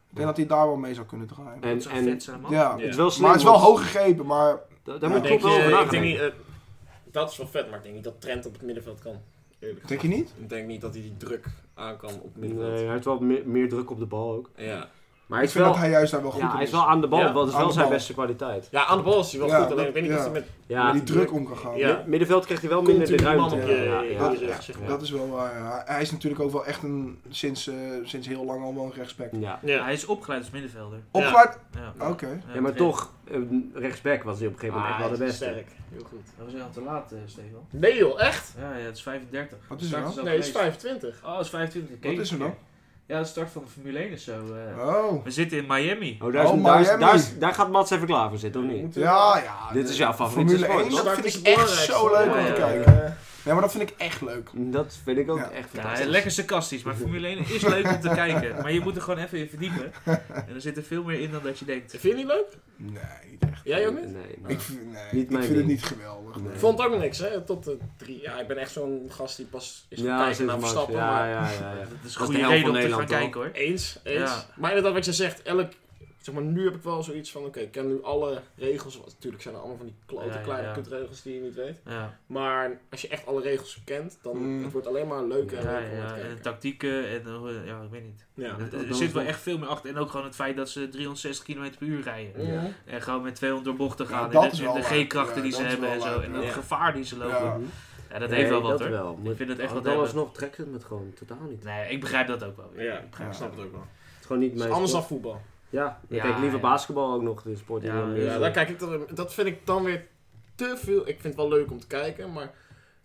Speaker 4: Ik denk dat hij daar wel mee zou kunnen draaien.
Speaker 5: En,
Speaker 2: Dat zou
Speaker 5: en
Speaker 2: vet zijn, man.
Speaker 4: ja.
Speaker 5: het is wel slim.
Speaker 4: Maar het is wel
Speaker 5: want-
Speaker 4: hoog gegrepen. Maar
Speaker 5: Da- Daar
Speaker 4: Ja,
Speaker 5: moet
Speaker 4: ik
Speaker 5: Klopp
Speaker 3: Denk
Speaker 5: wel over
Speaker 3: je, ik
Speaker 5: nadenken.
Speaker 3: denk niet, eh, dat is wel vet, maar ik denk niet dat Trent op het middenveld kan. Eerlijk
Speaker 4: denk je niet?
Speaker 3: Ik denk niet dat hij die druk aan kan op het
Speaker 5: Nee,
Speaker 3: middenveld.
Speaker 5: hij heeft wel meer, meer druk op de bal ook.
Speaker 3: Ja.
Speaker 5: Maar hij
Speaker 4: Ik
Speaker 5: is
Speaker 4: vind
Speaker 5: wel,
Speaker 4: dat hij juist daar wel goed
Speaker 5: ja,
Speaker 4: in
Speaker 5: hij is
Speaker 4: is.
Speaker 5: wel aan de bal,
Speaker 3: Ja,
Speaker 5: dat is
Speaker 4: aan
Speaker 5: wel
Speaker 4: de
Speaker 5: zijn
Speaker 4: bal.
Speaker 5: beste kwaliteit.
Speaker 3: ja, aan de bal is hij wel
Speaker 4: Ja,
Speaker 3: goed, alleen
Speaker 4: dat-
Speaker 3: ik weet niet
Speaker 4: ja.
Speaker 3: of hij met...
Speaker 5: Ja,
Speaker 4: die
Speaker 5: mid-
Speaker 4: druk om kan gaan.
Speaker 3: Ja.
Speaker 5: middenveld krijgt hij wel minder de
Speaker 3: Continu
Speaker 5: ruimte.
Speaker 3: man op je-
Speaker 5: ja,
Speaker 3: je-
Speaker 5: ja,
Speaker 4: je
Speaker 5: ja,
Speaker 3: rug, zeg
Speaker 5: ja.
Speaker 3: maar.
Speaker 4: Dat is wel waar. ja. Hij is natuurlijk ook wel echt een, sinds, eh, sinds heel lang al wel een rechtsback.
Speaker 5: Ja.
Speaker 2: Hij is opgeleid als middenvelder.
Speaker 4: Opgeleid?
Speaker 2: Ja,
Speaker 4: Oké.
Speaker 5: Ja, maar toch, eh, rechtsback was hij op een gegeven moment
Speaker 3: Ah,
Speaker 5: echt wel de
Speaker 3: hij is
Speaker 5: beste.
Speaker 3: Sterk, heel goed.
Speaker 2: Dat was echt al te laat, eh, Stefan.
Speaker 3: Nee joh, echt?
Speaker 2: Ja, ja, het is 35.
Speaker 4: Wat is
Speaker 2: Start
Speaker 4: er
Speaker 2: al
Speaker 3: Nee, het is
Speaker 2: geweest.
Speaker 3: 25.
Speaker 2: Oh, het is 25.
Speaker 4: Wat is er dan?
Speaker 2: Ja, de start van de Formule 1 is zo. eh.
Speaker 4: Oh.
Speaker 2: We zitten in Miami.
Speaker 5: Oh, daar, is,
Speaker 4: Oh,
Speaker 5: daar, is-
Speaker 4: Miami.
Speaker 5: daar, is- daar gaat Mats even klaar voor zitten, of niet?
Speaker 4: Ja, ja.
Speaker 5: Dit is jouw favoriete
Speaker 4: Formule
Speaker 5: sport,
Speaker 4: 1,
Speaker 5: toch?
Speaker 4: dat
Speaker 3: Start
Speaker 4: vind
Speaker 3: is
Speaker 4: ik echt
Speaker 3: belangrijk,
Speaker 4: zo
Speaker 3: toch?
Speaker 4: leuk om
Speaker 2: Ja,
Speaker 4: te
Speaker 2: ja,
Speaker 4: kijken.
Speaker 3: Eh,
Speaker 4: Nee, maar dat vind ik echt leuk.
Speaker 5: Dat vind ik ook
Speaker 4: Ja.
Speaker 5: echt
Speaker 2: Ja,
Speaker 5: fantastisch.
Speaker 2: lekker sarcastisch, maar Formule 1 is leuk
Speaker 4: *laughs*
Speaker 2: om te kijken. Maar je moet er gewoon even in verdiepen. En er zit er veel meer in dan dat je denkt.
Speaker 3: Vind je het niet leuk?
Speaker 4: Nee, niet echt.
Speaker 3: Jij ook niet?
Speaker 5: Nee, maar-
Speaker 4: Ik vind, nee,
Speaker 5: Niet
Speaker 4: ik
Speaker 5: mijn
Speaker 4: vind
Speaker 5: ding.
Speaker 4: het niet geweldig.
Speaker 5: Nee.
Speaker 3: Ik vond het ook niks, hè? Tot de drie. Ja, ik ben echt zo'n gast die pas is gaan
Speaker 5: Ja,
Speaker 3: kijken
Speaker 5: zit
Speaker 3: naar
Speaker 5: Max.
Speaker 3: Verstappen.
Speaker 5: Ja,
Speaker 3: maar
Speaker 2: Dat
Speaker 5: ja, ja, ja.
Speaker 2: is een
Speaker 5: Dat is de
Speaker 2: goede
Speaker 5: helft
Speaker 2: reden
Speaker 5: van
Speaker 2: om te gaan
Speaker 5: Nederland,
Speaker 2: kijken hoor.
Speaker 3: Eens, eens.
Speaker 2: Ja.
Speaker 3: Maar inderdaad, wat je zegt, elk... Zeg maar, nu heb ik wel zoiets van, oké, ik ken nu alle regels. want Natuurlijk zijn er allemaal van die klote
Speaker 2: Ja, ja,
Speaker 3: kleine
Speaker 2: ja.
Speaker 3: kutregels die je niet weet.
Speaker 2: Ja,
Speaker 3: Maar als je echt alle regels kent, dan
Speaker 4: Mm.
Speaker 3: het wordt alleen maar leuker
Speaker 2: ja,
Speaker 3: en
Speaker 2: ja,
Speaker 3: leuker om naar te
Speaker 2: en de
Speaker 3: kijken.
Speaker 2: tactieken en eh, ja, ik weet niet.
Speaker 3: Ja.
Speaker 2: Er-
Speaker 5: dat-
Speaker 2: er
Speaker 5: dat
Speaker 2: zit
Speaker 5: was
Speaker 2: wel
Speaker 5: wel-
Speaker 2: echt veel meer achter. En ook gewoon het feit dat ze 360 km per uur rijden.
Speaker 5: Ja.
Speaker 3: Mhm.
Speaker 2: En gewoon met 200 door bochten
Speaker 4: Ja,
Speaker 2: gaan.
Speaker 4: dat
Speaker 2: en
Speaker 4: is
Speaker 2: de,
Speaker 4: wel
Speaker 2: en de
Speaker 4: leuk.
Speaker 2: G-krachten
Speaker 4: Ja,
Speaker 2: die ze
Speaker 4: dat is
Speaker 2: hebben en
Speaker 4: wel
Speaker 2: zo.
Speaker 4: leuk,
Speaker 2: En het
Speaker 3: ja.
Speaker 2: gevaar die ze lopen. Ja,
Speaker 4: Ja.
Speaker 2: dat heeft wel wat
Speaker 5: dat
Speaker 2: hoor.
Speaker 5: Wel.
Speaker 2: Ik vind het echt wat
Speaker 5: Dan
Speaker 2: hebben.
Speaker 5: alsnog trekt het me het gewoon totaal niet.
Speaker 2: Nee, ik begrijp dat ook wel weer.
Speaker 3: Ja,
Speaker 2: Ik
Speaker 3: ik
Speaker 2: begrijp
Speaker 3: snap
Speaker 2: dat.
Speaker 3: het ook wel.
Speaker 5: Het is gewoon niet
Speaker 3: Het
Speaker 5: mijn
Speaker 3: is anders
Speaker 5: sport.
Speaker 3: dan voetbal.
Speaker 5: Ja, dan
Speaker 2: Ja,
Speaker 5: kijk ik liever
Speaker 2: ja.
Speaker 5: basketbal ook nog, de sport. die
Speaker 2: Ja,
Speaker 5: dan meer
Speaker 3: Ja,
Speaker 5: zo-
Speaker 3: daar kijk ik dan, dat vind ik dan weer te veel. Ik vind het wel leuk om te kijken, maar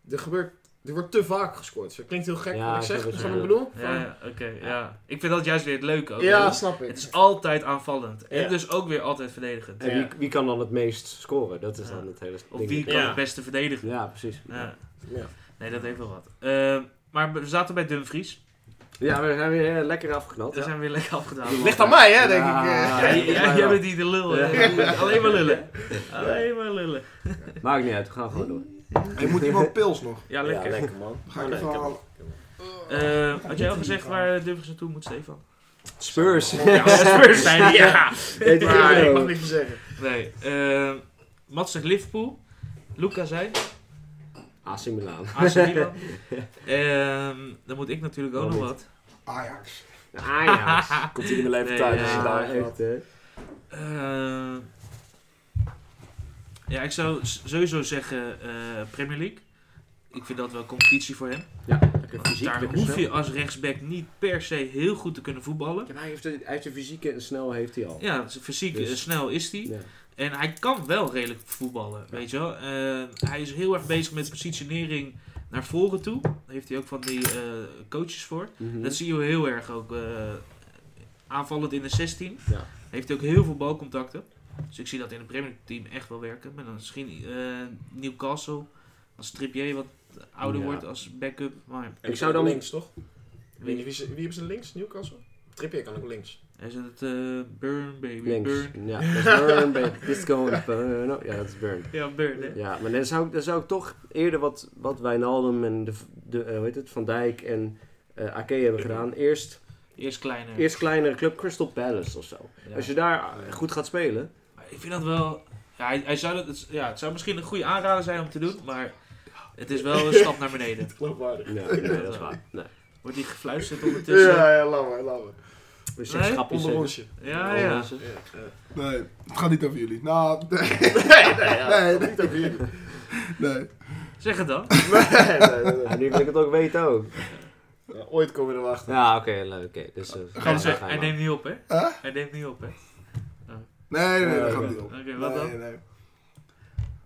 Speaker 3: er gebeurt... Er wordt te vaak gescoord. Dus dat klinkt heel gek
Speaker 5: Ja,
Speaker 3: wat
Speaker 5: ik
Speaker 3: ik
Speaker 5: snap
Speaker 3: zeg,
Speaker 5: wat
Speaker 3: maar
Speaker 5: je
Speaker 3: zo wat ik
Speaker 5: bedoelt.
Speaker 3: bedoel.
Speaker 2: Ja,
Speaker 3: Van-
Speaker 2: ja, oké. ja. Ik vind dat juist weer het leuke. Ook,
Speaker 3: Ja,
Speaker 2: hè.
Speaker 3: snap ik.
Speaker 2: Het is altijd aanvallend. En
Speaker 3: Ja.
Speaker 2: dus ook weer altijd verdedigend.
Speaker 5: En
Speaker 3: Ja.
Speaker 5: wie, wie kan dan het meest scoren? Dat is
Speaker 2: Ja.
Speaker 5: dan het hele
Speaker 2: Of
Speaker 5: ding.
Speaker 2: wie kan
Speaker 3: Ja.
Speaker 2: het beste verdedigen.
Speaker 5: Ja, precies.
Speaker 2: Ja.
Speaker 5: Ja,
Speaker 3: Ja.
Speaker 2: Nee, dat heeft wel wat. Eh, maar we zaten bij Dumfries.
Speaker 5: we zijn weer eh, lekker afgeknapt.
Speaker 2: Daar zijn we weer lekker afgedaan.
Speaker 5: Ja.
Speaker 3: Ligt aan mij, hè, denk
Speaker 5: Ja.
Speaker 3: ik. eh.
Speaker 2: Ja, jij-
Speaker 5: Ja.
Speaker 2: jij bent die de lul. hè.
Speaker 5: Ja.
Speaker 2: Alleen maar lullen. Alleen maar lullen.
Speaker 5: Maakt niet uit, we gaan gewoon door.
Speaker 4: Je moet iemand pils nog.
Speaker 2: Ja, lekker.
Speaker 3: man.
Speaker 4: Dan ga
Speaker 3: Oh,
Speaker 4: ik
Speaker 3: nee,
Speaker 4: even
Speaker 3: ik heb-
Speaker 4: halen.
Speaker 2: Eh, had jij al gezegd waar Dumfries naartoe moet, Stefan?
Speaker 5: Spurs.
Speaker 3: Ja,
Speaker 5: *laughs*
Speaker 3: Spurs zijn *laughs* ja.
Speaker 5: Weet je
Speaker 3: Maar
Speaker 5: wel.
Speaker 3: ik mag niks meer zeggen.
Speaker 2: ehm, Nee. eh Mats zegt Liverpool. Luca zei...
Speaker 5: AC Milan. *laughs*
Speaker 2: AC Milan. *laughs* Ehm, dan moet ik natuurlijk ook
Speaker 5: Waarom
Speaker 2: nog
Speaker 5: niet?
Speaker 2: wat.
Speaker 4: Ajax.
Speaker 5: Ajax.
Speaker 3: Komt hij in de
Speaker 2: Nee,
Speaker 3: leven thuis als
Speaker 2: ja.
Speaker 3: je daar gaat.
Speaker 5: echt, hè?
Speaker 2: Eh, ja, ik zou s- sowieso zeggen eh, Premier League. Ik vind dat wel competitie voor hem.
Speaker 5: Lekker fysiek,
Speaker 2: Daar
Speaker 5: lekker
Speaker 2: hoef
Speaker 5: snel.
Speaker 2: je als rechtsback niet per se heel goed te kunnen voetballen.
Speaker 5: Ja, maar hij heeft, de, hij heeft de fysieke en snel heeft hij al.
Speaker 2: Ja, z- fysiek
Speaker 5: Dus-
Speaker 2: eh, snel is hij.
Speaker 5: Ja.
Speaker 2: En hij kan wel redelijk voetballen,
Speaker 5: Ja.
Speaker 2: weet je wel. Eh, hij is heel erg bezig met positionering naar voren toe. Daar heeft hij ook van die eh, coaches voor.
Speaker 5: Mhm.
Speaker 2: Dat zie je heel erg ook. eh, aanvallend in de 16.
Speaker 5: Ja.
Speaker 2: Heeft ook heel veel balcontacten. Dus ik zie dat in het Premier League team echt wel werken. Maar dan misschien eh, Newcastle als Trippier wat ouder
Speaker 5: Ja.
Speaker 2: wordt als backup. Maar
Speaker 5: Ik zou dan-
Speaker 3: Links, toch? Ik weet niet,
Speaker 2: wie
Speaker 3: wie, ze- wie hebben ze links? Newcastle? Trippier kan ook links.
Speaker 2: is het? eh, Burn, baby,
Speaker 5: Links.
Speaker 2: Burn.
Speaker 5: Ja, dat is Burn. bij Disco en Burn. Oh, Ja, dat is Burn.
Speaker 2: Ja, Burn, hè?
Speaker 5: Ja, maar dan zou, ik- dan zou ik toch eerder wat, wat Wijnaldum en de, de, eh, hoe heet het, Van Dijk en eh Ake hebben gedaan. Eerst,
Speaker 2: Eerst kleiner.
Speaker 5: eerst kleinere club Crystal Palace of zo.
Speaker 2: Ja.
Speaker 5: Als je daar eh, goed gaat spelen.
Speaker 2: Maar ik vind dat wel... Ja, hij, hij zou dat, het, ja, het zou misschien een goede aanrader zijn om te doen, maar het is wel een stap naar beneden.
Speaker 3: Geloofwaardig.
Speaker 5: Nee, nee dat is waar. Nee.
Speaker 2: Wordt hij gefluisterd ondertussen? Ja,
Speaker 3: Ja, ja, laat maar, laat maar.
Speaker 5: Dus
Speaker 2: Nee?
Speaker 5: schapjes
Speaker 3: Onder
Speaker 5: zetten.
Speaker 3: onsje.
Speaker 2: ja. ja.
Speaker 3: Ja, ja.
Speaker 4: Nee, het gaat niet over jullie. Nou, *laughs* nee,
Speaker 3: *laughs* Nee, nee, ja,
Speaker 4: Nee,
Speaker 3: dat niet over jullie. Nee,
Speaker 4: nee.
Speaker 2: Zeg het dan.
Speaker 3: nee, nee,
Speaker 5: Ja,
Speaker 3: nee.
Speaker 5: nu wil ik het ook weten ook.
Speaker 3: Ja, Ooit komen we er wel achter.
Speaker 5: Ja, oké, leuk. oké. Dus, eh,
Speaker 4: Gaan
Speaker 2: Hij,
Speaker 4: we
Speaker 2: zei-
Speaker 5: ga je
Speaker 2: hij
Speaker 5: maar.
Speaker 2: neemt niet op, hè?
Speaker 4: Huh?
Speaker 2: Hij neemt niet op, hè? Oké,
Speaker 4: Nee, nee, dat
Speaker 3: Nee,
Speaker 4: gaat
Speaker 3: nee.
Speaker 4: niet op.
Speaker 2: wat dan?
Speaker 4: Nee, nee.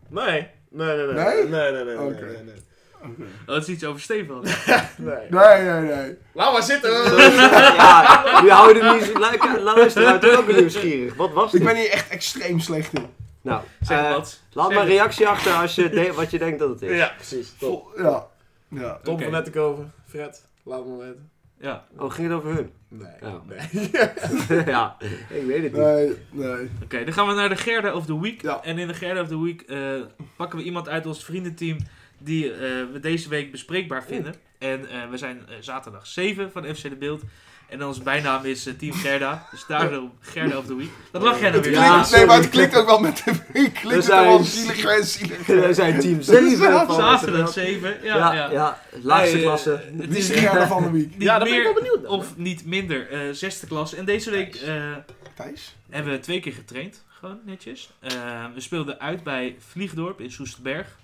Speaker 3: Nee. Nee, nee, nee.
Speaker 4: Nee?
Speaker 3: Nee, nee, nee.
Speaker 4: Oké.
Speaker 3: nee, nee, nee.
Speaker 4: Oké.
Speaker 2: Oh, dat is iets over Stefan.
Speaker 5: Eh,
Speaker 3: Nee.
Speaker 4: Nee, nee, nee.
Speaker 3: Laat maar zitten.
Speaker 5: *laughs*
Speaker 3: *laughs*
Speaker 5: Ja, nu hou je er niet... Lu- Luister, maar het is ook nieuwsgierig. Wat was dit?
Speaker 4: Ik ben hier echt extreem slecht in.
Speaker 5: Nou,
Speaker 2: Zeg
Speaker 5: eh,
Speaker 2: wat.
Speaker 5: laat
Speaker 2: Zeg
Speaker 5: maar een
Speaker 2: het.
Speaker 5: reactie achter als je de- wat je denkt dat het is.
Speaker 3: Ja, precies. Top.
Speaker 4: Vol- ja. ja.
Speaker 3: Tom
Speaker 2: Oké.
Speaker 3: van Nettekoven. Fred, laat me weten.
Speaker 2: Ja,
Speaker 5: Oh, ging het over hun? *laughs*
Speaker 3: Nee.
Speaker 5: Ja.
Speaker 3: Nee. *laughs*
Speaker 5: ja, ik weet het niet.
Speaker 4: Nee, nee.
Speaker 2: oké. Dan gaan we naar de Gerda of the Week.
Speaker 4: Ja.
Speaker 2: En in de Gerda of the Week eh, pakken we iemand uit ons vriendenteam die eh, we deze week bespreekbaar vinden. En eh, we zijn eh, zaterdag 7 van FC De Beeld. En onze bijnaam is eh, Team Gerda. Dus daarom Gerda of the Week. Dat lag jij nou weer.
Speaker 5: Ja,
Speaker 4: Klinkt- nee,
Speaker 5: sorry.
Speaker 4: maar het klinkt ook wel met de ik klinkt het
Speaker 5: zijn-
Speaker 4: wel zielig en zielig.
Speaker 5: *laughs* We
Speaker 4: *laughs*
Speaker 5: zijn team 7 van
Speaker 2: Zaterdag 7. Ja, ja.
Speaker 5: Ja, ja, laagste
Speaker 2: Nee, eh,
Speaker 5: klasse.
Speaker 2: het
Speaker 4: Wie is
Speaker 2: is
Speaker 4: de Gerda van de week?
Speaker 2: niet
Speaker 3: Ja, daar ben ik
Speaker 2: meer
Speaker 3: wel benieuwd naar.
Speaker 2: of niet minder. eh, zesde klas. En deze week... eh,
Speaker 4: Thijs?
Speaker 2: Hebben we twee keer getraind, gewoon netjes. Eh, we speelden uit bij Vliegdorp in Soesterberg.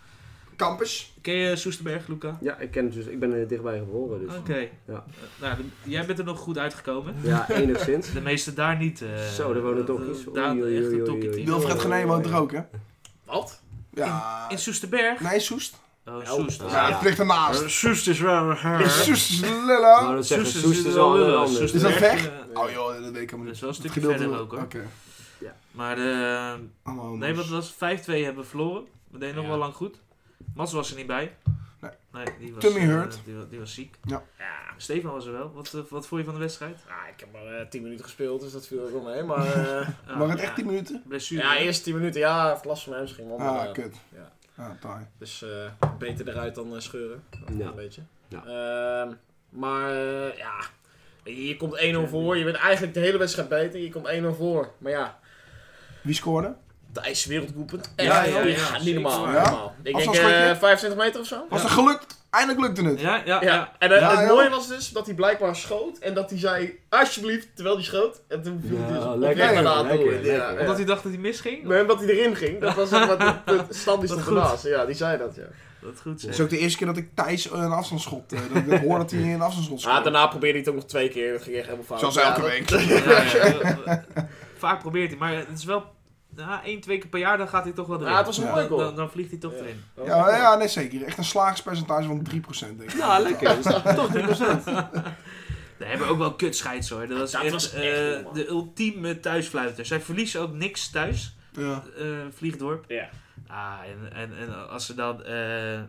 Speaker 4: Campus?
Speaker 2: Ken je Soesterberg, Luca?
Speaker 5: Ja, ik ken het dus. Ik ben er dichtbij geboren, dus.
Speaker 2: Oké.
Speaker 5: Ja.
Speaker 2: Eh, nou, de- jij bent er nog goed uitgekomen.
Speaker 5: Ja, enigszins.
Speaker 2: De meesten daar niet. eh,
Speaker 5: Zo, daar wonen tokkies.
Speaker 2: eh, Daar
Speaker 5: Oei, oei,
Speaker 2: echt
Speaker 5: oei,
Speaker 2: een
Speaker 5: oei,
Speaker 2: tokkie
Speaker 5: oei.
Speaker 4: Wilfred Genee woont er ook, hè?
Speaker 3: Wat?
Speaker 4: Ja.
Speaker 2: In Soesterberg?
Speaker 4: Nee, Soest.
Speaker 2: Oh, Soest.
Speaker 4: Ja, het ligt ernaast.
Speaker 2: Soest is wel...
Speaker 4: Soest is lilla.
Speaker 5: Nou, dat zeggen Soest is al een ander.
Speaker 4: Is dat ver?
Speaker 2: ver?
Speaker 4: Oh joh, dat weet ik helemaal
Speaker 2: Dat
Speaker 4: niet.
Speaker 2: is wel
Speaker 4: Het
Speaker 2: een stukje
Speaker 4: gedeelte-
Speaker 2: verder ook, hoor.
Speaker 4: Oké.
Speaker 2: Maar, eh,
Speaker 4: Allemaal anders.
Speaker 2: nee, wat was het? 5-2 hebben we verloren. We deden nog
Speaker 3: Ja.
Speaker 2: wel lang goed. Mats was er niet bij.
Speaker 4: Nee.
Speaker 2: die was,
Speaker 4: Tummy
Speaker 2: eh,
Speaker 4: hurt.
Speaker 2: Die, wa- die was ziek.
Speaker 4: Ja.
Speaker 2: Ja, Stefan was er wel. Wat, eh, wat vond je van de wedstrijd?
Speaker 3: Ah, ik heb maar eh, 10 minuten gespeeld, dus dat viel ook wel mee. Maar eh,
Speaker 2: Ah,
Speaker 4: Maar het
Speaker 2: ja.
Speaker 4: echt 10 minuten?
Speaker 2: Blessure.
Speaker 3: ja, eerst 10 minuten, ja, het last van hem misschien wel. maar,
Speaker 4: Ah,
Speaker 3: eh,
Speaker 4: kut.
Speaker 3: ja.
Speaker 4: Ah, taai.
Speaker 3: Dus eh, beter eruit dan eh, scheuren.
Speaker 5: Ja.
Speaker 3: Een beetje.
Speaker 5: Ja.
Speaker 3: Ehm, maar eh, ja, je je komt 1-0 voor. Je bent eigenlijk de hele wedstrijd beter. Je komt 1-0 voor. Maar ja,
Speaker 4: Wie scoorde?
Speaker 3: Thijs werelddoelpunt. Echt,
Speaker 2: Ja,
Speaker 3: ja,
Speaker 2: ja, ja,
Speaker 3: niet
Speaker 2: zeker
Speaker 3: normaal.
Speaker 4: waar.
Speaker 3: niet normaal. Ik denk eh,
Speaker 4: Afstandschotje?
Speaker 3: 25 meter of zo.
Speaker 4: Was
Speaker 2: Ja.
Speaker 4: het gelukt? Eindelijk lukte het.
Speaker 2: Ja, ja,
Speaker 3: Ja,
Speaker 2: ja.
Speaker 3: en eh,
Speaker 4: Ja,
Speaker 3: het
Speaker 4: joh.
Speaker 3: mooie was dus dat hij blijkbaar schoot en dat hij zei alsjeblieft terwijl hij schoot. En toen viel hij dus
Speaker 5: Ja,
Speaker 3: op
Speaker 5: lekker,
Speaker 3: weg naar de
Speaker 5: lekker,
Speaker 3: aandoel.
Speaker 5: lekker.
Speaker 3: Ja, ja.
Speaker 2: Omdat hij dacht dat hij misging?
Speaker 3: Nee, omdat hij erin ging. Dat was zeg maar de, de stand is
Speaker 2: Wat
Speaker 3: toch
Speaker 2: goed.
Speaker 3: ernaast. Ja, die zei dat ja.
Speaker 2: Dat is goed
Speaker 4: Het
Speaker 2: zeg.
Speaker 4: is ook de eerste keer dat ik Thijs een afstandsschot... eh, dat ik dat hoor dat hij een afstandsschot scoort.
Speaker 3: Ah, daarna probeerde hij het ook nog twee keer. Dat ging echt helemaal fout.
Speaker 4: Zoals
Speaker 3: Ja,
Speaker 4: elke
Speaker 3: dat-
Speaker 4: week.
Speaker 2: Ja, ja, ja. Vaak probeert hij, maar het is wel... Ja, één, twee keer per jaar, dan gaat hij toch wel erin.
Speaker 3: Ja, het was een
Speaker 4: Ja.
Speaker 3: mooie
Speaker 2: dan,
Speaker 3: goal.
Speaker 2: dan, dan vliegt hij toch
Speaker 3: Ja.
Speaker 2: erin. *laughs*
Speaker 4: Ja, ja, nee zeker. Echt een slagingspercentage van 3% denk ik.
Speaker 5: Ja, lekker.
Speaker 3: dus
Speaker 5: Dat is toch 3%.
Speaker 2: We hebben ook wel kutscheids hoor. Dat was
Speaker 3: Dat
Speaker 2: echt,
Speaker 3: was echt
Speaker 2: eh,
Speaker 3: heel man.
Speaker 2: de ultieme thuisfluiter. Zij verliezen ook niks thuis,
Speaker 4: Ja.
Speaker 2: eh, Vliegdorp.
Speaker 3: Ja.
Speaker 2: Ah, en, en, en als ze dan eh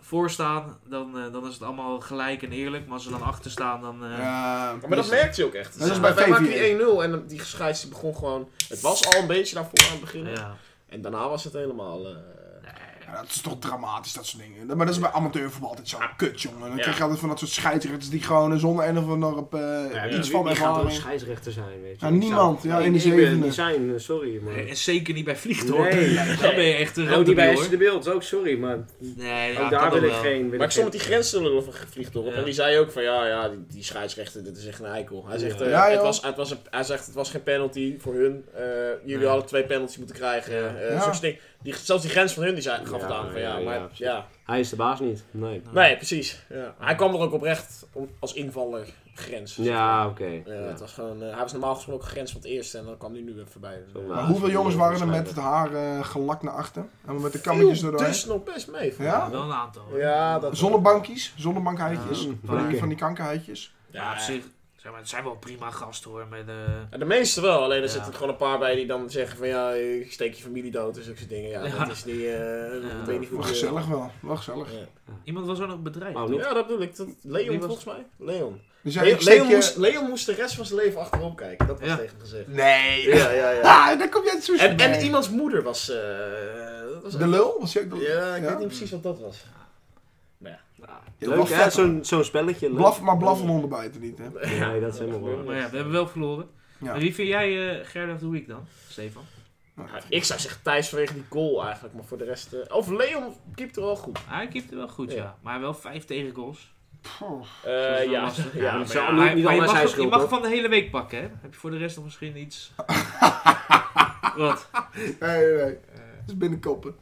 Speaker 2: voor staan, dan, eh, dan is het allemaal gelijk en eerlijk. Maar als ze dan achter staan, dan... eh,
Speaker 4: Ja.
Speaker 3: Maar dat merkte je ook echt.
Speaker 4: Dat
Speaker 2: is
Speaker 3: Ja.
Speaker 4: bij
Speaker 3: Wij maakten
Speaker 4: VVV.
Speaker 3: die 1-0 en die scheids die begon gewoon... Het was al een beetje daarvoor aan het begin.
Speaker 2: ja.
Speaker 3: En daarna was het helemaal... eh,
Speaker 2: Nee,
Speaker 4: Ja, dat is toch dramatisch, dat soort dingen. Maar dat is bij amateurvoetbal altijd zo kut, jongen. Dan
Speaker 2: Ja.
Speaker 4: krijg je altijd van dat soort scheidsrechters die gewoon zonder een of andere eh,
Speaker 2: Ja,
Speaker 4: iets
Speaker 5: Wie-
Speaker 4: van
Speaker 5: wie gaat er
Speaker 4: ervaring...
Speaker 5: scheidsrechter zijn, weet je?
Speaker 4: Nou,
Speaker 5: Ik zou-
Speaker 4: niemand. Ja,
Speaker 5: Ik-
Speaker 4: in de
Speaker 5: ik ben
Speaker 4: zevende.
Speaker 5: niet zijn, eh, sorry. Maar...
Speaker 2: En zeker niet bij Vliegtuig.
Speaker 5: Nee.
Speaker 2: *laughs* Dan ben je echt een
Speaker 5: Ook
Speaker 2: rode
Speaker 5: die bij
Speaker 2: bij
Speaker 5: Esther de Beeld, ook sorry, maar
Speaker 2: Nee, ja, kan
Speaker 5: ook daar wil
Speaker 2: ook
Speaker 5: ik
Speaker 2: wel.
Speaker 5: geen... wil
Speaker 3: Maar ik
Speaker 5: geen-
Speaker 3: stond met die grensstelling over gevliegd op.
Speaker 2: Ja.
Speaker 3: En die zei ook van ja, ja die, die scheidsrechter, dit is echt een eikel. Hij zegt,
Speaker 5: Ja.
Speaker 3: eh,
Speaker 4: Ja,
Speaker 3: het
Speaker 4: joh.
Speaker 3: was, het was een, hij zegt het was geen penalty voor hun. Eh, jullie
Speaker 2: Nee.
Speaker 3: hadden twee penalties moeten krijgen.
Speaker 2: Ja.
Speaker 3: Eh,
Speaker 4: Ja.
Speaker 3: zo'n soort ding. Die, zelfs die grens van hun die zei, gaf het
Speaker 5: Ja,
Speaker 3: aan van
Speaker 5: ja,
Speaker 3: ja, maar
Speaker 5: ja,
Speaker 3: ja.
Speaker 5: precies. Hij is de baas niet, nee.
Speaker 3: Nee, precies. Ja. Hij kwam er ook oprecht om, als invaller grens.
Speaker 5: Ja, oké.
Speaker 3: Ja,
Speaker 5: Ja.
Speaker 3: Het was gewoon, eh, hij was normaal gesproken grens van het eerste en dan kwam hij nu weer voorbij.
Speaker 5: Zo
Speaker 4: Maar
Speaker 5: laat.
Speaker 4: hoeveel jongens waren er met het
Speaker 5: Waarschijnlijk.
Speaker 4: haar eh, gelakt naar achter? En met de kammetjes
Speaker 3: Viel
Speaker 4: erdoor?
Speaker 3: Dus nog best mee. vond ik.
Speaker 4: Ja?
Speaker 2: Wel een aantal. Ja,
Speaker 3: Ja, dat
Speaker 4: Zonnebankjes, zonnebankhuidjes.
Speaker 5: Ja.
Speaker 4: van,
Speaker 5: Oké.
Speaker 4: die, van die kankerhuidjes.
Speaker 2: op zich. Zeg maar, het zijn wel prima gasten hoor. Met, eh,
Speaker 3: Ja, De meeste wel, alleen er
Speaker 2: Ja.
Speaker 3: zitten er gewoon een paar bij die dan zeggen van ja, ik steek je familie dood en zulke soort dingen. Ja,
Speaker 2: Ja.
Speaker 3: dat is niet, eh
Speaker 2: Ja.
Speaker 3: ik weet niet hoe
Speaker 4: Wel gezellig wel, wel gezellig.
Speaker 3: Ja.
Speaker 2: Iemand was ook nog bedreigd.
Speaker 5: Oh, niet?
Speaker 3: ja, dat bedoel ik. Dat, Leon
Speaker 2: Wie was-
Speaker 3: volgens mij. Leon.
Speaker 4: Dus
Speaker 3: Leon,
Speaker 4: ik steek
Speaker 3: Leon
Speaker 4: je-
Speaker 3: moest, Leon moest de rest van zijn leven achterom kijken. Dat was
Speaker 2: Ja.
Speaker 3: tegen hem gezegd.
Speaker 4: Nee!
Speaker 3: Ja, ja, ja.
Speaker 4: *laughs* Ah, daar kom jij zo
Speaker 3: En, en
Speaker 4: bij.
Speaker 3: iemands moeder was... eh, dat was
Speaker 4: De lul? Was je ook de lul?
Speaker 3: Ja, ik
Speaker 4: Ja?
Speaker 3: weet niet precies wat dat was.
Speaker 5: Ja.
Speaker 4: Heel
Speaker 5: Leuk
Speaker 4: wel
Speaker 5: hè,
Speaker 4: vet,
Speaker 5: zo'n zo'n spelletje. leuk.
Speaker 4: Blaf, maar blaffen en onderbijten niet, hè.
Speaker 5: Nee, dat is helemaal waar.
Speaker 2: Maar ja, we hebben wel verloren.
Speaker 4: Ja.
Speaker 2: En wie vind jij eh Gerda of the Week dan, Stefan?
Speaker 3: Ja, ik zou zeggen Thijs vanwege die goal eigenlijk, maar voor de rest... eh, of Leon keept er wel goed.
Speaker 2: Ah, Hij keept er wel goed, ja.
Speaker 3: Ja.
Speaker 2: Maar wel vijf tegengoals.
Speaker 4: Pff.
Speaker 3: Eh,
Speaker 2: Dat is wel
Speaker 3: ja,
Speaker 2: lastig.
Speaker 3: ja,
Speaker 5: dat
Speaker 3: maar
Speaker 5: zou
Speaker 3: ja,
Speaker 5: niet-
Speaker 2: Maar, maar je,
Speaker 5: allemaal zijn
Speaker 2: mag, je
Speaker 5: schuld,
Speaker 2: mag
Speaker 5: hoor.
Speaker 2: van de hele week pakken, hè? Heb je voor de rest nog misschien
Speaker 4: *laughs*
Speaker 2: iets... Wat?
Speaker 4: Nee, nee, nee. Dat is binnenkoppen.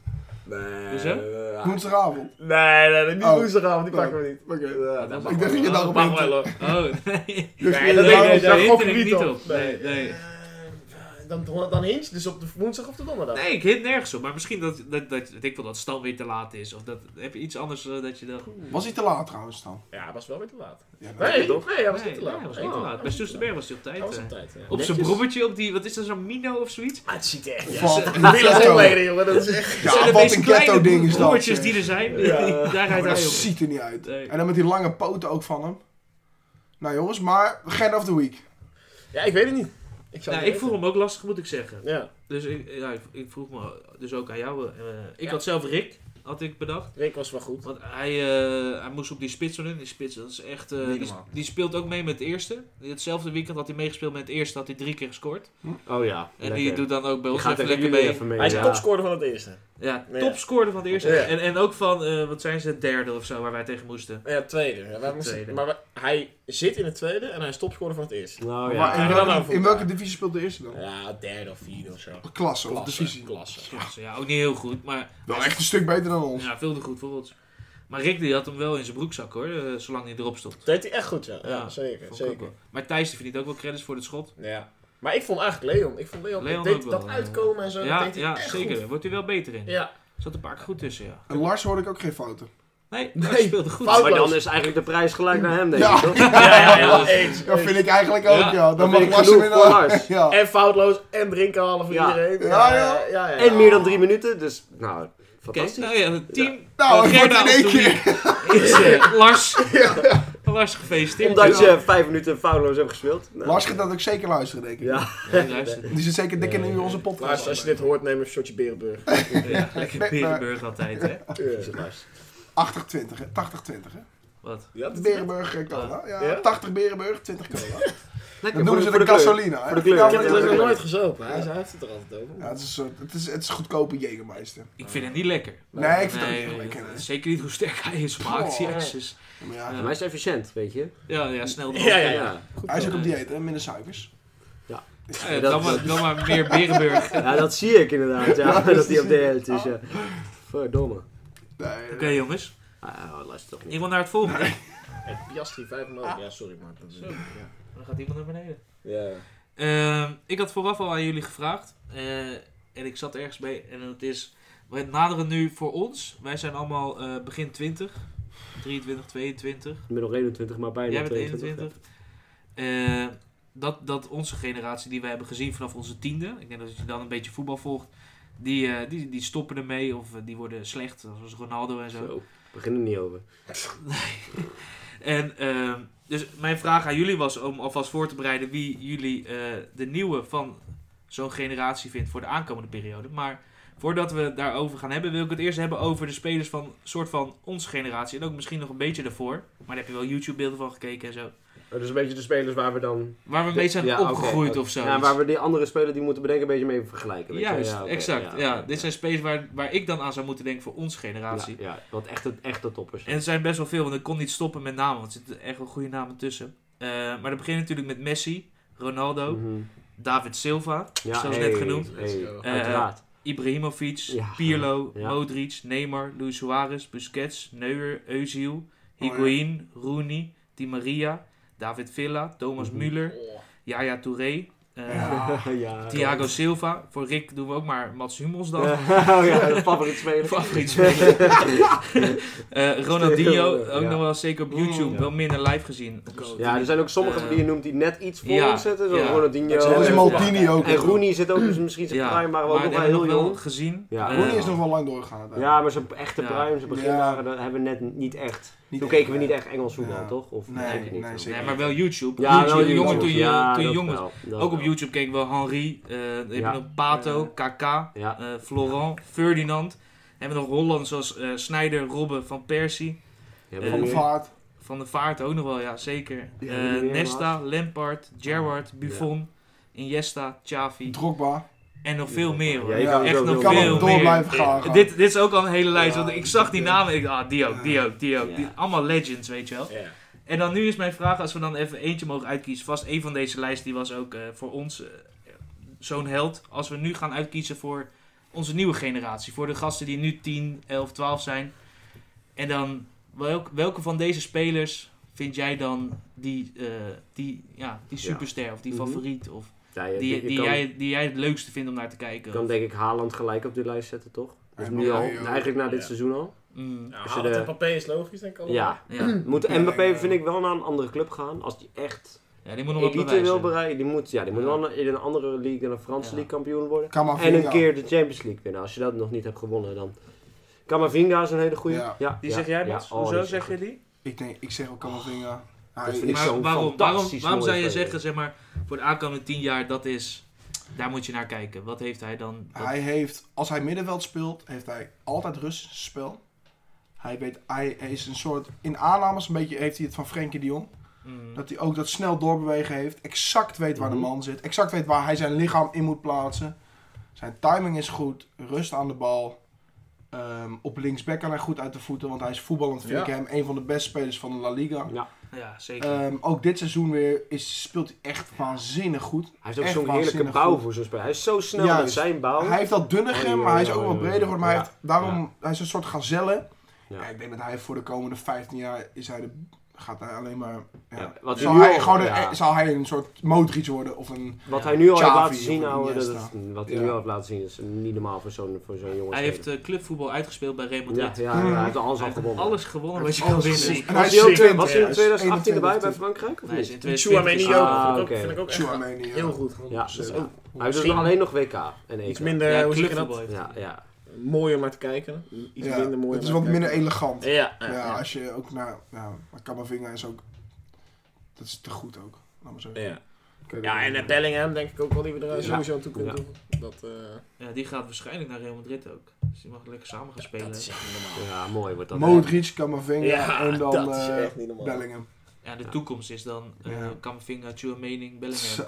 Speaker 3: Nee,
Speaker 2: Hoezo?
Speaker 3: eh, ja.
Speaker 4: Woensdagavond.
Speaker 3: Nee, nee, nee, niet
Speaker 4: Oh.
Speaker 3: woensdagavond, die
Speaker 4: Nee.
Speaker 3: pakken we niet.
Speaker 4: Oké.
Speaker 3: Ja,
Speaker 2: dat
Speaker 4: Ik dacht dat je daarop
Speaker 3: mag wel
Speaker 4: hint.
Speaker 3: hoor.
Speaker 2: Oh, nee.
Speaker 4: Dus
Speaker 3: Nee,
Speaker 4: je-
Speaker 3: dat
Speaker 4: ja,
Speaker 3: denk
Speaker 4: ja,
Speaker 3: ik
Speaker 2: daar
Speaker 3: daar
Speaker 2: hint
Speaker 3: gok ik
Speaker 2: ik
Speaker 3: niet
Speaker 2: niet
Speaker 3: op.
Speaker 2: op. Nee, nee.
Speaker 3: Eh, Dan, dan hint je dus op de woensdag of de donderdag.
Speaker 2: Nee, ik hit nergens op. Maar misschien dat, dat, dat weet ik wel, dat Stan weer te laat is. Of dat, heb je iets anders eh, dat je dan...
Speaker 4: Was hij te laat trouwens dan?
Speaker 3: Ja, hij was wel weer te laat.
Speaker 4: Ja,
Speaker 3: Nee,
Speaker 4: nee.
Speaker 3: nee, hij was
Speaker 2: Nee,
Speaker 3: niet te laat.
Speaker 2: nee, hij was
Speaker 3: Nee,
Speaker 2: niet te
Speaker 3: hij
Speaker 2: laat. Bij
Speaker 3: was
Speaker 2: Soes de
Speaker 3: niet
Speaker 2: Berg was hij op
Speaker 3: te laat. Hij
Speaker 2: tijd.
Speaker 3: was
Speaker 2: eh.
Speaker 3: op tijd, ja.
Speaker 2: Op zijn
Speaker 5: Netjes.
Speaker 2: brommertje, op die, wat is dat, zo'n Mino of zoiets?
Speaker 3: Ah, het ziet er
Speaker 4: *laughs*
Speaker 3: echt
Speaker 4: Valt
Speaker 3: *laughs* ja,
Speaker 4: in
Speaker 3: ze-
Speaker 4: ghetto.
Speaker 3: Villa Leden, jongen, dat is echt...
Speaker 4: Ja,
Speaker 2: Zijn er
Speaker 4: wat
Speaker 2: deze
Speaker 4: een
Speaker 2: kleine
Speaker 4: ghetto ding is dat,
Speaker 2: broertjes
Speaker 4: zeg.
Speaker 2: die er zijn, *laughs*
Speaker 3: Ja.
Speaker 2: daar
Speaker 4: Maar
Speaker 2: rijdt
Speaker 4: dat
Speaker 2: hij op.
Speaker 4: ziet er niet uit.
Speaker 2: Nee. Nou,
Speaker 4: En dan met die lange poten ook van hem. Nou jongens, maar Gerda of the Week.
Speaker 3: Oh Ja, ik weet het niet. Ik zou
Speaker 2: Nou,
Speaker 3: het
Speaker 2: ik
Speaker 3: niet
Speaker 2: vroeg hem ook lastig, moet ik zeggen.
Speaker 3: weten. Ja,
Speaker 2: Dus ik, ja, ik- ik vroeg me dus ook aan jou. eh, ik
Speaker 3: Ja.
Speaker 2: had zelf Rick, had ik bedacht.
Speaker 3: Rick was wel goed.
Speaker 2: Want hij, eh, hij moest op die spits van hun. Die spits, dat is echt... eh,
Speaker 4: Niet
Speaker 2: die,
Speaker 4: normaal.
Speaker 2: die speelt ook mee met het eerste. Hetzelfde weekend had hij meegespeeld met het eerste. Had hij drie keer gescoord.
Speaker 5: Oh ja,
Speaker 2: En die doet dan ook bij ons
Speaker 5: gaat
Speaker 2: even
Speaker 5: tegen
Speaker 2: lekker
Speaker 5: jullie
Speaker 2: mee.
Speaker 5: even mee.
Speaker 3: Hij is
Speaker 5: ja.
Speaker 3: topscorer van het eerste.
Speaker 2: Ja,
Speaker 3: Ja.
Speaker 2: topscorer van het eerste.
Speaker 3: Ja.
Speaker 2: En, en ook van, eh, wat zijn ze, derde of zo, waar wij tegen moesten.
Speaker 3: Oh Ja, tweede. Ja, wij moesten-
Speaker 2: Tweede.
Speaker 3: Maar wij- hij zit in het tweede en hij is topscorer van het eerste.
Speaker 5: Nou ja.
Speaker 4: maar in,
Speaker 3: Ja,
Speaker 4: welke-
Speaker 3: dan over.
Speaker 4: in welke divisie speelt de eerste dan?
Speaker 3: Ja, derde of vierde of zo.
Speaker 4: Klasse of
Speaker 3: Klasse.
Speaker 4: divisie.
Speaker 3: Klasse.
Speaker 2: Klasse, Ja, ook niet heel goed, maar
Speaker 4: Wel echt een stuk beter dan ons.
Speaker 2: ja, veel te goed voor ons. Maar Rick die had hem wel in zijn broekzak hoor, eh, zolang hij erop stond.
Speaker 3: Dat deed hij echt goed, ja. Ja,
Speaker 2: Ja,
Speaker 3: zeker.
Speaker 2: Vond ik ook
Speaker 3: zeker.
Speaker 2: wel. Maar Thijs die verdient ook wel credits voor het schot.
Speaker 3: Ja. Maar ik vond eigenlijk Leon. Ik vond Leon,
Speaker 2: Leon ook
Speaker 3: deed
Speaker 2: wel,
Speaker 3: dat
Speaker 2: ja.
Speaker 3: uitkomen en zo. dat
Speaker 2: ja,
Speaker 3: deed hij
Speaker 2: ja
Speaker 3: echt
Speaker 2: zeker.
Speaker 3: goed.
Speaker 2: Wordt hij wel beter in.
Speaker 3: Ja.
Speaker 2: Zat een paar keer goed tussen, ja.
Speaker 4: En Lars hoorde ik ook geen fouten.
Speaker 2: Nee,
Speaker 3: Nee,
Speaker 2: hij speelde goed.
Speaker 3: fout.
Speaker 5: Maar dan is eigenlijk de prijs gelijk naar hem, denk ik,
Speaker 4: Ja.
Speaker 5: toch?
Speaker 3: Ja, ja, ja,
Speaker 2: Ja,
Speaker 3: eens,
Speaker 4: Dat
Speaker 3: eens.
Speaker 4: vind ik eigenlijk ook,
Speaker 2: Ja,
Speaker 4: ja. Dan
Speaker 5: dat
Speaker 4: mag
Speaker 5: vind ik
Speaker 4: Lars
Speaker 5: genoeg
Speaker 4: hem
Speaker 5: voor
Speaker 4: in- *laughs*
Speaker 5: Lars.
Speaker 4: Ja.
Speaker 3: En foutloos en drinken halen voor
Speaker 5: Ja.
Speaker 3: iedereen.
Speaker 4: Ja,
Speaker 3: ja,
Speaker 4: ja.
Speaker 3: ja, ja.
Speaker 5: En meer dan drie minuten, dus nou,
Speaker 2: Oké, *laughs*
Speaker 5: fantastisch.
Speaker 2: nou ja, het team.
Speaker 4: Nou, het
Speaker 2: eh,
Speaker 4: wordt
Speaker 2: Gerda
Speaker 4: in één
Speaker 2: Altoen
Speaker 4: keer.
Speaker 2: is, eh, Lars.
Speaker 4: *laughs*
Speaker 2: Lars gefeliciteerd.
Speaker 5: Omdat je vijf minuten foutloos hebt gespeeld. *laughs* Nou,
Speaker 4: Lars gaat dat ook zeker luisteren, denk ik.
Speaker 5: Ja.
Speaker 2: Ja, luister.
Speaker 4: Die zit zeker dikker in onze
Speaker 3: Lars,
Speaker 4: podcast.
Speaker 3: als je dit hoort, neem een shotje Berenburg.
Speaker 2: Ja, lekker Berenburg altijd, hè.
Speaker 3: Ja.
Speaker 5: Jezus,
Speaker 4: 80-20,
Speaker 5: Lars.
Speaker 4: hè? 80-20, hè?
Speaker 2: Wat?
Speaker 3: Ja, dat-
Speaker 4: Berenburg eh, cola. Ja,
Speaker 3: Ja?
Speaker 4: 80 Berenburg, 20 cola.
Speaker 5: Lekker,
Speaker 4: Dat
Speaker 5: voor
Speaker 4: noemen ze
Speaker 5: voor
Speaker 4: de
Speaker 5: club.
Speaker 4: gasolina, hè?
Speaker 5: Voor de kleur.
Speaker 4: Ja,
Speaker 3: Ik heb het
Speaker 4: dat
Speaker 3: ook nog
Speaker 4: is-
Speaker 3: nooit gezopen. Hij, hij heeft het er altijd over.
Speaker 4: Ja, het is, een soort- het is, het is goedkope Jägermeister.
Speaker 2: Ik vind het niet lekker.
Speaker 4: Nee, ik vind het ook
Speaker 2: Nee,
Speaker 4: niet lekker. hè.
Speaker 2: eh, zeker niet hoe sterk hij is, maar
Speaker 4: Oh.
Speaker 2: jezus.
Speaker 4: Maar ja,
Speaker 5: Maar hij is efficiënt, weet je.
Speaker 2: Ja, ja, snel erop.
Speaker 3: Ja, ja,
Speaker 5: Ja,
Speaker 3: ja.
Speaker 5: ja.
Speaker 4: hij zit op dieet, hè? Minder suikers.
Speaker 2: Ja, Eh, dan, maar, dan maar meer Berenburg. *laughs* Oké
Speaker 5: dat zie ik
Speaker 2: *laughs*
Speaker 5: inderdaad, ja,
Speaker 4: Ja,
Speaker 5: dat hij op de
Speaker 4: precies.
Speaker 5: helft is. Ja. Verdomme.
Speaker 4: Nee,
Speaker 2: jongens,
Speaker 5: Ah, luister toch niet.
Speaker 2: iemand naar het volgende.
Speaker 3: Het Piastri 5,5. Ja, sorry, maar dat is...
Speaker 2: Zo. *laughs* Dan gaat iemand naar beneden.
Speaker 3: Ja.
Speaker 2: Ehm, ik had vooraf al aan jullie gevraagd. eh, en ik zat ergens bij. En het is. We naderen nu voor ons. Wij zijn allemaal eh, begin 20. 23, 22.
Speaker 5: Ik ben nog 21, maar bijna
Speaker 2: Jij bent
Speaker 5: 22.
Speaker 2: 21. Eh, dat, dat onze generatie die we hebben gezien vanaf onze tiende. Ik denk dat als je dan een beetje voetbal volgt. Die, eh, die, die stoppen ermee of eh, die worden slecht. Zoals Ronaldo en zo.
Speaker 5: Zo, begin er niet over.
Speaker 2: En ehm, dus mijn vraag aan jullie was om alvast voor te bereiden wie jullie eh, de nieuwe van zo'n generatie vindt voor de aankomende periode. Maar Voordat we het daarover gaan hebben, wil ik het eerst hebben over de spelers van soort van onze generatie. En ook misschien nog een beetje daarvoor. Maar daar heb je wel YouTube-beelden van gekeken en zo.
Speaker 5: Dus een beetje de spelers waar we dan...
Speaker 2: Waar we een beetje zijn
Speaker 5: Ja, oké,
Speaker 2: opgegroeid
Speaker 5: oké.
Speaker 2: of zo.
Speaker 5: Ja, waar we die andere spelers die moeten bedenken een beetje mee vergelijken. weet je?
Speaker 2: Juist,
Speaker 5: Ja, oké,
Speaker 2: exact. Ja,
Speaker 5: oké,
Speaker 2: Dit zijn spelers waar, waar ik dan aan zou moeten denken voor onze generatie.
Speaker 5: Ja, ja, want echte, echte toppers.
Speaker 2: En er zijn best wel veel, want ik kon niet stoppen met namen, want er zitten echt wel goede namen tussen. Eh, maar dat begint natuurlijk met Messi, Ronaldo,
Speaker 5: Mhm.
Speaker 2: David Silva,
Speaker 5: Ja,
Speaker 2: zoals
Speaker 5: hey,
Speaker 2: net genoemd.
Speaker 5: hey,
Speaker 2: *laughs*
Speaker 3: Eh,
Speaker 5: uiteraard.
Speaker 2: Ibrahimovic,
Speaker 5: Ja.
Speaker 2: Pirlo,
Speaker 5: Ja.
Speaker 2: Modric, Neymar, Luis Suarez, Busquets, Neuer,
Speaker 5: Oh,
Speaker 2: Özil, Higuain, Rooney, Di Maria, David Villa, Thomas
Speaker 5: Mhm.
Speaker 2: Müller,
Speaker 3: Oh,
Speaker 2: Yaya Touré, eh,
Speaker 4: Ja.
Speaker 5: *laughs* ja.
Speaker 2: Thiago Silva. Voor Rick doen we ook maar Mats Hummels dan.
Speaker 5: Oh ja, de favoriet speler.
Speaker 2: *laughs* Favoriet speler. Eh, Ronaldinho,
Speaker 5: Ja.
Speaker 2: ook nog wel zeker op YouTube,
Speaker 4: Mm, ja.
Speaker 2: wel minder live gezien.
Speaker 3: Oh.
Speaker 2: Dus-
Speaker 5: Ja, er zijn ook sommige
Speaker 2: Eh,
Speaker 5: die je noemt die net iets voor
Speaker 2: ja,
Speaker 5: ons zetten. Zoals
Speaker 2: ja.
Speaker 5: Ronaldinho.
Speaker 4: Dat is
Speaker 5: en-
Speaker 4: Maldini ook.
Speaker 5: En Rooney zit ook, dus misschien zijn prime, maar wel nog
Speaker 2: dat
Speaker 5: wel
Speaker 2: hebben
Speaker 5: heel
Speaker 2: we nog wel
Speaker 5: jong.
Speaker 2: gezien.
Speaker 5: Ja.
Speaker 2: Eh,
Speaker 4: Rooney is nog wel lang doorgegaan. uiteindelijk.
Speaker 5: Ja, maar zijn echte
Speaker 2: Ja.
Speaker 5: prime, zijn beginjaren, dat hebben we net niet echt.
Speaker 4: Niet
Speaker 5: Toen
Speaker 4: echt,
Speaker 5: keken we
Speaker 4: ja.
Speaker 5: niet echt Engels voetbal,
Speaker 4: Ja.
Speaker 5: toch? Of
Speaker 4: Nee,
Speaker 5: denk ik
Speaker 4: nee,
Speaker 5: toch?
Speaker 4: zeker.
Speaker 2: nee, maar wel YouTube.
Speaker 5: Ja,
Speaker 2: YouTube,
Speaker 5: wel
Speaker 2: jonger
Speaker 5: YouTube.
Speaker 2: toen je,
Speaker 5: Ja,
Speaker 2: toen je
Speaker 5: dat
Speaker 2: jong was.
Speaker 5: wel, dat
Speaker 2: Ook op
Speaker 5: wel.
Speaker 2: YouTube keken we Henri, eh dan heb
Speaker 5: Ja.
Speaker 2: je nog Pato,
Speaker 4: Ja.
Speaker 2: Kaka,
Speaker 5: Ja.
Speaker 2: eh, Florent, Ferdinand. Dan hebben we nog Holland zoals eh Snijder, Robben, Van Persie,
Speaker 5: Ja,
Speaker 2: Eh,
Speaker 4: Van de
Speaker 5: maar-
Speaker 4: vaart.
Speaker 2: Van der Vaart ook nog wel, ja zeker.
Speaker 5: Ja,
Speaker 2: Eh,
Speaker 5: die weer
Speaker 2: Nesta, Lampard, Gerrard, Buffon, Iniesta, Xavi
Speaker 4: Drogba.
Speaker 2: en nog veel meer hoor.
Speaker 5: Ja, je
Speaker 4: Ja,
Speaker 5: kan
Speaker 2: echt
Speaker 5: ook
Speaker 2: nog
Speaker 4: Ik
Speaker 5: heel
Speaker 4: kan
Speaker 5: veel
Speaker 4: nog door
Speaker 2: meer.
Speaker 4: blijven gaan.
Speaker 2: Eh, Dit, dit is ook al een hele lijst,
Speaker 4: Ja,
Speaker 2: want ik zag die
Speaker 4: ja.
Speaker 2: namen en ik dacht, ah, die ook, die ook, die ook.
Speaker 5: Ja.
Speaker 2: Die- allemaal legends, weet je wel.
Speaker 3: ja.
Speaker 2: En dan nu is mijn vraag, als we dan even eentje mogen uitkiezen. Vast één van deze lijst, die was ook eh, voor ons eh, zo'n held. Als we nu gaan uitkiezen voor onze nieuwe generatie. Voor de gasten die nu 10, 11, 12 zijn. En dan, welk, welke van deze spelers vind jij dan die, eh, die, ja, die
Speaker 5: Ja.
Speaker 2: superster of die
Speaker 5: Mhm.
Speaker 2: favoriet? Of
Speaker 5: Ja, je-
Speaker 2: die,
Speaker 5: je
Speaker 2: die,
Speaker 5: kan-
Speaker 2: jij, die jij het leukste vindt om naar te
Speaker 5: je
Speaker 2: kijken?
Speaker 5: kan
Speaker 2: Of-
Speaker 5: denk ik Haaland gelijk op die lijst zetten, toch? Dus
Speaker 4: Ja,
Speaker 5: nu
Speaker 4: ja,
Speaker 5: al,
Speaker 4: ja.
Speaker 5: eigenlijk na dit
Speaker 3: Ja.
Speaker 5: seizoen al. *clears throat*
Speaker 2: Mm,
Speaker 3: Nou,
Speaker 5: Als je
Speaker 3: Haaland
Speaker 5: de-
Speaker 3: en Papé is logisch, denk ik al.
Speaker 5: Ja.
Speaker 2: ja.
Speaker 5: Moet
Speaker 4: Ja,
Speaker 5: Mbappé
Speaker 4: ja.
Speaker 5: vind ik wel naar een andere club gaan. Als die echt
Speaker 2: ja, die moet nog wat
Speaker 5: elite wil
Speaker 2: bewijzen.
Speaker 5: bereiken, die moet, ja, die moet
Speaker 2: Ja.
Speaker 5: wel in een andere league dan een Franse
Speaker 2: Ja.
Speaker 5: league kampioen worden. En
Speaker 4: Camavinga.
Speaker 5: een keer de Champions League winnen. Als je dat nog niet hebt gewonnen, dan... Camavinga is een hele goeie.
Speaker 4: Ja.
Speaker 2: Die
Speaker 5: ja,
Speaker 2: zeg jij,
Speaker 5: ja.
Speaker 2: Mats?
Speaker 5: Oh,
Speaker 2: Hoezo
Speaker 5: die is
Speaker 2: zeg
Speaker 5: echt
Speaker 2: je die?
Speaker 4: Ik denk, ik zeg ook Camavinga.
Speaker 5: Oh, Dat
Speaker 4: Hij
Speaker 5: vind ik
Speaker 4: is
Speaker 5: zo-
Speaker 2: Maar
Speaker 5: zo'n
Speaker 2: waarom, waarom,
Speaker 5: fantastisch
Speaker 2: waarom zou je
Speaker 5: mooie
Speaker 2: zeggen,
Speaker 5: speler.
Speaker 2: zeg maar, voor de aankomende 10 jaar, dat is, daar moet je naar kijken. Wat heeft hij dan? dat-
Speaker 4: Hij heeft, als hij middenveld speelt, heeft hij altijd rust in zijn spel. Hij weet, hij is een soort, in aannames een beetje heeft hij het van Frenkie de Jong.
Speaker 2: Mm,
Speaker 4: Dat hij ook dat snel doorbewegen heeft. Exact weet waar
Speaker 5: Mhm.
Speaker 4: de man zit. Exact weet waar hij zijn lichaam in moet plaatsen. Zijn timing is goed. Rust aan de bal. Ehm, op linksback kan hij goed uit de voeten. Want hij is voetballend, vind
Speaker 3: Ja.
Speaker 4: ik hem, een van de beste spelers van de La Liga.
Speaker 2: ja, zeker.
Speaker 4: Ehm, ook dit seizoen weer is, speelt hij echt waanzinnig goed.
Speaker 5: Hij heeft ook
Speaker 4: Echt
Speaker 5: zo'n heerlijke
Speaker 4: waanzinnig
Speaker 5: bouw
Speaker 4: goed.
Speaker 5: voor zo'n speler. Hij is zo snel
Speaker 4: Juist.
Speaker 5: met zijn bouw.
Speaker 4: Hij heeft dat dunne
Speaker 5: Oei,
Speaker 4: gem,
Speaker 5: oei,
Speaker 4: maar hij is
Speaker 5: oei,
Speaker 4: ook wel
Speaker 5: oei,
Speaker 4: breder geworden. Maar hij,
Speaker 5: ja.
Speaker 4: heeft, daarom, hij is een soort gazelle.
Speaker 5: Ja.
Speaker 4: Ja. ik denk dat hij voor de komende 15 jaar is hij de, gaat hij alleen maar... Ja.
Speaker 5: Ja, wat
Speaker 4: zal,
Speaker 5: nu
Speaker 4: hij
Speaker 5: al-
Speaker 4: gewoon een- e-
Speaker 5: ja.
Speaker 4: zal hij een soort Modric worden of een...
Speaker 5: Wat
Speaker 2: Ja.
Speaker 5: hij nu al heeft
Speaker 4: Xavi
Speaker 5: laten zien,
Speaker 4: of
Speaker 5: ouwe, dat
Speaker 4: Iniesta.
Speaker 5: is- wat hij nu
Speaker 4: Ja.
Speaker 5: al heeft laten zien, is niet normaal voor zo'n voor zo'n jongen.
Speaker 2: hij heeft eh, clubvoetbal uitgespeeld bij Real
Speaker 5: ja,
Speaker 2: Madrid.
Speaker 5: ja, ja, hij heeft alles
Speaker 2: Hij
Speaker 5: al
Speaker 2: heeft
Speaker 5: gewonnen.
Speaker 2: alles gewonnen wat je
Speaker 4: Alles
Speaker 2: kan winnen.
Speaker 4: gezien.
Speaker 2: Nee,
Speaker 4: En
Speaker 5: Was
Speaker 4: is
Speaker 5: hij ook twee-
Speaker 4: 20,
Speaker 5: was hij in
Speaker 4: ja.
Speaker 5: 2018 erbij bij
Speaker 4: 21.
Speaker 5: Frankrijk? Of
Speaker 2: hij is
Speaker 5: niet?
Speaker 2: in
Speaker 3: En
Speaker 2: 2020
Speaker 3: Chouameni ook.
Speaker 2: gespeeld.
Speaker 3: vind
Speaker 5: Ah,
Speaker 3: ik ook-
Speaker 5: oké.
Speaker 3: Vind ik ook echt
Speaker 4: Tchouameni, ja.
Speaker 3: heel goed. gewoon.
Speaker 5: Ja,
Speaker 3: Dus dat is
Speaker 5: ja.
Speaker 3: ook
Speaker 5: Hij heeft dus
Speaker 3: misschien
Speaker 5: alleen nog WK en EK.
Speaker 3: iets minder,
Speaker 2: Ja,
Speaker 3: eh, hoe zeg je
Speaker 2: clubvoetbal
Speaker 3: dat?
Speaker 2: heeft
Speaker 5: Ja,
Speaker 2: hij.
Speaker 5: ja.
Speaker 3: Mooier maar te kijken. Iets
Speaker 4: Ja,
Speaker 3: minder mooi.
Speaker 4: Het is wat minder elegant. Ja,
Speaker 3: Ja, ja, ja.
Speaker 4: als je ook naar... Ja, maar Camavinga is ook... Dat is te goed ook. Laat maar zeggen.
Speaker 3: Ja.
Speaker 4: Ik weet
Speaker 3: Ja,
Speaker 4: het
Speaker 3: en
Speaker 4: niet.
Speaker 3: eh, Bellingham denk ik ook wel die we er eh,
Speaker 5: Ja.
Speaker 3: sowieso aan toe kunnen
Speaker 5: Ja.
Speaker 3: doen. Dat, eh,
Speaker 2: Ja, die gaat waarschijnlijk naar Real Madrid ook. Dus die mag lekker samen gaan spelen.
Speaker 3: dat is echt niet normaal.
Speaker 5: Ja, mooi wordt dat.
Speaker 4: Modric, Camavinga en dan
Speaker 3: dat is
Speaker 4: eh,
Speaker 3: echt niet normaal.
Speaker 4: Bellingham.
Speaker 2: Ja, de toekomst is dan eh
Speaker 4: Ja.
Speaker 2: Camavinga, Tchouameni, Bellingham.
Speaker 4: Zo.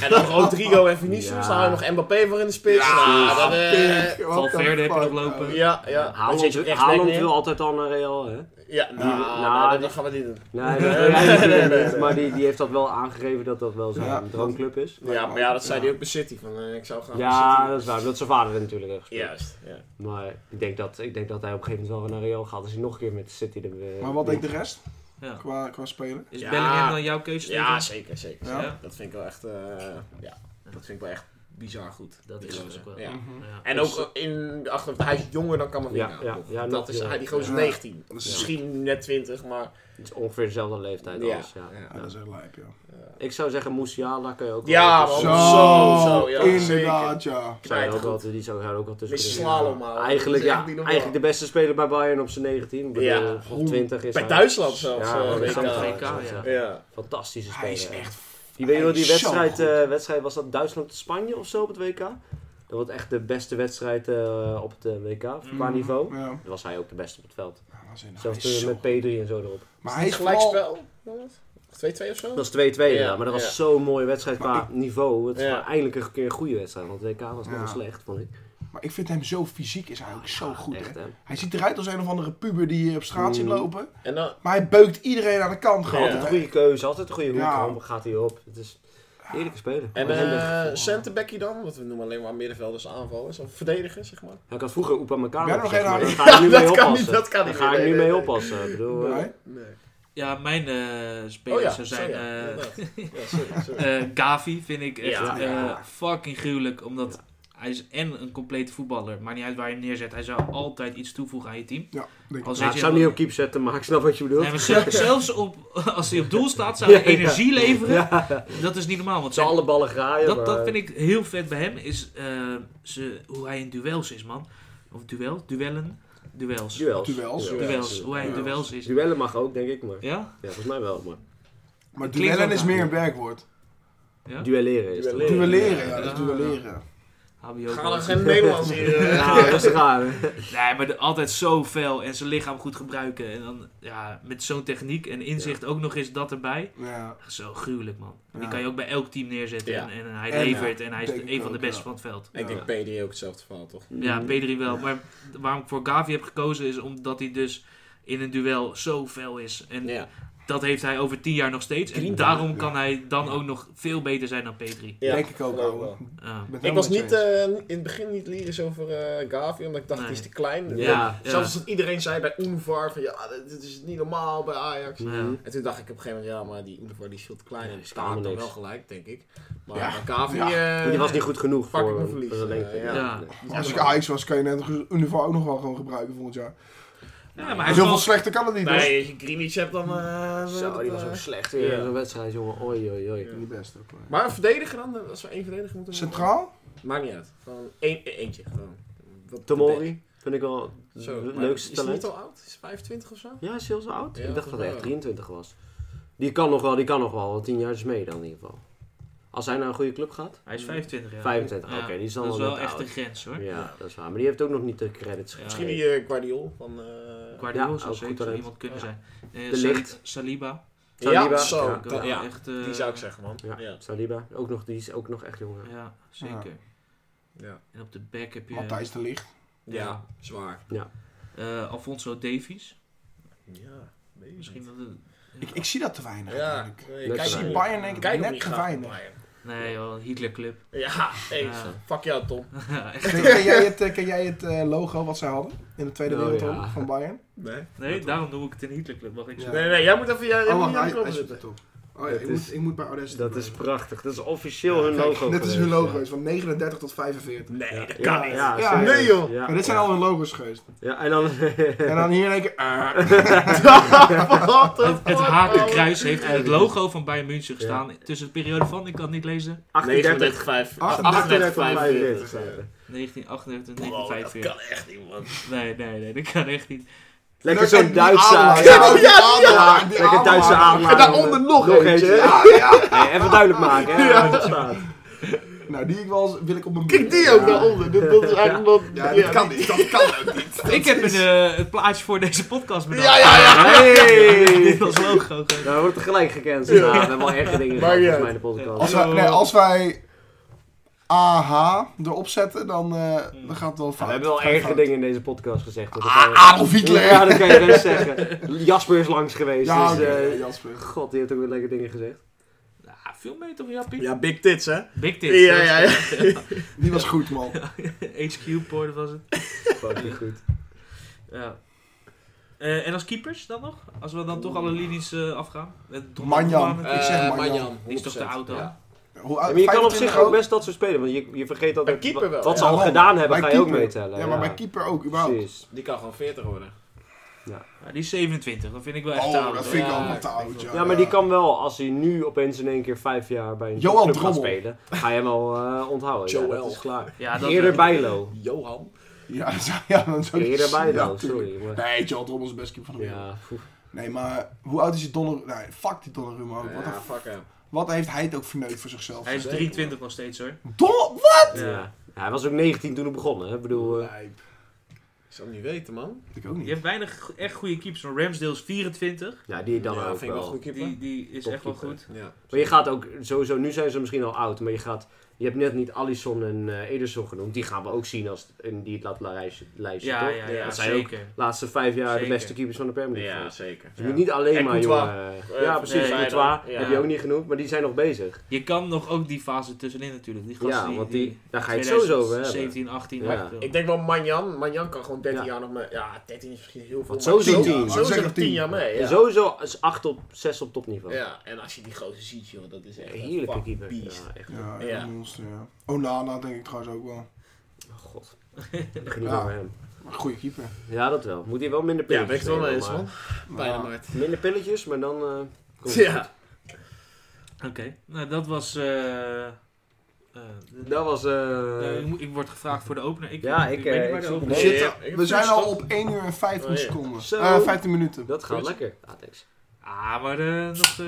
Speaker 3: En dan Rodrigo en Vinicius,
Speaker 5: Ja.
Speaker 3: dan hou je nog Mbappé voor in de spits.
Speaker 4: Ja,
Speaker 3: Nou, dat, eh,
Speaker 4: Pik, what
Speaker 2: Valverde
Speaker 4: the
Speaker 2: heb je
Speaker 4: fuck,
Speaker 2: nog lopen.
Speaker 4: man.
Speaker 3: ja, ja.
Speaker 5: Haaland,
Speaker 3: Zit je echt
Speaker 5: Haaland
Speaker 3: nek neer?
Speaker 5: wil altijd al naar Real, hè?
Speaker 3: Ja, nou,
Speaker 5: nou,
Speaker 3: nee,
Speaker 5: die-
Speaker 3: dat gaan we niet doen.
Speaker 5: Nee, dat
Speaker 3: Nee,
Speaker 5: wil jij
Speaker 3: nee,
Speaker 5: niet,
Speaker 3: nee,
Speaker 5: eh,
Speaker 3: nee.
Speaker 5: maar die, die heeft dat wel aangegeven dat dat wel zijn
Speaker 4: Ja.
Speaker 5: droomclub is.
Speaker 3: Ja, maar ja, dat zei hij ook bij City. Van, eh, ik zou graag bij
Speaker 5: Ja,
Speaker 3: City.
Speaker 5: dat is waar. Omdat zijn vader er natuurlijk heeft gespeeld.
Speaker 3: Juist, ja.
Speaker 5: Maar ik denk, dat, ik denk dat hij op een gegeven moment wel weer naar Real gaat als hij nog een keer met City de
Speaker 4: nou. Maar wat denkt de rest
Speaker 2: Ja.
Speaker 4: qua, qua spelen?
Speaker 2: Is
Speaker 3: Ja.
Speaker 2: Bellingham dan jouw keuze?
Speaker 3: Ja,
Speaker 2: Steven?
Speaker 3: zeker, zeker.
Speaker 4: Ja.
Speaker 3: zeker. Dat vind ik wel echt, eh, ja, dat vind ik wel echt bizar goed.
Speaker 2: Dat
Speaker 3: Die
Speaker 2: is het
Speaker 3: gozer.
Speaker 2: ook wel.
Speaker 3: Ja.
Speaker 4: Mhm.
Speaker 2: Ja.
Speaker 3: En
Speaker 5: Dus-
Speaker 3: ook eh, in de achterhoofd, hij is jonger dan Camavinga.
Speaker 5: Ja, ja,
Speaker 3: nog.
Speaker 5: ja, nog
Speaker 3: dat is,
Speaker 5: jonger.
Speaker 3: hij, die gozer is
Speaker 4: Ja.
Speaker 3: 19.
Speaker 4: Dat is-
Speaker 3: Misschien net 20, maar...
Speaker 5: Het is ongeveer dezelfde leeftijd
Speaker 3: Ja.
Speaker 5: als. Ja.
Speaker 3: Ja.
Speaker 4: Ja, dat is echt lijp, ja.
Speaker 5: Ik zou zeggen Musiala kan je ook
Speaker 3: Ja,
Speaker 5: wel.
Speaker 3: man.
Speaker 5: tussen-
Speaker 3: zo, zo, ja,
Speaker 4: inderdaad, ja.
Speaker 5: Zou je ook wel,
Speaker 3: Knijtergoed.
Speaker 5: die zou zou er ook wel tussen
Speaker 3: Missie
Speaker 5: kunnen zitten.
Speaker 3: slalom, ouwe.
Speaker 5: Eigenlijk,
Speaker 3: Oh, Dat is
Speaker 5: ja,
Speaker 3: echt niet normaal.
Speaker 5: eigenlijk de beste speler bij Bayern op zijn 19. Ik bedoel,
Speaker 3: Ja.
Speaker 5: Of 20 is
Speaker 3: Bij
Speaker 5: hij.
Speaker 3: Duitsland zelfs,
Speaker 5: Ja,
Speaker 3: eh,
Speaker 5: dat is
Speaker 3: WK.
Speaker 5: ook
Speaker 2: WK, ja.
Speaker 5: zo,
Speaker 3: Ja.
Speaker 5: Fantastische speler.
Speaker 3: eh,
Speaker 4: Hij is echt...
Speaker 5: Je weet
Speaker 4: hij
Speaker 5: nog die
Speaker 4: is zo
Speaker 5: wedstrijd,
Speaker 4: goed.
Speaker 5: eh, wedstrijd, was dat Duitsland-Spanje of zo op het WK? Dat wordt echt de beste wedstrijd eh, op het eh, WK qua
Speaker 3: Mm.
Speaker 2: Mhm.
Speaker 5: niveau.
Speaker 4: Ja,
Speaker 5: Dan was hij ook de beste op het veld.
Speaker 4: Ja, waanzinnig. Hij
Speaker 5: Zelfs
Speaker 4: is
Speaker 5: eh,
Speaker 4: zo-
Speaker 5: met P3 en zo erop.
Speaker 4: Maar hij is vooral...
Speaker 3: Gelijkspel? Gelijkspel? 2-2 of zo?
Speaker 5: Dat was 2-2 inderdaad, maar dat
Speaker 3: ja.
Speaker 5: was zo'n mooie wedstrijd
Speaker 4: Maar
Speaker 5: qua niveau. Het
Speaker 3: Ja.
Speaker 5: was eindelijk een keer een goede wedstrijd, want het WK was
Speaker 4: Ja.
Speaker 5: nogal slecht, vond ik.
Speaker 4: Maar ik vind hem zo fysiek is hij ook zo goed.
Speaker 5: Echt,
Speaker 4: hè.
Speaker 5: hè.
Speaker 4: Hij ziet eruit als een of andere puber die je op straat ziet
Speaker 5: Mm.
Speaker 4: lopen.
Speaker 3: En dan,
Speaker 4: Maar hij beukt iedereen aan de kant gewoon.
Speaker 5: Altijd een goede keuze, altijd een goede hoek.
Speaker 4: Ja.
Speaker 5: Dan gaat hij op. Het is een eerlijke speler.
Speaker 3: en
Speaker 5: Maar hem echt
Speaker 3: eh
Speaker 5: gevoel.
Speaker 3: centerbackie dan? Want we noemen alleen maar middenvelders aanvallers. Of verdedigers, zeg maar.
Speaker 5: Ja, ik had vroeger Oepa elkaar
Speaker 4: Ja, nog geen
Speaker 5: maar daar
Speaker 4: haar-
Speaker 5: ga ik
Speaker 3: *laughs*
Speaker 5: nu
Speaker 3: dat
Speaker 5: mee
Speaker 3: kan
Speaker 5: oppassen.
Speaker 3: niet, dat kan
Speaker 5: Daar
Speaker 3: niet
Speaker 5: ga
Speaker 3: meer.
Speaker 5: ik nu
Speaker 3: Nee,
Speaker 5: mee
Speaker 3: nee,
Speaker 5: oppassen. Ik bedoel, eh,
Speaker 4: Nee?
Speaker 3: Nee.
Speaker 2: Ja, mijn eh
Speaker 3: Oh
Speaker 2: spelers
Speaker 3: ja,
Speaker 2: zou
Speaker 3: zo,
Speaker 2: zijn...
Speaker 3: ja,
Speaker 2: eh,
Speaker 3: inderdaad.
Speaker 5: *laughs*
Speaker 3: Ja, sorry, sorry.
Speaker 2: eh, Gavi vind ik echt
Speaker 5: Ja.
Speaker 2: eh,
Speaker 4: Ja.
Speaker 2: fucking gruwelijk. Omdat hij is en een complete voetballer. Maakt niet uit waar je hem neerzet. Hij zou altijd iets toevoegen aan je team.
Speaker 4: Ja, denk ik.
Speaker 2: Als
Speaker 5: nou, ik zou hem niet op keep zetten, maar ik snap wat je bedoelt.
Speaker 2: Nee,
Speaker 5: *laughs*
Speaker 2: maar zelfs, zelfs op, als hij op doel staat, zou hij
Speaker 5: Ja, ja.
Speaker 2: energie leveren.
Speaker 5: Ja,
Speaker 2: Dat is niet normaal. Want
Speaker 5: ze
Speaker 2: zijn-
Speaker 5: alle ballen graaien.
Speaker 2: dat,
Speaker 5: maar,
Speaker 2: dat vind ik heel vet bij hem, is eh, ze, hoe hij in duels is, man. Of duel? Duellen? Duels.
Speaker 5: eh, Duels.
Speaker 4: Duels.
Speaker 2: Duels,
Speaker 3: Duels.
Speaker 2: hoe hij in
Speaker 4: Duels.
Speaker 2: duels is.
Speaker 5: Duellen mag ook, denk ik, maar...
Speaker 2: Ja?
Speaker 5: Ja, volgens mij wel, maar...
Speaker 4: Maar
Speaker 2: Het klinkt
Speaker 4: duellen
Speaker 2: ook
Speaker 4: is
Speaker 2: raar.
Speaker 4: meer een werkwoord.
Speaker 2: Ja?
Speaker 5: Duelleren is dat.
Speaker 3: Duelleren.
Speaker 4: Duelleren, ja,
Speaker 2: Ja.
Speaker 4: dat is duelleren.
Speaker 2: HBO.
Speaker 3: Ga dan
Speaker 2: man.
Speaker 3: geen Nederlands hier. eh.
Speaker 5: *laughs* Ja, rustig aan. hè.
Speaker 2: Nee, maar de- altijd zo fel en zijn lichaam goed gebruiken. En dan ja, met zo'n techniek en inzicht ook nog eens dat erbij.
Speaker 4: Ja.
Speaker 2: Zo gruwelijk, man. Die
Speaker 4: Ja.
Speaker 2: kan je ook bij elk team neerzetten.
Speaker 3: Ja.
Speaker 2: En, en hij
Speaker 4: En,
Speaker 2: levert en hij is
Speaker 4: denk ik
Speaker 2: een van de
Speaker 4: ook,
Speaker 2: beste
Speaker 4: ja.
Speaker 2: van het veld.
Speaker 3: Ik denk PD ook hetzelfde verhaal, toch?
Speaker 2: Ja, Pedri wel. Maar waarom ik voor Gavi heb gekozen is omdat hij dus in een duel zo fel is. En
Speaker 3: Ja.
Speaker 2: dat heeft hij over tien jaar nog steeds. En
Speaker 3: Grinta.
Speaker 2: daarom kan hij dan ook nog veel beter zijn dan Pedri.
Speaker 3: Ja,
Speaker 4: denk ik ook
Speaker 3: geloof
Speaker 4: ouwe.
Speaker 3: wel.
Speaker 2: Ja.
Speaker 4: ben het
Speaker 3: Ik
Speaker 4: helemaal
Speaker 3: was niet,
Speaker 4: eens.
Speaker 3: eh, in het begin niet lyrisch over eh, Gavi, omdat ik dacht,
Speaker 2: Nee.
Speaker 3: die is te klein.
Speaker 5: Ja,
Speaker 2: ja.
Speaker 3: Zelfs dat iedereen zei bij Unvar van ja, dit dit is niet normaal bij Ajax.
Speaker 2: Ja.
Speaker 3: En toen dacht ik op een gegeven moment, ja, maar die Unvar die is veel te klein
Speaker 5: Ja,
Speaker 3: en
Speaker 5: die
Speaker 3: die
Speaker 5: is
Speaker 3: staat
Speaker 5: helemaal
Speaker 3: dan
Speaker 5: niks.
Speaker 3: wel gelijk, denk ik. Maar
Speaker 4: Ja.
Speaker 3: maar Gavi,
Speaker 4: Ja.
Speaker 3: eh,
Speaker 5: Die was niet goed genoeg
Speaker 3: Fuck, ik
Speaker 5: voor,
Speaker 3: moet
Speaker 5: voor
Speaker 3: verliezen,
Speaker 5: de lengte.
Speaker 3: eh, ja.
Speaker 2: Ja.
Speaker 5: Nee.
Speaker 3: die is
Speaker 4: Als ik
Speaker 3: helemaal-
Speaker 4: Ajax was, kan je net een uniform ook nog wel gewoon gebruiken volgend jaar.
Speaker 2: Ja, maar hij
Speaker 4: Heel
Speaker 2: is
Speaker 4: veel
Speaker 2: wel-
Speaker 4: slechter kan het niet,
Speaker 3: Nee, als je Greenwich hebt dan... eh,
Speaker 5: Zo,
Speaker 3: dat,
Speaker 5: die was
Speaker 3: eh,
Speaker 5: ook slecht weer.
Speaker 3: Ja.
Speaker 5: Zo'n wedstrijd, jongen. Oei, oei, oei.
Speaker 4: hoor. Niet best ook. maar-
Speaker 3: Maar een verdediger dan, als we één verdediger moeten
Speaker 4: Centraal?
Speaker 3: Maakt niet uit. Gewoon één, eentje. Gewoon. Wat-
Speaker 5: Tomori vind ik wel het
Speaker 3: Zo, maar
Speaker 5: leukste
Speaker 3: Is hij niet
Speaker 5: talent.
Speaker 3: al oud? Is hij 25 of zo?
Speaker 5: Ja, is hij al zo oud?
Speaker 3: Ja,
Speaker 5: ik dacht dat hij
Speaker 3: volgens mij
Speaker 5: echt
Speaker 3: wel.
Speaker 5: 23 was. Die kan nog wel, die kan nog wel. want Tien jaar is mee dan in ieder geval. Als hij naar een goede club gaat.
Speaker 2: Hij is 25 jaar.
Speaker 5: 25, oké, die is dan
Speaker 2: Dat is
Speaker 5: wel
Speaker 2: wel
Speaker 5: net
Speaker 2: echt
Speaker 5: oud.
Speaker 2: een grens, hoor.
Speaker 5: Ja,
Speaker 3: Ja.
Speaker 5: dat is waar. Maar die heeft ook nog niet de credits
Speaker 2: Ja.
Speaker 5: gekregen.
Speaker 3: Misschien die eh, Guardiol van... eh,
Speaker 2: Guardiola
Speaker 5: Ja,
Speaker 2: zou
Speaker 5: ook goed
Speaker 2: zeker zo
Speaker 5: talent.
Speaker 2: iemand kunnen
Speaker 3: Ja.
Speaker 2: zijn. Eh,
Speaker 5: De
Speaker 2: Sali-
Speaker 5: Ligt.
Speaker 2: Saliba.
Speaker 5: Saliba.
Speaker 3: Ja, zo.
Speaker 5: Ja,
Speaker 3: Ja,
Speaker 2: Kan
Speaker 3: ja,
Speaker 2: echt, eh,
Speaker 3: Die zou ik zeggen, man.
Speaker 5: Ja,
Speaker 3: Ja.
Speaker 5: Saliba. Ook nog, die is ook nog echt jong. Ja.
Speaker 2: Ja, zeker.
Speaker 3: Ja.
Speaker 2: En op de back heb je
Speaker 4: Matthijs de Ligt.
Speaker 3: Ja, zwaar.
Speaker 2: eh, Alfonso Davies.
Speaker 3: Ja,
Speaker 2: Misschien dat het-
Speaker 4: Ik, ik zie dat te weinig.
Speaker 3: Ja,
Speaker 4: eigenlijk.
Speaker 3: nee,
Speaker 5: Ik
Speaker 4: Ik
Speaker 5: Kijk
Speaker 4: zie
Speaker 5: maar.
Speaker 4: Bayern denk ik
Speaker 3: Kijk
Speaker 4: net
Speaker 3: niet
Speaker 4: te
Speaker 3: graag naar
Speaker 4: weinig.
Speaker 3: Bayern.
Speaker 2: Nee, joh, Hitler Club. *laughs*
Speaker 3: Ja, eens.
Speaker 2: Ja.
Speaker 3: Fuck jou, Tom.
Speaker 4: Ken ken jij het, eh, ken jij het eh, logo wat zij hadden in de Tweede
Speaker 5: Oh,
Speaker 4: Wereldoorlog
Speaker 5: ja.
Speaker 4: van Bayern?
Speaker 3: Nee.
Speaker 2: nee, daarom noem ik het een Hitler Club. Mag ik
Speaker 4: Ja.
Speaker 2: zeggen?
Speaker 3: Nee, nee, jij moet even jij,
Speaker 4: Oh,
Speaker 3: jij moet
Speaker 4: wacht,
Speaker 3: niet aan
Speaker 4: hij,
Speaker 3: de knop
Speaker 4: hij zit
Speaker 3: zitten. *laughs*
Speaker 4: erop. Oh ja,
Speaker 5: Dat
Speaker 4: ik,
Speaker 5: is-
Speaker 4: moet, ik moet bij Odessa.
Speaker 5: Dat is prachtig. Dat is officieel hun
Speaker 4: Kijk,
Speaker 5: logo.
Speaker 4: Dit is
Speaker 5: geweest,
Speaker 4: hun
Speaker 5: ja.
Speaker 4: logo, is van 39 tot 45.
Speaker 3: Nee, dat
Speaker 5: Ja,
Speaker 3: kan niet.
Speaker 5: ja,
Speaker 4: Ja,
Speaker 5: serieus.
Speaker 3: nee, joh.
Speaker 5: Ja,
Speaker 4: Maar dit zijn
Speaker 5: ja.
Speaker 4: al hun logo's
Speaker 5: *laughs*
Speaker 4: geweest.
Speaker 5: Ja, en dan...
Speaker 4: En
Speaker 5: *laughs*
Speaker 4: dan hier denk ik...
Speaker 3: What the
Speaker 2: Het, het
Speaker 3: fuck, oh,
Speaker 2: hakenkruis heeft in het logo van Bayern München gestaan. Tussen de periode van, ik kan het niet lezen,
Speaker 5: 38.
Speaker 3: 38,5.
Speaker 4: 38,
Speaker 5: 45
Speaker 3: 38,45.
Speaker 5: staat er.
Speaker 2: 1938 en
Speaker 3: Wow, dat
Speaker 2: 1945.
Speaker 3: kan echt niet, man.
Speaker 2: Nee, nee, nee, dat kan echt niet.
Speaker 5: Lekker zo'n Duitse
Speaker 4: Ja,
Speaker 5: Ja,
Speaker 4: die adelaar, die
Speaker 5: Lekker Duitse
Speaker 4: adelaar.
Speaker 5: adelaar.
Speaker 4: En daaronder nog,
Speaker 5: Nog
Speaker 4: eentje.
Speaker 5: eentje.
Speaker 4: Ja, ja.
Speaker 5: Hey, even duidelijk maken, hè. waar het op staat.
Speaker 4: Nou, die ik wel eens- wil ik op mijn...
Speaker 3: *laughs* Kijk die ook
Speaker 4: Ja.
Speaker 3: daaronder. Dat, dat is eigenlijk nog...
Speaker 4: Ja, dat kan niet. Dat kan ook niet.
Speaker 2: *laughs* ik heb een, eh, een plaatje voor deze podcast bedacht.
Speaker 3: Ja,
Speaker 2: *laughs*
Speaker 3: ja, ja.
Speaker 5: Hey!
Speaker 2: Dit als logo.
Speaker 5: Nou, we worden tegelijk gecanceld. Ja. we hebben wel erge
Speaker 4: *laughs*
Speaker 5: dingen
Speaker 3: Maar
Speaker 5: gedaan,
Speaker 3: ja.
Speaker 5: volgens mij, in de podcast.
Speaker 4: Als wij, nee, als wij AH erop zetten, dan, eh, dan gaat het wel
Speaker 5: Ja,
Speaker 4: fout.
Speaker 5: Hmm. we hebben wel
Speaker 4: Gaat
Speaker 5: erge
Speaker 4: fout.
Speaker 5: dingen in deze podcast gezegd. want dat kan
Speaker 4: Ah,
Speaker 5: je-
Speaker 4: Adolf Hitler!
Speaker 5: Ja, dat kan je best zeggen. Jasper is langs geweest,
Speaker 4: Ja,
Speaker 5: dus...
Speaker 4: oké,
Speaker 5: eh,
Speaker 4: ja, Jasper.
Speaker 5: God, die heeft ook weer lekker dingen gezegd.
Speaker 2: Ah, veel mee toch, Jappie?
Speaker 3: Ja, big tits, hè?
Speaker 2: Big Tits.
Speaker 3: Ja, ja, ja.
Speaker 2: *laughs*
Speaker 4: Die was goed, man.
Speaker 2: HQ-poort was het.
Speaker 5: Fucking goed.
Speaker 2: Ja. Eh, en als keepers dan nog? Als we dan toch alle linies eh, afgaan? Met Doelman,
Speaker 4: Manjan.
Speaker 2: Doelman,
Speaker 4: Ik zeg
Speaker 3: Eh,
Speaker 4: maar, Jan.
Speaker 2: Die is toch te
Speaker 3: 100%,
Speaker 2: oud dan?
Speaker 3: ja.
Speaker 4: Hoe,
Speaker 5: Ja, maar je kan op zich
Speaker 4: 25
Speaker 5: ook best dat soort spelen, want je, je vergeet dat
Speaker 3: Bij
Speaker 5: het-
Speaker 3: keeper wel,
Speaker 5: wat ze
Speaker 4: ja.
Speaker 5: al gedaan
Speaker 4: Bij
Speaker 5: hebben, ga je ook
Speaker 4: keeper.
Speaker 5: meetellen.
Speaker 4: Ja, maar bij keeper ook, überhaupt.
Speaker 5: Precies.
Speaker 3: Die kan gewoon 40 worden.
Speaker 2: Ja, die is 27, dat vind ik wel echt te
Speaker 4: Oh,
Speaker 2: oud.
Speaker 4: dat
Speaker 2: hoor.
Speaker 4: vind ik
Speaker 3: Ja,
Speaker 4: allemaal
Speaker 3: ik
Speaker 4: te
Speaker 3: denk
Speaker 4: oud,
Speaker 3: wel.
Speaker 4: ja.
Speaker 5: Ja, maar die kan wel, als hij nu opeens in één keer vijf jaar bij een
Speaker 4: Johan
Speaker 5: club gaat
Speaker 4: Drommel.
Speaker 5: spelen, ga je hem wel eh, onthouden. Ja,
Speaker 3: Joel.
Speaker 5: dat is klaar.
Speaker 2: Ja, dat eh,
Speaker 5: Eerder
Speaker 2: wel.
Speaker 5: Bijlo.
Speaker 3: Johan.
Speaker 4: Ja, *laughs* dan zou- ja, dan zou
Speaker 5: Eerder Bijlo,
Speaker 4: Ja, tuurlijk.
Speaker 5: sorry. Maar,
Speaker 4: Nee, Joel Drommel is de beste keeper van de wereld.
Speaker 5: ja, poef.
Speaker 4: Nee, maar hoe oud is die Donnarumma? Nee, fuck die Donnarumma ook. Wat, een
Speaker 3: Ja,
Speaker 4: Oh, f-
Speaker 3: fuck hem.
Speaker 4: wat heeft hij het ook verneukt voor zichzelf?
Speaker 2: Hij is
Speaker 3: Zeker,
Speaker 2: 23 nog steeds hoor.
Speaker 4: Don- wat?
Speaker 5: Ja.
Speaker 2: Ja.
Speaker 5: Hij Ja, hij was ook 19 toen hij begon, hè? Ik bedoel, eh,
Speaker 4: Lijp.
Speaker 3: Ik zou het niet weten, man.
Speaker 4: Ik ook niet.
Speaker 2: Je hebt weinig go- echt goede keepers. maar Ramsdale is 24.
Speaker 5: ja, die dan
Speaker 3: ja,
Speaker 5: ook
Speaker 3: vind ik wel
Speaker 5: wel.
Speaker 3: goed keeper.
Speaker 2: Die, die is echt wel goed.
Speaker 5: Topkeeper.
Speaker 3: Ja.
Speaker 5: Maar je gaat ook, sowieso, nu zijn ze misschien al oud, maar je gaat, je hebt net niet Allison en eh, Ederson genoemd. Die gaan we ook zien als, in die het laatste lijstje, lijstje
Speaker 2: Ja,
Speaker 5: toch?
Speaker 2: ja,
Speaker 3: Ja,
Speaker 2: ja
Speaker 5: dat zijn ook-
Speaker 2: zeker.
Speaker 5: laatste vijf jaar
Speaker 2: Zeker.
Speaker 5: de beste keepers van de Premier League. geweest. Dus
Speaker 3: zeker.
Speaker 5: Je
Speaker 2: Ja.
Speaker 5: moet niet alleen
Speaker 3: En
Speaker 5: maar,
Speaker 3: Courtois.
Speaker 5: jongen.
Speaker 3: Eh,
Speaker 5: ja,
Speaker 3: precies,
Speaker 5: precies.
Speaker 2: nee,
Speaker 5: Courtois
Speaker 3: ja.
Speaker 5: heb je ook niet genoemd, maar die zijn nog bezig.
Speaker 2: Je kan nog ook die fase tussenin natuurlijk. Die gasten
Speaker 5: Ja, want die, daar ga je het sowieso over hebben.
Speaker 2: 2017, 18.
Speaker 5: Ja.
Speaker 2: echt,
Speaker 3: Ik denk wel Manjan. Manjan kan gewoon 13
Speaker 5: Ja.
Speaker 3: jaar nog mee. Ja, 13 is misschien heel veel.
Speaker 5: Want
Speaker 3: maar
Speaker 5: sowieso
Speaker 3: tien-
Speaker 5: tien.
Speaker 3: Sowieso
Speaker 4: Zeg
Speaker 3: nog
Speaker 4: nog
Speaker 3: 10
Speaker 4: tien.
Speaker 3: jaar mee.
Speaker 5: En
Speaker 3: Ja.
Speaker 5: Sowieso is 8 op 6 op topniveau.
Speaker 3: Ja, en als je die gozer ziet, joh, dat is echt een
Speaker 5: Heerlijke
Speaker 3: fucking
Speaker 5: keeper.
Speaker 3: beest.
Speaker 5: Ja, echt.
Speaker 4: Ja, echt
Speaker 3: Ja.
Speaker 4: een monster, ja. Onana denk ik trouwens ook wel.
Speaker 5: Oh, god. Ik begin niet
Speaker 4: Ja.
Speaker 5: over hem.
Speaker 4: Maar goede keeper.
Speaker 5: Ja, dat wel. Moet hij wel minder
Speaker 3: Ja,
Speaker 5: pilletjes
Speaker 3: ben ik het wel mee
Speaker 5: nemen,
Speaker 3: eens,
Speaker 5: maar-
Speaker 3: man. Bijna
Speaker 4: Ja.
Speaker 3: maart.
Speaker 5: Minder pilletjes, maar dan... eh, komt het
Speaker 3: Ja.
Speaker 2: Oké, nou dat was... eh, eh,
Speaker 5: goed. Dat was... eh,
Speaker 2: eh, ik moet- ik word gevraagd voor de opener. Ik,
Speaker 5: Ja, ik,
Speaker 2: weet
Speaker 5: eh,
Speaker 2: niet
Speaker 5: ik
Speaker 2: waar de
Speaker 5: zoek
Speaker 2: opener
Speaker 4: We,
Speaker 5: hem
Speaker 2: is.
Speaker 3: op.
Speaker 4: zitten-
Speaker 3: ja, ik heb
Speaker 4: we zijn
Speaker 3: het
Speaker 4: al
Speaker 3: gestopt.
Speaker 4: op 1 uur en 15
Speaker 3: Oh, ja.
Speaker 4: seconden.
Speaker 5: Zo.
Speaker 4: Ah, 15 minuten.
Speaker 5: dat gaat
Speaker 3: Goed.
Speaker 5: lekker. Atex.
Speaker 2: Ah, maar eh, nog eh,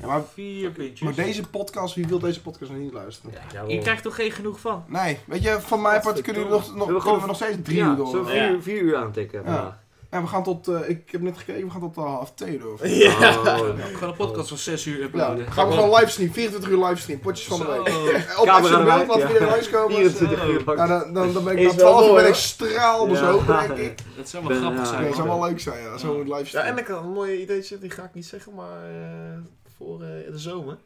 Speaker 4: Ja, maar,
Speaker 2: vier puntjes.
Speaker 4: maar deze podcast, wie wil deze podcast nog niet luisteren?
Speaker 5: Ja, jawel.
Speaker 2: Je krijgt toch geen genoeg van?
Speaker 4: Nee, weet je, van mij part kunnen we nog, nog,
Speaker 5: We hebben
Speaker 4: kunnen we
Speaker 5: gewoon-
Speaker 4: nog steeds drie
Speaker 5: ja,
Speaker 4: uur door.
Speaker 5: Zo
Speaker 3: Ja.
Speaker 5: vier, vier uur aantikken.
Speaker 4: Ja.
Speaker 5: vandaag.
Speaker 4: Ja, we gaan tot, eh, ik heb net gekeken, we gaan tot eh, half twee door. Ja,
Speaker 5: Oh,
Speaker 2: Gewoon Nou, een podcast van 6 uur
Speaker 4: gaan
Speaker 2: uploaden.
Speaker 4: we gewoon livestream, 24 uur livestream, potjes van de
Speaker 2: Zo.
Speaker 4: week. Eh, *laughs*
Speaker 5: Camera
Speaker 4: Op Amsterdam,
Speaker 5: erbij,
Speaker 4: laat
Speaker 5: ja.
Speaker 4: iedereen langskomen.
Speaker 5: 24 uur
Speaker 4: Ja,
Speaker 5: lang.
Speaker 4: eh, nou, dan, dan, dan ben ik
Speaker 3: Is
Speaker 4: na
Speaker 3: wel
Speaker 4: 12 uur
Speaker 3: mooi,
Speaker 4: ben ik
Speaker 3: hoor.
Speaker 4: straalbezopen,
Speaker 5: Ja.
Speaker 4: denk ik. eh,
Speaker 2: Dat zou wel
Speaker 5: Ben-
Speaker 2: grappig
Speaker 5: ja.
Speaker 4: Ja,
Speaker 2: zijn.
Speaker 4: dat
Speaker 2: hoor.
Speaker 4: zou wel leuk zijn, ja, zo'n
Speaker 3: Ja,
Speaker 4: livestream.
Speaker 3: en ik had een mooi ideetje, die ga ik niet zeggen, maar eh, voor eh, de zomer.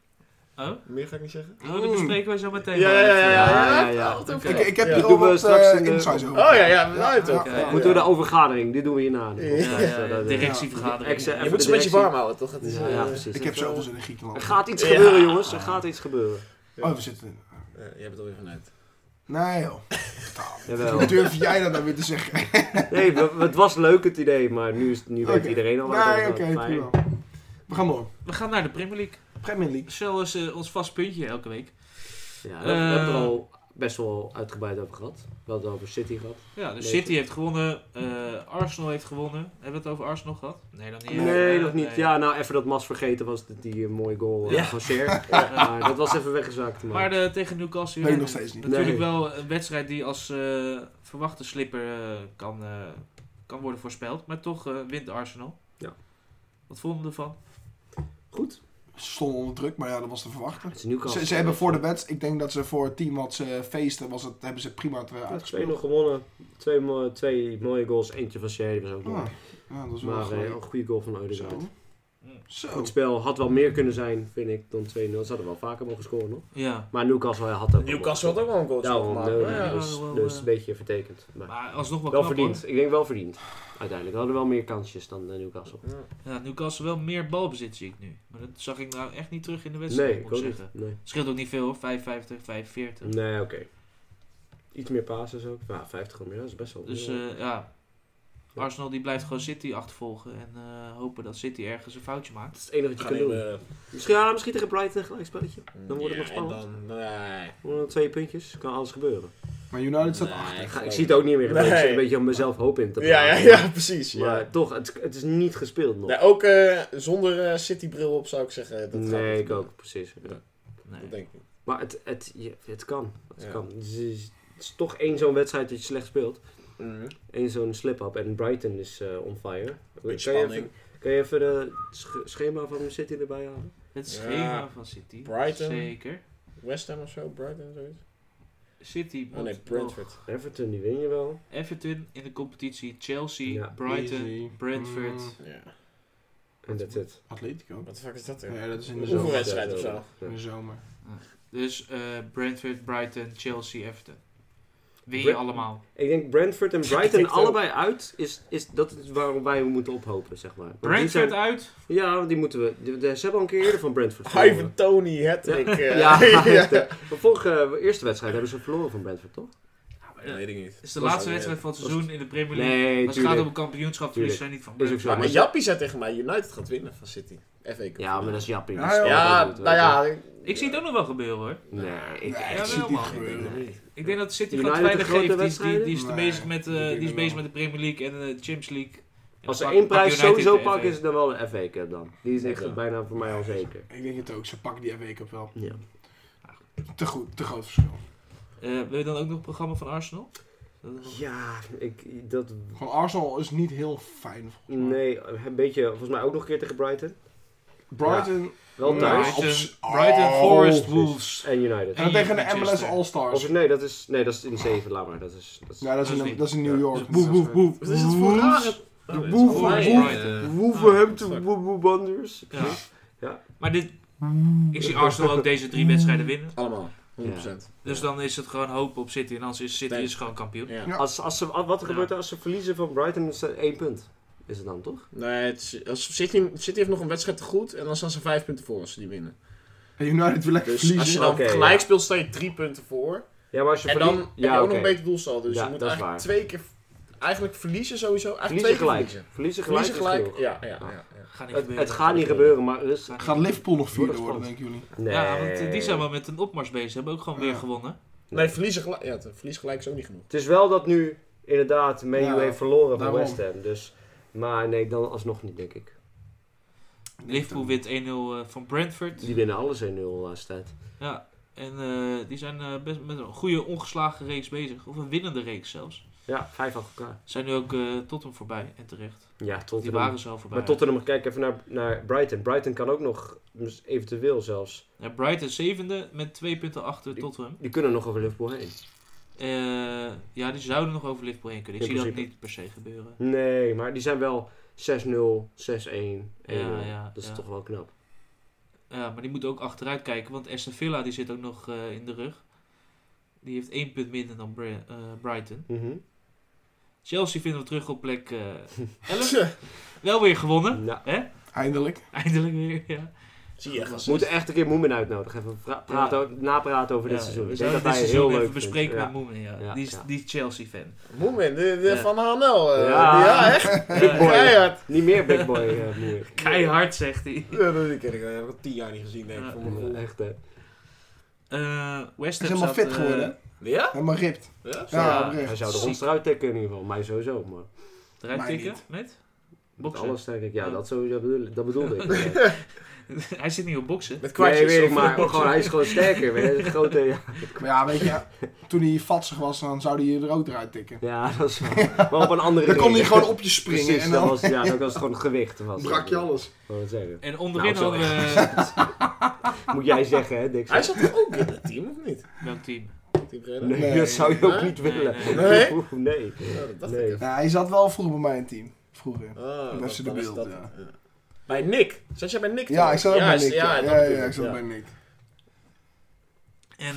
Speaker 2: Oh,
Speaker 3: Meer ga ik niet zeggen.
Speaker 2: oh, dat bespreken wij zo meteen.
Speaker 3: Ja, ja, ja, ja, ja,
Speaker 5: ja,
Speaker 3: ja,
Speaker 5: ja. Oh,
Speaker 2: Oké.
Speaker 3: ja. Oké.
Speaker 4: Ik, ik heb
Speaker 3: Ja.
Speaker 4: hier
Speaker 5: Doen
Speaker 4: al
Speaker 5: we
Speaker 4: wat
Speaker 5: straks
Speaker 4: eh,
Speaker 5: in de-
Speaker 4: insights over.
Speaker 3: Oh ja, ja, nou toch.
Speaker 2: ja, ja.
Speaker 5: Moeten we de overgadering, dit doen we hierna.
Speaker 2: Ja, ja, ja,
Speaker 5: dat-
Speaker 2: directievergadering.
Speaker 5: Ex-
Speaker 3: Je
Speaker 5: even
Speaker 3: moet ze
Speaker 5: de
Speaker 3: een beetje
Speaker 5: directie.
Speaker 3: warm houden, toch? Het is,
Speaker 5: Ja,
Speaker 3: eh,
Speaker 5: ja, precies.
Speaker 4: Ik heb
Speaker 5: Dat,
Speaker 4: zoveel zin in
Speaker 5: Er
Speaker 4: Griekenland.
Speaker 5: gaat iets
Speaker 3: Ja.
Speaker 5: gebeuren, jongens. Er gaat iets gebeuren.
Speaker 4: Oh, we zitten in.
Speaker 3: eh, jij bent alweer vanuit.
Speaker 4: Nee joh. *laughs*
Speaker 5: Jawel.
Speaker 4: Hoe durf jij dat dan weer te zeggen?
Speaker 5: Nee, we- we- het was leuk het idee, maar nu, is, nu weet
Speaker 4: Oké.
Speaker 5: iedereen al waar
Speaker 4: Nee,
Speaker 5: het
Speaker 4: oké,
Speaker 5: over gaat. Maar-
Speaker 4: prima. We gaan door.
Speaker 2: We gaan naar de Premier League.
Speaker 4: Premier League.
Speaker 2: Zoals eh, ons vast puntje elke week.
Speaker 5: Ja, we hebben het er
Speaker 2: Eh.
Speaker 5: al best wel uitgebreid over gehad. We hadden het over City gehad.
Speaker 2: Ja, dus
Speaker 5: Nee,
Speaker 2: City heeft gewonnen. eh, Arsenal heeft gewonnen. Hebben we het over Arsenal gehad? Nee, dan niet.
Speaker 5: nee,
Speaker 2: Eh,
Speaker 5: nog niet.
Speaker 2: nee.
Speaker 5: Ja, nou even dat Mas vergeten was, dat die eh, mooie goal eh,
Speaker 3: Ja.
Speaker 5: van Cher.
Speaker 2: *laughs* Ja.
Speaker 5: Maar dat was even weggezaakt. Maar,
Speaker 2: Maar de, tegen Newcastle.
Speaker 4: Weet ik nog steeds niet.
Speaker 2: Natuurlijk
Speaker 5: Nee.
Speaker 2: wel een wedstrijd die als eh, verwachte slipper eh, kan, eh, kan worden voorspeld. Maar toch eh, wint Arsenal.
Speaker 5: Ja.
Speaker 2: Wat vonden we ervan?
Speaker 5: goed.
Speaker 4: Ze stonden onder druk, maar ja, dat was te verwachten.
Speaker 5: Het is Newcastle.
Speaker 4: Ze, ze hebben voor de wedstrijd, ik denk dat ze voor het team wat ze feesten, was het, hebben ze prima het, eh,
Speaker 5: Ja, 2-0
Speaker 4: uitgespeeld.
Speaker 5: gewonnen. Twee, mo- twee mooie goals. Eentje van Cher, die was ook mooi.
Speaker 4: Ja, ja, Ah, dat was wel
Speaker 5: maar eh,
Speaker 4: gelijk.
Speaker 5: een goede goal van Odegaard.
Speaker 4: Zo. Zo.
Speaker 5: Het spel had wel meer kunnen zijn, vind ik, dan 2-0. Ze hadden wel vaker mogen scoren, hoor.
Speaker 2: Ja.
Speaker 5: Maar Newcastle eh, had ook
Speaker 3: Newcastle had ook wel een goal
Speaker 5: Daarom,
Speaker 3: gemaakt.
Speaker 5: nee,
Speaker 3: maar ja.
Speaker 2: nee.
Speaker 5: dus,
Speaker 2: Wel,
Speaker 5: dus
Speaker 2: eh,
Speaker 5: een beetje vertekend. Maar
Speaker 2: Maar alsnog wel,
Speaker 5: wel
Speaker 2: knap,
Speaker 5: verdiend. Ik denk wel verdiend. Uiteindelijk. We hadden wel meer kansjes dan eh, Newcastle.
Speaker 2: hoor. Ja, Newcastle wel meer balbezit zie ik nu. Maar dat zag ik nou echt niet terug in de wedstrijd,
Speaker 5: Nee, ik
Speaker 2: moet ik
Speaker 5: ook
Speaker 2: zeggen.
Speaker 5: niet. Nee,
Speaker 2: Het scheelt ook niet veel hoor. 55, 45.
Speaker 5: nee oké. Iets meer passes ook. Ja, 50 of meer, dat is best wel
Speaker 2: Dus
Speaker 5: veel.
Speaker 2: eh, ja. Arsenal die blijft gewoon City achtervolgen en eh, hopen dat City ergens een foutje maakt.
Speaker 5: dat is het enige wat je
Speaker 3: Gaan
Speaker 5: kunt doen.
Speaker 3: even-
Speaker 5: Misschien, ja, misschien tegen Brighton een gelijkspelletje. Dan wordt het nog
Speaker 3: Ja,
Speaker 5: spannend.
Speaker 3: en dan- nee.
Speaker 5: Gewoon nog twee puntjes, kan alles gebeuren.
Speaker 4: Maar United staat
Speaker 3: Nee,
Speaker 4: achter.
Speaker 5: Ik, ga, ik
Speaker 3: geloof
Speaker 5: zie het ook niet meer. gebeuren. Ik
Speaker 3: Nee.
Speaker 5: zit een beetje aan mezelf hoop in te
Speaker 3: Ja, ja,
Speaker 5: praten.
Speaker 3: ja, precies.
Speaker 5: Maar
Speaker 3: Ja.
Speaker 5: toch, het, het is niet gespeeld nog.
Speaker 3: Nee, ook eh, zonder eh City-bril op zou ik zeggen. Dat gaat
Speaker 5: Nee,
Speaker 3: niet
Speaker 5: ik
Speaker 3: gebeuren.
Speaker 5: ook, precies. ja.
Speaker 2: Nee.
Speaker 3: Dat denk ik niet.
Speaker 5: Maar het, het, je- het kan. Het
Speaker 3: Ja.
Speaker 5: kan. Het is, het is toch één zo'n wedstrijd dat je slecht speelt.
Speaker 3: Mhm.
Speaker 5: Eén zo'n slip-up. En Brighton is eh, on fire.
Speaker 3: Beetje
Speaker 5: je
Speaker 3: spanning.
Speaker 5: even, kan je even de sch- schema van City erbij halen?
Speaker 2: Het
Speaker 3: Ja.
Speaker 2: schema van City.
Speaker 3: Brighton.
Speaker 2: Zeker.
Speaker 3: West Ham of zo, Brighton zoiets.
Speaker 2: City
Speaker 3: Oh nee,
Speaker 2: moet nog
Speaker 3: Brentford.
Speaker 5: Everton, die win je wel.
Speaker 2: Everton in de competitie. Chelsea,
Speaker 5: Ja.
Speaker 2: Brighton,
Speaker 4: Easy.
Speaker 2: Brentford.
Speaker 4: Mm,
Speaker 3: Ja.
Speaker 5: En dat is het.
Speaker 4: Atletico.
Speaker 3: Wat de fuck is dat eh? dan?
Speaker 4: Nee, dat is in de
Speaker 3: Hoeveel
Speaker 4: zomer.
Speaker 3: wedstrijden of zo?
Speaker 4: In de zomer.
Speaker 2: Dus eh, Brentford, Brighton, Chelsea, Everton. Win je
Speaker 5: Brent-
Speaker 2: allemaal.
Speaker 5: Ik denk Brentford en
Speaker 3: Ik
Speaker 5: Brighton
Speaker 3: denk het
Speaker 5: allebei uit. Is, is, dat is waarom wij moeten ophopen, zeg maar. Want die
Speaker 2: Brentford
Speaker 5: zijn-
Speaker 2: uit.
Speaker 5: Ja, want die moeten we. die- die- Ze hebben al een keer eerder van Brentford
Speaker 3: Ivan
Speaker 5: verloren.
Speaker 3: Tony,
Speaker 5: *laughs*
Speaker 3: Hattrick. eh, *laughs*
Speaker 5: Ja,
Speaker 3: ja.
Speaker 5: echt, hè. de vorige de eerste wedstrijd hebben ze verloren van Brentford, toch?
Speaker 2: Ja,
Speaker 3: Weet ik niet.
Speaker 2: Het is de
Speaker 3: Was-
Speaker 2: laatste wedstrijd van het seizoen in de Premier League.
Speaker 5: Nee,
Speaker 2: maar het gaat om
Speaker 5: tuurlijk.
Speaker 2: een kampioenschap, dus
Speaker 5: Tuurlijk.
Speaker 2: ze zijn niet van
Speaker 5: Is ook zo.
Speaker 3: Ja,
Speaker 2: Brentford.
Speaker 3: Ah, maar Jappie zei tegen mij, United gaat winnen van City. FA Cup.
Speaker 5: Ja, maar dat is Jappie.
Speaker 4: Ja,
Speaker 5: dat is-
Speaker 4: joh.
Speaker 3: Ja,
Speaker 5: dat doet,
Speaker 3: nou
Speaker 5: weet je.
Speaker 3: ja.
Speaker 2: Ik zie het ook nog wel gebeuren hoor.
Speaker 5: Nee, ik,
Speaker 4: Nee,
Speaker 2: Ja,
Speaker 4: ik zie
Speaker 2: wel,
Speaker 4: het niet
Speaker 2: man.
Speaker 4: gebeuren.
Speaker 2: Ik denk dat City
Speaker 5: United
Speaker 2: gewoon te weinig
Speaker 5: de
Speaker 2: geeft.
Speaker 5: grote
Speaker 2: Die is, die, die is,
Speaker 4: wedstrijden?
Speaker 2: te bezig,
Speaker 4: Nee,
Speaker 2: met, eh,
Speaker 4: dat denk
Speaker 2: die is
Speaker 4: ik
Speaker 2: bezig
Speaker 4: wel.
Speaker 2: met de Premier League en de Champions League. En
Speaker 5: Als ze
Speaker 2: dan
Speaker 5: één
Speaker 2: pak- pak
Speaker 5: prijs
Speaker 2: United
Speaker 5: sowieso
Speaker 2: de FA.
Speaker 5: pakken, is het dan wel een FA Cup dan. Die is echt
Speaker 3: Ja.
Speaker 5: bijna voor mij al zeker.
Speaker 4: Ik denk het ook. Ze pakken die FA Cup wel.
Speaker 5: Ja.
Speaker 4: Te goed. Te groot verschil.
Speaker 2: Eh, wil je dan ook nog het programma van Arsenal?
Speaker 5: Ja, ik, dat...
Speaker 4: Gewoon Arsenal is niet heel fijn. volgens mij.
Speaker 5: Nee, een beetje, volgens mij ook nog een keer tegen Brighton.
Speaker 4: Brighton.
Speaker 5: Wel thuis.
Speaker 4: Nou, op
Speaker 2: Brighton,
Speaker 4: s-
Speaker 2: Brighton
Speaker 4: Oh.
Speaker 2: Forest Wolves.
Speaker 5: En United.
Speaker 4: En dan tegen de MLS
Speaker 2: Manchester.
Speaker 4: All-Stars.
Speaker 5: Of, nee, dat is, nee, dat is in 7, laat maar. Dat is, dat is,
Speaker 4: Ja, dat is,
Speaker 2: Dat is
Speaker 4: in,
Speaker 2: niet.
Speaker 4: dat is in New
Speaker 3: Ja.
Speaker 4: York.
Speaker 3: Dus
Speaker 4: Woe, woe, woe.
Speaker 3: Wat is dit voor rare...
Speaker 4: De
Speaker 3: Oh,
Speaker 4: boel
Speaker 3: dit is
Speaker 4: van
Speaker 3: Brighton.
Speaker 4: boel.
Speaker 5: eh.
Speaker 2: Brighton.
Speaker 5: Wolverhampton,
Speaker 3: fuck.
Speaker 5: Woo Woo Wanderers.
Speaker 2: Ja.
Speaker 5: Ja.
Speaker 2: Maar dit, ik zie Arsenal ook deze drie wedstrijden winnen.
Speaker 3: Allemaal, 100%.
Speaker 2: Dus dan is het gewoon hopen op City. En anders is City
Speaker 3: Nee.
Speaker 2: is gewoon kampioen.
Speaker 3: Ja.
Speaker 4: Ja.
Speaker 5: Als, als ze, wat er
Speaker 2: Ja.
Speaker 5: gebeurt er als ze verliezen van Brighton, is dat één punt. Is het dan toch?
Speaker 3: Nee, het is- als City, City heeft nog een wedstrijd te goed en dan staan ze vijf punten voor als ze die winnen.
Speaker 4: En United wil lekker
Speaker 3: Dus als je
Speaker 4: verliezen.
Speaker 3: dan
Speaker 5: Oké,
Speaker 3: gelijk
Speaker 5: ja.
Speaker 3: speelt, sta je drie punten voor.
Speaker 5: Ja, maar als je
Speaker 3: En
Speaker 5: verlie-
Speaker 3: dan heb je
Speaker 5: ja,
Speaker 3: ook
Speaker 5: oké.
Speaker 3: nog een beter doelsaldo. Dus
Speaker 5: Ja,
Speaker 3: je moet
Speaker 5: dat is
Speaker 3: eigenlijk
Speaker 5: waar.
Speaker 3: twee keer... Eigenlijk verliezen sowieso. Eigenlijk
Speaker 5: Verliezen
Speaker 3: twee keer
Speaker 5: gelijk. Verliezen gelijk.
Speaker 3: verliezen. Verliezen gelijk.
Speaker 5: is genoeg.
Speaker 3: Ja, ja, ja, ja.
Speaker 2: Gaat niet
Speaker 5: Het,
Speaker 2: gebeuren.
Speaker 5: het gaat niet gebeuren, maar dus.
Speaker 4: Gaat Liverpool nog vierde
Speaker 5: Wordt
Speaker 4: worden,
Speaker 5: spannend.
Speaker 4: denken jullie?
Speaker 5: Nee.
Speaker 2: Ja, want eh, die zijn wel met een opmars bezig. Hebben ook gewoon weer
Speaker 4: Ja.
Speaker 2: gewonnen.
Speaker 3: Nee, verliezen gelijk, ja, het verlies gelijk is ook niet genoeg.
Speaker 5: Het is wel dat nu inderdaad Man U
Speaker 4: Ja,
Speaker 5: heeft verloren van
Speaker 4: daarom.
Speaker 5: West Ham. Dus, maar nee, dan alsnog niet, denk ik.
Speaker 2: Liverpool wint 1-0 eh, van Brentford.
Speaker 5: Die winnen alles eh, 1-0 laatste tijd.
Speaker 2: Ja, en eh, die zijn eh, best met een goede ongeslagen reeks bezig. Of een winnende reeks zelfs.
Speaker 5: Ja, vijf achter elkaar.
Speaker 2: Zijn nu ook eh Tottenham voorbij en terecht.
Speaker 5: Ja,
Speaker 2: Die
Speaker 5: Tottenham.
Speaker 2: waren ze al voorbij.
Speaker 5: Maar Tottenham, kijk even naar, naar Brighton. Brighton kan ook nog, dus eventueel zelfs.
Speaker 2: Ja, Brighton zevende met twee punten achter
Speaker 5: Die-
Speaker 2: Tottenham.
Speaker 5: Die kunnen nog over Liverpool heen.
Speaker 2: Eh, ja, die zouden nog over Liverpool heen kunnen. Ik
Speaker 5: In
Speaker 2: zie dat
Speaker 5: principe.
Speaker 2: niet per se gebeuren.
Speaker 5: Nee, maar die zijn wel 6-0, 6-1, 1-0.
Speaker 2: Ja, ja,
Speaker 5: dat is
Speaker 2: ja.
Speaker 5: toch wel knap.
Speaker 2: Ja, maar die moeten ook achteruit kijken. Want Aston Villa die zit ook nog eh, in de rug. Die heeft één punt minder dan Bra- eh, Brighton.
Speaker 5: Mhm.
Speaker 2: Chelsea vinden we terug op plek eh 11. Wel weer gewonnen. *laughs*
Speaker 5: Nou,
Speaker 4: Eindelijk.
Speaker 2: Eindelijk weer, ja.
Speaker 3: *laughs* Zie je echt als
Speaker 5: we moeten echt een keer Moemen uitnodigen. Even pra- praten, over- napraten over
Speaker 2: Ja,
Speaker 5: dit seizoen.
Speaker 2: we
Speaker 5: Ik denk
Speaker 2: zouden
Speaker 5: dat
Speaker 2: dit
Speaker 5: hij
Speaker 2: seizoen
Speaker 5: heel
Speaker 2: even
Speaker 5: leuk
Speaker 2: bespreken
Speaker 5: vindt.
Speaker 2: met Moemen, ja.
Speaker 5: Ja,
Speaker 2: die, is,
Speaker 5: ja.
Speaker 2: die is Chelsea-fan.
Speaker 3: Moemen, de, de
Speaker 2: Ja.
Speaker 3: Van HNL. eh,
Speaker 5: Ja.
Speaker 3: ja. echt.
Speaker 5: *laughs* Big boy.
Speaker 3: *laughs* Keihard.
Speaker 5: Niet meer Big Boy eh *laughs* Moemen.
Speaker 2: Keihard, zegt hij.
Speaker 3: Ja, dat ken ik, dat heb ik al tien jaar niet gezien, denk ik.
Speaker 2: Ja.
Speaker 3: voor mijn gevoel.
Speaker 5: Ja, Echt, hè.
Speaker 2: Eh West
Speaker 4: Hij
Speaker 2: Ham
Speaker 4: is helemaal
Speaker 2: staat,
Speaker 4: fit
Speaker 2: eh,
Speaker 4: geworden.
Speaker 3: Ja?
Speaker 4: Helemaal ripped.
Speaker 3: Ja?
Speaker 4: Ja,
Speaker 2: Ja,
Speaker 5: Hij
Speaker 4: oprecht.
Speaker 5: zou er
Speaker 2: Ziek.
Speaker 5: ons eruit tikken in ieder geval. Mij sowieso, maar
Speaker 2: Eruit
Speaker 4: Mij
Speaker 2: tikken
Speaker 4: niet.
Speaker 2: met? *laughs*
Speaker 5: met
Speaker 2: Boksen.
Speaker 5: alles denk ik. Ja,
Speaker 2: Ja.
Speaker 5: dat, sowieso, dat bedoel- dat bedoelde ik. *laughs* Ja.
Speaker 2: hij zit niet op boksen.
Speaker 3: Met kwartjes.
Speaker 5: Nee, weet ik
Speaker 3: of-
Speaker 5: maar. eh, Gewoon, hij is gewoon sterker. weet je. Hij is een Grote, *laughs* ja.
Speaker 4: Maar ja, weet je, toen hij vatsig was, dan zou hij er ook eruit tikken.
Speaker 5: ja, dat is waar. Maar op een andere
Speaker 4: Dan kon hij
Speaker 5: reden. *laughs*
Speaker 4: gewoon op je springen
Speaker 5: Precies,
Speaker 4: en
Speaker 5: dat
Speaker 4: dan
Speaker 5: was, ja, dat was het gewoon gewicht. Was
Speaker 4: brak je alles.
Speaker 5: Wou het zeggen.
Speaker 2: En onderin
Speaker 5: Nou, sorry.
Speaker 2: hadden
Speaker 5: *laughs*
Speaker 2: we...
Speaker 5: Moet jij zeggen, hè, Dick?
Speaker 3: *laughs* Hij zat toch ook in het team, of niet?
Speaker 2: Welk team?
Speaker 3: Team Breda?
Speaker 5: Nee,
Speaker 4: Nee.
Speaker 5: dat zou je ook
Speaker 3: Nee?
Speaker 5: niet willen.
Speaker 2: Nee,
Speaker 3: nee.
Speaker 5: *laughs* Oeh, nee.
Speaker 3: Ja, Oh, dat dacht
Speaker 5: Nee.
Speaker 3: ik even.
Speaker 4: Ja, hij zat wel vroeger bij mij in het team. Vroeger.
Speaker 3: Ah,
Speaker 4: Dat is de
Speaker 3: dan
Speaker 4: beeld,
Speaker 3: dat
Speaker 4: ja.
Speaker 3: het, Bij Nick. Zat jij bij Nick?
Speaker 4: Ja, ik zat ook bij
Speaker 3: juist,
Speaker 4: Nick. Ja,
Speaker 3: dat
Speaker 4: ja,
Speaker 3: bedoel
Speaker 4: ja, ik zat
Speaker 3: ja.
Speaker 4: bij Nick.
Speaker 2: En eh,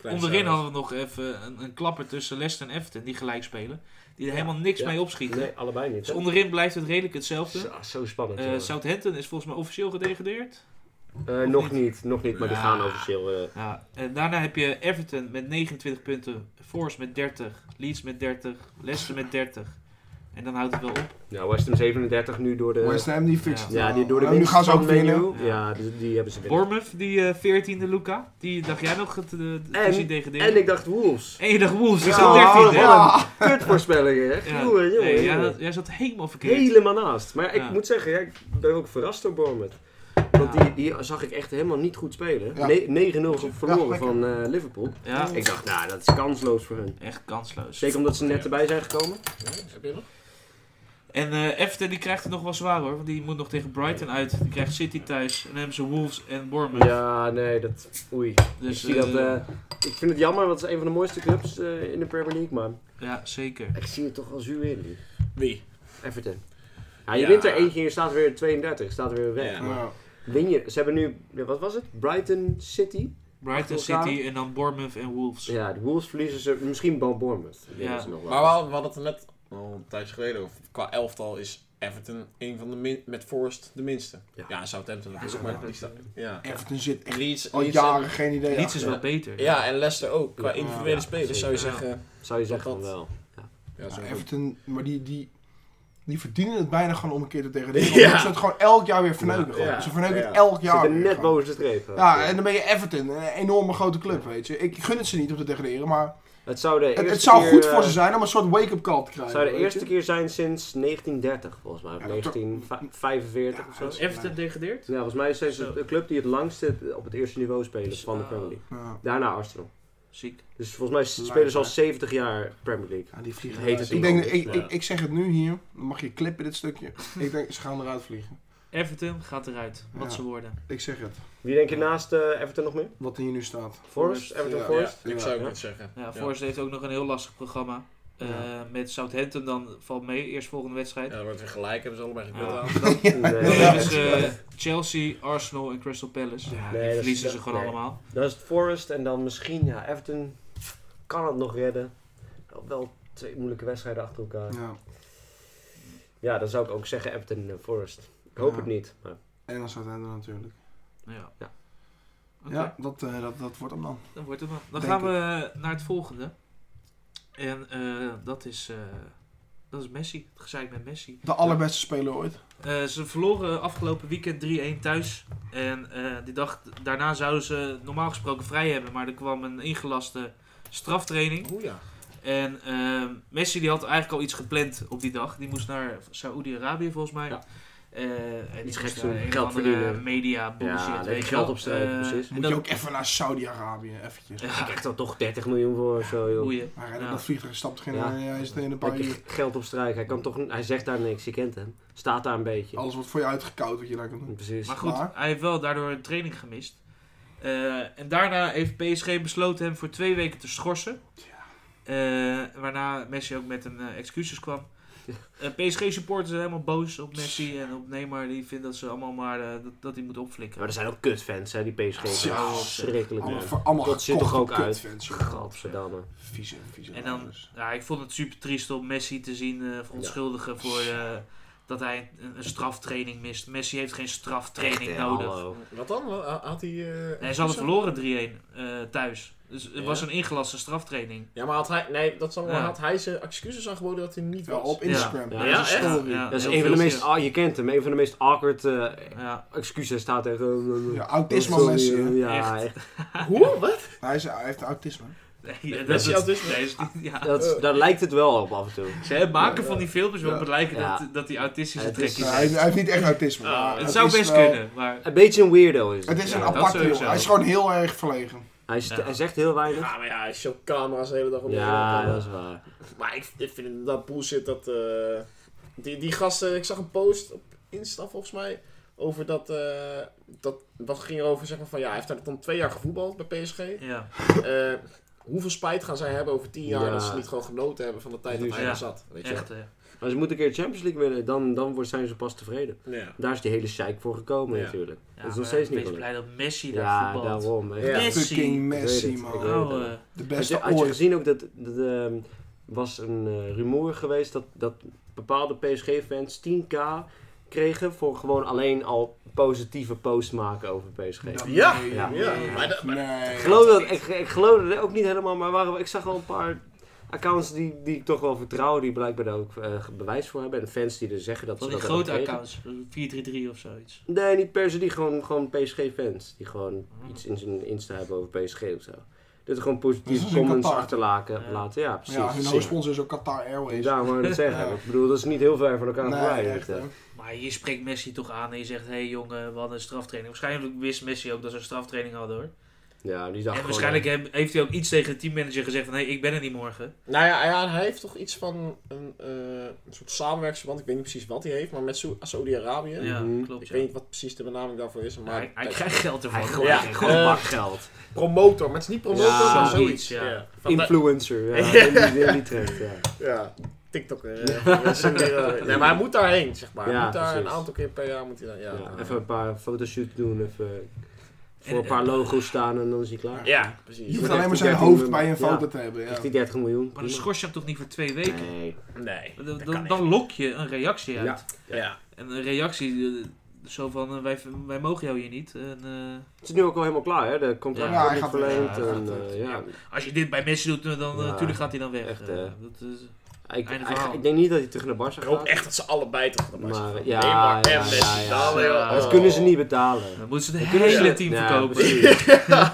Speaker 3: Klein
Speaker 2: onderin
Speaker 3: shout-out.
Speaker 2: hadden we nog even een, een klapper tussen Leicester en Everton. Die gelijk spelen. Die er helemaal niks
Speaker 5: Ja.
Speaker 2: mee opschieten.
Speaker 5: Nee, allebei niet.
Speaker 2: Dus
Speaker 5: hè?
Speaker 2: onderin blijft het redelijk hetzelfde.
Speaker 5: Zo, zo spannend.
Speaker 2: Eh,
Speaker 5: jongen.
Speaker 2: Southampton is volgens mij officieel gedegradeerd.
Speaker 5: Eh, nog niet, nog niet, maar die
Speaker 2: Ja.
Speaker 5: gaan officieel. eh,
Speaker 2: Ja, en daarna heb je Everton met 29 punten, Force met 30, Leeds met 30, Leicester met 30. En dan houdt het wel op.
Speaker 5: nou, West Ham 37 nu door de.
Speaker 4: West Ham, die fixt
Speaker 2: ja.
Speaker 4: het
Speaker 5: Eh, ja,
Speaker 4: wel.
Speaker 5: die door de
Speaker 4: En Nu
Speaker 5: winst
Speaker 4: gaan ze
Speaker 5: van
Speaker 4: ook
Speaker 5: Man U.
Speaker 4: winnen.
Speaker 5: Ja, die, die hebben ze winnen.
Speaker 2: Bournemouth, die eh 14e Luca, die dacht jij nog eh, het
Speaker 5: En-
Speaker 2: fusie degraderen.
Speaker 5: En ik dacht Wolves.
Speaker 2: En je dacht Wolves, die
Speaker 5: Ja,
Speaker 2: zat 13 hè?
Speaker 5: wat
Speaker 2: Ja.
Speaker 5: een kutvoorspelling,
Speaker 2: *laughs*
Speaker 5: hè? Jongen, jongen,
Speaker 2: nee, jij,
Speaker 5: jongen.
Speaker 2: had- jij zat helemaal verkeerd.
Speaker 5: Helemaal naast. Maar ik
Speaker 2: Ja.
Speaker 5: moet zeggen, ja, ik ben ook verrast door Bournemouth. Want
Speaker 2: Ja.
Speaker 5: die, die zag ik echt helemaal niet goed spelen.
Speaker 4: Ja.
Speaker 5: Ne- 9-0
Speaker 4: Ja,
Speaker 5: verloren
Speaker 4: lekker.
Speaker 5: van eh, Liverpool.
Speaker 2: Ja,
Speaker 5: Ik dacht, nou, dat is kansloos voor hun.
Speaker 2: echt kansloos.
Speaker 5: Zeker omdat ze net erbij zijn gekomen.
Speaker 3: Heb je nog?
Speaker 2: En eh Everton die krijgt het nog wel zwaar hoor, want die moet nog tegen Brighton uit. Die krijgt City thuis en dan hebben ze Wolves en Bournemouth.
Speaker 5: Ja, nee, dat... Oei.
Speaker 2: dus,
Speaker 5: ik, zie dat,
Speaker 2: eh,
Speaker 5: eh, ik vind het jammer, want het is een van de mooiste clubs eh, in de Premier League, maar
Speaker 2: ja, zeker.
Speaker 5: ik zie het toch wel zuur in. nu.
Speaker 3: Wie?
Speaker 5: Everton. Ja, je
Speaker 3: Ja.
Speaker 5: wint er eentje en je staat weer 32, je staat weer weg.
Speaker 3: Ja.
Speaker 5: Maar
Speaker 4: Ja.
Speaker 5: Win je, ze hebben nu, ja, wat was het? Brighton City?
Speaker 2: Brighton
Speaker 5: Achter elkaar.
Speaker 2: City en dan Bournemouth en Wolves.
Speaker 5: Ja, de Wolves verliezen ze, misschien wel Bournemouth.
Speaker 2: Ja.
Speaker 5: Ja. Ze nog wel.
Speaker 3: Maar we hadden, we hadden het er net al een tijdje geleden over. Qua elftal is Everton een van de min, met Forest de minste.
Speaker 5: Ja.
Speaker 3: Ja, Southampton dat is ook maar die staat- Ja.
Speaker 4: Everton zit echt
Speaker 3: Leeds,
Speaker 4: al
Speaker 3: Leeds
Speaker 4: jaren geen idee
Speaker 2: Leeds is
Speaker 4: achter.
Speaker 2: wel beter.
Speaker 3: en, ja, en Leicester ook. Qua
Speaker 5: Ja,
Speaker 3: individuele
Speaker 5: ja,
Speaker 3: spelers zou je
Speaker 2: zeker.
Speaker 3: zeggen.
Speaker 5: Zou je zeggen
Speaker 3: dat-
Speaker 5: van wel.
Speaker 3: Ja, zo
Speaker 4: Ja,
Speaker 3: goed.
Speaker 4: Everton, maar die, die, die verdienen het bijna gewoon om een keer te
Speaker 5: *laughs*
Speaker 4: tegen.
Speaker 3: Ja.
Speaker 4: Ze het gewoon elk jaar weer verneuken. gewoon.
Speaker 3: Ja.
Speaker 4: Ze verneuken
Speaker 3: Ja.
Speaker 4: het elk
Speaker 5: Ze
Speaker 4: jaar.
Speaker 5: zitten
Speaker 4: weer
Speaker 5: net
Speaker 4: gewoon.
Speaker 5: boven de streep.
Speaker 4: Ja, en dan ben je Everton, een enorme grote club, weet je. Ik gun het ze niet om te degraderen, maar
Speaker 5: Het zou, de
Speaker 4: het,
Speaker 5: eerste
Speaker 4: het zou
Speaker 5: keer,
Speaker 4: goed voor
Speaker 5: eh,
Speaker 4: ze zijn om een soort wake-up call te krijgen.
Speaker 5: zou de
Speaker 4: weet je.
Speaker 5: eerste keer zijn sinds 1930, volgens mij. Of
Speaker 4: Ja, dat-
Speaker 5: 1945 of zo.
Speaker 4: dat-
Speaker 2: Everton degradeert?
Speaker 5: Ja, volgens mij is ze
Speaker 2: Zo.
Speaker 5: de club die het langste op het eerste niveau spelen
Speaker 2: Dus,
Speaker 5: van de
Speaker 2: ah.
Speaker 5: Premier League.
Speaker 4: Ja.
Speaker 5: Daarna Arsenal.
Speaker 2: Ziek.
Speaker 5: Dus volgens mij s-
Speaker 4: Lang,
Speaker 5: spelen ze al
Speaker 4: hè?
Speaker 5: 70 jaar Premier League.
Speaker 4: Ja, die vliegen
Speaker 5: Heet
Speaker 4: eruit.
Speaker 5: het
Speaker 4: ik,
Speaker 5: iemand
Speaker 4: denk, ik,
Speaker 2: anders,
Speaker 4: ik, ik zeg het nu hier, dan mag je clippen dit stukje. ik denk, ze gaan eruit vliegen.
Speaker 2: Everton gaat eruit. Wat
Speaker 4: Ja.
Speaker 2: ze worden.
Speaker 4: Ik zeg het,
Speaker 5: Wie denk je naast eh, Everton nog meer?
Speaker 4: wat hier nu staat.
Speaker 5: Forest? Everton
Speaker 4: ja.
Speaker 5: Forest?
Speaker 3: ik
Speaker 4: Ja.
Speaker 3: zou het
Speaker 5: Ja.
Speaker 3: niet zeggen.
Speaker 2: Ja, Forest heeft ook nog een heel lastig programma. Eh,
Speaker 4: Ja.
Speaker 2: Met Southampton dan valt mee. Eerst volgende wedstrijd.
Speaker 3: Ja, dan wordt weer gelijk, hebben ze allemaal geen
Speaker 2: Ja. *laughs*
Speaker 3: beeld aan.
Speaker 2: Dan
Speaker 5: Nee,
Speaker 2: hebben ze eh, Chelsea, Arsenal en Crystal Palace.
Speaker 4: Ja.
Speaker 5: Nee,
Speaker 2: die
Speaker 5: dat-
Speaker 2: verliezen
Speaker 5: dat-
Speaker 2: ze gewoon
Speaker 5: nee.
Speaker 2: allemaal.
Speaker 5: Dan is het Forest en dan misschien, ja, Everton kan het nog redden. Wel twee moeilijke wedstrijden achter elkaar.
Speaker 4: Ja.
Speaker 5: Ja, dan zou ik ook zeggen Everton en eh, Forest. Ik hoop
Speaker 4: Ja.
Speaker 5: het niet. Maar
Speaker 4: En dan staat hij er natuurlijk.
Speaker 2: Ja.
Speaker 5: Ja.
Speaker 2: Oké,
Speaker 4: Ja, dat, eh, dat, dat wordt hem dan.
Speaker 2: dan wordt het wel. Dan
Speaker 4: Denk
Speaker 2: gaan we naar het volgende. En eh, dat, is, eh, dat is Messi. Het gezeik met Messi.
Speaker 4: De allerbeste speler ooit.
Speaker 2: Eh, ze verloren afgelopen weekend 3-1 thuis. En eh, die dag daarna zouden ze normaal gesproken vrij hebben. Maar er kwam een ingelaste straftraining.
Speaker 3: Oeh ja.
Speaker 2: En ehm, Messi die had eigenlijk al iets gepland op die dag. Die moest naar Saoedi-Arabië volgens mij.
Speaker 5: Ja.
Speaker 2: Eh, en
Speaker 5: Iets
Speaker 2: die
Speaker 5: geks
Speaker 2: moest
Speaker 5: doen,
Speaker 2: daar een
Speaker 5: geld
Speaker 2: of andere
Speaker 5: verdienen.
Speaker 2: media bullshit.
Speaker 5: Ja, lekker
Speaker 2: weet je
Speaker 5: geld
Speaker 2: wel.
Speaker 5: opstrijken,
Speaker 2: Eh,
Speaker 5: precies.
Speaker 2: en
Speaker 4: Moet
Speaker 2: dat-
Speaker 4: je ook even naar Saudi-Arabië, eventjes.
Speaker 5: ik
Speaker 2: Ja,
Speaker 5: krijg er toch 30 miljoen voor of zo, joh.
Speaker 2: boeien.
Speaker 4: Maar hij
Speaker 2: Ja.
Speaker 4: dat vliegtuig stapt geen... eh,
Speaker 5: Ja.
Speaker 4: hij is er in een paar
Speaker 5: Lekker
Speaker 4: uur.
Speaker 5: g- geld op strijk. Hij, kan toch, n- hij zegt daar niks. Je kent hem. Staat daar een beetje.
Speaker 4: Alles wordt voor je uitgekoud wat je daar kan doen.
Speaker 5: Precies.
Speaker 2: Maar goed,
Speaker 4: Maar-
Speaker 2: hij heeft wel daardoor een training gemist. Eh, en daarna heeft PSG besloten hem voor twee weken te schorsen. Eh, waarna Messi ook met een eh, excuses kwam. Eh, PSG-supporters zijn helemaal boos op Messi en op Neymar. Die vinden dat ze allemaal maar eh, dat, dat hij moet Oh, opflikken.
Speaker 5: Maar er zijn ook kutfans, hè, die PSG.
Speaker 4: Ja,
Speaker 5: Ja, oh, verschrikkelijk.
Speaker 4: Allemaal,
Speaker 5: man.
Speaker 4: voor, allemaal
Speaker 5: Dat zit toch
Speaker 4: gekochte
Speaker 5: ook uit?
Speaker 4: kutfans, joh.
Speaker 5: Gadverdamme.
Speaker 4: Vieze, vieze.
Speaker 2: En dan,
Speaker 4: lagers.
Speaker 2: ja, ik vond het super triest om Messi te zien eh, verontschuldigen voor eh, dat hij een, een straftraining mist. Messi heeft geen straftraining
Speaker 5: Echt, hè, Oh,
Speaker 2: nodig.
Speaker 5: hallo.
Speaker 3: Wat dan? Ha- Had hij... eh,
Speaker 2: Nee, ze hadden
Speaker 3: zo-
Speaker 2: verloren 3-1 eh, thuis. Dus het
Speaker 3: Ja.
Speaker 2: was een ingelaste straftraining.
Speaker 3: Ja, maar had hij... Nee, dat zal, maar
Speaker 2: Ja.
Speaker 3: had hij zijn excuses aangeboden dat hij niet
Speaker 4: Wel
Speaker 3: was?
Speaker 4: op Instagram.
Speaker 5: Ja,
Speaker 4: Dat
Speaker 3: ja,
Speaker 4: is
Speaker 3: echt?
Speaker 4: een story.
Speaker 2: Ja.
Speaker 5: Dat is
Speaker 2: Heel
Speaker 5: een van de
Speaker 2: veel
Speaker 5: meest...
Speaker 2: zin.
Speaker 5: Ah, je kent hem. Een van de meest awkward eh,
Speaker 2: Ja,
Speaker 5: excuses staat echt... eh,
Speaker 4: Ja,
Speaker 5: eh,
Speaker 4: autisme
Speaker 5: sorry,
Speaker 4: Messi. hè.
Speaker 5: eh, Ja,
Speaker 2: Echt.
Speaker 5: echt.
Speaker 3: Hoe? Wat?
Speaker 4: Hij, is, hij heeft autisme.
Speaker 2: nee, dat
Speaker 3: Messi
Speaker 2: is-
Speaker 3: had dus-
Speaker 2: nee,
Speaker 5: *laughs*
Speaker 2: is niet- ja.
Speaker 5: Dat, daar lijkt het wel op af en toe.
Speaker 2: Ze hebben maken van die filmpjes waarop het lijkt
Speaker 5: Ja.
Speaker 2: dat, dat die autistische
Speaker 5: Ja, het is-
Speaker 2: trekjes
Speaker 4: Nou, hij,
Speaker 2: heeft.
Speaker 4: hij heeft niet echt autisme.
Speaker 2: Ah,
Speaker 4: maar
Speaker 2: het zou
Speaker 4: is
Speaker 2: best
Speaker 4: wel-
Speaker 2: kunnen, maar...
Speaker 5: Een beetje een weirdo is het.
Speaker 4: Het is
Speaker 5: ja.
Speaker 4: een
Speaker 2: dat
Speaker 4: aparte
Speaker 2: sowieso.
Speaker 4: jongen. Hij is gewoon heel erg verlegen.
Speaker 5: hij, st-
Speaker 2: Ja.
Speaker 5: hij zegt heel weinig.
Speaker 3: Ja, maar ja, hij is zo'n camera's de hele dag op de
Speaker 5: Ja,
Speaker 3: hele dag.
Speaker 5: dat is waar.
Speaker 3: Maar ik, ik vind inderdaad bullshit dat... eh, die, die gasten, ik zag een post op Insta volgens mij... Over dat, eh, dat... Dat ging over zeg maar van... Ja, hij heeft daar dan twee jaar gevoetbald bij PSG.
Speaker 2: Ja,
Speaker 3: Eh, hoeveel spijt gaan zij hebben over tien jaar...
Speaker 5: Ja.
Speaker 3: Dat ze niet gewoon genoten hebben van de tijd dat hij
Speaker 2: Ja.
Speaker 3: er zat. Weet je
Speaker 2: echt. eh.
Speaker 5: Maar ze moeten een keer Champions League winnen, dan, dan wordt- zijn ze pas tevreden.
Speaker 3: wel? Ja.
Speaker 5: Daar is die hele zeik voor gekomen
Speaker 3: Ja.
Speaker 5: natuurlijk.
Speaker 2: Ja,
Speaker 5: dat is
Speaker 2: maar
Speaker 5: nog steeds
Speaker 2: ik
Speaker 5: niet
Speaker 2: ben
Speaker 5: gelukt.
Speaker 2: blij dat Messi daar
Speaker 5: Ja,
Speaker 2: voetbalt.
Speaker 5: daarom. echt.
Speaker 3: Ja.
Speaker 2: Messi.
Speaker 4: Fucking Messi,
Speaker 5: Ik weet het, ik weet
Speaker 4: man.
Speaker 5: het.
Speaker 2: Nou,
Speaker 4: De
Speaker 2: eh,
Speaker 5: Had je,
Speaker 4: beste
Speaker 5: had je
Speaker 4: ooit.
Speaker 5: gezien ook dat dat, ehm, was een eh, rumoer geweest dat, dat bepaalde PSG-fans 10k kregen voor gewoon alleen al positieve posts maken over PSG.
Speaker 3: Ja.
Speaker 4: Nee,
Speaker 5: Ja.
Speaker 3: Ja.
Speaker 4: nee,
Speaker 3: Maar dat- maar-
Speaker 4: nee.
Speaker 5: Ik geloof, dat, ik, ik geloof dat ook niet helemaal, maar waren, ik zag wel een paar accounts die, die ik toch wel vertrouw, die blijkbaar daar ook eh, bewijs voor hebben. En fans die er zeggen dat
Speaker 2: van
Speaker 5: ze
Speaker 2: die
Speaker 5: dat hebben
Speaker 2: grote
Speaker 5: gekregen.
Speaker 2: accounts. 433 of zoiets.
Speaker 5: Nee, niet per se, die gewoon, gewoon PSG-fans. Die gewoon
Speaker 2: Hmm.
Speaker 5: iets in zijn Insta hebben over PSG of zo. Dat er gewoon
Speaker 4: Dat
Speaker 5: positieve
Speaker 4: is in
Speaker 5: comments
Speaker 4: Qatar.
Speaker 5: achterlaten.
Speaker 2: Ja.
Speaker 5: Laten. Ja, precies.
Speaker 4: Ja, hun
Speaker 5: precies.
Speaker 4: hoofdsponsor is ook Qatar Airways.
Speaker 5: Ja,
Speaker 4: *laughs*
Speaker 5: maar dat zeggen.
Speaker 4: Ja.
Speaker 5: Ik bedoel, dat is niet heel ver van elkaar
Speaker 4: Nee,
Speaker 5: voorbij.
Speaker 4: echt,
Speaker 5: weet je.
Speaker 4: hè.
Speaker 2: Maar je spreekt Messi toch aan en je zegt... Hé hey, jongen, we hadden een straftraining. Waarschijnlijk wist Messi ook dat ze een straftraining hadden hoor.
Speaker 5: ja, die dacht eh,
Speaker 2: en waarschijnlijk heb- heeft hij ook iets tegen de teammanager gezegd van... Hé, hey, ik ben er niet morgen.
Speaker 3: Nou ja, ja, hij heeft toch iets van een, eh, een soort samenwerksverband. Ik weet niet precies wat hij heeft, maar met Saoe- Saoedi-Arabië.
Speaker 2: Ja,
Speaker 5: Mhm.
Speaker 2: klopt
Speaker 3: Ik
Speaker 2: ja.
Speaker 3: weet niet wat precies de benaming daarvoor is, maar...
Speaker 2: Maar hij, hij krijgt geld ervan. Eh.
Speaker 5: Hij
Speaker 2: hoor.
Speaker 5: gooit
Speaker 3: Ja.
Speaker 5: gewoon een bak geld.
Speaker 3: Promotor, maar het is niet promotor,
Speaker 5: Ja,
Speaker 3: maar
Speaker 2: zoiets,
Speaker 3: zoiets.
Speaker 2: ja.
Speaker 3: Van de-
Speaker 5: Influencer.
Speaker 2: *laughs*
Speaker 5: Ja, in die, in die trend, ja.
Speaker 3: ja. TikTok. eh,
Speaker 5: *laughs*
Speaker 3: nee, maar hij moet daarheen, zeg maar. hij
Speaker 5: Ja,
Speaker 3: moet daar
Speaker 5: precies.
Speaker 3: een aantal keer per jaar moet hij daar... Ja,
Speaker 5: Ja, even een paar fotoshoots doen, even voor
Speaker 2: En-
Speaker 5: een paar logo's staan en dan is hij klaar.
Speaker 3: Ja,
Speaker 4: Je
Speaker 3: precies.
Speaker 4: hoeft
Speaker 5: Ja.
Speaker 4: alleen maar zijn
Speaker 5: Ja.
Speaker 4: hoofd bij een
Speaker 5: Ja.
Speaker 4: foto te hebben.
Speaker 5: Is
Speaker 4: Ja.
Speaker 5: die 30 miljoen?
Speaker 2: Maar dan schors je hem toch niet voor twee weken?
Speaker 5: Nee.
Speaker 3: Nee,
Speaker 2: Dan,
Speaker 3: dat
Speaker 2: dan,
Speaker 3: kan
Speaker 2: dan
Speaker 3: niet.
Speaker 2: lok je een reactie uit.
Speaker 5: Ja.
Speaker 3: Ja.
Speaker 2: En een reactie eh, zo van, eh, wij, wij mogen jou hier niet. En, eh,
Speaker 5: Het is nu ook al helemaal klaar, hè? De contract
Speaker 2: Ja,
Speaker 5: wordt
Speaker 4: hij
Speaker 5: niet
Speaker 4: gaat-
Speaker 5: verlengd.
Speaker 2: ja, hij
Speaker 5: en,
Speaker 4: gaat-
Speaker 5: eh, ja.
Speaker 2: als je dit bij Messi doet, dan eh,
Speaker 5: Ja.
Speaker 2: natuurlijk gaat hij dan weg.
Speaker 5: Echt,
Speaker 2: Eh,
Speaker 5: hè.
Speaker 2: dat is,
Speaker 5: ik,
Speaker 2: Einde
Speaker 5: ik-
Speaker 2: verhaal.
Speaker 5: ik denk niet dat hij terug naar Barca
Speaker 3: Ik
Speaker 5: gaat.
Speaker 3: hoop echt dat ze allebei toch naar Barca
Speaker 5: Maar-
Speaker 3: gaan.
Speaker 5: ja,
Speaker 3: Neymar
Speaker 5: ja,
Speaker 3: en
Speaker 5: ja,
Speaker 3: Messi,
Speaker 5: ja.
Speaker 3: daar wil je-
Speaker 2: Ja,
Speaker 5: Dat
Speaker 3: oh.
Speaker 5: kunnen ze niet betalen.
Speaker 2: dan moeten ze het
Speaker 5: kunnen
Speaker 2: hele
Speaker 5: ze-
Speaker 2: team
Speaker 5: Ja,
Speaker 2: verkopen.
Speaker 5: precies.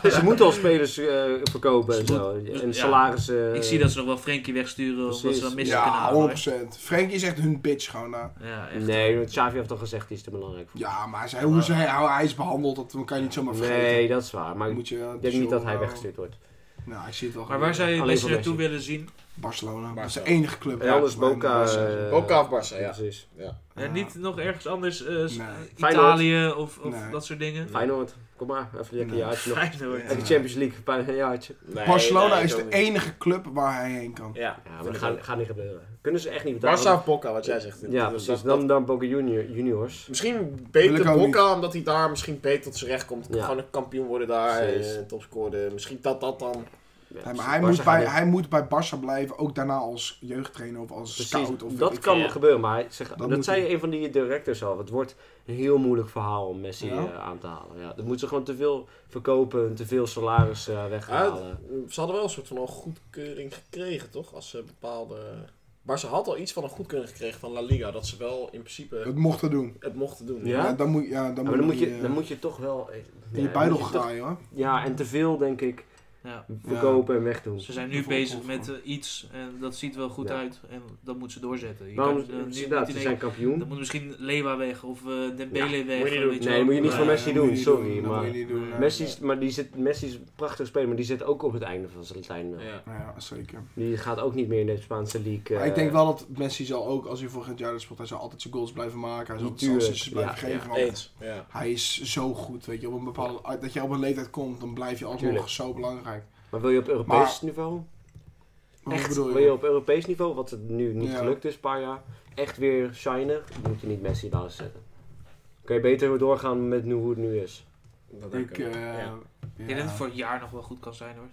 Speaker 5: Dus ze moeten al spelers eh, verkopen en
Speaker 2: Ze
Speaker 5: zo.
Speaker 2: moet-
Speaker 5: En
Speaker 2: ja.
Speaker 5: salarissen.
Speaker 2: *laughs* Ik zie dat ze nog wel Frenkie wegsturen, omdat
Speaker 5: Precies.
Speaker 2: ze dan Messi kunnen
Speaker 4: Ja,
Speaker 2: halen. hoor.
Speaker 4: 100%. Frenkie is echt hun bitch gewoon. nou.
Speaker 2: Ja, echt.
Speaker 5: Nee, want Xavi heeft al gezegd, die is te belangrijk voor.
Speaker 4: Ja, maar hij, hoe ze- hij, hij is behandeld, dat kan je niet zomaar vergeten.
Speaker 5: Nee, dat is waar. Maar
Speaker 4: Moet je,
Speaker 5: ik denk niet dat hij weggestuurd wordt.
Speaker 4: Nou, ik zie het wel.
Speaker 2: Maar waar zou je
Speaker 5: Alleen
Speaker 2: Messi
Speaker 5: voor
Speaker 2: naartoe
Speaker 5: Messi.
Speaker 2: willen zien?
Speaker 4: Barcelona. Dat is de
Speaker 2: Barcelona.
Speaker 4: enige club.
Speaker 5: En anders
Speaker 4: waar-
Speaker 5: Boca.
Speaker 4: waar-
Speaker 5: eh,
Speaker 3: Boca of Barça, ja.
Speaker 5: Precies.
Speaker 2: Eh, niet nog ergens anders, eh, s-
Speaker 4: Nee.
Speaker 2: Italië of, of
Speaker 4: Nee.
Speaker 2: dat soort dingen?
Speaker 5: Feyenoord, kom maar. Even lekker
Speaker 4: Nee.
Speaker 2: *laughs*
Speaker 5: een
Speaker 4: *laughs*
Speaker 5: jaartje nog.
Speaker 2: Feyenoord.
Speaker 4: Ja.
Speaker 5: Lekker Champions League, bijna een jaartje.
Speaker 3: Nee,
Speaker 4: Barcelona
Speaker 3: eh, nee,
Speaker 4: is
Speaker 3: ik
Speaker 4: de
Speaker 3: ook niet.
Speaker 4: enige club waar hij heen kan.
Speaker 3: Ja,
Speaker 5: Ja, maar dat gaat, gaat niet gebeuren. Kunnen ze echt niet betalen.
Speaker 3: Barça of Boca, wat jij zegt.
Speaker 5: Ja,
Speaker 3: Dat-
Speaker 5: precies.
Speaker 3: dat-
Speaker 5: Dan, dan Boca Junior, Juniors.
Speaker 3: Misschien
Speaker 4: Wil ik
Speaker 3: beter
Speaker 4: ook
Speaker 3: Boca, omdat hij daar misschien beter tot zijn recht komt.
Speaker 5: Ja.
Speaker 3: Gewoon een kampioen worden daar,
Speaker 5: Precies.
Speaker 3: eh, topscorer. Misschien dat dat dan.
Speaker 4: Nee, maar hij,
Speaker 5: Barca
Speaker 4: moet
Speaker 5: gaat
Speaker 4: bij,
Speaker 5: niet-
Speaker 4: hij moet bij Barça blijven, ook daarna als jeugdtrainer of als
Speaker 5: Precies,
Speaker 4: scout. Of weet
Speaker 5: dat
Speaker 4: ik
Speaker 5: kan
Speaker 4: veel.
Speaker 5: gebeuren, maar hij zegt-
Speaker 4: Dat
Speaker 5: dat,
Speaker 4: moet
Speaker 5: zei
Speaker 4: hij.
Speaker 5: een van die directors al. Het wordt een heel moeilijk verhaal om Messi
Speaker 4: Ja.
Speaker 5: eh, aan te halen. Ja, dan moeten ze gewoon te veel verkopen, te veel salaris eh,
Speaker 3: Ja,
Speaker 5: weghalen.
Speaker 3: ze hadden wel een soort van een goedkeuring gekregen, toch? Als ze bepaalde. Maar ze had al iets van een goedkeuring gekregen van La Liga. Dat ze wel in principe
Speaker 4: Dat mocht hij doen.
Speaker 3: het mochten doen.
Speaker 5: Ja?
Speaker 4: Ja? dan moet, ja, dan
Speaker 5: Ja, maar dan moet,
Speaker 4: hij,
Speaker 5: je,
Speaker 4: eh,
Speaker 5: dan moet je toch wel... eh,
Speaker 4: in je
Speaker 5: ja, dan
Speaker 4: buidel
Speaker 5: moet je toch-
Speaker 4: graaien hoor.
Speaker 5: Ja, en te veel, denk ik,
Speaker 2: Ja.
Speaker 5: verkopen en wegdoen.
Speaker 2: Ze zijn
Speaker 4: Dat
Speaker 2: nu
Speaker 4: vond ik
Speaker 2: bezig
Speaker 4: wel
Speaker 2: met eh, iets en dat ziet wel goed
Speaker 5: Ja.
Speaker 2: uit en dat moeten ze doorzetten. Je
Speaker 5: Waarom,
Speaker 2: kan, eh, nu moet je
Speaker 5: inderdaad, ze
Speaker 2: denken,
Speaker 5: zijn kampioen.
Speaker 2: dan moet misschien Lewa weg of eh Dembele
Speaker 5: Ja,
Speaker 2: weg.
Speaker 3: moet je niet
Speaker 2: eh,
Speaker 3: doen.
Speaker 2: weet je
Speaker 5: Nee,
Speaker 2: wel.
Speaker 5: moet je niet voor
Speaker 2: Maar-
Speaker 5: Messi doen, sorry, maar- Messi, is-
Speaker 4: Messi.
Speaker 5: maar die zit, Messi is een prachtige speler, maar die zit ook op het einde van zijn tijd.
Speaker 3: Ja.
Speaker 4: Ja, zeker.
Speaker 5: Die gaat ook niet meer in de Spaanse league.
Speaker 4: Maar
Speaker 5: eh,
Speaker 4: ik denk wel dat Messi zal ook, als hij volgend jaar speelt, hij zal altijd zijn goals blijven maken. Hij zal altijd zijn
Speaker 5: Natuurlijk,
Speaker 4: assists blijven
Speaker 5: ja,
Speaker 4: geven.
Speaker 5: ja.
Speaker 4: want
Speaker 3: Eens. Ja.
Speaker 4: Hij is zo goed, weet je. Op een bepaalde, dat je op een leeftijd komt, dan blijf je alsnog
Speaker 5: Tuurlijk.
Speaker 4: zo belangrijk.
Speaker 5: Maar wil je op Europees
Speaker 4: Maar-
Speaker 5: niveau?
Speaker 4: Wat
Speaker 5: Echt,
Speaker 4: bedoel
Speaker 5: wil je op Europees niveau, wat het nu niet
Speaker 4: Ja.
Speaker 5: gelukt is, een paar jaar, echt weer shinen, moet je niet Messi in de basis zetten. Kun je beter doorgaan met nu, hoe het nu is.
Speaker 3: Dat denk
Speaker 4: Ik,
Speaker 3: ik.
Speaker 4: eh,
Speaker 3: ook.
Speaker 4: ja.
Speaker 3: Ja.
Speaker 2: Ik denk dat het voor een jaar nog wel goed kan zijn hoor.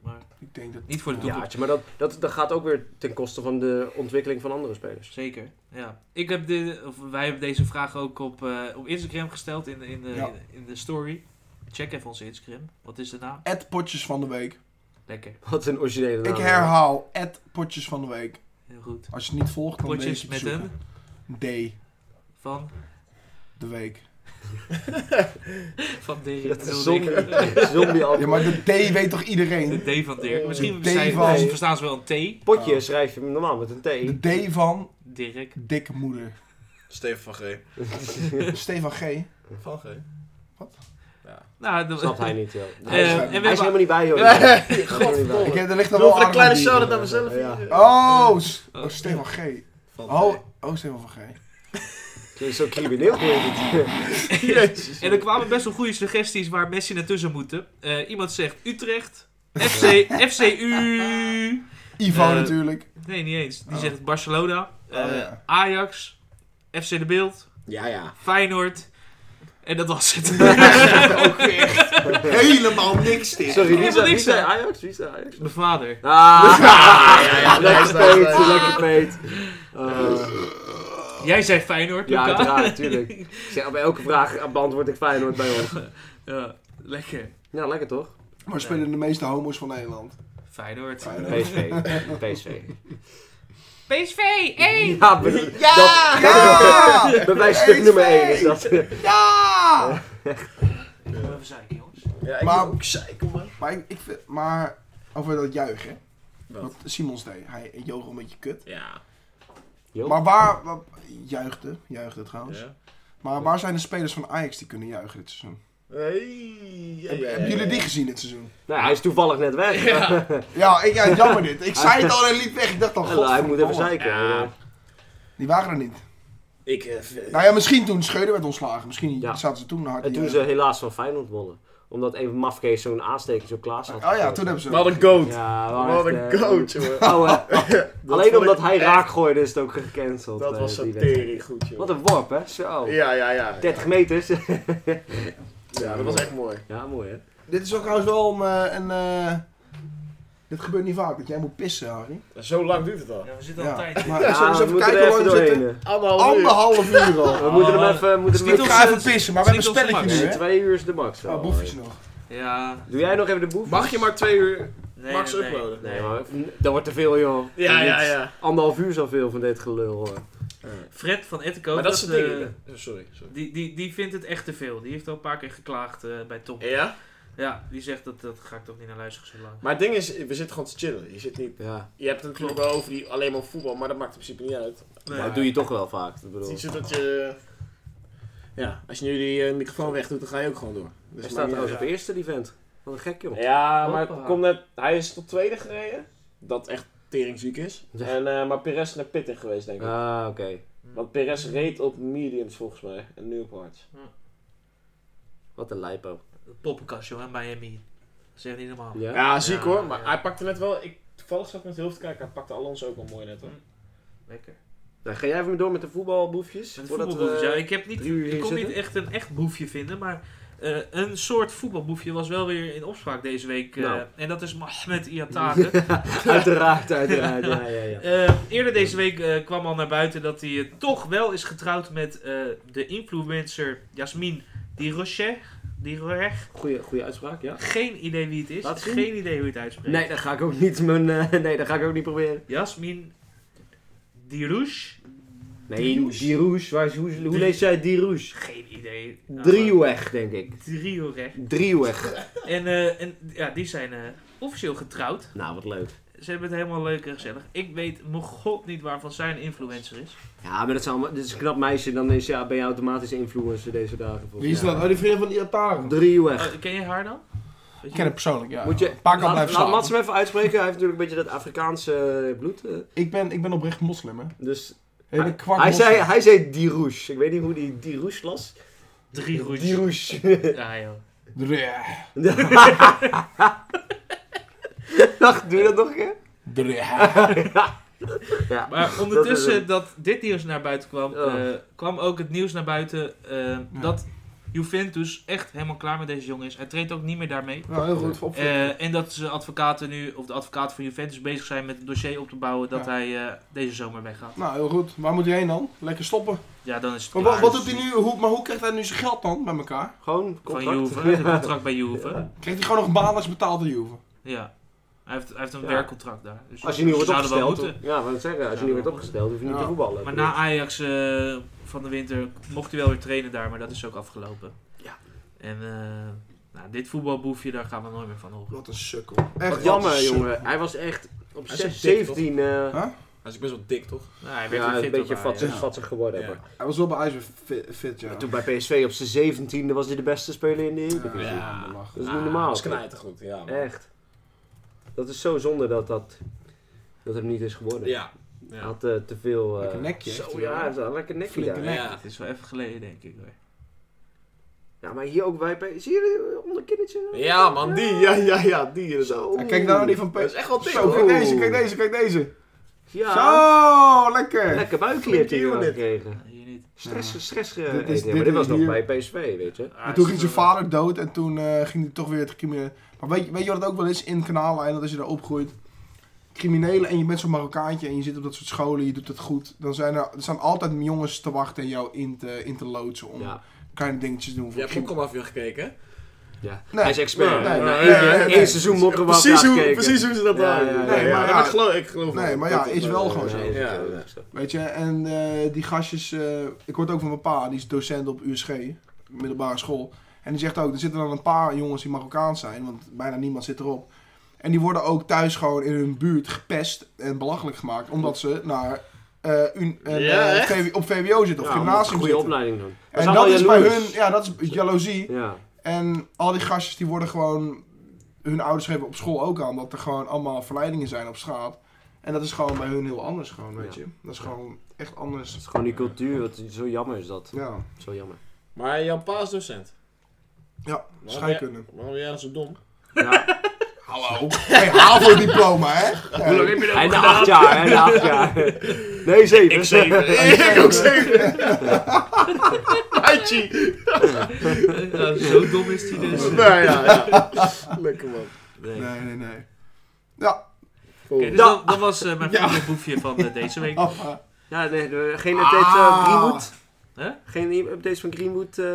Speaker 2: Maar
Speaker 4: ik denk dat
Speaker 2: niet voor de
Speaker 4: Ja.
Speaker 5: Ja,
Speaker 2: toekomst.
Speaker 5: Aartje, maar dat, dat, dat gaat ook weer ten koste van de ontwikkeling van andere spelers.
Speaker 2: Zeker, ja. Ik heb de, of wij hebben deze vraag ook op, eh, op Instagram gesteld in de, in, de,
Speaker 4: Ja.
Speaker 2: in de story. Check even onze Instagram. Wat is de naam?
Speaker 4: Ed Potjes van de Week.
Speaker 2: Lekker,
Speaker 5: Wat een originele naam.
Speaker 4: Ik herhaal, Ed Potjes van de Week.
Speaker 2: heel goed.
Speaker 4: Als je het niet volgt, dan
Speaker 2: Potjes
Speaker 4: weet
Speaker 2: met
Speaker 4: je het
Speaker 2: hem
Speaker 4: zoeken. D,
Speaker 2: van,
Speaker 4: de week.
Speaker 2: van Dirk.
Speaker 5: *laughs* Dat is
Speaker 2: Wil
Speaker 5: zombie,
Speaker 2: Dirk.
Speaker 5: *laughs* zombie
Speaker 4: Ja, maar de D weet toch iedereen?
Speaker 2: De D van Dirk. Misschien
Speaker 4: De D
Speaker 2: zijn-
Speaker 4: van-
Speaker 2: verstaan ze wel een T.
Speaker 5: Potje
Speaker 4: Oh.
Speaker 5: schrijf je normaal met een T.
Speaker 4: De D van
Speaker 2: Dirk.
Speaker 4: dikke moeder.
Speaker 3: Steven van G.
Speaker 5: *laughs*
Speaker 4: Stefan G.
Speaker 3: Van G.
Speaker 2: Nou, de-
Speaker 5: Snapt hij niet, joh.
Speaker 2: Eh,
Speaker 5: hij is,
Speaker 2: en we
Speaker 5: hij is
Speaker 2: hebben-
Speaker 5: helemaal niet bij,
Speaker 4: *laughs*
Speaker 5: joh.
Speaker 3: Godverdomme.
Speaker 4: Ik heb er ligt er
Speaker 3: Doe
Speaker 4: wel
Speaker 3: voor een
Speaker 4: aardig
Speaker 3: kleine
Speaker 4: wat
Speaker 3: shout-out
Speaker 4: hier.
Speaker 3: naar mezelf.
Speaker 5: Ja.
Speaker 3: hier.
Speaker 4: Oh, s- oh, Stefan G.
Speaker 3: Van G.
Speaker 4: Oh, oh, Stefan van G.
Speaker 5: Het is zo crimineel. dit.
Speaker 2: *laughs*
Speaker 3: Jezus.
Speaker 2: En er kwamen best wel goede suggesties waar Messi naartoe zou moeten. Eh, iemand zegt Utrecht. FC, FCU.
Speaker 4: Ivo
Speaker 2: Eh, *laughs*
Speaker 4: natuurlijk.
Speaker 2: Nee, niet eens. Die
Speaker 4: Oh.
Speaker 2: zegt Barcelona. eh,
Speaker 4: Oh, ja.
Speaker 2: Ajax. FC De Beeld.
Speaker 3: Ja, ja.
Speaker 2: Feyenoord. En dat was het.
Speaker 4: Helemaal niks dit.
Speaker 5: Sorry, wie
Speaker 2: Helemaal
Speaker 5: zei- wie
Speaker 2: niks,
Speaker 5: zei
Speaker 2: hè?
Speaker 5: Ajax? Wie zei
Speaker 2: *laughs*
Speaker 5: Ajax?
Speaker 2: Mijn vader.
Speaker 5: *laughs* Ah,
Speaker 3: Lekker
Speaker 5: lekker
Speaker 3: peet,
Speaker 5: peet, lekker
Speaker 4: *laughs*
Speaker 5: peet. Eh,
Speaker 2: Jij zei Feyenoord,
Speaker 5: ja,
Speaker 2: Luca.
Speaker 5: uiteraard, natuurlijk. bij elke vraag beantwoord ik Feyenoord bij ons.
Speaker 2: Ja, lekker.
Speaker 5: Ja, lekker toch?
Speaker 4: Maar spelen de meeste homo's van Nederland.
Speaker 2: Feyenoord.
Speaker 4: Feyenoord.
Speaker 5: PSV. PSV.
Speaker 2: PSV, één!
Speaker 5: *laughs* Ja, be- dat,
Speaker 4: Ja!
Speaker 5: bij mij stuk nummer 1 is dat. *laughs*
Speaker 4: Ja!
Speaker 2: Ik wil even zeiken, jongens.
Speaker 3: Ja, ik
Speaker 4: Maar-
Speaker 3: maar... ook zeiken, man.
Speaker 4: oh, Maar, ik, ik vind, maar over dat juichen.
Speaker 3: Wat?
Speaker 4: Wat Simons deed. Hij joog een beetje kut.
Speaker 3: Ja.
Speaker 5: Jo.
Speaker 4: Maar waar... waar- juichte. Juichte trouwens.
Speaker 3: ja.
Speaker 4: Maar waar zijn de spelers van Ajax die kunnen juichen dit seizoen?
Speaker 3: Hey, ja, ja,
Speaker 4: Heb-
Speaker 3: ja,
Speaker 4: Hebben jullie
Speaker 3: ja.
Speaker 4: die gezien dit seizoen?
Speaker 5: Nou, hij is toevallig net weg.
Speaker 4: Ja, ik, ja jammer dit. Ik zei het al en liep weg. Ik dacht al,
Speaker 5: Hallo, hij moet even
Speaker 4: godverdomme.
Speaker 5: zeiken. Eh,
Speaker 3: Ja.
Speaker 4: Die waren er niet.
Speaker 3: Ik, eh, v-
Speaker 4: Nou ja, misschien toen Scheuder werd ontslagen. Misschien
Speaker 5: Ja.
Speaker 4: zaten ze toen hard.
Speaker 5: En
Speaker 4: te
Speaker 5: toen ze
Speaker 4: juichen.
Speaker 5: helaas van Feyenoord wonnen. Omdat een mafkees zo'n aansteker zo klaar had.
Speaker 4: Oh ja, toen hebben ze...
Speaker 3: Wat een goat.
Speaker 5: Ja, wel
Speaker 3: Wat
Speaker 5: echt,
Speaker 3: een
Speaker 5: eh,
Speaker 3: goat, jongen.
Speaker 5: ouwe.
Speaker 3: *laughs* Dat
Speaker 5: Oh, *laughs* Alleen
Speaker 3: vond
Speaker 5: omdat
Speaker 3: ik
Speaker 5: hij
Speaker 3: echt-
Speaker 5: raak gooide is het ook gecanceld.
Speaker 3: Dat
Speaker 5: eh,
Speaker 3: was zo
Speaker 5: die wedstrijd.
Speaker 3: tering goed, joh.
Speaker 5: Wat een worp, hè? Zo.
Speaker 3: Ja, ja, ja.
Speaker 5: 30 meters. *laughs*
Speaker 3: Ja, dat was echt mooi.
Speaker 5: Ja, mooi, hè?
Speaker 4: Dit is ook trouwens wel een... eh, een eh, dit gebeurt niet vaak, dat jij moet pissen, Harry.
Speaker 3: Zo lang duurt het al.
Speaker 2: Ja, we zitten al
Speaker 4: Ja.
Speaker 2: een
Speaker 4: Maar
Speaker 2: tijdje.
Speaker 4: ja, zullen we eens
Speaker 5: Ah, we
Speaker 4: even
Speaker 5: moeten
Speaker 4: kijken
Speaker 5: er
Speaker 4: hoe lang
Speaker 5: even
Speaker 4: we zitten?
Speaker 5: doorheen. eh.
Speaker 3: Anderhalf uur.
Speaker 4: Anderhalf
Speaker 5: *laughs*
Speaker 4: uur al.
Speaker 5: We moeten
Speaker 2: Oh,
Speaker 3: Ah.
Speaker 5: hem even... moeten
Speaker 2: Schiet
Speaker 5: hem
Speaker 4: Ik
Speaker 5: even-
Speaker 2: ons-
Speaker 4: ga even pissen, maar we hebben een
Speaker 2: Schiet ons
Speaker 4: spelletje nu,
Speaker 5: Nee,
Speaker 4: hè?
Speaker 5: twee uur is de max. wel.
Speaker 4: Oh, boefjes nog.
Speaker 2: Ja,
Speaker 5: Doe jij nog even de boef?
Speaker 3: Ah, Mag je maar twee uur
Speaker 2: nee,
Speaker 3: max
Speaker 2: nee, nee.
Speaker 3: uploaden?
Speaker 5: Nee, maar dat wordt te veel, joh.
Speaker 3: Ja,
Speaker 5: Dit
Speaker 3: ja,
Speaker 5: is
Speaker 3: ja.
Speaker 5: Anderhalf uur zoveel van dit gelul. hoor.
Speaker 2: Fred van Ettenkoop,
Speaker 3: Maar dat is het
Speaker 2: eh,
Speaker 3: ding. eh, Sorry, sorry.
Speaker 2: die, die, die vindt het echt te veel. Die heeft al een paar keer geklaagd eh, bij Tom.
Speaker 3: Ja?
Speaker 2: Ja, die zegt dat, dat ga ik toch niet naar luisteren zo lang.
Speaker 3: Maar het ding is, we zitten gewoon te chillen. Je, zit niet,
Speaker 5: Ja,
Speaker 3: je hebt het natuurlijk wel over die, alleen maar voetbal, maar dat maakt in principe niet uit.
Speaker 2: Nee.
Speaker 5: maar dat doe je toch wel vaak. Ik
Speaker 3: Het is
Speaker 5: bedoel.
Speaker 3: niet zo dat je... Ja, als je nu die eh, microfoon weg doet, dan ga je ook gewoon door. Dus
Speaker 5: Hij
Speaker 3: het
Speaker 5: staat
Speaker 3: maakt niet
Speaker 5: trouwens
Speaker 3: uit.
Speaker 5: op eerste, die vent. Wat een gek, joh.
Speaker 3: Ja, maar
Speaker 5: Hoppa.
Speaker 3: het komt net, hij is tot tweede gereden. Dat echt teringziek is.
Speaker 5: Ja.
Speaker 3: En, eh, maar Perez is naar Pitting geweest, denk ik.
Speaker 5: Ah, oké.
Speaker 2: Mm.
Speaker 3: Want Perez reed op mediums volgens mij. En nu op hards.
Speaker 5: Wat een lijpo.
Speaker 2: Poppenkast, joh, en Miami. Dat is echt niet normaal.
Speaker 5: Ja?
Speaker 3: Ja, ziek
Speaker 2: Ja,
Speaker 3: hoor. Maar
Speaker 2: ja.
Speaker 3: hij pakte net wel... Ik, toevallig zat ik met het hoofd te kijken. Hij pakte Alonso ook al mooi net hoor.
Speaker 2: Lekker.
Speaker 5: Nou, ga jij even door met de voetbalboefjes?
Speaker 2: Met
Speaker 5: voordat we-
Speaker 2: voetbalboefjes, ja. Ik, heb niet,
Speaker 5: drie uur
Speaker 2: ik
Speaker 5: hier
Speaker 2: kon niet
Speaker 5: zitten?
Speaker 2: echt een echt boefje vinden, maar eh, een soort voetbalboefje was wel weer in opspraak deze week. eh,
Speaker 5: Nou.
Speaker 2: En dat is
Speaker 5: *laughs*
Speaker 2: Mohamed Iatare.
Speaker 5: Uiteraard, uiteraard. ja, ja, ja.
Speaker 2: Eh, eerder deze week eh, kwam al naar buiten dat hij eh, toch wel is getrouwd met eh, de influencer Jasmin Dirochet. Dirochet.
Speaker 5: Goeie, goeie uitspraak, ja.
Speaker 2: Geen idee wie het is.
Speaker 5: Laat zien.
Speaker 2: Geen idee hoe je het uitspreekt.
Speaker 5: Nee, dat ga ik ook niet, mijn, eh, *laughs* nee, dat ga ik ook niet proberen.
Speaker 2: Jasmin Dirouche.
Speaker 5: Nee, die rouge, waar is, hoe, hoe
Speaker 2: Drie-
Speaker 5: lees jij die rouge?
Speaker 2: Geen idee. Ah,
Speaker 5: Drieweg, denk ik.
Speaker 2: Driehoek.
Speaker 5: Drieweg.
Speaker 2: En, eh, en ja, die zijn eh, officieel getrouwd.
Speaker 5: Nou, wat leuk.
Speaker 2: Ze hebben het helemaal leuk en gezellig. Ik weet mijn god niet waarvan zij een influencer is.
Speaker 5: Ja, maar dat is, allemaal, dit is een knap meisje, dan is, ja, ben je automatisch een influencer deze dagen. volgens
Speaker 4: Wie is
Speaker 5: mij.
Speaker 4: dat? Oh, die vriend van die Ataren.
Speaker 5: Driehoek.
Speaker 2: Oh, ken je haar dan? Weet
Speaker 4: Ik
Speaker 2: je-
Speaker 4: ken hem persoonlijk, ja.
Speaker 5: Moet je,
Speaker 4: Een paar kan
Speaker 5: laat,
Speaker 4: blijven
Speaker 5: laat
Speaker 4: staan.
Speaker 5: Mats hem even uitspreken, hij heeft natuurlijk een beetje dat Afrikaanse eh, bloed. eh,
Speaker 4: Ik ben, ik ben oprecht moslim, hè.
Speaker 5: Dus
Speaker 4: Hele
Speaker 5: hij,
Speaker 4: kwak
Speaker 5: hij,
Speaker 4: moslim.
Speaker 5: zei, hij zei die rouge. Ik weet niet hoe die die rouge las.
Speaker 2: Drie roetjes.
Speaker 5: Die *laughs* rouge.
Speaker 2: Ja, Ah, joh.
Speaker 4: Dreh,
Speaker 5: Dag, doe dat nog een keer?
Speaker 4: dreh.
Speaker 5: Ja.
Speaker 2: Maar
Speaker 5: *laughs* Dat
Speaker 2: ondertussen dat dit nieuws naar buiten kwam,
Speaker 5: Oh.
Speaker 2: eh, kwam ook het nieuws naar buiten eh, dat Juventus echt helemaal klaar met deze jongen is. Hij treedt ook niet meer daarmee.
Speaker 4: Nou, heel goed. Op.
Speaker 2: Eh, en dat zijn advocaten nu, of de advocaten van Juventus, bezig zijn met een dossier op te bouwen dat
Speaker 4: Ja.
Speaker 2: hij eh, deze zomer weggaat.
Speaker 4: Nou, heel goed. Waar moet hij heen dan? Lekker stoppen.
Speaker 2: Ja, dus- dan is het
Speaker 4: Maar
Speaker 2: klaar.
Speaker 4: wat, wat doet hij nu? Hoe, maar hoe krijgt hij nu zijn geld dan bij elkaar?
Speaker 5: Gewoon
Speaker 2: Dus, Van
Speaker 5: contract.
Speaker 2: Juve, een contract bij Juve. Ja.
Speaker 4: Krijgt hij gewoon nog banen betaald in Juve?
Speaker 2: Hij, heeft, hij heeft een
Speaker 5: Ja.
Speaker 2: werkcontract daar. Dus
Speaker 5: Als je nu
Speaker 2: ze
Speaker 5: wordt
Speaker 2: zouden wel
Speaker 5: opgesteld.
Speaker 2: moeten.
Speaker 5: Ja, wat ik zeggen, als je nu wordt opgesteld, hoef je niet
Speaker 4: Ja.
Speaker 5: te voetballen.
Speaker 2: Maar na Ajax eh, van de winter mocht hij wel weer trainen daar, maar dat is ook afgelopen.
Speaker 5: Ja.
Speaker 2: En eh, nou, dit voetbalboefje, daar gaan we nooit meer van horen.
Speaker 4: Wat een sukkel.
Speaker 5: Echt
Speaker 4: Echt
Speaker 5: jammer,
Speaker 4: wat een sukkel.
Speaker 5: jongen. Hij was echt op
Speaker 3: Hij is
Speaker 5: zes-
Speaker 3: een dik,
Speaker 5: 17 eh
Speaker 4: Huh?
Speaker 3: Hij is best wel dik toch?
Speaker 2: Nou, hij werd
Speaker 5: ja,
Speaker 2: weer fit
Speaker 5: een beetje
Speaker 2: op Ajax.
Speaker 5: vatsig,
Speaker 4: Ja.
Speaker 5: vatsig geworden.
Speaker 3: Ja.
Speaker 5: maar-
Speaker 4: Hij was wel bij IJzer fit, fit, ja.
Speaker 5: Maar toen bij PSV op zijn 17e was hij de beste speler in de Eredivisie.
Speaker 4: Ja,
Speaker 3: Ja.
Speaker 4: maar lachen.
Speaker 5: Dat is
Speaker 2: Ah,
Speaker 5: niet normaal.
Speaker 3: Dat is knijtergoed, ja. man.
Speaker 5: Echt. Dat is zo zonde dat dat, dat hem niet is geworden.
Speaker 3: Ja.
Speaker 5: Hij
Speaker 3: ja.
Speaker 5: had eh, te veel... eh,
Speaker 4: Lekker nekje heeft
Speaker 5: Zo,
Speaker 4: hij
Speaker 5: ja,
Speaker 4: wel.
Speaker 5: hij heeft wel een lekker nekje
Speaker 4: Flinke
Speaker 5: daar.
Speaker 4: nek.
Speaker 3: Ja.
Speaker 2: Het is wel even geleden, denk ik. Hoor.
Speaker 5: Ja, maar hier ook bij PSV. Zie je eh, onder kindertje?
Speaker 3: Ja man, die. Ja, ja, ja, die inderdaad.
Speaker 4: En kijk nou naar die van
Speaker 3: Dat is
Speaker 4: Peter.
Speaker 3: echt wel dik
Speaker 4: Zo,
Speaker 3: hoor.
Speaker 4: kijk deze, kijk deze, kijk deze.
Speaker 5: Ja.
Speaker 4: Zo, lekker.
Speaker 5: Lekker buikkliertje
Speaker 3: Flinke
Speaker 5: hier
Speaker 3: unit.
Speaker 5: gekregen.
Speaker 2: Hier niet.
Speaker 5: Stress,
Speaker 4: Ja.
Speaker 5: stress ge-
Speaker 4: Dit is-
Speaker 5: eten.
Speaker 4: dit
Speaker 5: maar dit
Speaker 4: is
Speaker 5: was nog
Speaker 4: hier-
Speaker 5: bij PSV, weet je.
Speaker 2: Ah,
Speaker 4: Maar
Speaker 2: het
Speaker 4: toen
Speaker 2: is
Speaker 4: ging zijn
Speaker 2: toch
Speaker 4: vader dood en toen eh, ging hij toch weer het crimineel. Maar weet, je- weet je wat het ook wel is in Kanaleiland als je daar opgroeit? Criminelen en je bent zo'n Marokkaantje en je zit op dat soort scholen, je doet het goed. Dan zijn er, er staan altijd jongens te wachten en jou in te, in te loodsen om
Speaker 5: Ja.
Speaker 4: kleine dingetjes te doen.
Speaker 3: Je hebt ook al afweer gekeken hè?
Speaker 5: ja.
Speaker 4: Nee.
Speaker 5: Hij is expert.
Speaker 4: Nee,
Speaker 5: Nee,
Speaker 4: nee,
Speaker 5: één,
Speaker 4: nee,
Speaker 5: één
Speaker 4: nee.
Speaker 5: seizoen mokken was
Speaker 3: precies hoe, precies hoe ze dat
Speaker 5: Ja,
Speaker 3: waren.
Speaker 5: ja, ja,
Speaker 3: nee,
Speaker 4: ja.
Speaker 3: maar,
Speaker 4: Ja.
Speaker 3: ik geloof, ik geloof
Speaker 4: Nee,
Speaker 3: wel
Speaker 4: maar ja,
Speaker 3: dat het,
Speaker 4: is wel
Speaker 3: eh,
Speaker 4: gewoon zo.
Speaker 3: Ja, ja, ja.
Speaker 4: Weet je, en eh, die gastjes, eh, ik hoor het ook van mijn pa, die is docent op USG, middelbare school. En die zegt ook, er zitten dan een paar jongens die Marokkaans zijn, want bijna niemand zit erop. En die worden ook thuis gewoon in hun buurt gepest en belachelijk gemaakt, omdat ze naar, eh, un- en,
Speaker 3: Ja,
Speaker 4: eh,
Speaker 3: echt?
Speaker 4: VW op VWO zitten of
Speaker 5: een
Speaker 4: gymnasium
Speaker 5: Nou, goede
Speaker 4: zitten.
Speaker 5: opleiding doen.
Speaker 4: En dat is bij hun, ja, dat is jaloezie.
Speaker 5: Ja.
Speaker 4: En al die gastjes die worden gewoon, hun ouders geven op school ook aan dat er gewoon allemaal verleidingen zijn op straat. En dat is gewoon bij hun heel anders gewoon, weet
Speaker 5: Ja.
Speaker 4: je. Dat is gewoon echt anders.
Speaker 5: Het is gewoon die cultuur, wat, zo jammer is dat.
Speaker 4: Ja,
Speaker 5: Zo jammer.
Speaker 3: Maar Jan Paas docent.
Speaker 4: ja
Speaker 3: Waarom
Speaker 4: scheikunde.
Speaker 3: jij- Waarom ben jij dan zo dom?
Speaker 5: Ja.
Speaker 4: Hallo. Hey, HAVO-diploma, hè?
Speaker 2: Hoe lang heb je dat
Speaker 5: En
Speaker 2: gedaan?
Speaker 5: acht jaar, en acht jaar. Nee, zeven.
Speaker 3: Ik zeven. ik ook zeven. Hachi.
Speaker 2: Ja, zo dom is hij dus.
Speaker 3: Nou ja, ja. Lekker man.
Speaker 2: Nee.
Speaker 4: Nee, nee, nee. Ja.
Speaker 2: Oké, dus
Speaker 5: Ja.
Speaker 2: dat, dat was eh, mijn voetbalboefje van eh, deze week.
Speaker 3: Oh.
Speaker 4: Appa.
Speaker 5: Ja, nee, we- geen updates van
Speaker 4: Ah.
Speaker 5: Greenwood.
Speaker 2: Hè?
Speaker 5: Geen i- updates van Greenwood. eh.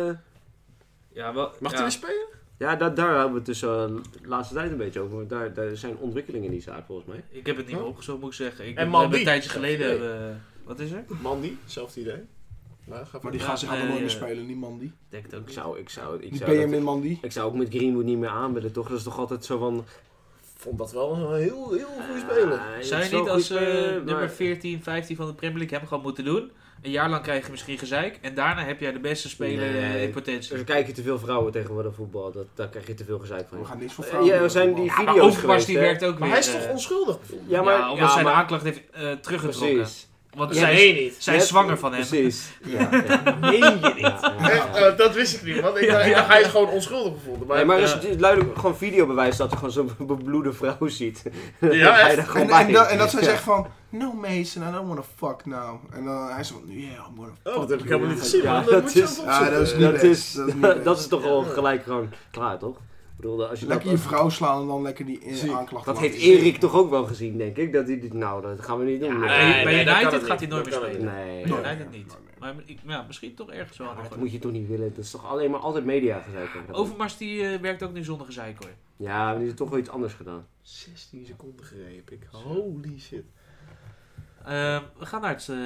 Speaker 2: Ja, wel,
Speaker 3: Mag hij
Speaker 2: ja.
Speaker 3: weer spelen?
Speaker 5: Ja, daar, daar hebben we het dus eh, de laatste tijd een beetje over. want Daar, daar zijn ontwikkelingen in die zaak volgens mij.
Speaker 2: Ik heb het niet meer opgezocht, moet ik zeggen. Ik
Speaker 3: En
Speaker 2: heb
Speaker 3: Mandy.
Speaker 2: een tijdje geleden...
Speaker 3: Oké.
Speaker 2: eh, wat is er?
Speaker 3: Mandy, hetzelfde idee. Nou, ga
Speaker 4: Maar die
Speaker 2: Ja,
Speaker 4: gasten gaan er
Speaker 2: nee,
Speaker 4: nooit meer
Speaker 2: eh,
Speaker 4: spelen, die Mandy.
Speaker 2: Ik denk het ook
Speaker 5: Ik
Speaker 2: niet.
Speaker 5: zou, ik zou, ik
Speaker 4: Die
Speaker 5: zou, dat-
Speaker 4: BM in Mandy.
Speaker 5: ik zou ook met Greenwood niet meer aan willen, toch? Dat is toch altijd zo van...
Speaker 3: vond dat wel een heel, heel goede speler.
Speaker 5: Ah,
Speaker 2: Zou
Speaker 5: het
Speaker 2: je
Speaker 5: is
Speaker 2: niet
Speaker 5: wel
Speaker 2: als
Speaker 5: goed,
Speaker 2: eh,
Speaker 5: eh,
Speaker 2: nummer
Speaker 5: maar-
Speaker 2: 14, 15 van de Premier League hebben gewoon moeten doen? Een jaar lang krijg je misschien gezeik. En daarna heb jij de beste speler
Speaker 5: Nee.
Speaker 2: eh, in
Speaker 5: Er
Speaker 2: potentie.
Speaker 5: kijken te veel vrouwen tegenwoordig voetbal. Dat, daar krijg je te veel gezeik van.
Speaker 4: We gaan niks voor
Speaker 5: Eh,
Speaker 4: vrouwen.
Speaker 5: ja,
Speaker 4: doen,
Speaker 5: zijn
Speaker 4: man.
Speaker 5: die-
Speaker 2: Ja, maar
Speaker 5: video's
Speaker 2: Overmars die
Speaker 5: geweest,
Speaker 2: werkt ook
Speaker 3: Maar
Speaker 2: weer.
Speaker 3: hij is toch
Speaker 2: eh,
Speaker 3: onschuldig?
Speaker 5: Ja, maar,
Speaker 2: ja, omdat
Speaker 5: ja,
Speaker 2: zij de
Speaker 5: maar-
Speaker 2: aanklacht heeft eh, teruggetrokken.
Speaker 5: Precies.
Speaker 2: Want
Speaker 5: Ja,
Speaker 2: zij,
Speaker 5: nee,
Speaker 3: niet.
Speaker 2: zij
Speaker 5: Net-
Speaker 2: is zwanger van hem. *laughs*
Speaker 5: Precies. Ja,
Speaker 3: Meen je niet?
Speaker 5: ja, ja, ja.
Speaker 3: Eh, eh, dat wist ik niet, want ik dacht, ik dacht, hij is gewoon onschuldig gevonden. Maar,
Speaker 5: Nee, maar er is
Speaker 2: Ja.
Speaker 5: natuurlijk duidelijk gewoon videobewijs dat je gewoon zo'n *laughs* bebloede vrouw ziet.
Speaker 3: Ja,
Speaker 5: Ga je
Speaker 3: echt.
Speaker 5: er *laughs* gewoon
Speaker 4: En, en,
Speaker 5: bij.
Speaker 4: dat- en dat zij
Speaker 5: Ja.
Speaker 4: zegt van, no Mason, I don't wanna fuck now. En dan hij zegt van, yeah, I'm gonna fuck
Speaker 3: Oh, dat heb ik
Speaker 4: you."
Speaker 3: helemaal niet gezien,
Speaker 5: Ja,
Speaker 3: man. Dat
Speaker 5: dat
Speaker 3: moet je
Speaker 5: is-
Speaker 3: zelf
Speaker 4: Ja, dat is
Speaker 3: opzoeken.
Speaker 4: niet
Speaker 5: Dat
Speaker 4: best.
Speaker 5: is,
Speaker 4: Dat is
Speaker 5: *laughs*
Speaker 4: niet
Speaker 5: dat,
Speaker 4: best.
Speaker 5: is toch al gelijk gewoon klaar, toch? Ik bedoel, als je
Speaker 4: Lekker je
Speaker 5: dat,
Speaker 4: vrouw slaan en dan lekker die eh,
Speaker 5: Zie.
Speaker 4: aanklacht
Speaker 5: dat
Speaker 4: laten
Speaker 5: heeft
Speaker 4: zien.
Speaker 5: Erik toch ook wel gezien, denk ik. Dat hij dit, nou, dat gaan we niet doen.
Speaker 2: Ja,
Speaker 5: nee,
Speaker 2: bij-
Speaker 3: nee,
Speaker 2: bij
Speaker 3: dat kan
Speaker 2: United
Speaker 3: het
Speaker 2: gaat hij
Speaker 3: niet.
Speaker 2: nooit
Speaker 3: Dat
Speaker 2: meer
Speaker 3: kan
Speaker 2: spelen.
Speaker 5: nee.
Speaker 4: Nee.
Speaker 2: Bij United niet.
Speaker 4: Nee, nee.
Speaker 2: Maar ik- ja, misschien toch ergens wel. aan de
Speaker 5: Maar dat
Speaker 2: gang.
Speaker 5: moet je toch niet willen. Dat is toch alleen maar altijd media gezeik. hebben.
Speaker 2: Overmars die eh, werkt ook nu zonder gezeik hoor.
Speaker 5: Ja, maar die heeft toch wel iets anders gedaan.
Speaker 3: 16 seconden greep ik. Holy shit.
Speaker 2: Ehm, we gaan naar het, eh,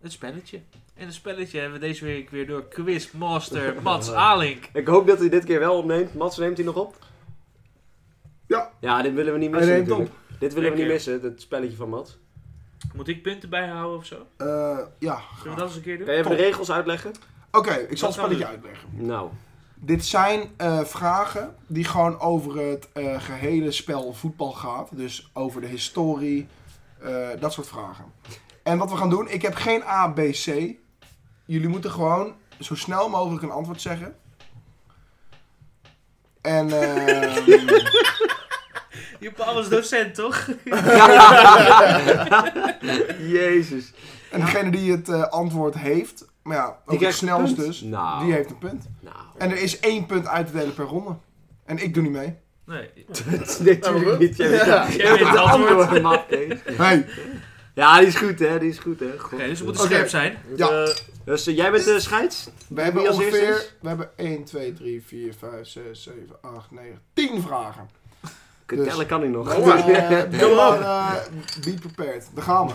Speaker 2: het spelletje. En het spelletje hebben we deze week weer door
Speaker 4: *laughs*
Speaker 2: Quizmaster Mats Alink.
Speaker 5: Ik hoop dat hij dit keer wel opneemt. Mats, neemt hij nog op?
Speaker 4: Ja.
Speaker 5: Ja, dit willen we niet
Speaker 4: Hij
Speaker 5: missen
Speaker 4: neemt
Speaker 5: natuurlijk. Dit willen we
Speaker 2: Lekker.
Speaker 5: niet missen, het spelletje van Mats.
Speaker 2: Moet ik punten bijhouden of zo?
Speaker 4: Eh, ja,
Speaker 2: Zullen we dat eens een keer doen?
Speaker 5: Kan je even de
Speaker 4: Top.
Speaker 5: regels uitleggen?
Speaker 4: oké, ik zal het
Speaker 2: gaan we
Speaker 4: spelletje
Speaker 2: doen?
Speaker 4: uitleggen. *laughs*
Speaker 5: Nou,
Speaker 4: Dit zijn eh, vragen die gewoon over het eh, gehele spel voetbal gaat. Dus over de historie, eh, dat soort vragen. En wat we gaan doen, ik heb geen A, B, C. Jullie moeten gewoon zo snel mogelijk een antwoord zeggen. En ehm,
Speaker 5: *laughs*
Speaker 2: Je Paul is docent toch?
Speaker 5: jezus.
Speaker 4: En degene die het eh, antwoord heeft, maar ja, ook het
Speaker 5: krijgt een
Speaker 4: snelst
Speaker 5: punt.
Speaker 4: dus,
Speaker 5: Nou.
Speaker 4: die heeft een punt.
Speaker 5: Nou,
Speaker 4: En er is één punt uit te delen per ronde. En ik doe niet
Speaker 5: *laughs*
Speaker 4: mee. *laughs*
Speaker 2: Nee.
Speaker 5: natuurlijk niet. Jij bent-
Speaker 3: Ja.
Speaker 2: Jij weet het antwoord.
Speaker 4: dus
Speaker 2: Oké,
Speaker 5: Antwoord, Mats, Kees.
Speaker 4: Hey,
Speaker 5: Ja, die is goed, hè? Die is goed, hè? God.
Speaker 2: dus we moeten
Speaker 4: Oké.
Speaker 2: scherp zijn.
Speaker 4: Ja.
Speaker 3: Eh,
Speaker 5: Dus eh, jij bent de scheids?
Speaker 4: we hebben
Speaker 5: Wie als eerste
Speaker 4: ongeveer, we hebben 1, 2, 3, 4, 5, 6, 7, 8, 9, 10
Speaker 5: *laughs*
Speaker 4: vragen.
Speaker 5: Kut,
Speaker 4: Dus.
Speaker 5: Tellen kan ik
Speaker 4: Dus,
Speaker 5: nog. *laughs*
Speaker 4: eh,
Speaker 3: Kom op.
Speaker 4: maar, eh, be prepared, daar gaan we.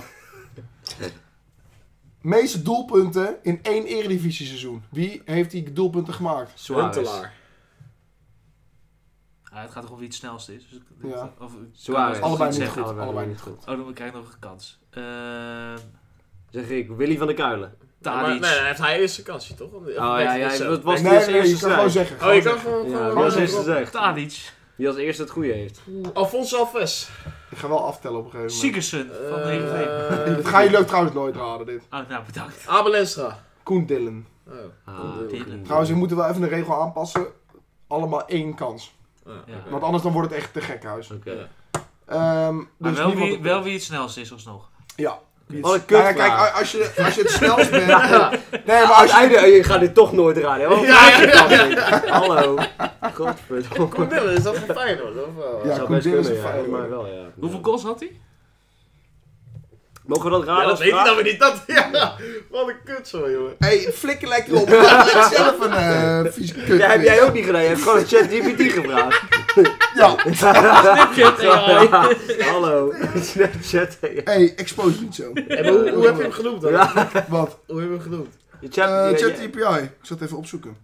Speaker 4: Meeste doelpunten in één eredivisie seizoen. Wie heeft die doelpunten gemaakt?
Speaker 5: Suarez.
Speaker 3: Huntelaar.
Speaker 2: Ah, het gaat toch om wie het snelst is. Dus ik-
Speaker 4: Ja.
Speaker 2: of, ik-
Speaker 5: Suarez.
Speaker 2: kan wel
Speaker 4: Allebei
Speaker 2: iets
Speaker 4: niet
Speaker 2: zeggen.
Speaker 4: goed, allebei niet
Speaker 5: goed.
Speaker 2: Oh, dan krijg ik nog een kans. Ehm
Speaker 5: Zeg ik, Willy van der Kuilen.
Speaker 3: Maar, nee,
Speaker 2: Tadic.
Speaker 3: dan heeft hij eerst een kansje, toch? Oh
Speaker 5: ja, ja, dat was-
Speaker 4: Nee,
Speaker 5: die
Speaker 4: nee,
Speaker 5: als
Speaker 4: nee, je
Speaker 5: eerste
Speaker 4: kan gewoon
Speaker 5: zijn?
Speaker 4: zeggen.
Speaker 3: Oh, je
Speaker 4: gewoon
Speaker 3: kan
Speaker 4: zeggen.
Speaker 3: gewoon...
Speaker 5: Ja,
Speaker 3: gewoon-
Speaker 5: wie als
Speaker 3: gewoon-
Speaker 5: eerste zegt.
Speaker 2: Tadic.
Speaker 5: Die als eerste het goede heeft.
Speaker 3: Alphonse Alves.
Speaker 4: Ik ga wel aftellen op een gegeven moment.
Speaker 2: Sigurdsson van Heerenveen.
Speaker 3: Eh,
Speaker 4: Dat gaan jullie ook trouwens nooit raden, dit.
Speaker 2: Oh, nou bedankt.
Speaker 3: Abel Enstra.
Speaker 4: Koen Dillen.
Speaker 3: Oh.
Speaker 5: Ah,
Speaker 2: Dylan.
Speaker 4: Trouwens, we moeten wel even de regel aanpassen. Allemaal één kans.
Speaker 3: Ah,
Speaker 2: Ja.
Speaker 3: oké.
Speaker 4: Want anders dan wordt het echt te gek huis.
Speaker 5: Oké.
Speaker 3: Ja.
Speaker 4: Ehm,
Speaker 2: Maar
Speaker 4: dus
Speaker 2: wel
Speaker 4: niemand
Speaker 2: wie,
Speaker 4: op-
Speaker 2: wel wie het snelst is alsnog.
Speaker 4: Ja.
Speaker 5: Wat een
Speaker 4: Nou ja,
Speaker 5: kutvraag.
Speaker 4: kijk,
Speaker 5: *laughs*
Speaker 4: a- als je, als je het snelst bent... Nee, maar
Speaker 5: Maar
Speaker 4: als je...
Speaker 5: eh, je gaat dit toch nooit raden. hè? Wat
Speaker 3: Ja, ja,
Speaker 5: een verrassing. Hallo. Godverdomme.
Speaker 3: Koen Dillen, is dat van Feyenoord? Of, wel?
Speaker 4: Ja,
Speaker 5: Zou
Speaker 4: Koen
Speaker 5: best
Speaker 4: Dillen is
Speaker 5: kunnen,
Speaker 4: een
Speaker 5: ja,
Speaker 4: fijn-
Speaker 5: maar wel, ja.
Speaker 2: Hoeveel goals had hij?
Speaker 5: Mogen we dat raden
Speaker 3: Ja, dat
Speaker 5: als
Speaker 3: weet ik
Speaker 5: vraag?
Speaker 3: nou weer niet. Dat, *laughs* ja. Wat een kut zo, jongen.
Speaker 4: hey, flikker lekker op. Maak lekker zelf een eh vieze kut.
Speaker 5: Ja, heb jij ook niet gedaan. Je hebt gewoon ChatGPT gevraagd.
Speaker 4: *laughs*
Speaker 5: *laughs*
Speaker 4: Ja.
Speaker 5: Ja, Hallo. Snapchat. ja.
Speaker 4: hey, expose niet zo.
Speaker 3: En hoe, hoe heb je hem genoemd dan?
Speaker 5: Ja.
Speaker 4: Wat?
Speaker 3: Hoe heb je hem genoemd?
Speaker 5: Je *laughs* chat-
Speaker 4: Eh
Speaker 5: ja,
Speaker 4: Chat
Speaker 5: ja.
Speaker 4: API. Ik zal het even
Speaker 5: *laughs*
Speaker 4: opzoeken.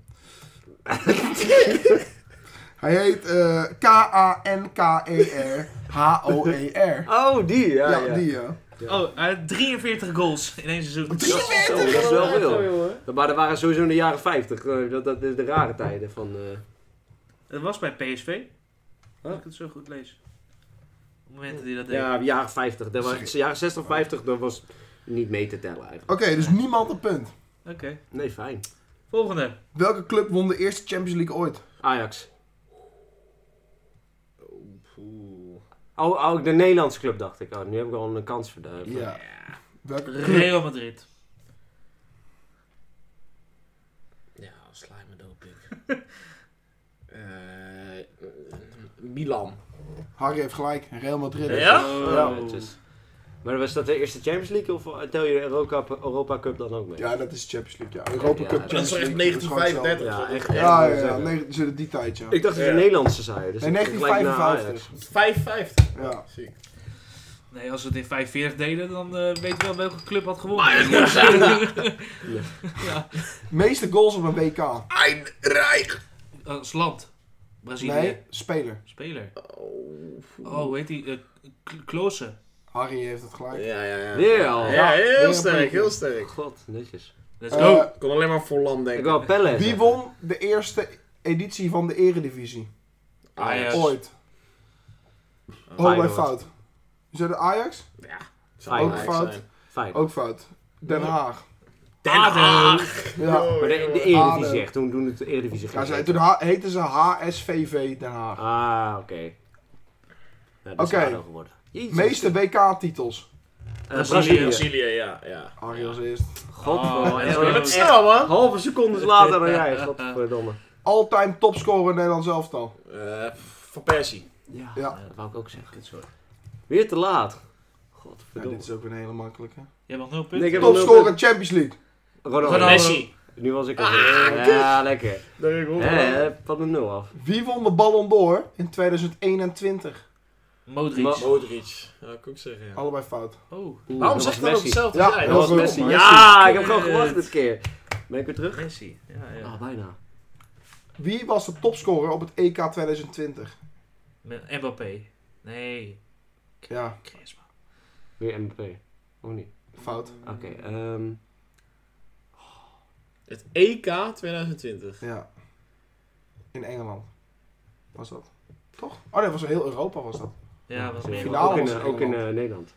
Speaker 4: Hij heet eh, E K-A-N-K-E-R-H-O-E-R.
Speaker 5: Oh, die. Ja,
Speaker 4: E Ja,
Speaker 5: ja.
Speaker 4: die eh. ja.
Speaker 2: Oh, hij had 43 goals in één seizoen.
Speaker 5: Zo, dat is wel veel. Maar dat waren sowieso in de jaren 50. eh, Dat, dat is de rare tijden van... eh,
Speaker 2: Dat was bij PSV. Als
Speaker 5: Huh?
Speaker 2: ik het zo goed lees. Op momenten die dat deed.
Speaker 5: Ja, jaren 50. Dat was, jaren 60, 50, dat was niet mee te tellen eigenlijk.
Speaker 4: Oké, dus niemand een punt.
Speaker 2: Oké.
Speaker 5: Nee, fijn. *laughs*
Speaker 2: Volgende.
Speaker 4: Welke club won de eerste Champions League ooit?
Speaker 5: Ajax. Oh, oh, de Nederlandse club dacht ik. Oh, nu heb ik al een kans verduiveld.
Speaker 4: Ja. Welke club?
Speaker 2: Real Madrid.
Speaker 3: Ja, sla me dood, *laughs* pik. Eh, Milan.
Speaker 4: Harry heeft gelijk. Real Madrid.
Speaker 3: Ja?
Speaker 2: Oh,
Speaker 5: Ja, Oh, netjes. Maar was dat de eerste Champions League of tel je de Europa, Europa Cup dan ook mee?
Speaker 4: Ja, dat is Champions League. Ja. Europa
Speaker 5: Ja,
Speaker 4: Cup
Speaker 5: dat
Speaker 3: Dat is
Speaker 4: Champions
Speaker 3: toch echt
Speaker 4: League, dat is gewoon hetzelfde.
Speaker 3: 1935?
Speaker 5: Ja, echt.
Speaker 4: Ja, ja,
Speaker 5: echt,
Speaker 4: ja.
Speaker 5: moet ik
Speaker 4: Nee, ze- die tijd, ja.
Speaker 5: zeggen. Ik dacht dat
Speaker 3: Ja.
Speaker 5: de Nederlandse zei. Dus
Speaker 4: In
Speaker 5: ik ging gelijk naar Ajax.
Speaker 4: 1955.
Speaker 3: 55.
Speaker 4: Ja.
Speaker 3: Zie ik.
Speaker 2: Nee, als we het in 45 deden, dan eh weet je wel welke club had gewonnen. *laughs*
Speaker 4: Meeste goals op een WK.
Speaker 3: Einrijk.
Speaker 2: Als land. Brazilië.
Speaker 4: Nee, speler.
Speaker 2: Speler.
Speaker 3: Oh.
Speaker 2: Oh, hoe heet die? eh K- Klose.
Speaker 4: Harry heeft het gelijk.
Speaker 3: Ja, ja, ja.
Speaker 5: Weer al.
Speaker 3: Ja, heel
Speaker 4: weer
Speaker 3: sterk,
Speaker 4: een
Speaker 3: heel sterk.
Speaker 5: God, netjes.
Speaker 2: Let's
Speaker 4: Eh,
Speaker 2: go.
Speaker 4: Oh.
Speaker 3: Ik kon alleen maar voor Lam
Speaker 5: Ik
Speaker 3: denken.
Speaker 5: wou Pelle hebben.
Speaker 4: Wie won de eerste editie van de Eredivisie?
Speaker 3: Ah,
Speaker 2: Ajax.
Speaker 4: Ooit. Oh, bij
Speaker 5: Feyenoord.
Speaker 4: fout. Is dat de Ajax?
Speaker 3: Zou
Speaker 5: Ook
Speaker 3: Ajax
Speaker 4: fout.
Speaker 3: zijn.
Speaker 5: Fijn.
Speaker 4: Ook fout. Den Haag.
Speaker 2: Den
Speaker 5: Ah,
Speaker 2: Haag.
Speaker 4: Ja.
Speaker 3: Oh,
Speaker 5: Maar de,
Speaker 3: jongen.
Speaker 5: de Eredivisie echt. Toen doen het de Eredivisie
Speaker 4: Ja,
Speaker 5: geen
Speaker 4: ze,
Speaker 5: reet.
Speaker 4: toen ha- heette ze HSVV Den Haag.
Speaker 5: Ah, oké. Nou, dat is
Speaker 4: Oké.
Speaker 5: ADO geworden. Jezus.
Speaker 4: Meeste WK-titels.
Speaker 5: Eh,
Speaker 2: Brazilië.
Speaker 5: Brazilië.
Speaker 3: Brazilië, ja, ja.
Speaker 4: Harry als eerst.
Speaker 5: God,
Speaker 2: Oh,
Speaker 5: eh,
Speaker 2: dat
Speaker 5: eh,
Speaker 2: is
Speaker 5: echt
Speaker 3: Snel, man.
Speaker 5: halve secondes later dan jij. Godverdomme.
Speaker 4: All-time topscorer in Nederlands elftal.
Speaker 3: Eh, van Persie.
Speaker 5: Ja,
Speaker 4: Ja.
Speaker 5: dat wou ik ook zeggen. Weer te laat.
Speaker 4: Nou, dit
Speaker 5: Godverdomme.
Speaker 4: is ook een hele makkelijke.
Speaker 2: Jij mag nul punten.
Speaker 5: Nee, ik heb al nul punten.
Speaker 4: Topscorer Champions League.
Speaker 5: Ronaldo.
Speaker 2: Ronaldo. Messi.
Speaker 5: Nu was ik al goed. Ja, lekker.
Speaker 3: Daar ik
Speaker 5: Hé, van de nul af.
Speaker 4: Wie won de Ballon d'Or in 2021?
Speaker 2: Modric.
Speaker 5: Ma-
Speaker 3: Modric. Ja, kan ik zeggen, ja.
Speaker 4: Allebei fout.
Speaker 2: oh,
Speaker 5: Oeh,
Speaker 3: Waarom
Speaker 5: dat
Speaker 3: zegt dat
Speaker 5: was
Speaker 3: op
Speaker 5: Messi.
Speaker 3: hetzelfde
Speaker 4: Ja,
Speaker 3: zijn?
Speaker 4: dat was
Speaker 3: Dat was
Speaker 4: Messi.
Speaker 3: Messi.
Speaker 5: Ja, ik heb gewoon gewacht dit keer. Ben ik weer terug?
Speaker 2: Eh, Messi. Ja, ja.
Speaker 5: Ah, bijna.
Speaker 4: Wie was de topscorer op het E EK 2020?
Speaker 2: Met Mbappé. Nee.
Speaker 4: Ja,
Speaker 2: Griezmann.
Speaker 5: Weer MVP. Of niet?
Speaker 4: fout.
Speaker 5: Oké, ehm...
Speaker 3: Het E EK 2020.
Speaker 4: Ja. In Engeland. Was dat? Toch? Oh nee, was heel Europa was dat.
Speaker 2: Ja, wat meer.
Speaker 4: Finale
Speaker 5: Ook in,
Speaker 4: was
Speaker 5: eh,
Speaker 4: in
Speaker 5: ook in eh, Nederland.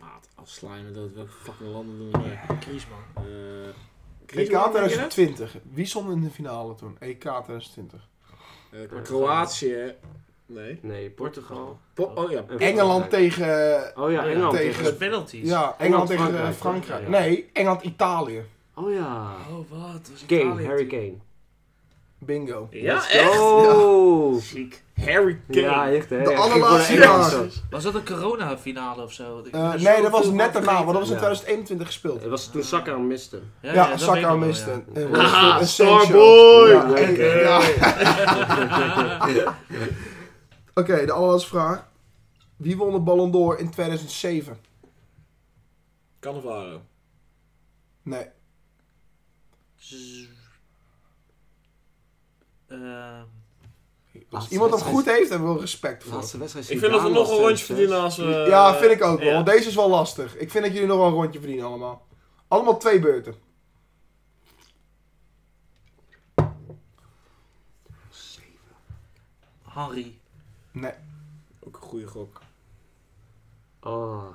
Speaker 3: Maat, afslijmen dat welke fucking landen doen we.
Speaker 2: Griezmann.
Speaker 3: Eh,
Speaker 4: EK
Speaker 3: Griekenland, denk je dat?
Speaker 4: 2020. Wie stond in de finale toen? E EK 2020.
Speaker 3: Eh, Kro- Kroatië. Nee.
Speaker 5: Nee, Portugal.
Speaker 3: Po- oh ja.
Speaker 5: en
Speaker 4: Engeland
Speaker 5: Frankrijk.
Speaker 4: tegen... eh,
Speaker 5: Oh ja, Engeland
Speaker 4: tegen-
Speaker 5: tegen...
Speaker 2: Dat is penalties.
Speaker 4: Ja,
Speaker 5: Engeland,
Speaker 4: Engeland tegen eh,
Speaker 5: Frankrijk,
Speaker 4: Frankrijk.
Speaker 5: toch? Ja.
Speaker 4: Nee, Engeland-Italië.
Speaker 5: Oh ja.
Speaker 2: Oh, wat? Was
Speaker 5: Kane,
Speaker 2: Italië
Speaker 5: Harry
Speaker 2: toen?
Speaker 5: Kane.
Speaker 4: Bingo.
Speaker 3: Ja, eh. echt?
Speaker 5: Oh!
Speaker 2: Ziek.
Speaker 3: Harry Kane.
Speaker 5: Ja, echt hè.
Speaker 4: De
Speaker 5: Echt,
Speaker 4: allerlaatste
Speaker 5: ik word er echt
Speaker 4: jaar.
Speaker 5: zo.
Speaker 2: Was dat een corona-finale of zo? Ik ben
Speaker 4: Eh,
Speaker 2: er
Speaker 4: nee,
Speaker 2: zo
Speaker 4: dat was
Speaker 2: veel
Speaker 4: net
Speaker 2: van
Speaker 4: daarna, want dat was in
Speaker 5: vergeten.
Speaker 4: 2021 gespeeld.
Speaker 5: Het was toen Saka miste.
Speaker 2: vergeten.
Speaker 4: Ja,
Speaker 2: ja, dat weet ik
Speaker 4: Saka
Speaker 2: nog wel,
Speaker 4: miste.
Speaker 2: ja. Ah,
Speaker 4: En
Speaker 3: Haha,
Speaker 4: Wilson,
Speaker 3: Starboy!
Speaker 4: Sancho. Ja, eh,
Speaker 3: Oké.
Speaker 4: en- ja. *laughs* Oké, de allerlaatste vraag. Wie won de Ballon d'Or in 2007?
Speaker 3: Cannavaro.
Speaker 4: Nee,
Speaker 2: Z- Ehm,
Speaker 4: als iemand hem goed heeft, hebben we respect voor.
Speaker 5: Laatste wedstrijd.
Speaker 3: Ik vind dat we nog een rondje verdienen als we... eh,
Speaker 4: Ja, vind ik ook wel.
Speaker 2: Eh, ja.
Speaker 4: Want deze is wel lastig. Ik vind dat jullie nog wel een rondje verdienen allemaal. Allemaal twee beurten.
Speaker 2: Henry.
Speaker 4: Nee,
Speaker 3: Ook een goede gok.
Speaker 5: Oh,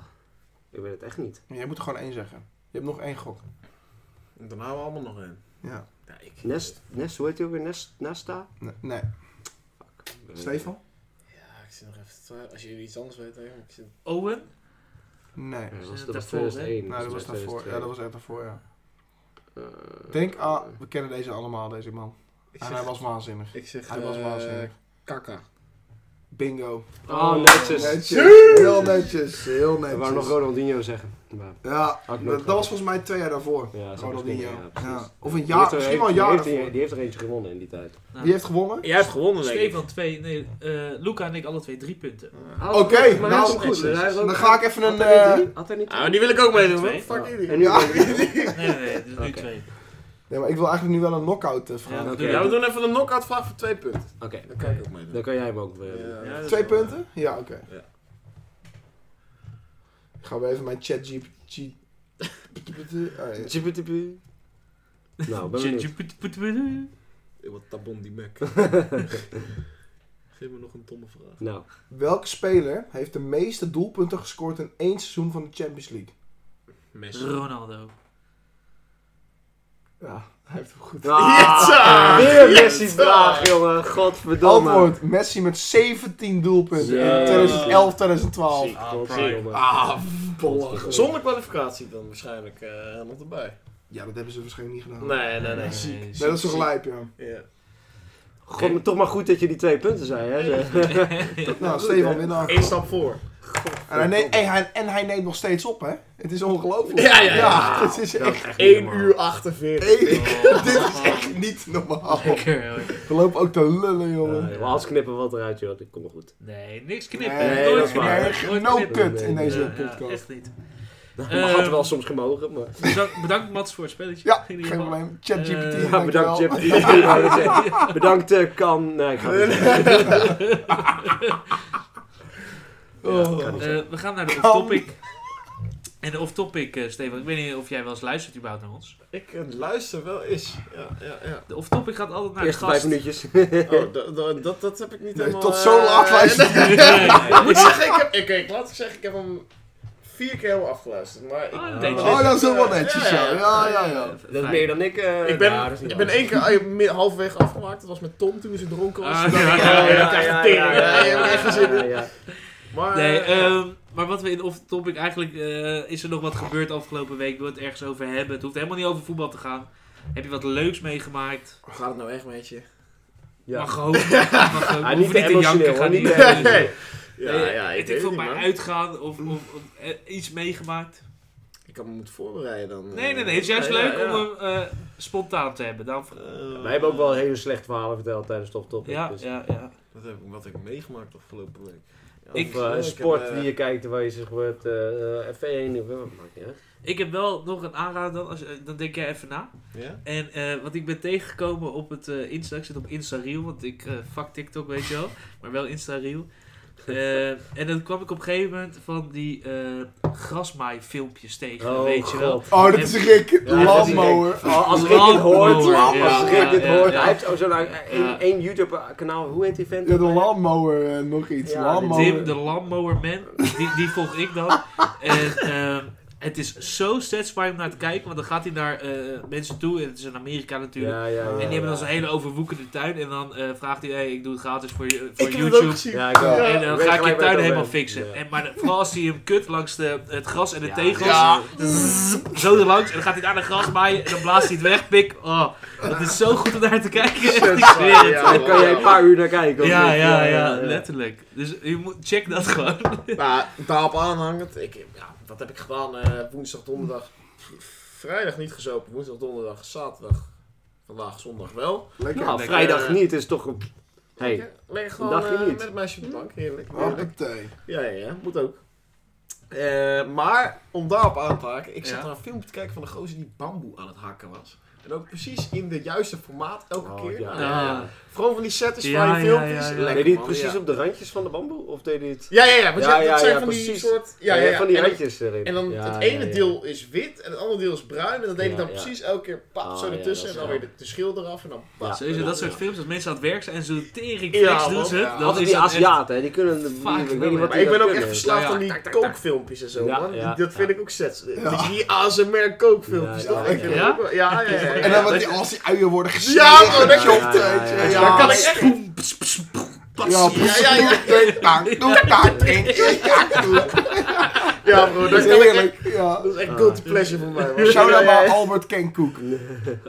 Speaker 5: ik weet het echt niet.
Speaker 4: jij moet er gewoon één zeggen. Je hebt nog één gok.
Speaker 3: En Daarna houden we allemaal nog in.
Speaker 4: Ja.
Speaker 3: Ja, ik...
Speaker 5: Nest, Nest hoe heet hij ook weer? Nest, Nesta?
Speaker 4: Nee. nee.
Speaker 5: Eh,
Speaker 4: Stefan?
Speaker 3: Ja, ik zit nog even te twijfelen. Als jullie iets anders weten, hè, ik zit...
Speaker 2: Owen.
Speaker 4: Nee.
Speaker 5: Ja, dat was,
Speaker 2: Is
Speaker 5: Eh,
Speaker 2: het
Speaker 5: dat was
Speaker 2: daarvoor, hè?
Speaker 5: 2001.
Speaker 4: Nou, dat was daarvoor. Ja, dat was echt daarvoor, ja.
Speaker 5: Eh,
Speaker 4: Denk
Speaker 5: aan.
Speaker 4: aan, we kennen deze allemaal, deze man.
Speaker 3: Ik
Speaker 4: En hij
Speaker 3: zeg...
Speaker 4: was waanzinnig.
Speaker 3: Ik zeg...
Speaker 4: Hij was
Speaker 3: eh,
Speaker 4: waanzinnig.
Speaker 3: Kaka.
Speaker 4: Bingo.
Speaker 5: Oh, netjes.
Speaker 4: Heel netjes, heel
Speaker 5: We
Speaker 4: netjes.
Speaker 5: wou nog Ronaldinho zeggen. Maar,
Speaker 4: Ja,
Speaker 5: Had ik
Speaker 4: dat,
Speaker 5: nooit
Speaker 4: dat was volgens mij twee jaar daarvoor.
Speaker 5: ja, zou
Speaker 4: Ronaldinho.
Speaker 5: kunnen, ja, precies.
Speaker 4: Ja. Of een
Speaker 5: Die heeft
Speaker 4: jaar,
Speaker 5: er
Speaker 4: misschien
Speaker 5: een-
Speaker 4: wel een
Speaker 5: die
Speaker 4: jaar
Speaker 5: heeft, er-
Speaker 4: daarvoor.
Speaker 5: die heeft er eentje gewonnen in die tijd.
Speaker 2: Nou,
Speaker 4: Wie heeft gewonnen?
Speaker 3: Jij hebt gewonnen, denk ik.
Speaker 2: Stefan twee, nee, eh Luca en ik alle twee drie
Speaker 4: *laughs*
Speaker 2: punten.
Speaker 5: Oké,
Speaker 4: Oké,
Speaker 5: Oh, maar
Speaker 4: nou,
Speaker 5: hij is goed.
Speaker 3: netjes.
Speaker 5: Hij heeft ook-
Speaker 4: Dan ga ik even een...
Speaker 5: Had hij niet
Speaker 4: eh,
Speaker 5: drie? Had hij niet
Speaker 3: Ah, maar die wil ik ook meedoen, hoor.
Speaker 2: Twee.
Speaker 3: Fuck
Speaker 5: Ja.
Speaker 3: jullie.
Speaker 5: En nu
Speaker 4: Ja.
Speaker 5: ben
Speaker 2: Nee,
Speaker 5: ik-
Speaker 2: nee, nee, dus nu
Speaker 5: Oké.
Speaker 2: twee.
Speaker 4: Nee, maar ik wil eigenlijk nu wel een knockout out vragen.
Speaker 2: Ja, dat
Speaker 5: Oké.
Speaker 2: doe
Speaker 3: Ja, we
Speaker 2: jij.
Speaker 3: doen even een knock-out vraag voor twee punten.
Speaker 5: Oké,
Speaker 3: Dan kan ik ook meedoen.
Speaker 5: dan kan jij hem ook eh, weer doen.
Speaker 3: Ja, dat is
Speaker 4: Twee
Speaker 3: wel-
Speaker 4: punten? Ja, oké.
Speaker 3: Ja.
Speaker 4: Ik ga weer even mijn chat G... G... Ah, ja.
Speaker 5: Tjippetipi. Nou, ben benieuwd.
Speaker 2: Tjitjiputputu.
Speaker 3: Ik wat tabon die *laughs* Mac. Geef me nog een domme vraag.
Speaker 4: *laughs*
Speaker 5: Nou,
Speaker 4: Welke speler heeft de meeste doelpunten gescoord in één seizoen van de Champions League?
Speaker 3: Messi.
Speaker 2: Ronaldo.
Speaker 4: Ja, hij heeft hem goed.
Speaker 5: *laughs* Ah, weer een Messi-vraag, jongen. Godverdomme.
Speaker 4: Antwoord, eh, Messi met 17 doelpunten
Speaker 5: Zo.
Speaker 4: in 2011, 2012.
Speaker 3: Ziek.
Speaker 2: Ah,
Speaker 5: Godverdomme.
Speaker 2: prime.
Speaker 5: jongen.
Speaker 4: Ah,
Speaker 5: belachelijk.
Speaker 3: Zonder kwalificatie dan waarschijnlijk eh nog erbij.
Speaker 4: Ja, dat hebben ze waarschijnlijk niet gedaan.
Speaker 3: Nee, nee, nee.
Speaker 4: Ziek.
Speaker 2: Nee,
Speaker 4: Nee,
Speaker 2: ziek,
Speaker 4: dat is toch
Speaker 3: ziek.
Speaker 4: lijp, ja.
Speaker 3: Ja.
Speaker 5: God, maar toch maar goed dat je die twee punten zei, hè? zeg.
Speaker 4: *laughs*
Speaker 2: *laughs*
Speaker 4: Nou,
Speaker 5: goed,
Speaker 4: Stefan
Speaker 5: hè?
Speaker 4: winnaar.
Speaker 3: Eén stap voor.
Speaker 4: En hij, neemt, en, hij, en hij neemt nog steeds op, hè? Het is ongelooflijk.
Speaker 3: Ja, ja, ja.
Speaker 4: het is
Speaker 5: Dat
Speaker 4: echt...
Speaker 5: is echt niet
Speaker 3: 1
Speaker 5: normaal.
Speaker 3: uur 48.
Speaker 2: Oh,
Speaker 4: Dit is echt niet normaal.
Speaker 2: Lekker hoor.
Speaker 4: We lopen ook te lullen, jongen.
Speaker 5: Nee, maar als knippen wat eruit, joh. Dat komt wel goed. *laughs*
Speaker 2: Nee, niks knippen.
Speaker 4: Nee,
Speaker 5: dat
Speaker 2: Nooit
Speaker 5: is waar.
Speaker 2: knippen. Nooit
Speaker 4: No
Speaker 2: knippen.
Speaker 4: cut in deze
Speaker 2: Eh, Ja, ja,
Speaker 4: podcast.
Speaker 2: echt niet.
Speaker 5: Dat
Speaker 2: Eh,
Speaker 5: had wel soms gemogen, maar...
Speaker 2: Bedankt, bedankt Mats voor het spelletje.
Speaker 4: Ja,
Speaker 2: in
Speaker 4: geen
Speaker 2: ieder geval.
Speaker 4: probleem. ChatGPT,
Speaker 2: Eh, ja,
Speaker 4: dankjewel.
Speaker 5: Ja, bedankt, Chip. Ik wou het zeggen. bedankt, eh, Kan. *laughs* Nee, ik ga het niet zeggen.
Speaker 4: Oh.
Speaker 2: Eh, we gaan naar de off-topic. En de off-topic, eh, Stefan. Ik weet niet of jij wel eens luistert überhaupt naar ons.
Speaker 3: Ik eh, luister wel eens. Ja, ja, ja.
Speaker 2: De off-topic gaat altijd naar
Speaker 5: Eerste
Speaker 2: de
Speaker 5: vijf
Speaker 2: gast.
Speaker 5: minuutjes.
Speaker 3: *laughs* Oh, da- da- dat, dat heb ik niet
Speaker 4: Nee,
Speaker 3: helemaal...
Speaker 4: tot zo
Speaker 3: eh,
Speaker 4: laat
Speaker 3: *laughs*
Speaker 4: luisteren.
Speaker 2: *laughs* Nee, nee,
Speaker 3: Ik moet
Speaker 2: nee.
Speaker 3: zeggen, ik *laughs* heb... Oké, ik laat ik zeggen, ik heb hem vier keer helemaal afgeluisterd. Maar ik,
Speaker 2: Oh, dat deed je.
Speaker 4: Oh, dat is wel netjes, ja. Ja, ja,
Speaker 2: Eh,
Speaker 4: ja.
Speaker 5: *laughs* Dat is meer dan ik. eh,
Speaker 3: Ik ben,
Speaker 5: nou, dat is niet
Speaker 3: ik ben
Speaker 5: waar.
Speaker 3: één keer ah, mi- halverwege afgemaakt. Dat was met Tom toen ze dronken was.
Speaker 2: Ah,
Speaker 3: Toen dacht
Speaker 2: ja,
Speaker 3: ik,
Speaker 2: ja,
Speaker 3: oh,
Speaker 2: ja,
Speaker 3: dat krijg je tering. Ja, ja, ja, ja, ja, ja.
Speaker 5: ja.
Speaker 3: Maar,
Speaker 2: Nee,
Speaker 3: eh,
Speaker 2: ehm, maar wat we in off-topic eigenlijk... eh, is er nog wat gebeurd afgelopen week? Wil het ergens over hebben? Het hoeft helemaal niet over voetbal te gaan. Heb je wat leuks meegemaakt?
Speaker 3: hoe gaat het nou echt met je?
Speaker 5: Ja.
Speaker 2: Mag hopen. Mag hopen.
Speaker 5: Ah,
Speaker 2: We
Speaker 5: niet
Speaker 2: hoeven niet te
Speaker 5: emotioneel,
Speaker 2: janken.
Speaker 5: hoor,
Speaker 2: Ga
Speaker 5: niet
Speaker 2: niet...
Speaker 5: te-
Speaker 2: eh,
Speaker 3: Nee. Ja,
Speaker 2: eh,
Speaker 3: ja, ik
Speaker 2: weet
Speaker 3: weet
Speaker 2: veel,
Speaker 3: het
Speaker 2: maar
Speaker 3: niet, man.
Speaker 2: uitgaan of, of, of, eh, iets meegemaakt.
Speaker 3: Ik had me moeten voorbereiden
Speaker 2: Nee,
Speaker 3: dan.
Speaker 2: nee,
Speaker 3: eh.
Speaker 2: nee. Het is juist
Speaker 3: Ja, ja,
Speaker 2: leuk
Speaker 3: ja.
Speaker 2: om hem eh, spontaan te hebben. Dan,
Speaker 3: Eh,
Speaker 5: Wij hebben ook wel hele slecht verhalen verteld tijdens Top Top.
Speaker 2: ja,
Speaker 5: Dus-
Speaker 2: ja, ja.
Speaker 3: Wat heb ik, wat heb ik meegemaakt afgelopen week? Ja,
Speaker 5: Of
Speaker 2: Ik-
Speaker 5: eh,
Speaker 3: eh,
Speaker 5: een sport
Speaker 3: heb, eh,
Speaker 5: die je kijkt waar je zich wordt eh, eh, F1 of wat maakt niet uit.
Speaker 2: Ik heb wel nog een aanrader, dan, als, eh, dan denk jij even na.
Speaker 3: Ja?
Speaker 2: En eh, wat ik ben tegengekomen op het eh, Insta, ik zit op Insta Reel, want ik eh fuck TikTok, weet je wel, maar wel Insta
Speaker 3: *laughs*
Speaker 2: Reel. Eh, en dan kwam ik op een gegeven moment van die eh grasmaai-filmpjes tegen, weet je wel.
Speaker 4: Oh, dat is Rick.
Speaker 5: Ja, dat is
Speaker 4: Lammoer.
Speaker 5: Oh, als Rick dit hoort,
Speaker 2: Landbouwer,
Speaker 5: als
Speaker 2: ja,
Speaker 5: Rick
Speaker 2: ja,
Speaker 5: dit
Speaker 2: ja,
Speaker 5: hoort,
Speaker 2: ja.
Speaker 5: hij heeft ook zo'n eh,
Speaker 2: Ja.
Speaker 5: één één YouTube kanaal, hoe heet die vent?
Speaker 4: Ja, de lammoer, eh, nog iets.
Speaker 5: Ja,
Speaker 4: Lammoer.
Speaker 2: Tim, de Lammower Man, die, die volg ik dan. En ehm, het is zo satisfying om naar te kijken, want dan gaat hij naar eh, mensen toe, en het is in Amerika natuurlijk.
Speaker 5: Ja, ja, ja.
Speaker 2: En die hebben dan
Speaker 5: ja.
Speaker 2: zo'n hele overwoekende tuin. En dan eh, vraagt hij, hey, ik doe het gratis voor, je, voor
Speaker 3: Ik heb het ook
Speaker 2: YouTube.
Speaker 3: gezien.
Speaker 5: Ja, ik ook.
Speaker 4: Ja.
Speaker 2: En dan
Speaker 5: Ik weet
Speaker 2: ga ik je
Speaker 5: gelijk waar je het
Speaker 2: tuin
Speaker 5: over
Speaker 2: helemaal
Speaker 5: hebt.
Speaker 2: fixen.
Speaker 5: Ja.
Speaker 2: En, maar de- vooral als hij hem kut langs de, het gras en de
Speaker 5: Ja.
Speaker 2: tegels.
Speaker 4: Ja.
Speaker 2: Zo erlangs. En dan gaat hij daar de gras maaien. En dan blaast hij het weg. Pik. Oh, dat is zo goed om naar te kijken. Ik zweer het.
Speaker 3: Ja,
Speaker 5: Daar kan jij een
Speaker 2: *laughs*
Speaker 5: paar uur naar kijken. of
Speaker 2: Ja,
Speaker 5: niet?
Speaker 2: ja, ja, letterlijk. Dus je moet, check dat gewoon.
Speaker 3: Nou, daarop aanhangend. Ik, ja, wat heb ik gedaan eh, woensdag, donderdag? Vrijdag niet gezopen, woensdag, donderdag, zaterdag. Vandaag, zondag wel.
Speaker 4: Lekker.
Speaker 5: Nou,
Speaker 2: Lekker.
Speaker 5: vrijdag niet is toch op. Hey,
Speaker 3: Lekker, lekker gewoon
Speaker 5: dagje
Speaker 3: eh,
Speaker 5: niet. Ah.
Speaker 3: met een meisje op de bank, heerlijk. heerlijk.
Speaker 4: Hoppatee.
Speaker 3: Ja, ja, ja, moet ook. Eh, maar om daarop aan te haken, ik zat
Speaker 2: Ja.
Speaker 3: naar een filmpje te kijken van een gozer die bamboe aan het hakken was. En ook precies in de juiste formaat elke
Speaker 5: Oh,
Speaker 3: keer.
Speaker 5: ja.
Speaker 3: Nou,
Speaker 2: Ah.
Speaker 3: Gewoon van die satisfying
Speaker 2: Ja, ja,
Speaker 3: filmpjes.
Speaker 2: ja, ja.
Speaker 3: Lekker,
Speaker 5: deed hij het
Speaker 3: man,
Speaker 5: precies
Speaker 3: ja.
Speaker 5: op de randjes van de bamboe? Of deed hij het.
Speaker 3: Ja, ja, ja. want
Speaker 5: Ja,
Speaker 3: ja,
Speaker 5: ja,
Speaker 3: dat zijn
Speaker 5: ja,
Speaker 3: van die
Speaker 5: precies.
Speaker 3: soort... Ja, ja, ja.
Speaker 5: Van die
Speaker 3: en dan-
Speaker 5: randjes erin.
Speaker 3: En dan
Speaker 5: Ja,
Speaker 3: het ene
Speaker 5: ja, ja.
Speaker 3: deel is wit en het andere deel is bruin. En dat deed ik
Speaker 5: Ja,
Speaker 3: dan
Speaker 5: ja.
Speaker 3: precies elke keer pap
Speaker 5: Ah,
Speaker 3: zo
Speaker 5: ja,
Speaker 3: ertussen.
Speaker 5: dat
Speaker 3: en
Speaker 5: is
Speaker 3: dan
Speaker 5: wel-
Speaker 3: weer de, de schil eraf en dan
Speaker 5: Ja.
Speaker 3: pap.
Speaker 2: Sowieso dat soort films. Als mensen aan het werk zijn en zo'n tering
Speaker 3: Ja,
Speaker 2: flex doen
Speaker 3: man,
Speaker 2: ze.
Speaker 3: ja.
Speaker 2: Dat
Speaker 5: Altijd
Speaker 2: is
Speaker 5: die
Speaker 2: dan echt-
Speaker 5: Aziaten, hè, die kunnen. die-
Speaker 2: Fuck,
Speaker 5: ik weet
Speaker 2: wel,
Speaker 5: niet wat
Speaker 3: Maar
Speaker 5: die
Speaker 3: ik ben
Speaker 5: dat
Speaker 3: ook echt
Speaker 5: kunnen.
Speaker 3: verslaafd
Speaker 2: Ja,
Speaker 3: aan
Speaker 2: tak,
Speaker 3: die
Speaker 2: tak, tak.
Speaker 3: kookfilmpjes en zo,
Speaker 5: Ja,
Speaker 3: man.
Speaker 5: ja,
Speaker 3: dat vind
Speaker 5: ja.
Speaker 3: ik ook zet.
Speaker 4: Ja.
Speaker 3: Dat je die ASMR kookfilmpjes,
Speaker 5: Ja,
Speaker 3: toch?
Speaker 5: ja,
Speaker 3: Ik vind
Speaker 2: ja.
Speaker 3: dat ook wel- Ja, ja, ja.
Speaker 4: En dan
Speaker 3: ja.
Speaker 4: wat die, als die uien worden gesneden.
Speaker 3: Ja, man, dat
Speaker 5: klopt.
Speaker 4: weet je.
Speaker 5: Ja, ja, ja.
Speaker 3: Daar kan ik echt...
Speaker 2: Boem, ps, ps, ps, pas.
Speaker 4: Ja,
Speaker 3: Ja, ja, ja.
Speaker 4: precies.
Speaker 3: Ja, bro,
Speaker 4: Dat
Speaker 3: dat
Speaker 4: is
Speaker 3: kan ik echt...
Speaker 4: heerlijk. Ja.
Speaker 3: Dat is echt guilty pleasure voor mij, man.
Speaker 4: Shout
Speaker 3: Ja,
Speaker 4: out
Speaker 3: ja,
Speaker 4: naar
Speaker 3: ja.
Speaker 4: Albert Kenkoek.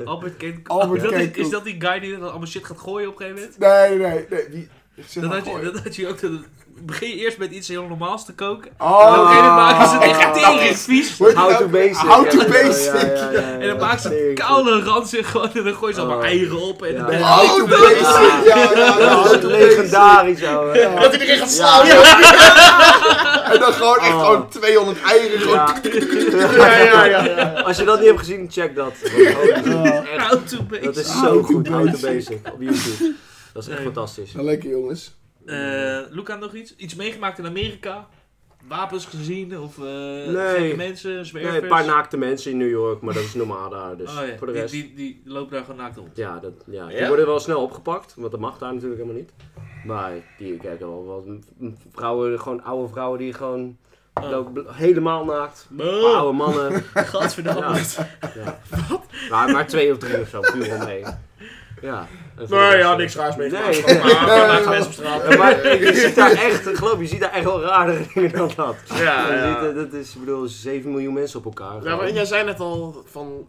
Speaker 2: Albert Kent.
Speaker 4: Albert
Speaker 2: is, dat die-
Speaker 4: Kent.
Speaker 2: is dat die guy die dan allemaal shit gaat gooien op een gegeven moment?
Speaker 4: Nee, nee, nee. Die, zeg
Speaker 2: Dat
Speaker 4: maar
Speaker 2: had, je,
Speaker 4: gooi.
Speaker 2: dat had je ook. dat- begin je eerst met iets heel normaals te koken. En
Speaker 4: Oh,
Speaker 2: dan
Speaker 5: oké,
Speaker 2: dan maken ze het echt
Speaker 5: Ah.
Speaker 2: tering vies.
Speaker 4: Hoe heet
Speaker 5: How
Speaker 4: dat?
Speaker 5: to basic.
Speaker 4: How to
Speaker 5: Ja, ja,
Speaker 4: basic.
Speaker 5: ja, ja, ja, ja.
Speaker 2: En dan maken ze het
Speaker 5: Tering.
Speaker 2: koude ranzig gewoon en dan gooien ze allemaal
Speaker 5: Ah.
Speaker 2: eieren op. En
Speaker 5: Ja. Oh,
Speaker 2: dan-
Speaker 4: How to basic. Ja, ja, ja.
Speaker 5: Dat
Speaker 4: How
Speaker 5: is
Speaker 4: to basic.
Speaker 5: legendarisch, ouwe.
Speaker 4: Ja.
Speaker 3: Dat hij erin gaat
Speaker 5: Ja.
Speaker 3: slaan. Ja,
Speaker 4: En dan gewoon echt
Speaker 5: Oh.
Speaker 4: gewoon 200 eieren. Gewoon
Speaker 5: Ja.
Speaker 3: ja, ja, ja, ja.
Speaker 5: Als je dat niet hebt gezien, check dat.
Speaker 4: Ja.
Speaker 2: How to base.
Speaker 5: Dat is
Speaker 4: Auto
Speaker 5: zo goed, Auto
Speaker 4: Basic.
Speaker 5: Basic, op YouTube. Dat is echt
Speaker 2: Nee.
Speaker 5: fantastisch.
Speaker 4: Nou, lekker jongens.
Speaker 2: Eh, Luca, nog iets? Iets meegemaakt in Amerika? Wapens gezien? Of eh gekke mensen? Zwervers?
Speaker 5: Nee, een paar naakte mensen in New York, maar dat is normaal daar. Dus
Speaker 2: Oh, ja.
Speaker 5: voor de rest.
Speaker 2: Die, die, die lopen daar gewoon naakt rond.
Speaker 5: Ja, dat, ja. die
Speaker 3: Ja?
Speaker 5: worden wel snel opgepakt, want dat mag daar natuurlijk helemaal niet. Maar die kijken wel wat vrouwen, gewoon oude vrouwen die gewoon
Speaker 2: Oh.
Speaker 5: lopen bl- helemaal naakt. Een
Speaker 2: *laughs*
Speaker 5: paar
Speaker 2: Wow,
Speaker 5: Oude mannen.
Speaker 2: gadverdamme.
Speaker 5: Ja. Maar, maar twee of drie of zo, puur om mee. Ja. En voor de
Speaker 3: Nee,
Speaker 5: rest,
Speaker 3: ja,
Speaker 5: eh,
Speaker 3: niks raars
Speaker 5: Nee.
Speaker 3: meegemaakt. Maar ja, maakt mensen op straat.
Speaker 5: Ja, maar
Speaker 3: *laughs*
Speaker 5: je ziet daar echt, ik geloof je, ziet daar echt wel rare dingen dan dat.
Speaker 4: Ah,
Speaker 3: Ja,
Speaker 5: Je
Speaker 3: ja.
Speaker 5: ziet, eh, dat is, ik bedoel, 7 miljoen mensen op elkaar.
Speaker 3: Ja, maar
Speaker 5: gewoon.
Speaker 3: jij zei net al van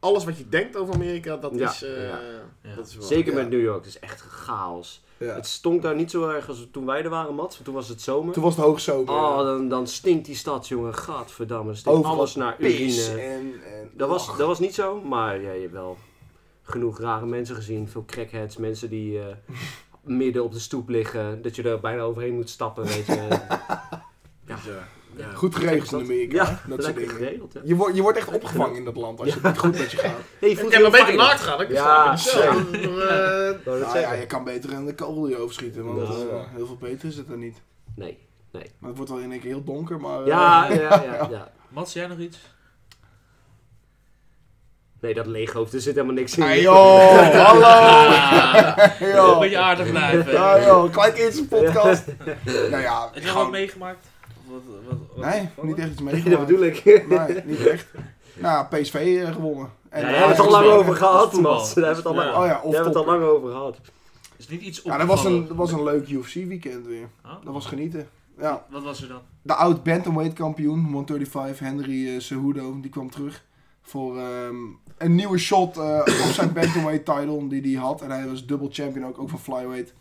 Speaker 3: alles wat je denkt over Amerika, dat
Speaker 5: Ja,
Speaker 3: is. eh,
Speaker 5: ja.
Speaker 2: Ja.
Speaker 3: Dat is wel.
Speaker 5: Zeker
Speaker 4: Ja.
Speaker 5: met New York, het is echt chaos.
Speaker 4: Ja.
Speaker 5: Het stonk daar niet zo erg als toen wij er waren, Mats, want toen was het zomer.
Speaker 4: Toen was het eh, hoogzomer.
Speaker 5: Oh, dan, dan stinkt die stad, jongen. Gadverdamme, stinkt
Speaker 4: Overal
Speaker 5: alles naar
Speaker 4: Pis
Speaker 5: urine.
Speaker 4: en... en
Speaker 5: Dat was, dat was niet zo, maar ja, je hebt wel genoeg rare mensen gezien. Veel crackheads, mensen
Speaker 4: *laughs*
Speaker 5: die eh,
Speaker 4: *laughs*
Speaker 5: midden op de stoep liggen. Dat je er bijna overheen moet stappen, weet je.
Speaker 3: Ja.
Speaker 2: Ja.
Speaker 4: Goed geregeld in Amerika.
Speaker 5: Ja,
Speaker 4: hè? dat soort
Speaker 5: lekker
Speaker 4: dingen.
Speaker 5: geregeld, hè.
Speaker 4: Je, wordt je wordt echt opgevangen in dat land als je het niet goed met je gaat.
Speaker 5: Hey,
Speaker 3: Ik
Speaker 5: voelt
Speaker 3: heb
Speaker 5: heel
Speaker 3: een beetje
Speaker 5: fijn.
Speaker 3: naakt gehad. Ik
Speaker 5: Ja,
Speaker 3: ja, zelf. Eh,
Speaker 5: Wou *laughs* dat
Speaker 4: Nou ja,
Speaker 5: zeggen?
Speaker 4: je kan beter een kogel je overschieten, want
Speaker 5: Nou,
Speaker 4: eh,
Speaker 3: ja.
Speaker 4: heel veel beter is het er niet.
Speaker 5: Nee.
Speaker 4: Maar het wordt wel in één keer heel donker, maar... eh,
Speaker 5: Ja, ja,
Speaker 4: *laughs*
Speaker 5: ja, ja.
Speaker 2: Mats, jij nog iets?
Speaker 5: Nee, dat leeghoofd, er zit helemaal niks in.
Speaker 4: Ah, joh, hallo!
Speaker 5: Oh.
Speaker 2: Ah, *laughs* Een
Speaker 4: joh.
Speaker 2: beetje aardig blijven.
Speaker 4: Ja, joh, kijk eens een podcast. nou ja,
Speaker 2: Heb
Speaker 4: ik
Speaker 2: je nog wat
Speaker 4: ga...
Speaker 2: meegemaakt? Of wat- wat- wat-
Speaker 4: Nee,
Speaker 2: wat-
Speaker 4: niet echt
Speaker 5: *laughs*
Speaker 4: iets
Speaker 5: *laughs* Nee, dat
Speaker 4: meegemaakt.
Speaker 5: bedoel ik.
Speaker 4: Nee, niet echt. Nou, PSV eh, gewonnen.
Speaker 5: Ja,
Speaker 4: En,
Speaker 5: daar
Speaker 2: ja,
Speaker 5: hebben we het
Speaker 2: dat
Speaker 5: al
Speaker 2: is
Speaker 5: lang
Speaker 2: wel-
Speaker 5: over
Speaker 2: dat is
Speaker 5: gehad,
Speaker 2: voetbal.
Speaker 5: Mats. Daar hebben we het al
Speaker 2: Ja.
Speaker 5: lang-
Speaker 4: Oh ja,
Speaker 5: daar
Speaker 4: of
Speaker 5: hebben we het al
Speaker 4: top.
Speaker 5: lang over gehad.
Speaker 2: Is niet iets
Speaker 4: Ja, dat was, een,
Speaker 2: opgevallen?
Speaker 4: dat was een leuk UFC-weekend weer.
Speaker 2: Ah,
Speaker 4: Dat was genieten. Ja.
Speaker 2: Wat was er dan?
Speaker 4: De oud bantamweight kampioen, 135, Henry eh, Cejudo, die kwam terug voor ehm, een nieuwe shot eh, op zijn bantamweight title die hij had. En hij was dubbel champion ook, ook van flyweight.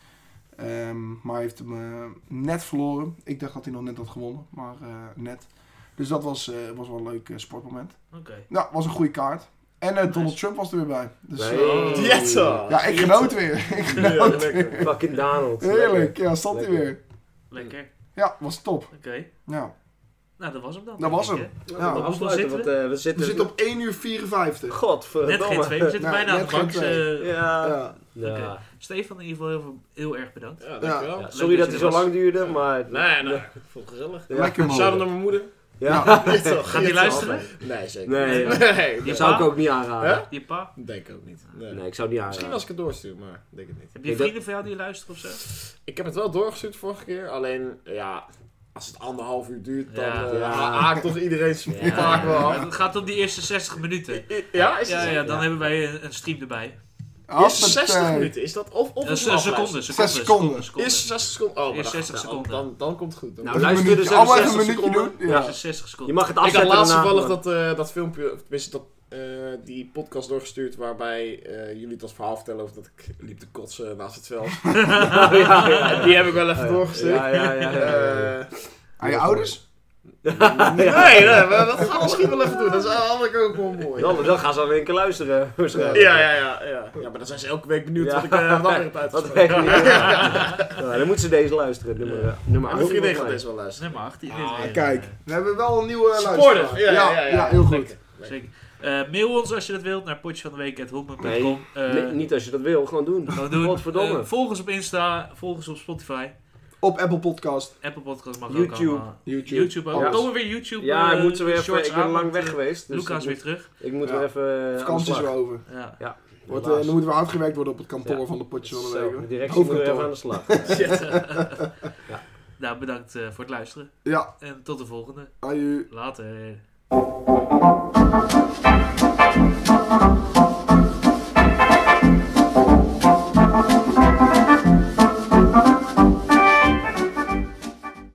Speaker 4: Ehm, maar hij heeft hem eh, net verloren. Ik dacht dat hij nog net had gewonnen, maar eh, net. Dus dat was, eh, was wel een leuk eh, sportmoment.
Speaker 2: Oké.
Speaker 4: Nou, was een goede kaart. En eh, Donald
Speaker 2: Nice.
Speaker 4: Trump was er weer bij. Dus, eh,
Speaker 5: Nee.
Speaker 3: Dieta.
Speaker 4: ja, ik genoot weer. Ik
Speaker 3: Ja,
Speaker 4: genoot.
Speaker 3: lekker.
Speaker 5: Fucking Donald.
Speaker 4: Heerlijk, ja, stond hij
Speaker 5: Lekker.
Speaker 4: weer.
Speaker 2: Lekker.
Speaker 4: Ja, was top.
Speaker 2: Oké.
Speaker 4: Ja.
Speaker 2: Nou, dat was hem dan.
Speaker 4: Dat was
Speaker 2: denk ik,
Speaker 4: hem.
Speaker 2: hè?
Speaker 5: Nou,
Speaker 4: Ja.
Speaker 5: we afsluiten, want eh, we
Speaker 4: We
Speaker 5: zitten...
Speaker 4: zitten op 1 uur 54.
Speaker 5: Godverdomme.
Speaker 2: Net geen twee. We zitten
Speaker 4: Nou,
Speaker 2: bijna aan
Speaker 4: net
Speaker 2: de bank.
Speaker 4: geen twee.
Speaker 2: eh,
Speaker 5: Ja.
Speaker 4: Ja.
Speaker 5: Ja.
Speaker 2: Stefan, in ieder geval heel, veel- heel erg bedankt.
Speaker 3: Ja, dankjewel.
Speaker 5: Ja,
Speaker 3: Ja.
Speaker 5: Sorry dat
Speaker 2: dat
Speaker 5: het
Speaker 2: je
Speaker 5: zo
Speaker 2: er was.
Speaker 5: lang duurde, maar...
Speaker 3: Nee, nee. Ik vond het gezellig.
Speaker 5: Ja.
Speaker 4: Lekker man.
Speaker 3: Zouden naar mijn moeder? *laughs*
Speaker 5: Ja.
Speaker 2: Gaat hij luisteren?
Speaker 3: Nee, zeker
Speaker 5: Nee,
Speaker 3: niet.
Speaker 5: ja.
Speaker 3: Nee,
Speaker 2: Die
Speaker 5: Dat
Speaker 3: nee.
Speaker 5: zou ik
Speaker 2: pa?
Speaker 5: ook niet aanraden.
Speaker 2: Je pa?
Speaker 3: Denk ik ook niet. Nee.
Speaker 5: Nee, ik zou het
Speaker 3: Misschien
Speaker 5: niet aanraden.
Speaker 3: als ik het doorstuur, maar ik denk het niet.
Speaker 2: Heb
Speaker 5: Ik
Speaker 2: je
Speaker 5: dat-
Speaker 2: vrienden van jou die luisteren of zo?
Speaker 3: Ik heb het wel doorgestuurd vorige keer, alleen ja, als het anderhalf uur duurt, dan eh,
Speaker 2: Ja.
Speaker 3: ja.
Speaker 5: Ja.
Speaker 3: haakt toch iedereen zijn
Speaker 5: Ja.
Speaker 3: vaak wel
Speaker 2: maar
Speaker 3: af.
Speaker 2: Het gaat om die eerste 60 minuten.
Speaker 3: Ja, is het
Speaker 2: Ja, ja, dan
Speaker 5: Ja.
Speaker 2: hebben wij een, een stream erbij. Eh,
Speaker 3: Is
Speaker 4: Hoppatee.
Speaker 3: 60 minuten, is dat of, of
Speaker 2: Dat is
Speaker 3: een
Speaker 2: een
Speaker 3: afluister?
Speaker 2: seconde. seconde,
Speaker 4: Zes seconden.
Speaker 2: seconde.
Speaker 3: Is 60 seconden? Oh, maar
Speaker 2: Is
Speaker 3: dan-
Speaker 2: 60
Speaker 3: dan-
Speaker 2: seconden.
Speaker 3: Dan, dan komt het goed. Dan
Speaker 5: Nou,
Speaker 3: komt
Speaker 4: Even
Speaker 3: het
Speaker 5: luister
Speaker 4: minuutje-
Speaker 5: dus even
Speaker 4: allemaal even
Speaker 5: 60
Speaker 4: een minuutje
Speaker 5: seconden.
Speaker 4: doen.
Speaker 2: Ja,
Speaker 4: Ja.
Speaker 2: is 60 seconden.
Speaker 5: Je mag het
Speaker 3: goed. ik had
Speaker 5: afzetten
Speaker 3: laatst
Speaker 5: daarna,
Speaker 3: toevallig
Speaker 5: maar-
Speaker 3: dat, eh, dat filmpje, of tenminste dat, eh, die podcast doorgestuurd waarbij eh, jullie dat verhaal vertellen over dat ik liep te kotsen naast het
Speaker 5: *laughs*
Speaker 3: veld.
Speaker 5: Oh, ja, ja, ja.
Speaker 3: Die heb ik wel even
Speaker 5: Oh Ja,
Speaker 3: doorgestuurd.
Speaker 5: Ja, ja, ja. ja,
Speaker 4: *laughs*
Speaker 5: ja.
Speaker 3: Eh,
Speaker 4: Aan je ouders?
Speaker 3: Nee, nee, maar dat gaan we misschien wel even doen. Dat is eigenlijk ook wel mooi.
Speaker 5: Dan, dan gaan ze alweer een keer luisteren, waarschijnlijk.
Speaker 3: Ja, ja, ja, ja. Ja, maar dan zijn ze elke week benieuwd wat ik eh wat ik heb
Speaker 5: *laughs* Wat
Speaker 3: uitgesproken.
Speaker 2: *laughs*
Speaker 5: weet ik niet.
Speaker 3: *laughs*
Speaker 5: Ja, dan moeten ze deze luisteren, nummer, eh, nummer
Speaker 3: Maar
Speaker 5: 8.
Speaker 3: mijn vriendin gaat deze wel
Speaker 2: Dat is
Speaker 3: luisteren.
Speaker 2: nummer 18.
Speaker 4: Ah,
Speaker 2: Dit is-
Speaker 4: kijk. We hebben wel een nieuwe eh, luisteraar.
Speaker 3: Supporter, ja, ja, ja.
Speaker 4: heel goed.
Speaker 3: Lekker.
Speaker 2: Zeker. Eh, mail ons als je dat wilt naar potjesvandeweek.hotman.com.
Speaker 5: Nee, Nee,
Speaker 4: Eh,
Speaker 5: niet als je dat wil, gewoon doen.
Speaker 2: Gewoon Eh, doen.
Speaker 5: Godverdomme.
Speaker 2: Eh, volg ons op Insta, volg ons op Spotify,
Speaker 4: Op Apple Podcast,
Speaker 2: Apple Podcasts mag ook
Speaker 5: YouTube.
Speaker 2: allemaal.
Speaker 4: YouTube.
Speaker 2: YouTube ook.
Speaker 4: Alles.
Speaker 2: Komen weer YouTube
Speaker 5: Ja,
Speaker 2: eh,
Speaker 5: ik moet zo weer even,
Speaker 2: shorts
Speaker 5: ik ben
Speaker 2: aan,
Speaker 5: lang
Speaker 2: want,
Speaker 5: weg
Speaker 2: eh,
Speaker 5: geweest. Dus
Speaker 2: Luca is
Speaker 5: ik
Speaker 2: weer
Speaker 5: moet,
Speaker 2: terug.
Speaker 5: ik moet
Speaker 4: Ja.
Speaker 5: weer even eh, aan de
Speaker 4: vakantie is
Speaker 5: slag.
Speaker 4: weer over.
Speaker 2: Ja.
Speaker 4: Wordt, eh, dan moeten we uitgewerkt worden op het kantoor
Speaker 5: Ja.
Speaker 4: van de potje van de
Speaker 5: Zo, de
Speaker 4: week.
Speaker 5: directie moet weer even aan de slag.
Speaker 4: *laughs*
Speaker 2: Nou, bedankt eh, voor het luisteren.
Speaker 4: Ja,
Speaker 2: En tot de volgende.
Speaker 4: aan je.
Speaker 2: Later.